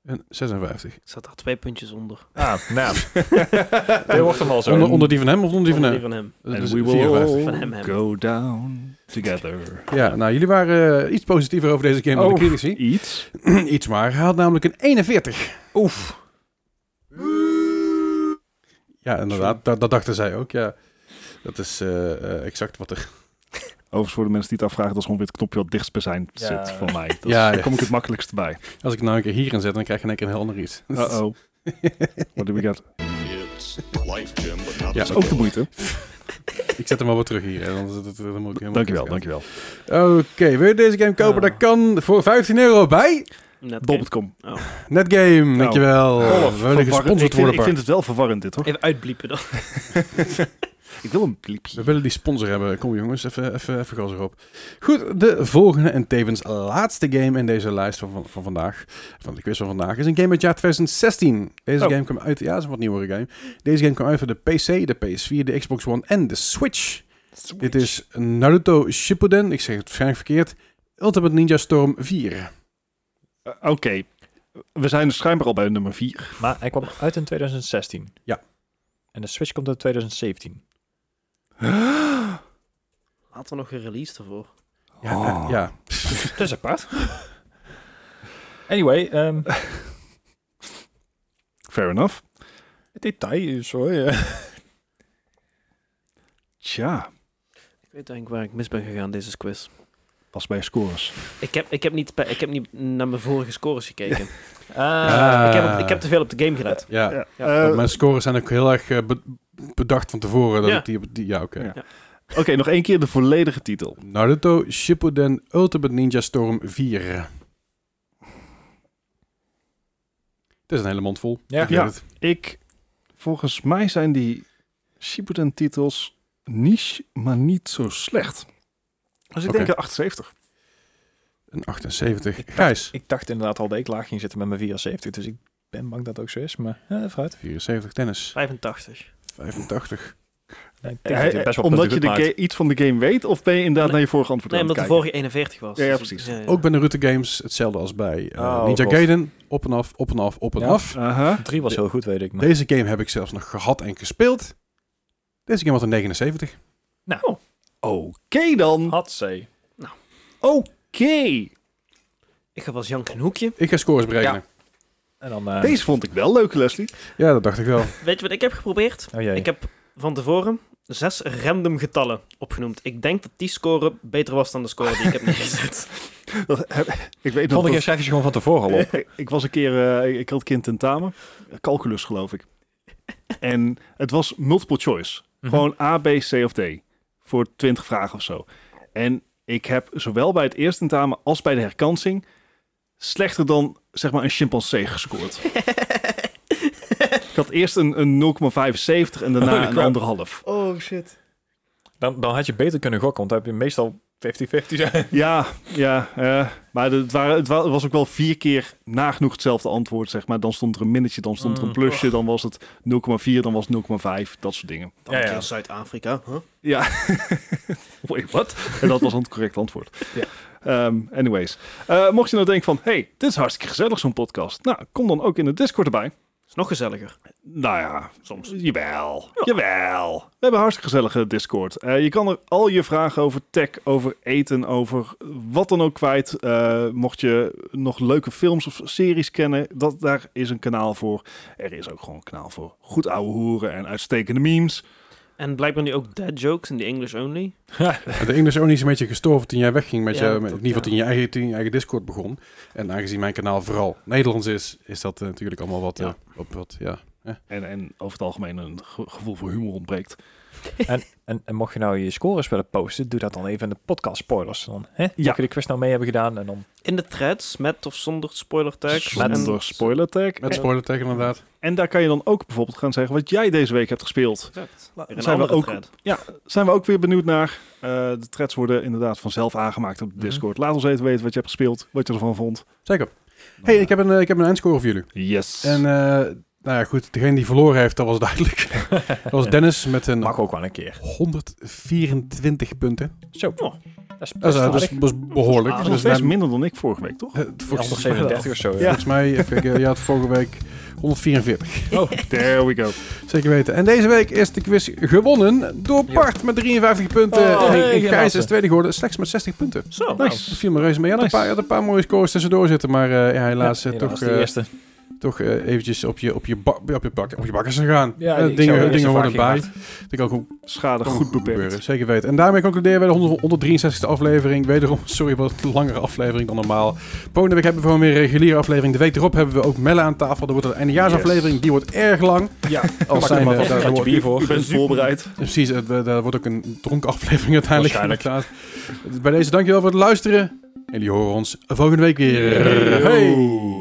Speaker 1: en 56.
Speaker 4: Ik zat daar twee puntjes onder.
Speaker 2: Ah, nou. Dit wordt hem al zo.
Speaker 1: Onder, onder die van hem of onder die van
Speaker 4: Onder
Speaker 1: hem?
Speaker 4: van hem.
Speaker 1: Dat is
Speaker 3: we
Speaker 1: 54.
Speaker 4: Van hem, hem.
Speaker 3: Dus go down together.
Speaker 1: Ja, nou, jullie waren eh, iets positiever over deze game dan
Speaker 3: Oh,
Speaker 1: de critici.
Speaker 3: Iets.
Speaker 1: iets maar. Hij had namelijk een 41. Oef. Ja, inderdaad. Dat, dat dachten zij ook, ja. Dat is eh, eh, exact wat er...
Speaker 3: Overigens voor de mensen die het afvragen, dat is gewoon weer het knopje wat dichtst bij zijn
Speaker 2: Ja.
Speaker 3: zit voor mij. Dat is-
Speaker 1: Ja, ja.
Speaker 3: Daar kom ik het makkelijkst bij.
Speaker 1: Als ik nou een keer hierin zet, dan krijg je in één keer een heel ander iets.
Speaker 3: Uh-oh. What do we got?
Speaker 1: Ja,
Speaker 3: Ook de moeite.
Speaker 1: ik zet hem al wat terug hier. hè, want dat- dat- dat moet ik helemaal
Speaker 3: Dankjewel,
Speaker 1: kwijt
Speaker 3: dankjewel.
Speaker 1: gaan. Oké, wil je deze game kopen?
Speaker 4: Ah.
Speaker 1: Dat kan voor 15 euro bij
Speaker 4: Net geen- oh.
Speaker 3: Bob.com.
Speaker 1: Netgame. Dankjewel.
Speaker 3: Nou,
Speaker 1: Oh,
Speaker 3: Olaf,
Speaker 1: we willen
Speaker 3: verwarrend. ik,
Speaker 1: gesponsord
Speaker 3: vind,
Speaker 1: worden,
Speaker 3: ik
Speaker 1: Bart.
Speaker 3: vind het wel verwarrend dit, hoor.
Speaker 4: Even uitbliepen dan.
Speaker 3: Ik wil een
Speaker 1: We
Speaker 3: bliepje.
Speaker 1: willen die sponsor hebben. Kom jongens, even, even, even gas erop. Goed, de volgende en tevens laatste game in deze lijst van, van, van vandaag, van de quiz van vandaag, is een game uit het jaar 2016. Deze
Speaker 3: Oh.
Speaker 1: game kwam uit, ja, dat is een wat nieuwere game. Deze game kwam uit voor de PC, de PS4, de Xbox One en de Switch. Dit is Naruto Shippuden, ik zeg het waarschijnlijk verkeerd, Ultimate Ninja Storm 4.
Speaker 3: Eh, Oké. We zijn dus schijnbaar al bij nummer 4.
Speaker 2: Maar hij kwam uit in 2016.
Speaker 1: Ja.
Speaker 2: En de Switch komt uit 2017.
Speaker 4: Had er nog een release ervoor.
Speaker 1: Ja,
Speaker 3: Oh.
Speaker 1: eh, ja.
Speaker 2: Dat is apart. Anyway, ehm,
Speaker 3: Ah, Fair enough.
Speaker 2: het detail is hoor. ja.
Speaker 3: Tja,
Speaker 4: Ik weet eigenlijk waar ik mis ben gegaan, deze quiz.
Speaker 3: pas bij scores.
Speaker 4: Ik heb, ik heb, niet, pe- ik heb niet naar mijn vorige scores gekeken. Eh,
Speaker 1: Ah.
Speaker 4: Ik, heb, op- ik heb te veel op de game gelet.
Speaker 1: ja.
Speaker 3: Ja.
Speaker 1: Want
Speaker 3: Eh,
Speaker 1: Mijn scores zijn ook heel erg eh, be- bedacht van tevoren. Dat
Speaker 4: Ja.
Speaker 1: ik die, op- die, ja, oké.
Speaker 3: Ja. Oké, nog één keer de volledige titel.
Speaker 1: Naruto Shippuden Ultimate Ninja Storm 4. Het is een hele mond vol.
Speaker 2: Ja.
Speaker 1: Ik weet
Speaker 3: Ja.
Speaker 1: het.
Speaker 3: Ik, volgens mij zijn die Shippuden titels niche, maar niet zo slecht. Dus ik
Speaker 1: Oké.
Speaker 3: denk een 78.
Speaker 1: Een 78.
Speaker 2: Ik dacht-
Speaker 1: Gijs.
Speaker 2: Ik dacht inderdaad al dat ik laag ging zitten met mijn 74, dus ik ben bang dat het ook zo is. Maar eh, vooruit.
Speaker 1: 74. Dennis.
Speaker 4: 85.
Speaker 1: 85.
Speaker 2: Ja, ik
Speaker 3: Eh,
Speaker 2: denk dat je
Speaker 3: eh,
Speaker 2: best wel
Speaker 3: omdat
Speaker 2: punten
Speaker 3: je de
Speaker 2: goed maakt.
Speaker 3: ga- iets van de game weet, of ben je inderdaad
Speaker 4: Nee.
Speaker 3: naar je vorige antwoord
Speaker 4: Nee,
Speaker 3: aan het
Speaker 4: omdat de
Speaker 3: kijken?
Speaker 4: vorige 41 was.
Speaker 3: Ja, ja,
Speaker 4: Dus-
Speaker 3: precies.
Speaker 4: ja, ja.
Speaker 1: Ook bij Naruto Games hetzelfde als bij eh,
Speaker 2: Oh,
Speaker 1: Ninja
Speaker 2: God.
Speaker 1: Gaiden. Op en af, op en af, op en
Speaker 2: Ja.
Speaker 1: af.
Speaker 3: Aha.
Speaker 2: Drie was heel goed, weet ik. Maar...
Speaker 1: Deze game heb ik zelfs nog gehad en gespeeld. Deze game had een 79.
Speaker 2: Nou,
Speaker 3: Oké dan.
Speaker 2: had ze.
Speaker 3: Oké.
Speaker 4: Ik ga wel janken een hoekje.
Speaker 1: Ik ga scores berekenen.
Speaker 2: En dan... eh,
Speaker 3: Deze vond ik wel leuk, Leslie.
Speaker 1: Ja, dat dacht ik wel.
Speaker 4: Weet je wat ik heb geprobeerd?
Speaker 2: Oh jee.
Speaker 4: Ik heb van tevoren zes random getallen opgenoemd. Ik denk dat die score beter was dan de score die ik heb neergezet.
Speaker 3: Dat heb- ik weet nog
Speaker 2: Volgende keer
Speaker 3: dat...
Speaker 2: schrijf je ze gewoon van tevoren al op.
Speaker 3: Ik was een keer, eh, ik had een keer een tentamen, calculus geloof ik. En het was multiple choice.
Speaker 2: Mhm.
Speaker 3: Gewoon A, B, C of D. Voor 20 vragen of zo. En ik heb zowel bij het eerste tentamen als bij de herkansing slechter dan zeg maar een chimpansee gescoord. ik had eerst een, een 0,75 en daarna een anderhalf.
Speaker 4: Oh shit.
Speaker 2: Dan, dan had je beter kunnen gokken, want dan heb je meestal 50-50 zijn.
Speaker 3: Ja, ja. eh, maar het, waren, het wa- was ook wel vier keer nagenoeg hetzelfde antwoord, zeg maar. Dan stond er een minnetje, dan stond er een
Speaker 2: Mm.
Speaker 3: plusje, dan was het 0,4, dan was het 0,5, dat soort dingen.
Speaker 4: Dan
Speaker 2: Ja,
Speaker 4: een
Speaker 2: ja.
Speaker 4: keer Zuid-Afrika. Huh?
Speaker 3: Ja. Wait, wat? En dat was dan het correcte antwoord.
Speaker 4: Ja.
Speaker 3: Ehm, anyways. Eh, mocht je nou denken van, hey, dit is hartstikke gezellig zo'n podcast. Nou, kom dan ook in de Discord erbij.
Speaker 4: Is nog gezelliger.
Speaker 3: Nou ja, soms. Jawel, jawel. We hebben een hartstikke gezellige Discord. Eh, je kan er al je vragen over tech, over eten, over wat dan ook kwijt. Eh, mocht je nog leuke films of series kennen, dat, daar is een kanaal voor. Er is ook gewoon een kanaal voor goed ouwe hoeren en uitstekende memes.
Speaker 4: En blijkbaar nu ook dead jokes in de English only.
Speaker 1: De English Only is een beetje gestorven toen jij wegging met
Speaker 4: Ja,
Speaker 1: je,
Speaker 4: dat-
Speaker 1: met, in ieder geval
Speaker 4: ja.
Speaker 1: toen je, eigen, toen je eigen Discord begon. En aangezien mijn kanaal vooral Nederlands is, is dat eh, natuurlijk allemaal wat,
Speaker 3: Ja.
Speaker 1: eh, op wat, ja.
Speaker 3: En, en over het algemeen een ge- gevoel voor humor ontbreekt.
Speaker 2: En, en mocht je nou je scores willen posten, doe dat dan even in de podcast spoilers. Dan hè?
Speaker 3: Ja.
Speaker 2: Mocht je de quiz nou mee hebben gedaan en dan...
Speaker 4: In de threads, met of zonder spoiler tags.
Speaker 3: Zonder
Speaker 4: En-
Speaker 3: spoiler tag.
Speaker 1: Met
Speaker 3: En,
Speaker 1: spoiler tegen inderdaad.
Speaker 3: en daar kan je dan ook bijvoorbeeld gaan zeggen wat jij deze week hebt gespeeld.
Speaker 4: Exact. Weer
Speaker 3: Zijn we
Speaker 4: andere
Speaker 3: ook-
Speaker 4: thread.
Speaker 3: zijn we ook weer benieuwd naar. Eh, de threads worden inderdaad vanzelf aangemaakt op de
Speaker 2: Mhm.
Speaker 3: Discord. Laat ons even weten wat je hebt gespeeld, wat je ervan vond.
Speaker 1: Zeker. Hey, ik heb een, eh, ik heb een eindscore voor jullie.
Speaker 3: Yes.
Speaker 1: En eh, nou ja, goed, degene die verloren heeft, dat was duidelijk. dat was Dennis met een
Speaker 2: Mag ook wel een keer.
Speaker 1: 124 punten.
Speaker 2: Zo.
Speaker 4: Oh.
Speaker 2: Dat is
Speaker 1: Dat
Speaker 2: best
Speaker 1: is, eh, dat is-
Speaker 2: aardig.
Speaker 1: dat is behoorlijk.
Speaker 3: Dat is Ah, nog
Speaker 1: Dus
Speaker 3: steeds
Speaker 1: dan-
Speaker 3: minder dan ik vorige week, toch?
Speaker 1: eh, volgens,
Speaker 2: nog 37 of zo. Ja.
Speaker 1: volgens mij, even kijken, je had vorige week 144.
Speaker 3: There we go.
Speaker 1: Zeker weten. En deze week is de quiz gewonnen door Bart met 53 punten.
Speaker 2: Oh,
Speaker 1: en
Speaker 2: hey,
Speaker 1: Gijs
Speaker 2: gelaten.
Speaker 1: is tweede geworden, slechts met 60 punten.
Speaker 4: Zo, Nou,
Speaker 1: Nice. Dat viel me reuze mee. Hij had,
Speaker 3: Nice.
Speaker 1: een, paar, hij had een paar mooie scores tussendoor zitten, maar eh, ja, helaas eh,
Speaker 2: Ja,
Speaker 1: toch,
Speaker 2: dat was de
Speaker 1: eh,
Speaker 2: eerste.
Speaker 1: toch eh, eventjes op je, op, je bak, op, je bak, op je bakkers gegaan.
Speaker 2: Ja,
Speaker 1: Eh,
Speaker 2: ik zou
Speaker 1: dingen
Speaker 2: eerst
Speaker 1: dingen
Speaker 2: een
Speaker 1: horen bij.
Speaker 2: vraagje
Speaker 1: Ik denk ook hoe
Speaker 3: Schade
Speaker 1: kan
Speaker 3: goed
Speaker 1: gebeuren.
Speaker 3: beperkt.
Speaker 1: Zeker weten. En daarmee concluderen wij de 163e aflevering. Wederom, sorry, wat een langere aflevering dan normaal. Volgende week hebben we gewoon weer een reguliere aflevering. De week erop hebben we ook Melle aan tafel. Dat wordt een eindejaarsaflevering.
Speaker 3: Yes.
Speaker 1: Die wordt erg lang.
Speaker 2: Ja,
Speaker 1: Als zijn
Speaker 2: maar
Speaker 1: we-
Speaker 2: vast
Speaker 1: daar
Speaker 2: een gaatje
Speaker 1: wordt-
Speaker 2: bier voor.
Speaker 3: Ik ben voorbereid.
Speaker 1: Precies, het, eh, daar wordt ook een dronken aflevering uiteindelijk.
Speaker 2: Waarschijnlijk.
Speaker 1: inderdaad. Bij deze dankjewel voor het luisteren. En jullie horen ons volgende week weer.
Speaker 2: Yo.
Speaker 1: Hey.